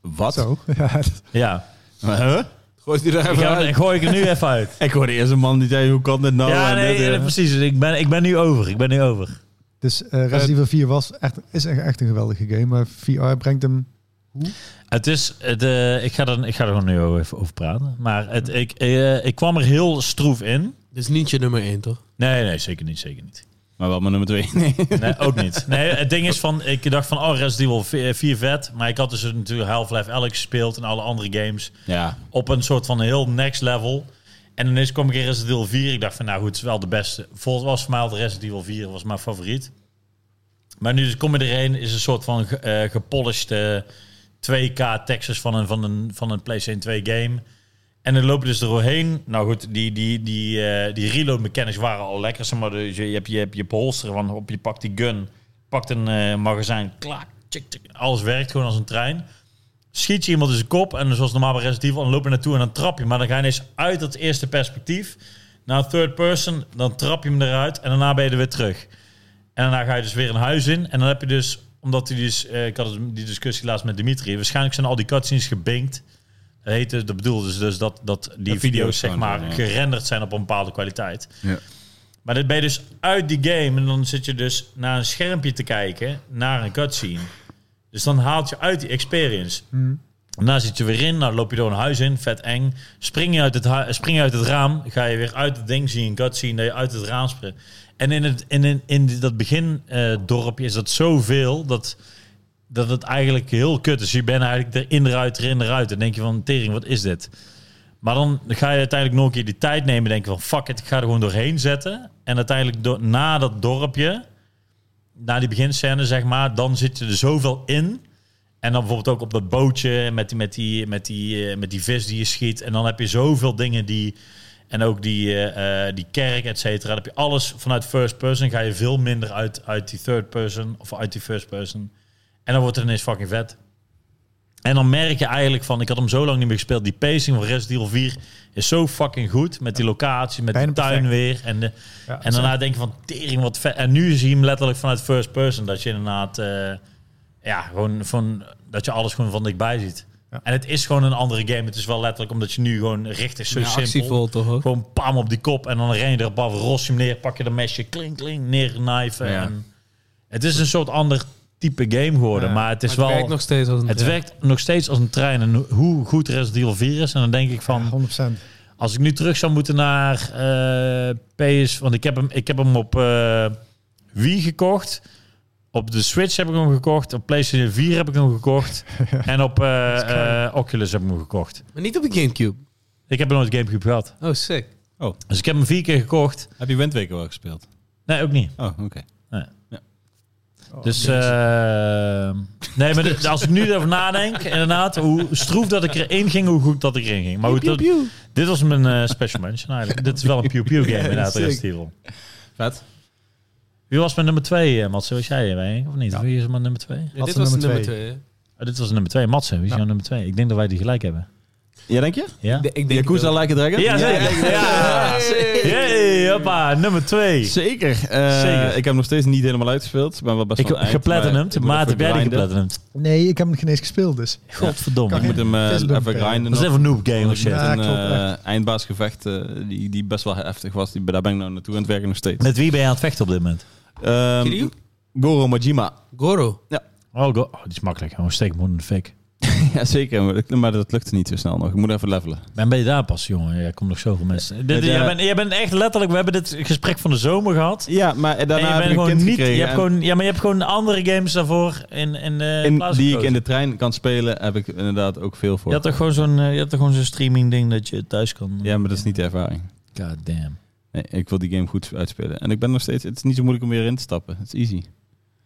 [SPEAKER 1] Wat?
[SPEAKER 4] Zo. [LAUGHS] Ja, dat-
[SPEAKER 3] Ja.
[SPEAKER 1] Huh? Gooit hij er
[SPEAKER 3] Ik
[SPEAKER 1] even
[SPEAKER 3] ga,
[SPEAKER 1] uit?
[SPEAKER 3] ik gooi ik er nu even
[SPEAKER 1] [LAUGHS]
[SPEAKER 3] uit.
[SPEAKER 1] Ik hoorde eerst een man die zei, hoe kan dit nou?
[SPEAKER 3] ja,
[SPEAKER 1] En
[SPEAKER 3] nee,
[SPEAKER 1] dit, eh.
[SPEAKER 3] eh, precies. Ik ben, ik ben nu over. Ik ben nu over.
[SPEAKER 4] dus eh, Resident Evil 4 was echt, is echt, echt een geweldige game. Maar VR brengt hem.
[SPEAKER 3] Het is, het, eh, ik, ga er, ik ga er gewoon nu over- even over praten. Maar het, ik, eh, ik kwam er heel stroef in.
[SPEAKER 2] Dit is niet je nummer 1, toch?
[SPEAKER 3] Nee, nee, zeker niet. Zeker niet.
[SPEAKER 1] Maar wel mijn nummer twee. [LAUGHS] Nee.
[SPEAKER 3] Nee, ook niet. Nee, het ding is van, ik dacht van, oh, Resident Evil 4 4 vet. Maar ik had dus natuurlijk Half-Life Alex gespeeld en alle andere games.
[SPEAKER 1] Ja,
[SPEAKER 3] Op een soort van heel next level. En ineens kwam ik in Resident Evil 4. Ik dacht van, nou goed, het is wel de beste. Volgens was voor mij al de Resident Evil 4, was mijn favoriet. Maar nu dus kom je erheen, is een soort van ge- eh, gepolished eh, 2K Texas van een, van, een, van een PlayStation 2 game. En dan loop je dus er doorheen. Nou goed, die, die, die, eh, die reload mechanics waren al lekker. Zeg maar, dus je, je hebt je, hebt je polster van op, je pakt die gun, pakt een eh, magazijn, klaar, tjik, tjik. alles werkt gewoon als een trein. Schiet je iemand in zijn kop en zoals normaal bij Resident Evil, dan loop je naartoe en dan trap je. Maar dan ga je ineens uit dat eerste perspectief naar third person, dan trap je hem eruit en daarna ben je er weer terug. En daarna ga je dus weer een huis in. En dan heb je dus, omdat die dus, eh, ik had het- die discussie laatst met Dimitri, waarschijnlijk zijn al die cutscenes gebinkt. Dat, heette, dat bedoelde dus, dus dat, dat die
[SPEAKER 1] video's
[SPEAKER 3] video's, zeg
[SPEAKER 1] gewoon
[SPEAKER 3] maar
[SPEAKER 1] zijn, ja.
[SPEAKER 3] gerenderd zijn op een bepaalde kwaliteit.
[SPEAKER 1] Ja.
[SPEAKER 3] Maar dit ben je dus uit die game en dan zit je dus naar een schermpje te kijken, naar een cutscene. Dus dan haalt je uit die experience. Daarna zit je weer in, nou loop je door een huis in, vet eng. Spring je uit het, hu- spring je uit het raam, ga je weer uit het ding zien, een cutscene, dat je uit het raam springt. En in, het, in, in, in dat begindorpje dorpje is dat zoveel dat, dat het eigenlijk heel kut is. Je bent eigenlijk erin, eruit, erin, eruit. Dan denk je van, tering, wat is dit? Maar dan ga je uiteindelijk nog een keer die tijd nemen. Denk je van, fuck it, ik ga er gewoon doorheen zetten. En uiteindelijk do- na dat dorpje, na die beginscène zeg maar, dan zit je er zoveel in. En dan bijvoorbeeld ook op dat bootje met die, met die, met die, eh, met die vis die je schiet. En dan heb je zoveel dingen die... En ook die, eh, eh, die kerk, et cetera. Dan heb je alles vanuit first person. Ga je veel minder uit, uit die third person of uit die first person. En dan wordt het ineens fucking vet. En dan merk je eigenlijk van, ik had hem zo lang niet meer gespeeld. Die pacing van Resident Evil 4 is zo fucking goed. Met die locatie, met
[SPEAKER 4] Bijna
[SPEAKER 3] de tuin
[SPEAKER 4] perfect.
[SPEAKER 3] weer. En, de,
[SPEAKER 4] Ja,
[SPEAKER 3] en daarna denk je van, tering wat vet. En nu zie je hem letterlijk vanuit first person. Dat je inderdaad, eh, ja, gewoon van, dat je alles gewoon van dichtbij ziet.
[SPEAKER 4] Ja.
[SPEAKER 3] En het is gewoon een andere game. Het is wel letterlijk omdat je nu gewoon recht is zo
[SPEAKER 2] Ja,
[SPEAKER 3] simpel.
[SPEAKER 2] actievol toch ook?
[SPEAKER 3] Gewoon pam op die kop en dan ren je erop af, ros je hem neer, pak je de mesje, kling, kling, neer, knife.
[SPEAKER 1] Ja.
[SPEAKER 3] En het is een soort ander type game geworden,
[SPEAKER 4] Ja,
[SPEAKER 3] maar het is
[SPEAKER 2] Maar
[SPEAKER 3] wel...
[SPEAKER 2] werkt nog steeds als een
[SPEAKER 3] het
[SPEAKER 2] trein.
[SPEAKER 3] werkt nog steeds als een trein en ho- hoe goed Resident Evil 4 is. En dan denk ik van,
[SPEAKER 4] 100%.
[SPEAKER 3] als ik nu terug zou moeten naar eh PS, want ik heb hem, ik heb hem op eh Wii gekocht. Op de Switch heb ik hem gekocht. Op PlayStation 4 heb ik hem gekocht. En op eh, eh, Oculus heb ik hem gekocht.
[SPEAKER 2] Maar niet op de Gamecube.
[SPEAKER 3] Ik heb hem nooit Gamecube gehad.
[SPEAKER 2] Oh, sick.
[SPEAKER 3] Dus ik heb hem vier keer gekocht.
[SPEAKER 1] Heb je Windwaker wel gespeeld?
[SPEAKER 3] Nee, ook niet.
[SPEAKER 1] Oh, oké.
[SPEAKER 3] Dus eh, nee, maar dit- als ik nu erover nadenk, inderdaad, hoe stroef dat ik erin ging, hoe goed dat ik erin ging. Maar goed, dat- dit was mijn eh, special mention eigenlijk. dit is wel een pew pew game inderdaad,
[SPEAKER 1] Sick.
[SPEAKER 3] Resident Evil.
[SPEAKER 1] Vet.
[SPEAKER 3] Wie was mijn nummer 2, Mats? Was jij erbij, of niet? Wie is mijn nummer 2?
[SPEAKER 2] Ja, dit
[SPEAKER 4] ze
[SPEAKER 2] was de
[SPEAKER 4] nummer
[SPEAKER 2] nummer
[SPEAKER 4] twee?
[SPEAKER 2] 2. Ik
[SPEAKER 3] Oh, dit was nummer 2, Matsen. Wie is
[SPEAKER 4] Ja.
[SPEAKER 3] jouw nummer 2? Ik denk dat wij die gelijk hebben.
[SPEAKER 1] Ja, denk je?
[SPEAKER 3] Ja?
[SPEAKER 2] denk- eh, ik denk
[SPEAKER 1] Yakuza
[SPEAKER 2] het
[SPEAKER 1] Like a Dragon?
[SPEAKER 3] Ja, zeker. Ja. Hey, hoppa, nummer 2.
[SPEAKER 1] Zeker. Eh,
[SPEAKER 3] Zeker.
[SPEAKER 1] Ik heb nog steeds niet helemaal uitgespeeld. Ik ben wel best
[SPEAKER 3] Ik
[SPEAKER 1] wel eind, maar ik
[SPEAKER 3] geplatinumd.
[SPEAKER 1] moet
[SPEAKER 3] Maat,
[SPEAKER 1] even
[SPEAKER 3] heb jij die
[SPEAKER 1] grinden.
[SPEAKER 3] geplatinumd?
[SPEAKER 4] Nee, ik heb hem geen eens gespeeld dus.
[SPEAKER 3] Godverdomme.
[SPEAKER 4] Kan
[SPEAKER 1] Ik moet hem eh,
[SPEAKER 4] Facebook
[SPEAKER 1] even
[SPEAKER 4] spelen.
[SPEAKER 1] grinden.
[SPEAKER 3] Dat is even een noob game of
[SPEAKER 1] nog.
[SPEAKER 3] shit.
[SPEAKER 1] Met
[SPEAKER 4] Ja,
[SPEAKER 1] een
[SPEAKER 4] klopt,
[SPEAKER 1] eh, eindbaasgevecht eh, die, die best wel heftig was. Die, daar ben ik nou naartoe aan het werken nog steeds.
[SPEAKER 3] Met wie ben je aan het vechten op dit moment?
[SPEAKER 1] Ehm,
[SPEAKER 2] Kiryu?
[SPEAKER 1] Goro Majima. [LAUGHS]
[SPEAKER 2] Goro.
[SPEAKER 3] Oh, go- oh, die is makkelijk. Gewoon steek hem in de fik.
[SPEAKER 1] Ja, zeker. Maar dat, maar dat lukte niet zo snel nog. Ik moet even levelen.
[SPEAKER 3] Ben ben je daar pas, jongen? Ja, Er komt nog zoveel mensen. Dit,
[SPEAKER 1] de-
[SPEAKER 3] jij, bent, jij bent echt letterlijk... We hebben dit gesprek van de zomer gehad.
[SPEAKER 1] Ja, maar daarna
[SPEAKER 3] en je
[SPEAKER 1] heb
[SPEAKER 3] bent
[SPEAKER 1] ik een
[SPEAKER 3] gewoon
[SPEAKER 1] kind
[SPEAKER 3] niet... Je
[SPEAKER 1] gekregen.
[SPEAKER 3] hebt
[SPEAKER 1] en-
[SPEAKER 3] gewoon, ja, maar je hebt gewoon andere games daarvoor in, in, eh,
[SPEAKER 1] in,
[SPEAKER 3] plaats
[SPEAKER 1] die ik
[SPEAKER 3] gekozen.
[SPEAKER 1] in de trein kan spelen, heb ik inderdaad ook veel voor.
[SPEAKER 3] Je had toch gewoon zo'n eh, je had toch gewoon zo'n streaming ding dat je thuis eh. kan...
[SPEAKER 1] ja, maar dat is niet de ervaring.
[SPEAKER 3] God damn.
[SPEAKER 1] Nee, ik wil die game goed uitspelen. En ik ben nog steeds... Het is niet zo moeilijk om weer in te stappen. Het is easy.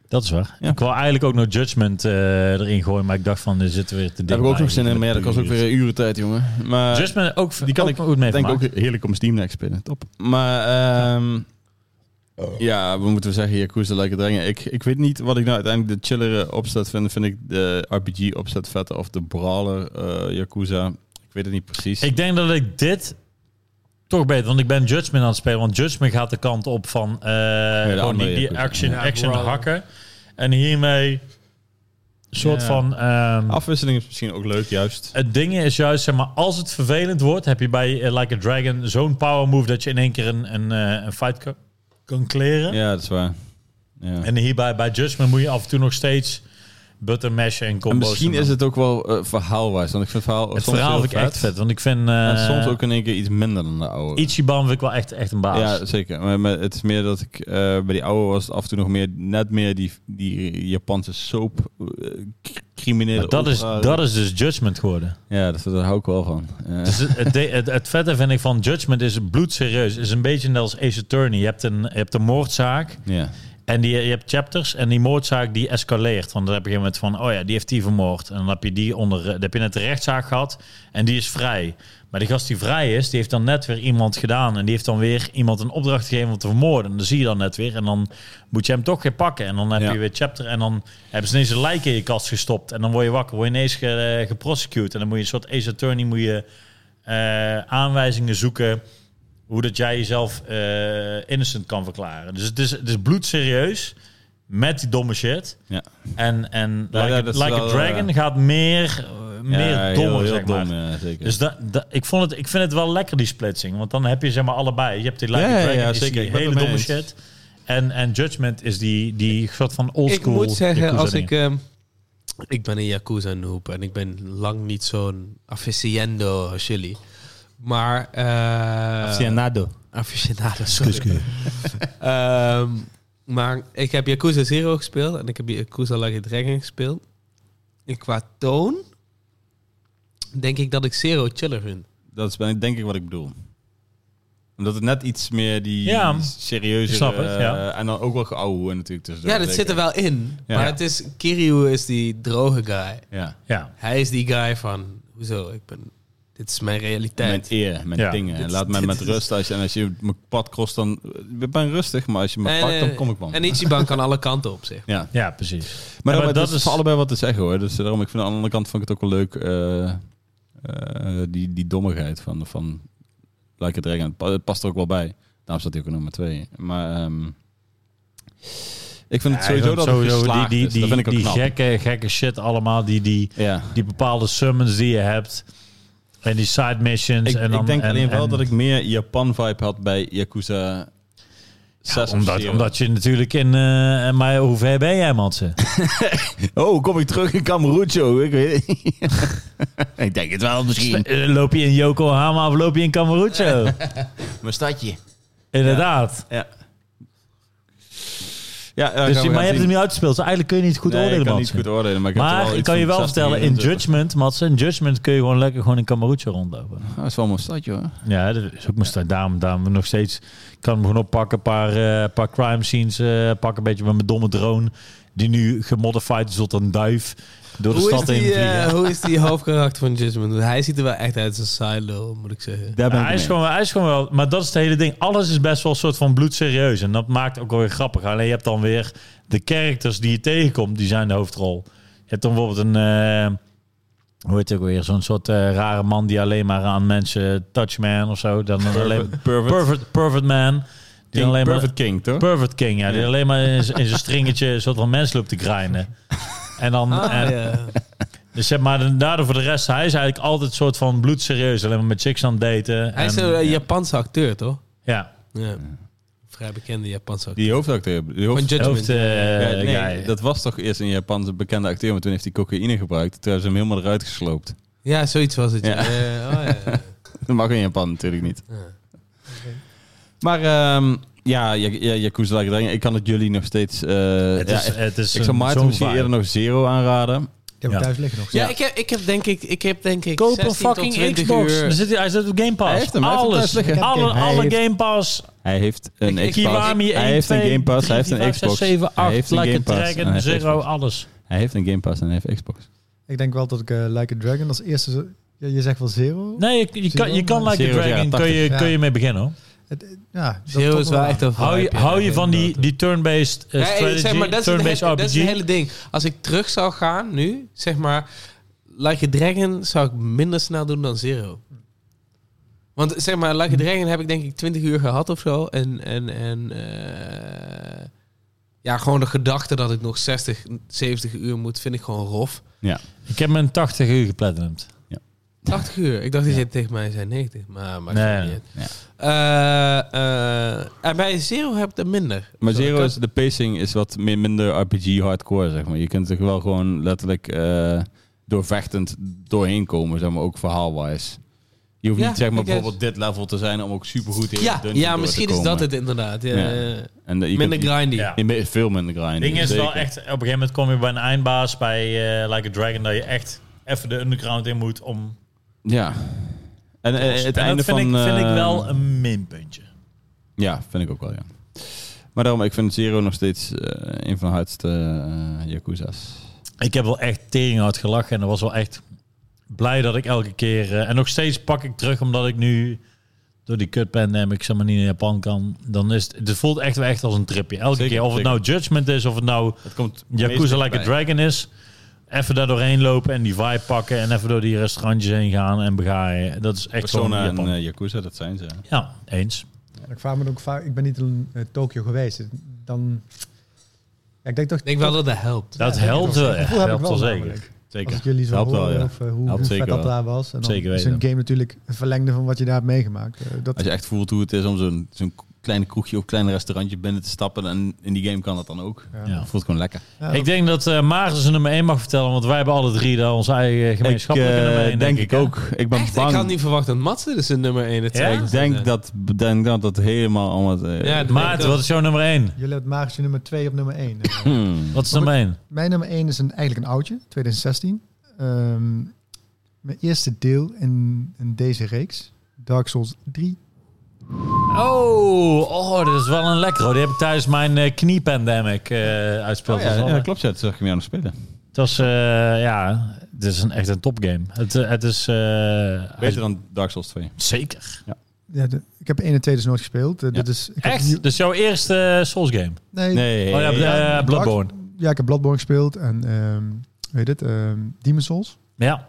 [SPEAKER 3] Dat is waar.
[SPEAKER 1] Ja.
[SPEAKER 3] Ik wou eigenlijk ook No Judgment eh, erin gooien, maar ik dacht van, er zitten weer te dichtbij.
[SPEAKER 1] Daar heb ik ook nog zin in. Maar ja, dat
[SPEAKER 3] was
[SPEAKER 1] kost ook weer uren tijd, jongen. Maar
[SPEAKER 3] Judgment ook,
[SPEAKER 1] die kan
[SPEAKER 3] ook
[SPEAKER 1] ik
[SPEAKER 3] goed mee
[SPEAKER 1] ik denk
[SPEAKER 3] vermaakt.
[SPEAKER 1] ook heerlijk om Steam Next spelen. Top. Maar ehm, ja, we moeten zeggen, Yakuza lekker dringen. Ik, ik weet niet wat ik nou uiteindelijk de chillere opzet vind. Vind ik de RPG opzet vetter of de brawler eh Yakuza. Ik weet het niet precies.
[SPEAKER 3] Ik denk dat ik dit toch beter, want ik ben Judgment aan het spelen. Want Judgment gaat de kant op van eh, gewoon
[SPEAKER 1] andere
[SPEAKER 3] die, die
[SPEAKER 1] Yakuza.
[SPEAKER 3] action,
[SPEAKER 2] Ja,
[SPEAKER 3] action
[SPEAKER 2] brawler.
[SPEAKER 3] hakken. En hiermee een soort
[SPEAKER 1] Ja.
[SPEAKER 3] van... ehm,
[SPEAKER 1] Afwisseling is misschien ook leuk, juist.
[SPEAKER 3] het ding is juist, zeg maar, als het vervelend wordt, heb je bij eh, Like a Dragon zo'n power move dat je in één keer een, een, eh, een fight kan, kan kleren.
[SPEAKER 1] Ja, dat is waar. Ja.
[SPEAKER 3] En hierbij bij Judgment moet je af en toe nog steeds button mashen en
[SPEAKER 1] En
[SPEAKER 3] combo's.
[SPEAKER 1] misschien
[SPEAKER 3] doen.
[SPEAKER 1] is het ook wel eh, verhaalwijs. Want ik vind het verhaal,
[SPEAKER 3] het
[SPEAKER 1] soms
[SPEAKER 3] verhaal
[SPEAKER 1] heel
[SPEAKER 3] vind ik echt vet, want ik vind eh
[SPEAKER 1] En soms ook in één keer iets minder dan de oude.
[SPEAKER 3] Ichiban vind ik wel echt, echt een baas.
[SPEAKER 1] Ja, zeker. Maar, maar het is meer dat ik eh, bij die oude was het af en toe nog meer, net meer die, die Japanse soap eh, cr- criminele.
[SPEAKER 3] Maar dat, is,
[SPEAKER 1] opera.
[SPEAKER 3] dat is dus Judgment geworden.
[SPEAKER 1] Ja, dat, daar hou ik wel van. Eh,
[SPEAKER 3] Dus het, het, de- het, het vette vind ik van Judgment is bloedserieus. Is een beetje net als Ace Attorney. Je hebt een, je hebt een moordzaak
[SPEAKER 1] ja.
[SPEAKER 3] en die, je hebt chapters. En die moordzaak die escaleert. Want dan heb je een moment van, oh ja, die heeft die vermoord. En dan heb je die onder, dan heb je net de rechtszaak gehad. En die is vrij. Maar die gast die vrij is, die heeft dan net weer iemand gedaan. En die heeft dan weer iemand een opdracht gegeven om te vermoorden. En dan zie je dan net weer. En dan moet je hem toch weer pakken. En dan heb
[SPEAKER 1] Ja.
[SPEAKER 3] je weer chapter. En dan hebben ze ineens een lijk in je kast gestopt. En dan word je wakker. Word je ineens ge, geprosecute. En dan moet je een soort ace attorney moet je, eh, aanwijzingen zoeken. Hoe dat jij jezelf eh, innocent kan verklaren. Dus het is, het is bloedserieus. Met die domme shit.
[SPEAKER 1] Ja.
[SPEAKER 3] En, en
[SPEAKER 1] Ja,
[SPEAKER 3] Like,
[SPEAKER 1] ja,
[SPEAKER 3] a-
[SPEAKER 1] dat is
[SPEAKER 3] Like a
[SPEAKER 1] wel,
[SPEAKER 3] Dragon
[SPEAKER 1] eh,
[SPEAKER 3] gaat meer, eh, meer
[SPEAKER 1] ja,
[SPEAKER 3] dommer,
[SPEAKER 1] heel, heel
[SPEAKER 3] zeg maar.
[SPEAKER 1] dom, ja, zeker.
[SPEAKER 3] Dus da, da- ik, vond het, ik vind het wel lekker, die splitsing. Want dan heb je zeg maar allebei. Je hebt die Like
[SPEAKER 1] Ja,
[SPEAKER 3] a
[SPEAKER 1] ja,
[SPEAKER 3] Dragon,
[SPEAKER 1] ja,
[SPEAKER 3] is
[SPEAKER 1] zeker.
[SPEAKER 3] die
[SPEAKER 1] Ik ben
[SPEAKER 3] hele
[SPEAKER 1] het mee
[SPEAKER 3] domme
[SPEAKER 1] eens.
[SPEAKER 3] shit. En, en Judgment is die, die soort van oldschool.
[SPEAKER 2] Ik moet zeggen,
[SPEAKER 3] Yakuza
[SPEAKER 2] als
[SPEAKER 3] ding.
[SPEAKER 2] ik... ehm, ik ben een Yakuza noob en ik ben lang niet zo'n aficionado als jullie. Maar... eh, Aficionado, sorry. [LAUGHS] Ehm, maar ik heb Yakuza Zero gespeeld en ik heb Yakuza Like a Dragon gespeeld. En qua toon denk ik dat ik Zero chiller vind.
[SPEAKER 1] Dat is ben- denk ik wat ik bedoel. Omdat het net iets meer die
[SPEAKER 3] Ja,
[SPEAKER 1] serieuze...
[SPEAKER 3] ik snap het, ja.
[SPEAKER 1] En dan ook wel geouwe natuurlijk. tussendoor,
[SPEAKER 2] ja, dat
[SPEAKER 1] zeker.
[SPEAKER 2] zit er wel in.
[SPEAKER 1] Ja.
[SPEAKER 2] Maar het is, Kiryu is die droge guy.
[SPEAKER 1] Ja.
[SPEAKER 3] Ja.
[SPEAKER 2] Hij is die guy van, hoezo, ik ben, dit is mijn
[SPEAKER 1] Mijn
[SPEAKER 2] realiteit.
[SPEAKER 1] eer, mijn
[SPEAKER 3] Ja.
[SPEAKER 1] dingen.
[SPEAKER 2] Dit-
[SPEAKER 1] Laat mij
[SPEAKER 2] dit
[SPEAKER 1] met
[SPEAKER 2] is-
[SPEAKER 1] rust. Als je, en als je mijn pad kost, dan... Ik ben rustig, maar als je me
[SPEAKER 2] En,
[SPEAKER 1] pakt, dan
[SPEAKER 2] eh,
[SPEAKER 1] kom ik wel.
[SPEAKER 2] En Ichiban kan alle kanten op zich.
[SPEAKER 1] Ja.
[SPEAKER 3] ja, precies.
[SPEAKER 1] Maar,
[SPEAKER 3] Ja,
[SPEAKER 1] dat-
[SPEAKER 3] maar
[SPEAKER 1] dat
[SPEAKER 3] dat
[SPEAKER 1] is
[SPEAKER 3] is-
[SPEAKER 1] voor allebei wat te zeggen hoor. Dus daarom, ik vind aan de andere kant vond ik het ook wel leuk. eh, eh, die, die dommigheid van, van Like a Dragon. Het pa- Het past er ook wel bij. Daarom staat hij ook in nummer twee. Maar ehm, ik vind het
[SPEAKER 3] Ja, ik
[SPEAKER 1] sowieso
[SPEAKER 3] vind
[SPEAKER 1] dat het geslaagd
[SPEAKER 3] die, die,
[SPEAKER 1] is. Dat vind ik ook
[SPEAKER 3] die
[SPEAKER 1] knap.
[SPEAKER 3] gekke, gekke shit allemaal. Die, die,
[SPEAKER 1] ja.
[SPEAKER 3] die bepaalde summons die je hebt. En die side missions.
[SPEAKER 1] Ik,
[SPEAKER 3] Dus en dan,
[SPEAKER 1] ik denk
[SPEAKER 3] en-
[SPEAKER 1] alleen wel
[SPEAKER 3] en-
[SPEAKER 1] dat ik meer Japan-vibe had bij Yakuza 6 of
[SPEAKER 3] Omdat,
[SPEAKER 1] zeven.
[SPEAKER 3] omdat je natuurlijk in... eh, maar hoe ver ben jij, Matze?
[SPEAKER 1] Oh, kom ik terug in Kameroecho? Ik weet [LAUGHS] het niet. Ik denk het wel misschien.
[SPEAKER 3] Eh, Loop je in Yokohama of loop je in
[SPEAKER 1] [LAUGHS]
[SPEAKER 3] Kamerucho?
[SPEAKER 1] [LAUGHS] Mijn stadje.
[SPEAKER 3] Inderdaad.
[SPEAKER 1] Ja. Ja, ja
[SPEAKER 3] Dus, je- maar je hebt hem niet uitgespeeld, dus eigenlijk kun je niet goed
[SPEAKER 1] nee,
[SPEAKER 3] oordelen,
[SPEAKER 1] ik kan
[SPEAKER 3] Matze.
[SPEAKER 1] niet goed oordelen, maar ik, heb er
[SPEAKER 3] maar
[SPEAKER 1] wel
[SPEAKER 3] ik
[SPEAKER 1] iets
[SPEAKER 3] kan je
[SPEAKER 1] van
[SPEAKER 3] wel
[SPEAKER 1] 16
[SPEAKER 3] vertellen, in
[SPEAKER 1] minuten.
[SPEAKER 3] Judgment, Matze, in Judgment kun je gewoon lekker gewoon in Kamerucho rondlopen.
[SPEAKER 1] Ah, dat is wel mijn stadje hoor.
[SPEAKER 3] Ja, dat is ook mijn sta- Daarom, daarom nog steeds. Ik kan hem gewoon oppakken, een paar, eh, paar crime scenes eh pak een beetje met mijn domme drone. Die nu gemodified is tot een duif. Door de
[SPEAKER 2] Hoe is,
[SPEAKER 3] stad heen
[SPEAKER 2] die, eh,
[SPEAKER 3] vliegen.
[SPEAKER 2] hoe is die hoofdkarakter van Judgment? Hij ziet er wel echt uit als een silo, moet ik zeggen.
[SPEAKER 1] Daar ben
[SPEAKER 3] Ja, hij,
[SPEAKER 1] ik
[SPEAKER 3] is
[SPEAKER 1] mee.
[SPEAKER 3] gewoon, hij is gewoon wel... Maar dat is het hele ding. Alles is best wel een soort van bloedserieus. En dat maakt ook wel weer grappig. Alleen je hebt dan weer... De characters die je tegenkomt, die zijn de hoofdrol. Je hebt dan bijvoorbeeld een... eh, hoe heet het ook weer? Zo'n soort eh, rare man die alleen maar aan mensen... Touchman of zo. [LAUGHS] Dan alleen,
[SPEAKER 1] Perfect, perfect,
[SPEAKER 3] perfect, perfect man. Die
[SPEAKER 1] King,
[SPEAKER 3] alleen maar,
[SPEAKER 1] perfect King, toch?
[SPEAKER 3] Perfect King, ja. Die
[SPEAKER 1] Ja.
[SPEAKER 3] alleen maar in z- in zijn stringetje een soort van mens loopt te grinden. En dan... en-
[SPEAKER 2] Ah, ja.
[SPEAKER 3] dus zeg maar, en daardoor voor de rest... Hij is eigenlijk altijd een soort van bloedserieus. Alleen maar met chicks aan het daten.
[SPEAKER 2] Hij is
[SPEAKER 3] en-
[SPEAKER 2] een eh, Japanse acteur, toch?
[SPEAKER 3] Ja.
[SPEAKER 2] Ja. Vrij bekende Japanse acteur.
[SPEAKER 1] die hoofdacteur. Die hoofd...
[SPEAKER 2] Van Judgment.
[SPEAKER 3] Hoofd, eh,
[SPEAKER 1] Ja, nee,
[SPEAKER 3] guy.
[SPEAKER 1] Dat was toch eerst een Japanse bekende acteur, maar toen heeft hij cocaïne gebruikt. Toen hebben ze hem helemaal eruit gesloopt. [LAUGHS]
[SPEAKER 2] Ja, zoiets was het. Ja.
[SPEAKER 1] Ja.
[SPEAKER 2] Eh, oh, ja.
[SPEAKER 1] Dat mag in Japan natuurlijk niet.
[SPEAKER 2] Ja.
[SPEAKER 1] Maar ehm, ja, ja, ja, Yakuza Like a Dragon, ik kan het jullie nog steeds... eh,
[SPEAKER 3] het
[SPEAKER 1] ja,
[SPEAKER 3] is, het is
[SPEAKER 1] ik zou Maarten
[SPEAKER 3] zo'n
[SPEAKER 1] misschien
[SPEAKER 3] vibe.
[SPEAKER 1] eerder nog Zero aanraden.
[SPEAKER 4] Ik heb hem
[SPEAKER 3] Ja.
[SPEAKER 4] thuis liggen nog.
[SPEAKER 2] Ja, ik, heb, ik heb denk ik, ik heb denk ik
[SPEAKER 3] Koop
[SPEAKER 2] 16
[SPEAKER 3] een
[SPEAKER 2] tot
[SPEAKER 3] fucking
[SPEAKER 2] 20
[SPEAKER 3] Xbox.
[SPEAKER 2] uur.
[SPEAKER 3] Er zit, hij zit op Game Pass.
[SPEAKER 1] Hij heeft hem, hij heeft hem
[SPEAKER 3] Alles.
[SPEAKER 1] thuis liggen.
[SPEAKER 3] alle
[SPEAKER 4] Hij
[SPEAKER 3] alle
[SPEAKER 4] heeft-
[SPEAKER 3] Game Pass.
[SPEAKER 1] Hij heeft een
[SPEAKER 2] Ik-
[SPEAKER 1] Xbox.
[SPEAKER 3] Kiwami 1,
[SPEAKER 1] hij heeft een
[SPEAKER 3] 2,
[SPEAKER 1] Game Pass, hij heeft
[SPEAKER 3] 3,
[SPEAKER 1] een
[SPEAKER 3] 5, 6,
[SPEAKER 1] Xbox.
[SPEAKER 3] 7, 8,
[SPEAKER 1] hij heeft een
[SPEAKER 3] Like
[SPEAKER 1] Game Pass.
[SPEAKER 3] a
[SPEAKER 1] en hij
[SPEAKER 3] Dragon,
[SPEAKER 1] heeft
[SPEAKER 3] Zero,
[SPEAKER 1] Xbox.
[SPEAKER 3] alles.
[SPEAKER 1] Hij heeft een Game Pass en hij heeft Xbox.
[SPEAKER 4] Ik denk wel dat ik eh, Like a Dragon als eerste... zo- Ja, je zegt wel zero.
[SPEAKER 3] Nee, je, je kan, je kan
[SPEAKER 4] Zero,
[SPEAKER 3] Like a
[SPEAKER 1] ja,
[SPEAKER 3] Dragon,
[SPEAKER 1] 80.
[SPEAKER 3] kun je,
[SPEAKER 4] Ja.
[SPEAKER 3] kun je mee beginnen hoor.
[SPEAKER 4] Het- eh, ja, dat
[SPEAKER 2] Zero
[SPEAKER 4] toch
[SPEAKER 2] is wel echt een
[SPEAKER 3] Hou je,
[SPEAKER 2] vibe, ja,
[SPEAKER 3] hou je
[SPEAKER 2] ja,
[SPEAKER 3] van die,
[SPEAKER 2] inderdaad.
[SPEAKER 3] die turn-based eh,
[SPEAKER 2] Ja, hey,
[SPEAKER 3] strategy,
[SPEAKER 2] zeg maar, dat, is het
[SPEAKER 3] turn-based
[SPEAKER 2] hele, dat is het
[SPEAKER 3] RPG?
[SPEAKER 2] hele ding. Als ik terug zou gaan nu, zeg maar... Like a Dragon zou ik minder snel doen dan Zero. Want zeg maar, Like a Dragon heb ik denk ik 20 uur gehad of zo. En, en, en eh, ja, gewoon de gedachte dat ik nog 60, 70 uur moet, vind ik gewoon rof.
[SPEAKER 3] Ik heb mijn 80 uur geplatinumd.
[SPEAKER 2] 80 uur. Ik dacht dat
[SPEAKER 1] Ja.
[SPEAKER 2] je tegen mij zei 90. Maar, maar
[SPEAKER 3] Nee.
[SPEAKER 2] nee. niet. uit. Eh, eh, en bij Zero heb ik dat minder.
[SPEAKER 1] Maar
[SPEAKER 2] Zo,
[SPEAKER 1] Zero
[SPEAKER 2] dat-
[SPEAKER 1] is, de pacing is wat meer, minder RPG-hardcore, zeg maar. Je kunt er wel gewoon letterlijk eh, doorvechtend doorheen komen, zeg maar, ook verhaalwijs. Je hoeft
[SPEAKER 2] Ja,
[SPEAKER 1] niet, zeg maar,
[SPEAKER 2] ik weet-
[SPEAKER 1] bijvoorbeeld dit level te zijn om ook supergoed in
[SPEAKER 2] Ja,
[SPEAKER 1] de dungeon
[SPEAKER 2] ja
[SPEAKER 1] door
[SPEAKER 2] misschien
[SPEAKER 1] te
[SPEAKER 2] is
[SPEAKER 1] komen.
[SPEAKER 2] dat het inderdaad. Ja,
[SPEAKER 1] Ja.
[SPEAKER 2] eh,
[SPEAKER 1] En dat je
[SPEAKER 2] minder
[SPEAKER 1] kunt-
[SPEAKER 2] grindy.
[SPEAKER 3] Ja.
[SPEAKER 1] je- Veel minder grind.
[SPEAKER 3] Het ding is wel echt, op een gegeven moment kom je bij een eindbaas, bij eh, Like a Dragon, dat je echt even de underground in moet om...
[SPEAKER 1] Ja. En, eh,
[SPEAKER 3] En
[SPEAKER 1] het
[SPEAKER 3] dat
[SPEAKER 1] einde
[SPEAKER 3] vind
[SPEAKER 1] van...
[SPEAKER 3] ik, vind ik
[SPEAKER 1] eh,
[SPEAKER 3] wel een minpuntje.
[SPEAKER 1] Ja, vind ik ook wel, ja. Maar daarom, ik vind Zero nog steeds eh, een van de hardste eh, Yakuza's.
[SPEAKER 3] Ik heb wel echt tering hard gelachen en dat was wel echt blij dat ik elke keer... eh, en nog steeds pak ik terug omdat ik nu door die kut pandemic zeg maar niet naar Japan kan. Dan is het, het voelt echt wel echt als een tripje. Elke
[SPEAKER 1] Zeker,
[SPEAKER 3] keer, of
[SPEAKER 1] zeker.
[SPEAKER 3] het nou Judgment is, of het nou
[SPEAKER 1] Het komt
[SPEAKER 3] Yakuza Like a Dragon is. Even daar doorheen lopen en die vibe pakken. En even door die restaurantjes heen gaan en begaaien. Dat is echt
[SPEAKER 1] Persona
[SPEAKER 3] gewoon
[SPEAKER 1] en
[SPEAKER 3] Japan.
[SPEAKER 1] eh, Yakuza, dat zijn ze.
[SPEAKER 3] ja, eens.
[SPEAKER 4] En ik vraag me dan ook vaak, ik ben niet in eh, Tokio geweest. Dan, ja, ik denk toch...
[SPEAKER 2] Ik denk wel dat dat helpt.
[SPEAKER 3] Dat
[SPEAKER 4] Ja,
[SPEAKER 3] helpt wel.
[SPEAKER 4] dat
[SPEAKER 3] echt.
[SPEAKER 4] gevoel heb ik
[SPEAKER 3] Helpt wel zeker.
[SPEAKER 4] namelijk.
[SPEAKER 1] Zeker.
[SPEAKER 4] Als ik jullie zo
[SPEAKER 1] Helpt wel,
[SPEAKER 4] hoor,
[SPEAKER 1] ja.
[SPEAKER 4] of eh, hoe,
[SPEAKER 1] Helpt
[SPEAKER 4] hoe vet
[SPEAKER 1] zeker
[SPEAKER 4] dat
[SPEAKER 1] wel.
[SPEAKER 4] daar was. En dan
[SPEAKER 3] Zeker
[SPEAKER 4] is een
[SPEAKER 3] weten.
[SPEAKER 4] game natuurlijk een verlengde van wat je daar hebt meegemaakt. Eh, dat,
[SPEAKER 1] Als je echt voelt hoe het is om zo'n zo'n kleine kroegje of klein restaurantje binnen te stappen. En in die game kan dat dan ook.
[SPEAKER 4] ja.
[SPEAKER 3] Ja.
[SPEAKER 1] Het voelt gewoon lekker.
[SPEAKER 4] Ja,
[SPEAKER 3] Ik denk dat eh Maarten zijn nummer 1 mag vertellen. Want wij hebben alle drie daar onze eigen gemeenschappelijke nummer
[SPEAKER 1] eh,
[SPEAKER 3] één,
[SPEAKER 1] denk ik
[SPEAKER 3] hè?
[SPEAKER 1] ook. Ik ben
[SPEAKER 2] Echt?
[SPEAKER 1] bang.
[SPEAKER 2] Ik had niet verwacht dat Mats dus een nummer 1 en 2
[SPEAKER 3] Ja?
[SPEAKER 1] Ik denk dat, denk dat dat helemaal allemaal... eh,
[SPEAKER 2] Ja, dat-
[SPEAKER 3] Maarten, wat is jouw nummer 1?
[SPEAKER 4] Jullie hebben magische nummer 2 op nummer 1.
[SPEAKER 1] hmm.
[SPEAKER 3] Wat is nummer 1?
[SPEAKER 4] [LAUGHS] Mijn nummer 1 is een, eigenlijk een oudje, 2016. Ehm, mijn eerste deel in, in deze reeks, Dark Souls 3.
[SPEAKER 3] Oh, oh, dat is wel een lekkere. Die heb ik tijdens mijn eh, kniepandemic eh uitspeeld.
[SPEAKER 1] Oh ja,
[SPEAKER 3] Dat was wel-
[SPEAKER 1] ja, klopt. Ja, dat zag ik hem jou nog spelen.
[SPEAKER 3] Het was, eh, ja, het is een, echt een topgame. Het, eh, het is... eh,
[SPEAKER 1] Beter dan Dark Souls 2.
[SPEAKER 3] Zeker.
[SPEAKER 4] Ja, de- ik heb 1 en 2 dus nooit gespeeld. Eh,
[SPEAKER 1] Ja.
[SPEAKER 4] Dit is, ik heb
[SPEAKER 3] Echt?
[SPEAKER 4] nieuw-
[SPEAKER 3] Dat is jouw eerste eh, Souls game?
[SPEAKER 4] nee,
[SPEAKER 1] Nee.
[SPEAKER 3] Oh ja,
[SPEAKER 1] ja,
[SPEAKER 3] eh,
[SPEAKER 4] Dark-
[SPEAKER 3] Bloodborne.
[SPEAKER 4] Ja, ik heb Bloodborne gespeeld en ehm hoe heet het, ehm Demon Souls.
[SPEAKER 3] Ja.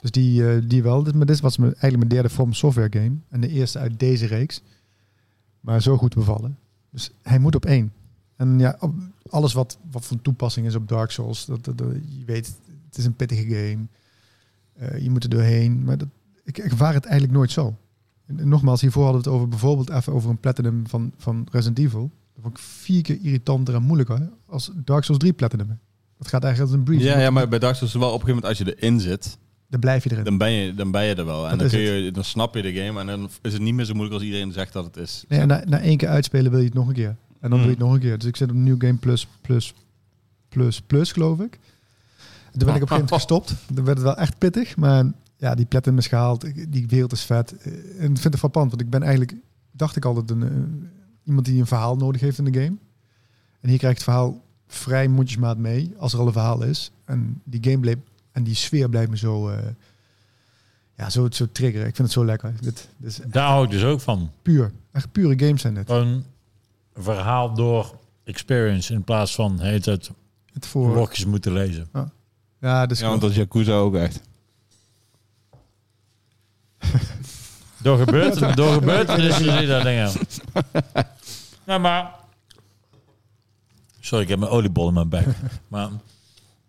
[SPEAKER 4] Dus die, eh, die wel. Dit, maar dit was mijn, eigenlijk mijn derde From Software game. En de eerste uit deze reeks. Maar zo goed bevallen. Dus hij moet op één. En ja, op- alles wat, wat van toepassing is op Dark Souls. Dat, dat, dat- je weet, het is een pittige game. Eh, je moet er doorheen. Maar dat, ik ik ervaar het eigenlijk nooit zo. En, en nogmaals, hiervoor hadden we het over bijvoorbeeld even over een platinum van, van Resident Evil. Dat vond ik vier keer irritanter en moeilijker als Dark Souls 3 platinum. Dat gaat eigenlijk als een brief.
[SPEAKER 1] ja, ja, maar bij Dark Souls is wel op een gegeven moment als je erin zit,
[SPEAKER 4] Daar blijf je erin.
[SPEAKER 1] dan ben je, dan ben je er wel. En
[SPEAKER 4] Dat
[SPEAKER 1] dan,
[SPEAKER 4] is
[SPEAKER 1] kun je, dan snap je de game en dan is het niet meer zo moeilijk als iedereen zegt dat het is.
[SPEAKER 4] Nee, en na, na één keer uitspelen wil je het nog een keer. En dan doe je het
[SPEAKER 1] Hmm.
[SPEAKER 4] nog een keer. Dus ik zit op New Game Plus, Plus, Plus, Plus, geloof ik. En Toen ben ik op een gegeven moment gestopt. Dan werd het wel echt pittig. Maar ja, die platinum is gehaald. Ik- Die wereld is vet. Eh, En ik vind het frappant. Want ik ben eigenlijk, dacht ik altijd, een, eh, iemand die een verhaal nodig heeft in de game. En hier krijgt het verhaal vrij mondjesmaat mee. Als er al een verhaal is. En die game bleef, en die sfeer blijft me zo... eh, ja, zo, zo triggeren. Ik vind het zo lekker. Dit, dit is
[SPEAKER 3] Daar hou ik dus ook van.
[SPEAKER 4] puur. Echt pure games zijn dit.
[SPEAKER 3] Een verhaal door experience in plaats van, heet het,
[SPEAKER 4] Het voor.
[SPEAKER 3] blogjes moeten lezen.
[SPEAKER 4] Ja, dus
[SPEAKER 1] Ja, want dat is Yakuza ook echt.
[SPEAKER 3] Door gebeurtenissen, door gebeurtenissen zie je dat
[SPEAKER 1] [LAUGHS]
[SPEAKER 3] ding aan. Nou, maar... Sorry, ik heb mijn oliebol in mijn
[SPEAKER 1] [LAUGHS]
[SPEAKER 3] bek. Maar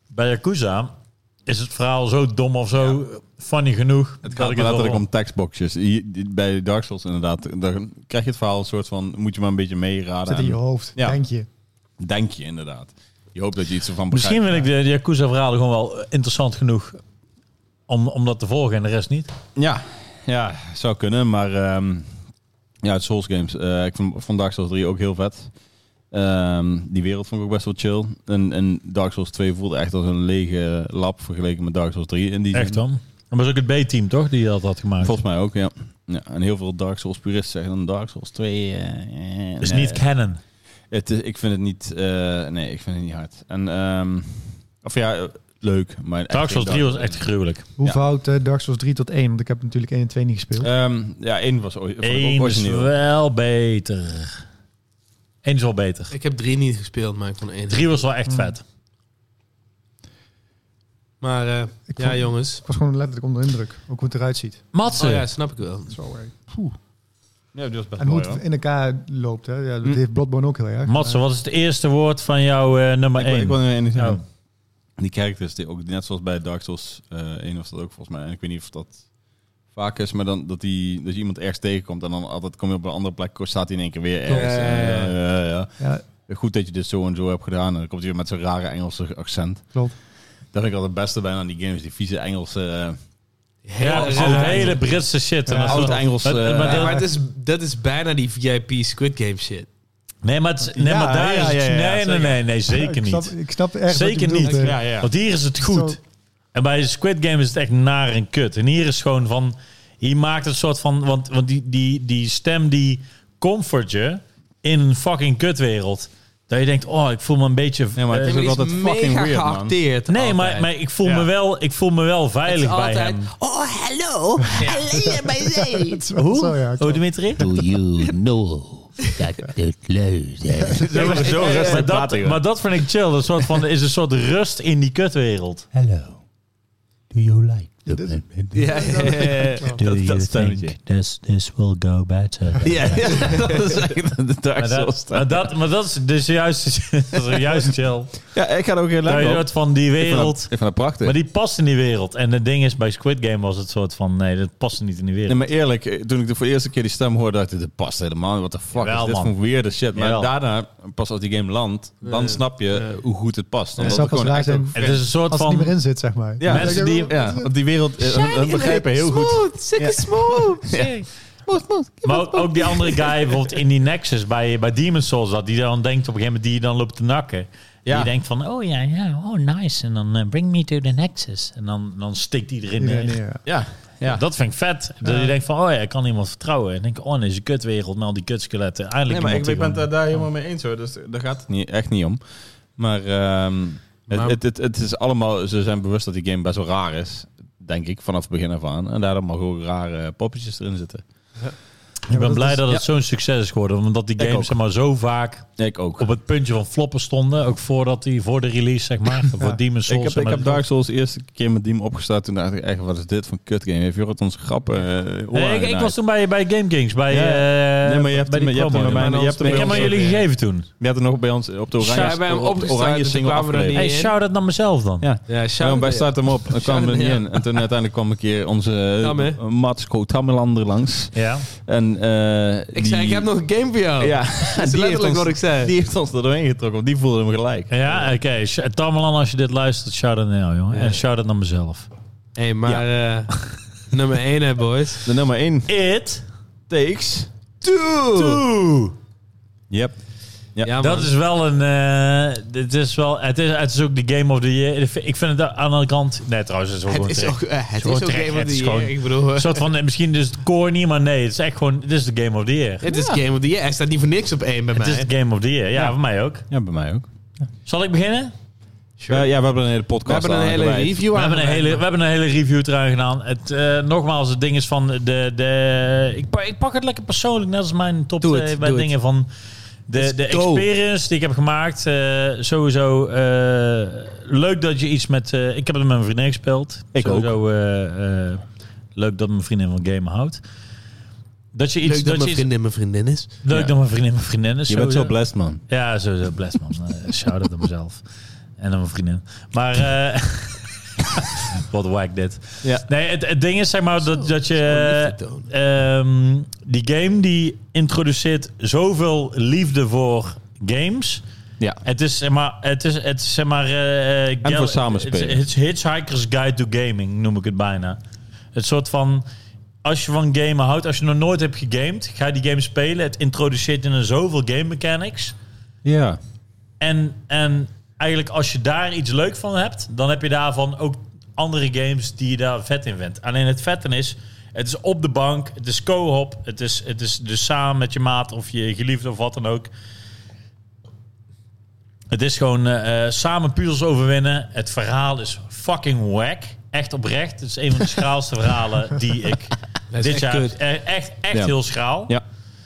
[SPEAKER 3] bij Yakuza is het verhaal zo dom of zo funny genoeg.
[SPEAKER 1] Het
[SPEAKER 3] dat
[SPEAKER 1] gaat
[SPEAKER 3] ik
[SPEAKER 1] maar
[SPEAKER 3] wel-
[SPEAKER 1] letterlijk om tekstboxjes. Hier- die- Bij Dark Souls inderdaad, dan krijg je het verhaal een soort van, moet je maar een beetje meeraden.
[SPEAKER 4] zit in je
[SPEAKER 1] en
[SPEAKER 4] hoofd,
[SPEAKER 1] Ja.
[SPEAKER 4] denk je.
[SPEAKER 1] Denk je inderdaad. Je hoopt dat je iets ervan begrijpt.
[SPEAKER 3] Misschien vind ik de, de Yakuza-verhalen gewoon wel interessant genoeg om, om dat te volgen en de rest niet.
[SPEAKER 1] Ja, ja zou kunnen. Maar ehm, ja, het Souls Games. eh, ik vond, vond Dark Souls 3 ook heel vet. Ehm, die wereld vond ik ook best wel chill. En, en Dark Souls 2 voelde echt als een lege lab vergeleken met Dark Souls 3. In die
[SPEAKER 3] Echt
[SPEAKER 1] zin.
[SPEAKER 3] dan? Dat was ook het B-team, toch? Die dat had gemaakt.
[SPEAKER 1] Volgens mij ook, ja. ja. En heel veel Dark Souls puristen zeggen dan Dark Souls 2... eh, eh,
[SPEAKER 3] is
[SPEAKER 1] nee.
[SPEAKER 3] niet canon.
[SPEAKER 1] Het is- ik vind het niet... eh, nee, ik vind het niet hard. En, ehm, of ja, eh, leuk. Maar echt
[SPEAKER 3] Dark Souls
[SPEAKER 1] geen
[SPEAKER 3] 3 was
[SPEAKER 1] Souls.
[SPEAKER 3] echt gruwelijk.
[SPEAKER 4] Hoe
[SPEAKER 1] Ja.
[SPEAKER 4] fout eh, Dark Souls 3 tot 1? Want ik heb natuurlijk 1 en 2 niet gespeeld.
[SPEAKER 1] Ehm, ja, één was ooit- vond ik ook
[SPEAKER 3] Eén is
[SPEAKER 1] origineel.
[SPEAKER 3] wel beter. Eén is wel beter.
[SPEAKER 2] Hmm. Ik heb 3 niet gespeeld, maar ik vond 1.
[SPEAKER 3] Drie was wel echt vet.
[SPEAKER 2] Maar eh,
[SPEAKER 4] Ik,
[SPEAKER 2] ja,
[SPEAKER 4] vond-
[SPEAKER 2] jongens.
[SPEAKER 4] ik was gewoon letterlijk onder de indruk. Ook hoe het eruit ziet.
[SPEAKER 3] Matsen.
[SPEAKER 2] Oh ja, snap ik wel.
[SPEAKER 4] Zo, eh,
[SPEAKER 1] Ja, dat was best
[SPEAKER 4] En hoe
[SPEAKER 1] mooi,
[SPEAKER 4] het in elkaar loopt. Hè. Ja, dat
[SPEAKER 1] Hm.
[SPEAKER 4] heeft Bloodborne ook heel erg.
[SPEAKER 3] Matsen, wat is het eerste woord van jouw eh, nummer
[SPEAKER 1] Ik, wil-
[SPEAKER 3] 1?
[SPEAKER 1] ik wil er één ding
[SPEAKER 3] Ja.
[SPEAKER 1] zeggen. Die characters, die ook, net zoals bij Dark Souls eh 1 was dat ook volgens mij. En ik weet niet of dat vaak is, maar dan dat, die, dat je iemand ergens tegenkomt en dan altijd kom je op een andere plek, staat hij in één keer weer
[SPEAKER 2] Klopt.
[SPEAKER 1] ergens.
[SPEAKER 2] Ja,
[SPEAKER 1] En,
[SPEAKER 2] ja,
[SPEAKER 1] eh, ja, ja.
[SPEAKER 4] Ja,
[SPEAKER 1] Goed dat je dit zo en zo hebt gedaan. En dan komt hij weer met zo'n rare Engelse accent.
[SPEAKER 4] Klopt.
[SPEAKER 1] Dat vind ik al het beste bijna aan die games, die vieze Engelse... eh,
[SPEAKER 3] Ja,
[SPEAKER 2] Heel-
[SPEAKER 3] er zit een
[SPEAKER 2] heel-
[SPEAKER 3] hele Britse shit. en
[SPEAKER 4] Ja,
[SPEAKER 3] dat is
[SPEAKER 1] oud
[SPEAKER 3] wel-
[SPEAKER 1] Engels,
[SPEAKER 3] Maar-
[SPEAKER 1] eh,
[SPEAKER 3] maar
[SPEAKER 2] Ja,
[SPEAKER 3] dat-
[SPEAKER 2] maar het is, dat is bijna die VIP Squid Game shit.
[SPEAKER 3] nee, maar, het- nee, maar
[SPEAKER 4] Ja,
[SPEAKER 3] daar
[SPEAKER 4] ja,
[SPEAKER 3] is het...
[SPEAKER 4] ja, ja,
[SPEAKER 3] nee, nee,
[SPEAKER 4] zeker.
[SPEAKER 3] nee, nee, zeker
[SPEAKER 4] ik, snap,
[SPEAKER 3] niet.
[SPEAKER 4] ik snap echt wat je
[SPEAKER 3] Zeker
[SPEAKER 4] bedoelt,
[SPEAKER 3] niet.
[SPEAKER 4] eh.
[SPEAKER 1] Ja, ja.
[SPEAKER 3] Want hier is het goed.
[SPEAKER 4] Zo.
[SPEAKER 3] En bij Squid Game is het echt naar en kut. En hier is gewoon van... Hier maakt het soort van... Want, want die, die, die stem die comfort je in een fucking kutwereld. Dat je denkt, oh, ik voel me een beetje...
[SPEAKER 1] Nee, maar het
[SPEAKER 3] eh,
[SPEAKER 1] is
[SPEAKER 2] Nee,
[SPEAKER 1] ook
[SPEAKER 2] maar die
[SPEAKER 1] altijd
[SPEAKER 2] is
[SPEAKER 1] fucking
[SPEAKER 2] mega
[SPEAKER 1] weird, man.
[SPEAKER 2] geacteerd.
[SPEAKER 3] nee, maar,
[SPEAKER 2] altijd.
[SPEAKER 3] maar ik, voel
[SPEAKER 1] Ja.
[SPEAKER 3] me wel, ik voel me wel veilig bij
[SPEAKER 2] altijd-
[SPEAKER 3] hem.
[SPEAKER 5] Oh,
[SPEAKER 1] [LAUGHS]
[SPEAKER 5] hello. Alleen bij zee.
[SPEAKER 4] Het is wel Zo, ja,
[SPEAKER 3] Oh,
[SPEAKER 4] klopt.
[SPEAKER 3] Dimitri?
[SPEAKER 5] Do you know dat het leuk
[SPEAKER 1] [LAUGHS]
[SPEAKER 5] is?
[SPEAKER 1] Zo, zo rustig
[SPEAKER 3] maar,
[SPEAKER 1] praten,
[SPEAKER 3] dat,
[SPEAKER 1] joh.
[SPEAKER 3] maar dat vind ik chill. Dat soort van, is een soort rust in die kutwereld.
[SPEAKER 5] Hello. Do you like the moment?
[SPEAKER 2] Ja, ja,
[SPEAKER 5] [LAUGHS]
[SPEAKER 2] ja, ja.
[SPEAKER 5] Do you
[SPEAKER 1] stemmetje.
[SPEAKER 5] think this, this will
[SPEAKER 1] [LAUGHS]
[SPEAKER 5] go better?
[SPEAKER 1] Ja, ja, dat is echt de Dark
[SPEAKER 3] Maar
[SPEAKER 1] Souls
[SPEAKER 3] dat, maar dat, maar dat is dus juist, [LAUGHS] dat is juist chill.
[SPEAKER 1] Ja, ik ga er ook heel
[SPEAKER 3] Dat je
[SPEAKER 1] lekker op.
[SPEAKER 3] soort van die
[SPEAKER 1] Ik vind dat-
[SPEAKER 3] wereld...
[SPEAKER 1] Ik vind dat prachtig.
[SPEAKER 3] Maar die past in die wereld. En het ding is, bij Squid Game was het soort van... Nee, dat past niet in die wereld.
[SPEAKER 1] Nee, maar eerlijk, eh, toen ik de voor de eerste keer die stem hoorde, dacht ik, dit past helemaal niet. What the fuck
[SPEAKER 3] Jawel,
[SPEAKER 1] is dit
[SPEAKER 3] man.
[SPEAKER 1] voor weirde shit? Maar
[SPEAKER 3] Jawel.
[SPEAKER 1] daarna, pas als die game landt, dan
[SPEAKER 2] Ja.
[SPEAKER 1] snap je eh, hoe goed het past. Omdat
[SPEAKER 4] Het zou
[SPEAKER 1] het
[SPEAKER 4] pas
[SPEAKER 1] gewoon
[SPEAKER 4] raar
[SPEAKER 1] echt
[SPEAKER 4] zijn
[SPEAKER 1] ook-
[SPEAKER 3] het is een soort
[SPEAKER 4] als het
[SPEAKER 3] van...
[SPEAKER 4] niet meer in zit, zeg maar.
[SPEAKER 1] Ja,
[SPEAKER 3] mensen die-
[SPEAKER 1] ja, want die wereld, eh, hun, hun begrijpen heel goed.
[SPEAKER 2] Sikke smooth.
[SPEAKER 3] Maar ook, ook die andere guy bijvoorbeeld in die Nexus bij, bij Demon's Souls dat die dan denkt op een gegeven moment die je dan loopt te nakken.
[SPEAKER 1] Ja.
[SPEAKER 3] Die denkt van, oh ja, ja, oh nice. En dan eh, bring me to the Nexus. En dan, dan stikt iedereen
[SPEAKER 4] Iedereen
[SPEAKER 3] neer.
[SPEAKER 4] neer, ja.
[SPEAKER 1] Ja, ja.
[SPEAKER 3] Dat vind ik vet. Dat je denkt van, oh ja, ik kan iemand vertrouwen. En denk ik, oh nee, is een kutwereld met al die kutskeletten.
[SPEAKER 1] nee,
[SPEAKER 3] Eindelijk
[SPEAKER 1] maar ik,
[SPEAKER 3] iemand
[SPEAKER 1] ik ben
[SPEAKER 3] die
[SPEAKER 1] het daar,
[SPEAKER 3] gewoon-
[SPEAKER 1] daar helemaal mee eens hoor. Dus daar gaat het niet, echt niet om. Maar, ehm, het-
[SPEAKER 2] Maar-
[SPEAKER 1] het, het, het is allemaal, ze zijn bewust dat die game best wel raar is. Denk ik, vanaf het begin af aan. En daarom mag ook rare poppetjes erin zitten.
[SPEAKER 3] ik ben
[SPEAKER 4] dat
[SPEAKER 3] blij
[SPEAKER 4] is-
[SPEAKER 3] dat het zo'n succes is geworden. Omdat die
[SPEAKER 1] Ik
[SPEAKER 3] games
[SPEAKER 1] ook.
[SPEAKER 3] zeg maar, zo vaak
[SPEAKER 1] Ik ook.
[SPEAKER 3] op het puntje van floppen stonden. Ook voordat die, voor de release, zeg
[SPEAKER 1] [LAUGHS]
[SPEAKER 3] maar. Voor Demon's Souls.
[SPEAKER 1] Ik heb, ik
[SPEAKER 3] zeg maar.
[SPEAKER 1] heb Dark Souls de eerste keer met Diem opgestart. Toen dacht ik echt, wat is dit voor een kutgame? Heeft Jorrit ons grappen eh
[SPEAKER 3] Nee, ik, ik was toen bij, bij Game Kings. Bij,
[SPEAKER 1] Ja.
[SPEAKER 3] eh,
[SPEAKER 1] Nee, maar je hebt
[SPEAKER 3] bij
[SPEAKER 1] hem- je hebt hem
[SPEAKER 3] promo.
[SPEAKER 1] bij mij- je hebt hem
[SPEAKER 3] Ik
[SPEAKER 1] bij
[SPEAKER 3] heb
[SPEAKER 1] ons eh,
[SPEAKER 3] hem aan jullie
[SPEAKER 2] ook, ja.
[SPEAKER 3] gegeven toen.
[SPEAKER 1] Je had er nog bij ons op de
[SPEAKER 2] Ja, we
[SPEAKER 1] oranje,
[SPEAKER 2] hebben hem
[SPEAKER 1] op de
[SPEAKER 2] opgestart en
[SPEAKER 1] oranje
[SPEAKER 2] toen
[SPEAKER 1] single
[SPEAKER 2] kwamen we er
[SPEAKER 1] afgeleverd.
[SPEAKER 3] Hey,
[SPEAKER 2] niet in.
[SPEAKER 3] shout-out naar mezelf dan.
[SPEAKER 1] Ja.
[SPEAKER 2] Ja,
[SPEAKER 1] Ja,
[SPEAKER 2] shout
[SPEAKER 1] wij starten
[SPEAKER 2] [LAUGHS]
[SPEAKER 1] hem op. Dan kwamen we er niet in. En toen uiteindelijk kwam een keer onze
[SPEAKER 2] Tam, hè?
[SPEAKER 1] eh, Mats Kotamelander langs.
[SPEAKER 3] Ja.
[SPEAKER 1] En, eh,
[SPEAKER 2] Ik
[SPEAKER 1] die-
[SPEAKER 2] zei, ik heb nog een game voor
[SPEAKER 1] [LAUGHS]
[SPEAKER 2] jou.
[SPEAKER 1] Ja,
[SPEAKER 2] Dat is
[SPEAKER 1] die, heeft
[SPEAKER 2] letterlijk
[SPEAKER 1] ons,
[SPEAKER 2] wat ik zei.
[SPEAKER 1] die heeft ons er doorheen getrokken. Want die voelde hem gelijk.
[SPEAKER 3] Ja, oké. Sh- Tamerlan, als je dit luistert, shout-out naar jou, jongen.
[SPEAKER 2] Ja.
[SPEAKER 3] En shout-out naar mezelf.
[SPEAKER 2] Hé, hey, maar eh, nummer 1 hè, boys.
[SPEAKER 1] De nummer 1
[SPEAKER 3] It.
[SPEAKER 1] takes. Yep. Ja,
[SPEAKER 2] Ja,
[SPEAKER 3] Dat
[SPEAKER 2] man.
[SPEAKER 3] is wel een... eh, dit is wel, het, is, het is ook de game of the year. Ik vind- Ik vind het aan de andere kant... Nee, trouwens, het is ook
[SPEAKER 2] Het
[SPEAKER 3] gewoon
[SPEAKER 2] is
[SPEAKER 3] terecht.
[SPEAKER 2] ook, eh, het is
[SPEAKER 3] gewoon
[SPEAKER 2] ook
[SPEAKER 3] terecht,
[SPEAKER 2] Game of
[SPEAKER 3] het
[SPEAKER 2] the
[SPEAKER 3] is
[SPEAKER 2] Year.
[SPEAKER 3] gewoon-
[SPEAKER 2] Ik bedoel,
[SPEAKER 3] Een
[SPEAKER 2] eh,
[SPEAKER 3] soort van, eh, misschien is het core niet, maar nee. Het is echt gewoon... Dit is de game of the year.
[SPEAKER 2] het is Game of the Year. Hij staat niet voor niks op één bij
[SPEAKER 3] Het is
[SPEAKER 2] mij.
[SPEAKER 3] de game of the year. Ja,
[SPEAKER 1] Ja.
[SPEAKER 3] voor mij ook.
[SPEAKER 1] ja, bij mij ook.
[SPEAKER 3] Zal ik beginnen?
[SPEAKER 1] Ja, ja, we hebben een hele
[SPEAKER 2] We
[SPEAKER 1] podcast
[SPEAKER 2] hebben een
[SPEAKER 1] aan
[SPEAKER 2] hele
[SPEAKER 1] gewijd.
[SPEAKER 2] review
[SPEAKER 3] We
[SPEAKER 2] aan.
[SPEAKER 3] hebben, een hele, we hebben een hele review eraan gedaan. Het, eh, nogmaals, het ding is van de. de ik, pak, ik pak het lekker persoonlijk, net als mijn top
[SPEAKER 2] Doe
[SPEAKER 3] eh,
[SPEAKER 2] het,
[SPEAKER 3] bij
[SPEAKER 2] doe
[SPEAKER 3] dingen van. De,
[SPEAKER 2] Let's
[SPEAKER 3] de
[SPEAKER 2] go.
[SPEAKER 3] experience die ik heb gemaakt. eh, sowieso eh, leuk dat je iets met. eh, ik heb het met mijn vriendin gespeeld.
[SPEAKER 1] Ik
[SPEAKER 3] sowieso, eh, eh, leuk dat mijn vriendin van gamen houdt. Dat je iets.
[SPEAKER 2] Leuk dat
[SPEAKER 3] je
[SPEAKER 2] mijn
[SPEAKER 3] iets-
[SPEAKER 2] vriendin mijn vriendin is.
[SPEAKER 3] leuk
[SPEAKER 1] Ja.
[SPEAKER 3] dat mijn vriendin mijn vriendin is.
[SPEAKER 1] Je bent zo
[SPEAKER 3] sowieso.
[SPEAKER 1] blessed, man.
[SPEAKER 3] Ja, sowieso. Bless man. Eh, Shout-out aan mezelf. En aan mijn vriendin. Maar... eh, [LAUGHS] wat wack dit.
[SPEAKER 1] Ja.
[SPEAKER 3] Nee, het, het ding is zeg maar dat, dat je...
[SPEAKER 2] dat is gewoon
[SPEAKER 3] ehm, die game die introduceert zoveel liefde voor games.
[SPEAKER 1] Ja.
[SPEAKER 3] Het is zeg maar... Het is, het is, zeg maar eh, eh,
[SPEAKER 1] En voor
[SPEAKER 3] gal-
[SPEAKER 1] samenspelen.
[SPEAKER 3] Het is Hitchhiker's Guide to Gaming noem ik het bijna. Het soort van... Als je van gamen houdt, als je nog nooit hebt gegamed, ga die game spelen. Het introduceert je in zoveel game mechanics.
[SPEAKER 1] Ja.
[SPEAKER 3] En, en eigenlijk als je daar iets leuk van hebt, dan heb je daarvan ook andere games die je daar vet in vindt. Alleen het vetten is, het is op de bank, het is co-op, het is, het is dus samen met je maat of je geliefde of wat dan ook. Het is gewoon eh, eh, samen puzzels overwinnen. Het verhaal is fucking whack. Echt oprecht. Het is een van de
[SPEAKER 2] [LAUGHS]
[SPEAKER 3] schraalste verhalen die ik
[SPEAKER 2] Dat is
[SPEAKER 3] dit
[SPEAKER 2] echt
[SPEAKER 3] jaar...
[SPEAKER 2] kut.
[SPEAKER 3] eh, Echt, echt
[SPEAKER 1] Ja.
[SPEAKER 3] heel schraal.
[SPEAKER 1] Ja.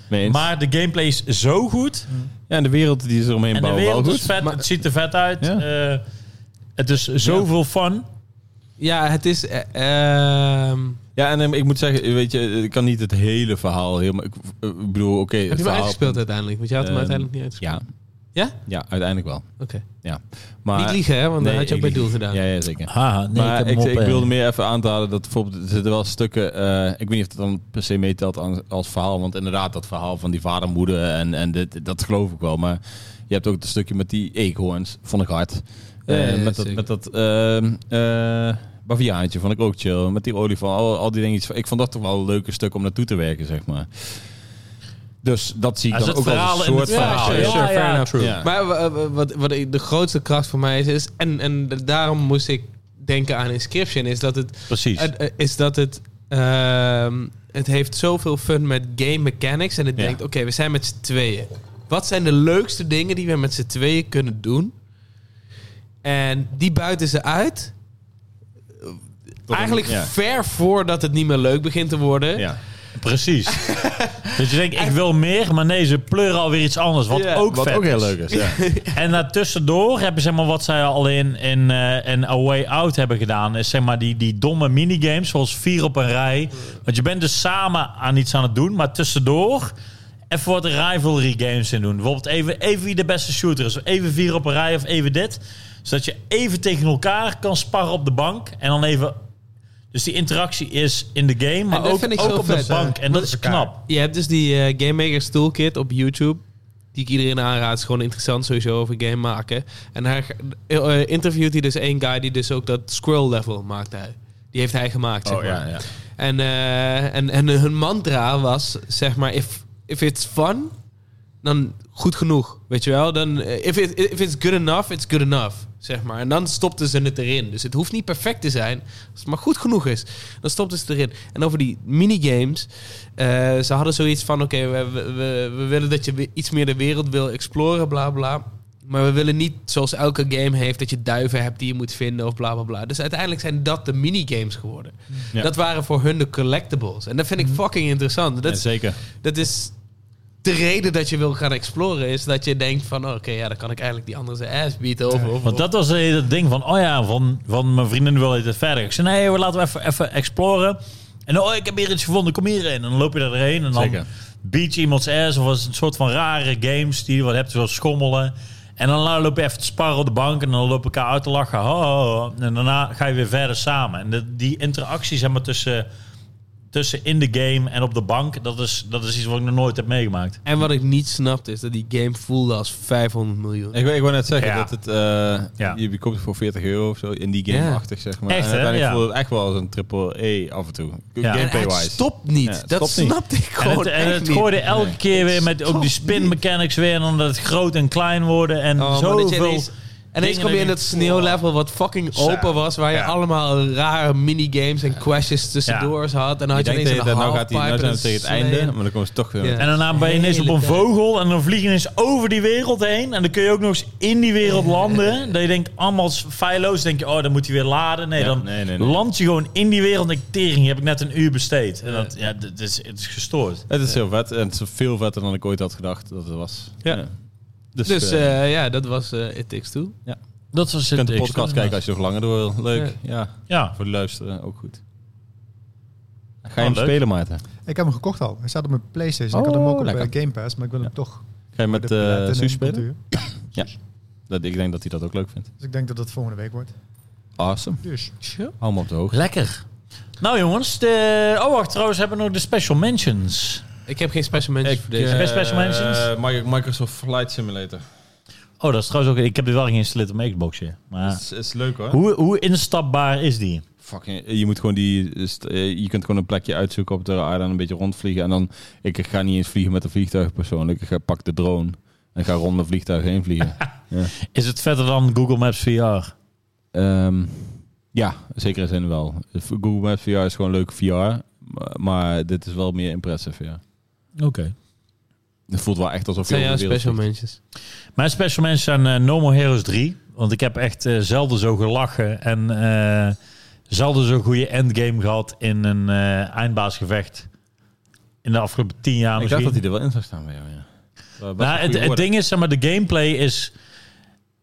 [SPEAKER 1] Mee eens.
[SPEAKER 3] Maar de gameplay is zo goed.
[SPEAKER 1] ja, en de wereld die ze eromheen
[SPEAKER 3] En de
[SPEAKER 1] bouwen. wel
[SPEAKER 3] wereld
[SPEAKER 1] goed.
[SPEAKER 3] is vet, Eh, het ziet er vet uit.
[SPEAKER 1] Ja.
[SPEAKER 3] Eh, het is zoveel fun.
[SPEAKER 2] Ja, het is... eh, ehm,
[SPEAKER 1] Ja, en ehm, ik moet zeggen, weet je, ik kan niet het hele verhaal helemaal... Ik, eh, ik bedoel, oké, het
[SPEAKER 2] heb je hem
[SPEAKER 1] verhaal-
[SPEAKER 2] uitgespeeld uiteindelijk? Want jij had hem
[SPEAKER 1] Ehm,
[SPEAKER 2] uiteindelijk niet uitgespeeld.
[SPEAKER 1] Ja.
[SPEAKER 2] Ja?
[SPEAKER 1] Ja, uiteindelijk wel.
[SPEAKER 2] Oké.
[SPEAKER 1] Ja. Maar,
[SPEAKER 2] niet liegen, hè? Want
[SPEAKER 1] Nee,
[SPEAKER 2] dan had je ook
[SPEAKER 1] ik
[SPEAKER 2] bij
[SPEAKER 1] lieg
[SPEAKER 2] doel gedaan.
[SPEAKER 1] Ja, ja, zeker.
[SPEAKER 3] Haha, nee, ik
[SPEAKER 1] maar
[SPEAKER 3] heb
[SPEAKER 1] ik,
[SPEAKER 3] hem op.
[SPEAKER 1] ik
[SPEAKER 3] eh,
[SPEAKER 1] wilde meer even aan te halen dat bijvoorbeeld er zitten wel stukken. eh, ik weet niet of het dan per se meetelt aan- als verhaal. Want inderdaad, dat verhaal van die vader, moeder en, en dit, dat geloof ik wel. Maar je hebt ook het stukje met die eekhoorns, vond ik hard. Eh,
[SPEAKER 2] Ja, ja, ja,
[SPEAKER 1] met dat,
[SPEAKER 2] zeker.
[SPEAKER 1] met dat ehm, eh, baviaantje vond ik ook chill. Met die olifant, al, al die dingetjes. Ik vond dat toch wel een leuke stuk om naartoe te werken, zeg maar. Dus dat zie ik
[SPEAKER 3] Als
[SPEAKER 1] dan
[SPEAKER 3] het
[SPEAKER 1] ook wel als
[SPEAKER 3] verhaal
[SPEAKER 1] een
[SPEAKER 3] in
[SPEAKER 1] soort
[SPEAKER 3] het verhaal
[SPEAKER 1] verhaal.
[SPEAKER 2] sure,
[SPEAKER 3] is.
[SPEAKER 1] ja.
[SPEAKER 2] sure,
[SPEAKER 3] Ja,
[SPEAKER 2] fair
[SPEAKER 3] ja.
[SPEAKER 2] enough.
[SPEAKER 1] True.
[SPEAKER 2] Ja. Maar wa- wa- wat, wat ik- de grootste kracht voor mij is, is en, en d- daarom moest ik denken aan Inscription, is dat het,
[SPEAKER 3] Precies.
[SPEAKER 2] het- eh, is dat het, ehm, het heeft zoveel fun met game mechanics en het
[SPEAKER 1] Ja.
[SPEAKER 2] denkt, oké, we zijn met z'n tweeën. Wat zijn de leukste dingen die we met z'n tweeën kunnen doen? En die buiten ze uit.
[SPEAKER 1] een-
[SPEAKER 2] Eigenlijk
[SPEAKER 1] ja.
[SPEAKER 2] ver voordat het niet meer leuk begint te worden.
[SPEAKER 1] Ja.
[SPEAKER 3] [LAUGHS] Precies. dus je denkt, ik wil meer, maar nee, ze pleuren alweer iets anders. Wat
[SPEAKER 2] Ja,
[SPEAKER 3] ook
[SPEAKER 1] Wat
[SPEAKER 3] vet
[SPEAKER 1] ook heel
[SPEAKER 3] is.
[SPEAKER 1] leuk is. Ja.
[SPEAKER 3] En daartussendoor hebben ze zeg maar, wat zij al in, in, eh, in A Way Out hebben gedaan. Is zeg maar die, die domme minigames, zoals vier op een rij. Want je bent dus samen aan iets aan het doen, maar tussendoor even wat rivalry games in doen. Bijvoorbeeld even, even wie de beste shooter is. Of even vier op een rij of even dit. Zodat je even tegen elkaar kan sparren op de bank. En dan even... Dus die interactie is in de game, maar
[SPEAKER 2] dat
[SPEAKER 3] ook,
[SPEAKER 2] vind ik zo
[SPEAKER 3] ook op de
[SPEAKER 2] vet, hè.
[SPEAKER 3] bank. En dat is knap.
[SPEAKER 2] Je hebt dus die eh, Game Maker's Toolkit op YouTube. Die ik iedereen aanraad. Is gewoon interessant sowieso over game maken. En hij ge- eh, eh, interviewt hij dus één guy die dus ook dat scroll level maakt. Hij. Die heeft hij gemaakt,
[SPEAKER 1] [LAUGHS]
[SPEAKER 2] zeg
[SPEAKER 1] Oh,
[SPEAKER 2] maar.
[SPEAKER 1] ja, ja.
[SPEAKER 2] En, eh, en, en hun mantra was, zeg maar, if, if it's fun, dan goed genoeg, weet je wel. Dan, eh, if, it, if it's good enough, it's good enough, zeg maar. En dan stopten ze het erin. Dus het hoeft niet perfect te zijn, als het maar goed genoeg is. Dan stopten ze het erin. En over die minigames, eh, ze hadden zoiets van, oké, we, we, we, we willen dat je weer iets meer de wereld wil exploren, bla bla. Maar we willen niet, zoals elke game heeft, dat je duiven hebt die je moet vinden of bla bla bla. Dus uiteindelijk zijn dat de minigames geworden.
[SPEAKER 1] Ja. Mhm.
[SPEAKER 2] Dat waren voor hun de collectibles. En dat vind ik fucking interessant. Dat
[SPEAKER 1] Ja,
[SPEAKER 2] is,
[SPEAKER 1] zeker.
[SPEAKER 2] dat is de reden dat je wil gaan exploren, is dat je denkt van, oh, oké, ja, dan kan ik eigenlijk die andere zijn ass bieten. Of, of,
[SPEAKER 3] Want dat was eh, het ding van, oh ja, van, van mijn vrienden wil ik het verder. Ik zei, nee, we laten we even, even exploren. En oh, ik heb hier iets gevonden, kom hierheen. En dan loop je erheen en dan
[SPEAKER 1] Zeker.
[SPEAKER 3] beat je iemands ass. Of was het een soort van rare games die je wat hebt, zoals schommelen. En dan loop je even te sparren op de bank en dan loop je elkaar uit te lachen. Ho, ho, ho. En daarna ga je weer verder samen. En de- die interactie zeg maar, tussen, tussen in de game en op de bank, dat is, dat is iets wat ik nog nooit heb meegemaakt.
[SPEAKER 2] En wat ik niet snapte, is dat die game voelde als 500 miljoen.
[SPEAKER 1] Ik, wil- ik wou net zeggen
[SPEAKER 3] Ja.
[SPEAKER 1] dat het... eh,
[SPEAKER 3] Ja.
[SPEAKER 1] Je je koopt het voor 40 euro of zo. In die
[SPEAKER 2] Ja.
[SPEAKER 1] game-achtig, zeg maar.
[SPEAKER 3] Echt,
[SPEAKER 1] en
[SPEAKER 3] hè?
[SPEAKER 1] uiteindelijk
[SPEAKER 3] Ja.
[SPEAKER 1] voelde het echt wel als een triple E af en toe.
[SPEAKER 3] Ja.
[SPEAKER 2] En het
[SPEAKER 1] Gameplay-wise.
[SPEAKER 2] stopt niet.
[SPEAKER 1] Ja, het
[SPEAKER 2] dat
[SPEAKER 1] stopt niet.
[SPEAKER 2] snapte ik
[SPEAKER 3] En
[SPEAKER 2] gewoon
[SPEAKER 3] het, en
[SPEAKER 2] echt
[SPEAKER 3] het
[SPEAKER 2] niet.
[SPEAKER 3] gooide elke
[SPEAKER 1] Nee.
[SPEAKER 3] keer weer met ook die
[SPEAKER 2] Toch
[SPEAKER 3] spin
[SPEAKER 2] niet.
[SPEAKER 3] mechanics weer. En dan dat het groot en klein worden. En
[SPEAKER 2] Oh, maar dat je
[SPEAKER 3] zoveel...
[SPEAKER 2] ineens- En ineens
[SPEAKER 3] dingen
[SPEAKER 2] kom je in
[SPEAKER 3] dat
[SPEAKER 2] dat
[SPEAKER 3] je-
[SPEAKER 2] sneeuwlevel wat fucking open was, waar je
[SPEAKER 3] Ja.
[SPEAKER 2] allemaal rare minigames en questjes tussendoor had. En dan
[SPEAKER 1] Je
[SPEAKER 2] had je
[SPEAKER 1] denkt
[SPEAKER 2] ineens
[SPEAKER 1] dat
[SPEAKER 2] een
[SPEAKER 1] je dat nou gaat
[SPEAKER 2] halfpipe
[SPEAKER 1] hij nou
[SPEAKER 2] en
[SPEAKER 1] zijn
[SPEAKER 2] een
[SPEAKER 1] we tegen het
[SPEAKER 2] slee.
[SPEAKER 1] einde, maar dan komen ze toch weer.
[SPEAKER 2] Ja.
[SPEAKER 1] met-
[SPEAKER 3] En daarna ben je ineens op
[SPEAKER 2] Hele
[SPEAKER 3] een
[SPEAKER 2] tijd.
[SPEAKER 3] vogel. En dan vlieg je ineens over die wereld heen. En dan kun je ook nog eens in die wereld landen. Dat je denkt, allemaal feilloos. denk je, oh, dan moet hij weer laden. Nee,
[SPEAKER 1] Ja,
[SPEAKER 3] dan
[SPEAKER 1] nee, nee, nee.
[SPEAKER 3] land je gewoon in die wereld. En ik, tering, hier heb ik net een uur besteed. En dat, ja, dat is, het is gestoord.
[SPEAKER 1] Het is heel vet. En het is veel vetter dan ik ooit had gedacht dat het was.
[SPEAKER 2] Ja.
[SPEAKER 1] Dus,
[SPEAKER 2] Dus
[SPEAKER 1] eh,
[SPEAKER 2] eh, ja, dat was eh It Takes Two.
[SPEAKER 3] Dat was
[SPEAKER 1] je
[SPEAKER 3] het.
[SPEAKER 1] kunt de podcast kijken als je nog langer door wil. Leuk. Ja.
[SPEAKER 3] Ja,
[SPEAKER 1] Voor de luisteren ook goed. Ga
[SPEAKER 3] Oh,
[SPEAKER 1] je hem
[SPEAKER 3] leuk.
[SPEAKER 1] spelen, Maarten?
[SPEAKER 4] Ik heb hem gekocht al. Hij staat op mijn PlayStation. ik had hem
[SPEAKER 1] Oh,
[SPEAKER 4] ook op
[SPEAKER 1] lekker.
[SPEAKER 4] eh, Game Pass, maar ik wil hem toch
[SPEAKER 1] Ga je met
[SPEAKER 4] de piraten
[SPEAKER 1] eh
[SPEAKER 4] en
[SPEAKER 1] Suus
[SPEAKER 4] de
[SPEAKER 1] spelen?
[SPEAKER 4] cultuur.
[SPEAKER 1] Dat, ik denk dat hij dat ook leuk vindt.
[SPEAKER 4] Dus ik denk dat dat volgende week wordt.
[SPEAKER 1] Awesome.
[SPEAKER 4] Dus
[SPEAKER 1] Hou hem op de hoogte.
[SPEAKER 3] lekker. Nou jongens, de... oh wacht, trouwens hebben we nog de special mentions.
[SPEAKER 2] Ik heb geen special mention voor deze.
[SPEAKER 3] eh, Best Special Mentions?
[SPEAKER 1] eh, Mi- Microsoft Flight Simulator.
[SPEAKER 3] Oh, dat is trouwens ook. Ik heb dit wel geïnstalleerd op mijn Xboxje. Maar
[SPEAKER 1] Is, is leuk hoor.
[SPEAKER 3] hoe, hoe instapbaar is die?
[SPEAKER 1] Fucking, je moet gewoon die, is- eh, je kunt gewoon een plekje uitzoeken op de aarde en een beetje rondvliegen. En dan, ik ga niet eens vliegen met een vliegtuig persoonlijk. Ik ga, pak de drone en ga rond een vliegtuig heen vliegen. [LAUGHS]
[SPEAKER 3] Is het verder dan Google Maps VR?
[SPEAKER 1] Ehm, ja, zeker in zin wel. Google Maps VR is gewoon leuk VR, maar, maar dit is wel meer impressive, ja.
[SPEAKER 3] Oké.
[SPEAKER 1] Het voelt wel echt alsof
[SPEAKER 2] Wat zijn
[SPEAKER 1] je
[SPEAKER 2] jouw
[SPEAKER 1] over de wereld
[SPEAKER 2] special
[SPEAKER 1] vliegt.
[SPEAKER 2] mentions?
[SPEAKER 3] Mijn special mentions zijn eh, No More Heroes 3. Want ik heb echt eh, zelden zo gelachen en eh, zelden zo'n goede endgame gehad in een eh, eindbaasgevecht. In de afgelopen tien jaar
[SPEAKER 1] Ik
[SPEAKER 3] misschien.
[SPEAKER 1] dacht dat hij er wel in zou staan bij jou, ja. Wel eh, best
[SPEAKER 3] Nou,
[SPEAKER 1] een goede
[SPEAKER 3] het, het
[SPEAKER 1] woorden.
[SPEAKER 3] ding is, zeg maar, de gameplay is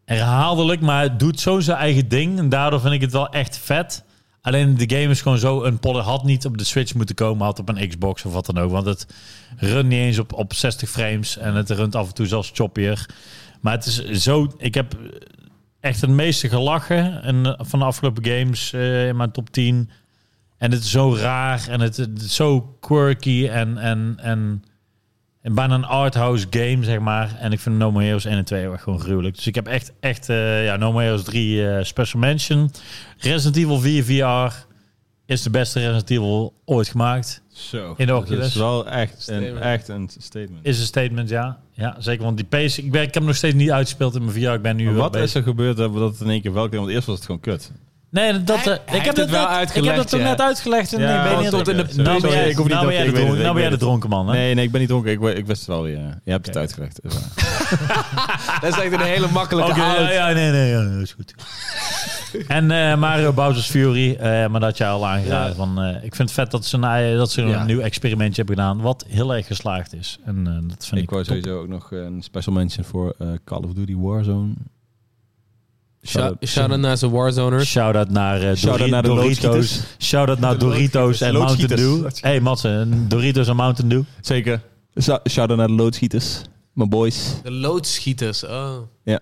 [SPEAKER 3] herhaaldelijk, maar het doet zo zijn eigen ding. En daardoor vind ik het wel echt vet. Alleen de game is gewoon zo een podder had niet op de Switch moeten komen, had op een Xbox of wat dan ook. Want het runt niet eens op, op 60 frames en het runt af en toe zelfs choppier. Maar het is zo. Ik heb echt het meeste gelachen en, van de afgelopen games eh, in mijn top 10. En het is zo raar en het, het is zo quirky en, en, en, en bijna een arthouse game, zeg maar. En ik vind No More Heroes 1 en 2 heel erg gewoon gruwelijk. Dus ik heb echt, echt eh, ja, No More Heroes 3 eh, Special Mention. Resident Evil 4 VR is de beste Resident Evil ooit gemaakt.
[SPEAKER 1] Zo.
[SPEAKER 3] In de
[SPEAKER 1] Dat
[SPEAKER 3] Oculus.
[SPEAKER 1] is wel echt een,
[SPEAKER 2] Statement.
[SPEAKER 1] echt een statement.
[SPEAKER 3] Is een statement, ja. Ja, zeker, want die PC... Ik, ben, ik heb hem nog steeds niet uitgespeeld in mijn VR. Ik ben nu
[SPEAKER 1] Maar
[SPEAKER 3] wel
[SPEAKER 1] wat
[SPEAKER 3] bezig.
[SPEAKER 1] is er gebeurd dat we dat in één keer wel kregen? Want eerst was het gewoon kut.
[SPEAKER 3] Nee, dat, eh,
[SPEAKER 2] hij
[SPEAKER 3] ik,
[SPEAKER 2] heeft
[SPEAKER 3] heb dat
[SPEAKER 2] het wel
[SPEAKER 3] net, ik heb
[SPEAKER 2] uitgelegd,
[SPEAKER 3] dat toen
[SPEAKER 2] ja.
[SPEAKER 3] net uitgelegd. En
[SPEAKER 1] Ja,
[SPEAKER 3] ik weet
[SPEAKER 1] want
[SPEAKER 3] niet
[SPEAKER 1] tot
[SPEAKER 3] of-
[SPEAKER 1] in de-
[SPEAKER 3] Nou ben
[SPEAKER 1] sorry,
[SPEAKER 3] jij-
[SPEAKER 1] ik hoef niet
[SPEAKER 3] nou
[SPEAKER 1] dat-
[SPEAKER 3] ben jij
[SPEAKER 1] ik
[SPEAKER 3] de
[SPEAKER 1] weet het,
[SPEAKER 3] dronken-
[SPEAKER 1] ik
[SPEAKER 3] nou ben jij
[SPEAKER 1] weet
[SPEAKER 3] de
[SPEAKER 1] het.
[SPEAKER 3] dronken man, hè?
[SPEAKER 1] Nee, nee, ik ben niet dronken. Ik, we- ik wist het wel weer. Je hebt het uitgelegd. is waar.
[SPEAKER 2] Dat is echt een
[SPEAKER 1] [LAUGHS]
[SPEAKER 2] hele makkelijke
[SPEAKER 3] Oké,
[SPEAKER 2] out.
[SPEAKER 3] ja, ja, nee, nee, ja, dat is goed. en eh, Mario Bowser's Fury, eh, maar dat je al aangeraden.
[SPEAKER 2] Ja.
[SPEAKER 3] Van, eh, ik vind het vet dat ze, een, ei- dat ze een
[SPEAKER 1] Ja.
[SPEAKER 3] nieuw experimentje hebben gedaan, wat heel erg geslaagd is. En eh, dat vind ik,
[SPEAKER 1] Ik wou
[SPEAKER 3] top.
[SPEAKER 1] sowieso ook nog eh, een special mention voor eh, Call of Duty Warzone.
[SPEAKER 2] Shout- Shout-out naar zijn Warzoners.
[SPEAKER 3] Shout-out naar, eh, Dori-
[SPEAKER 1] Shout-out naar de
[SPEAKER 3] Doritos.
[SPEAKER 1] loodschieters.
[SPEAKER 3] Shout-out naar
[SPEAKER 1] De
[SPEAKER 3] Doritos
[SPEAKER 1] loodschieters.
[SPEAKER 3] en Mountain
[SPEAKER 1] Loodschieters.
[SPEAKER 3] Dew. hey, Matsen, Doritos en Mountain Dew.
[SPEAKER 1] Zeker. Shout-out naar de loodschieters. Mijn boys.
[SPEAKER 2] De loodschieters. Oh.
[SPEAKER 1] Ja.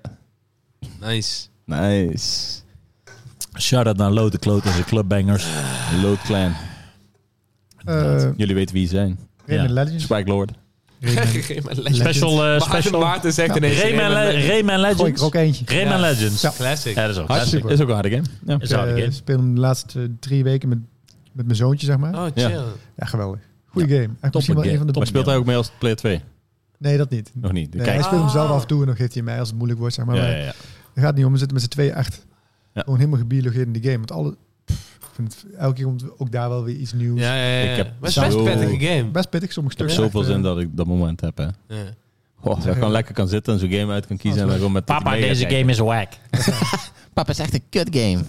[SPEAKER 2] Nice.
[SPEAKER 1] Nice.
[SPEAKER 3] Shout-out naar Lote Kloters en Clubbangers.
[SPEAKER 1] Loodclan.
[SPEAKER 4] Eh
[SPEAKER 1] Jullie weten wie ze zijn.
[SPEAKER 4] Rayman
[SPEAKER 3] Ja.
[SPEAKER 4] Legends.
[SPEAKER 1] Spike Lord.
[SPEAKER 2] [LAUGHS]
[SPEAKER 4] Rayman.
[SPEAKER 2] Geen maar
[SPEAKER 4] Legends.
[SPEAKER 3] Special, eh,
[SPEAKER 2] Maarten,
[SPEAKER 3] special.
[SPEAKER 2] Maarten zegt ineens...
[SPEAKER 3] Rayman,
[SPEAKER 2] Rayman Legends.
[SPEAKER 3] Le- Rayman
[SPEAKER 4] Gooi ik er
[SPEAKER 3] Legends.
[SPEAKER 4] ook eentje.
[SPEAKER 3] Rayman
[SPEAKER 2] Ja.
[SPEAKER 3] Legends.
[SPEAKER 4] Ja.
[SPEAKER 2] Classic.
[SPEAKER 3] Ja, dat is ook
[SPEAKER 4] Hartstikke.
[SPEAKER 3] classic.
[SPEAKER 1] Is ook een harde game. Ja.
[SPEAKER 3] Is
[SPEAKER 4] Ik
[SPEAKER 3] een harde
[SPEAKER 4] eh,
[SPEAKER 3] game.
[SPEAKER 4] speel hem de laatste drie weken met, met mijn zoontje, zeg maar.
[SPEAKER 2] Oh,
[SPEAKER 1] Ja.
[SPEAKER 2] chill.
[SPEAKER 4] Ja, geweldig. Goeie game. Eigenlijk misschien wel
[SPEAKER 3] game.
[SPEAKER 4] een van de
[SPEAKER 1] Maar speelt hij ook mee als player 2?
[SPEAKER 4] Nee, dat niet.
[SPEAKER 1] Nog niet.
[SPEAKER 4] Nee,
[SPEAKER 1] Kijk.
[SPEAKER 4] hij speelt hem zelf
[SPEAKER 2] Ah.
[SPEAKER 4] af en toe en dan geeft hij mij als het moeilijk wordt, zeg maar.
[SPEAKER 1] ja,
[SPEAKER 4] Maar
[SPEAKER 1] ja, ja.
[SPEAKER 4] Het gaat niet om, we zitten met z'n twee echt
[SPEAKER 1] Ja.
[SPEAKER 4] gewoon helemaal gebiologeerd in de game. Want alle, pff, ik vind het- elke keer komt ook daar wel weer iets nieuws.
[SPEAKER 2] Ja, ja, ja.
[SPEAKER 1] Ik heb
[SPEAKER 2] maar het is best
[SPEAKER 1] zo-
[SPEAKER 2] een prettige game.
[SPEAKER 4] Best pittig, sommige
[SPEAKER 1] Ik heb
[SPEAKER 4] stukken.
[SPEAKER 1] zoveel
[SPEAKER 4] echt, eh,
[SPEAKER 1] zin dat ik dat moment heb. Hè.
[SPEAKER 2] Ja.
[SPEAKER 1] Goh, dat ik gewoon lekker kan zitten en zo'n game uit kan kiezen. En dan gewoon met
[SPEAKER 3] Papa, deze game is whack.
[SPEAKER 5] Papa is echt een kut game.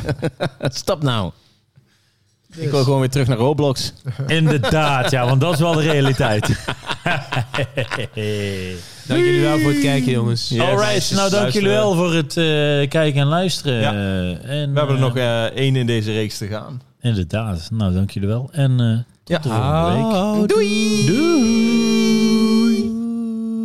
[SPEAKER 1] [LAUGHS]
[SPEAKER 5] Stop nou.
[SPEAKER 1] Ik Dus- wil gewoon weer terug naar Roblox.
[SPEAKER 3] Inderdaad, ja, want dat is wel de realiteit.
[SPEAKER 2] Dank jullie wel voor het kijken, jongens.
[SPEAKER 1] Ja.
[SPEAKER 3] Alright, nou dank jullie wel voor het eh, kijken en luisteren.
[SPEAKER 1] Ja.
[SPEAKER 3] Eh, en,
[SPEAKER 1] We hebben er
[SPEAKER 3] eh,
[SPEAKER 1] nog eh, één in deze reeks te gaan.
[SPEAKER 3] Inderdaad, nou dank jullie wel. En eh, tot
[SPEAKER 1] Ja.
[SPEAKER 3] de volgende week.
[SPEAKER 1] Doei!
[SPEAKER 3] Doei!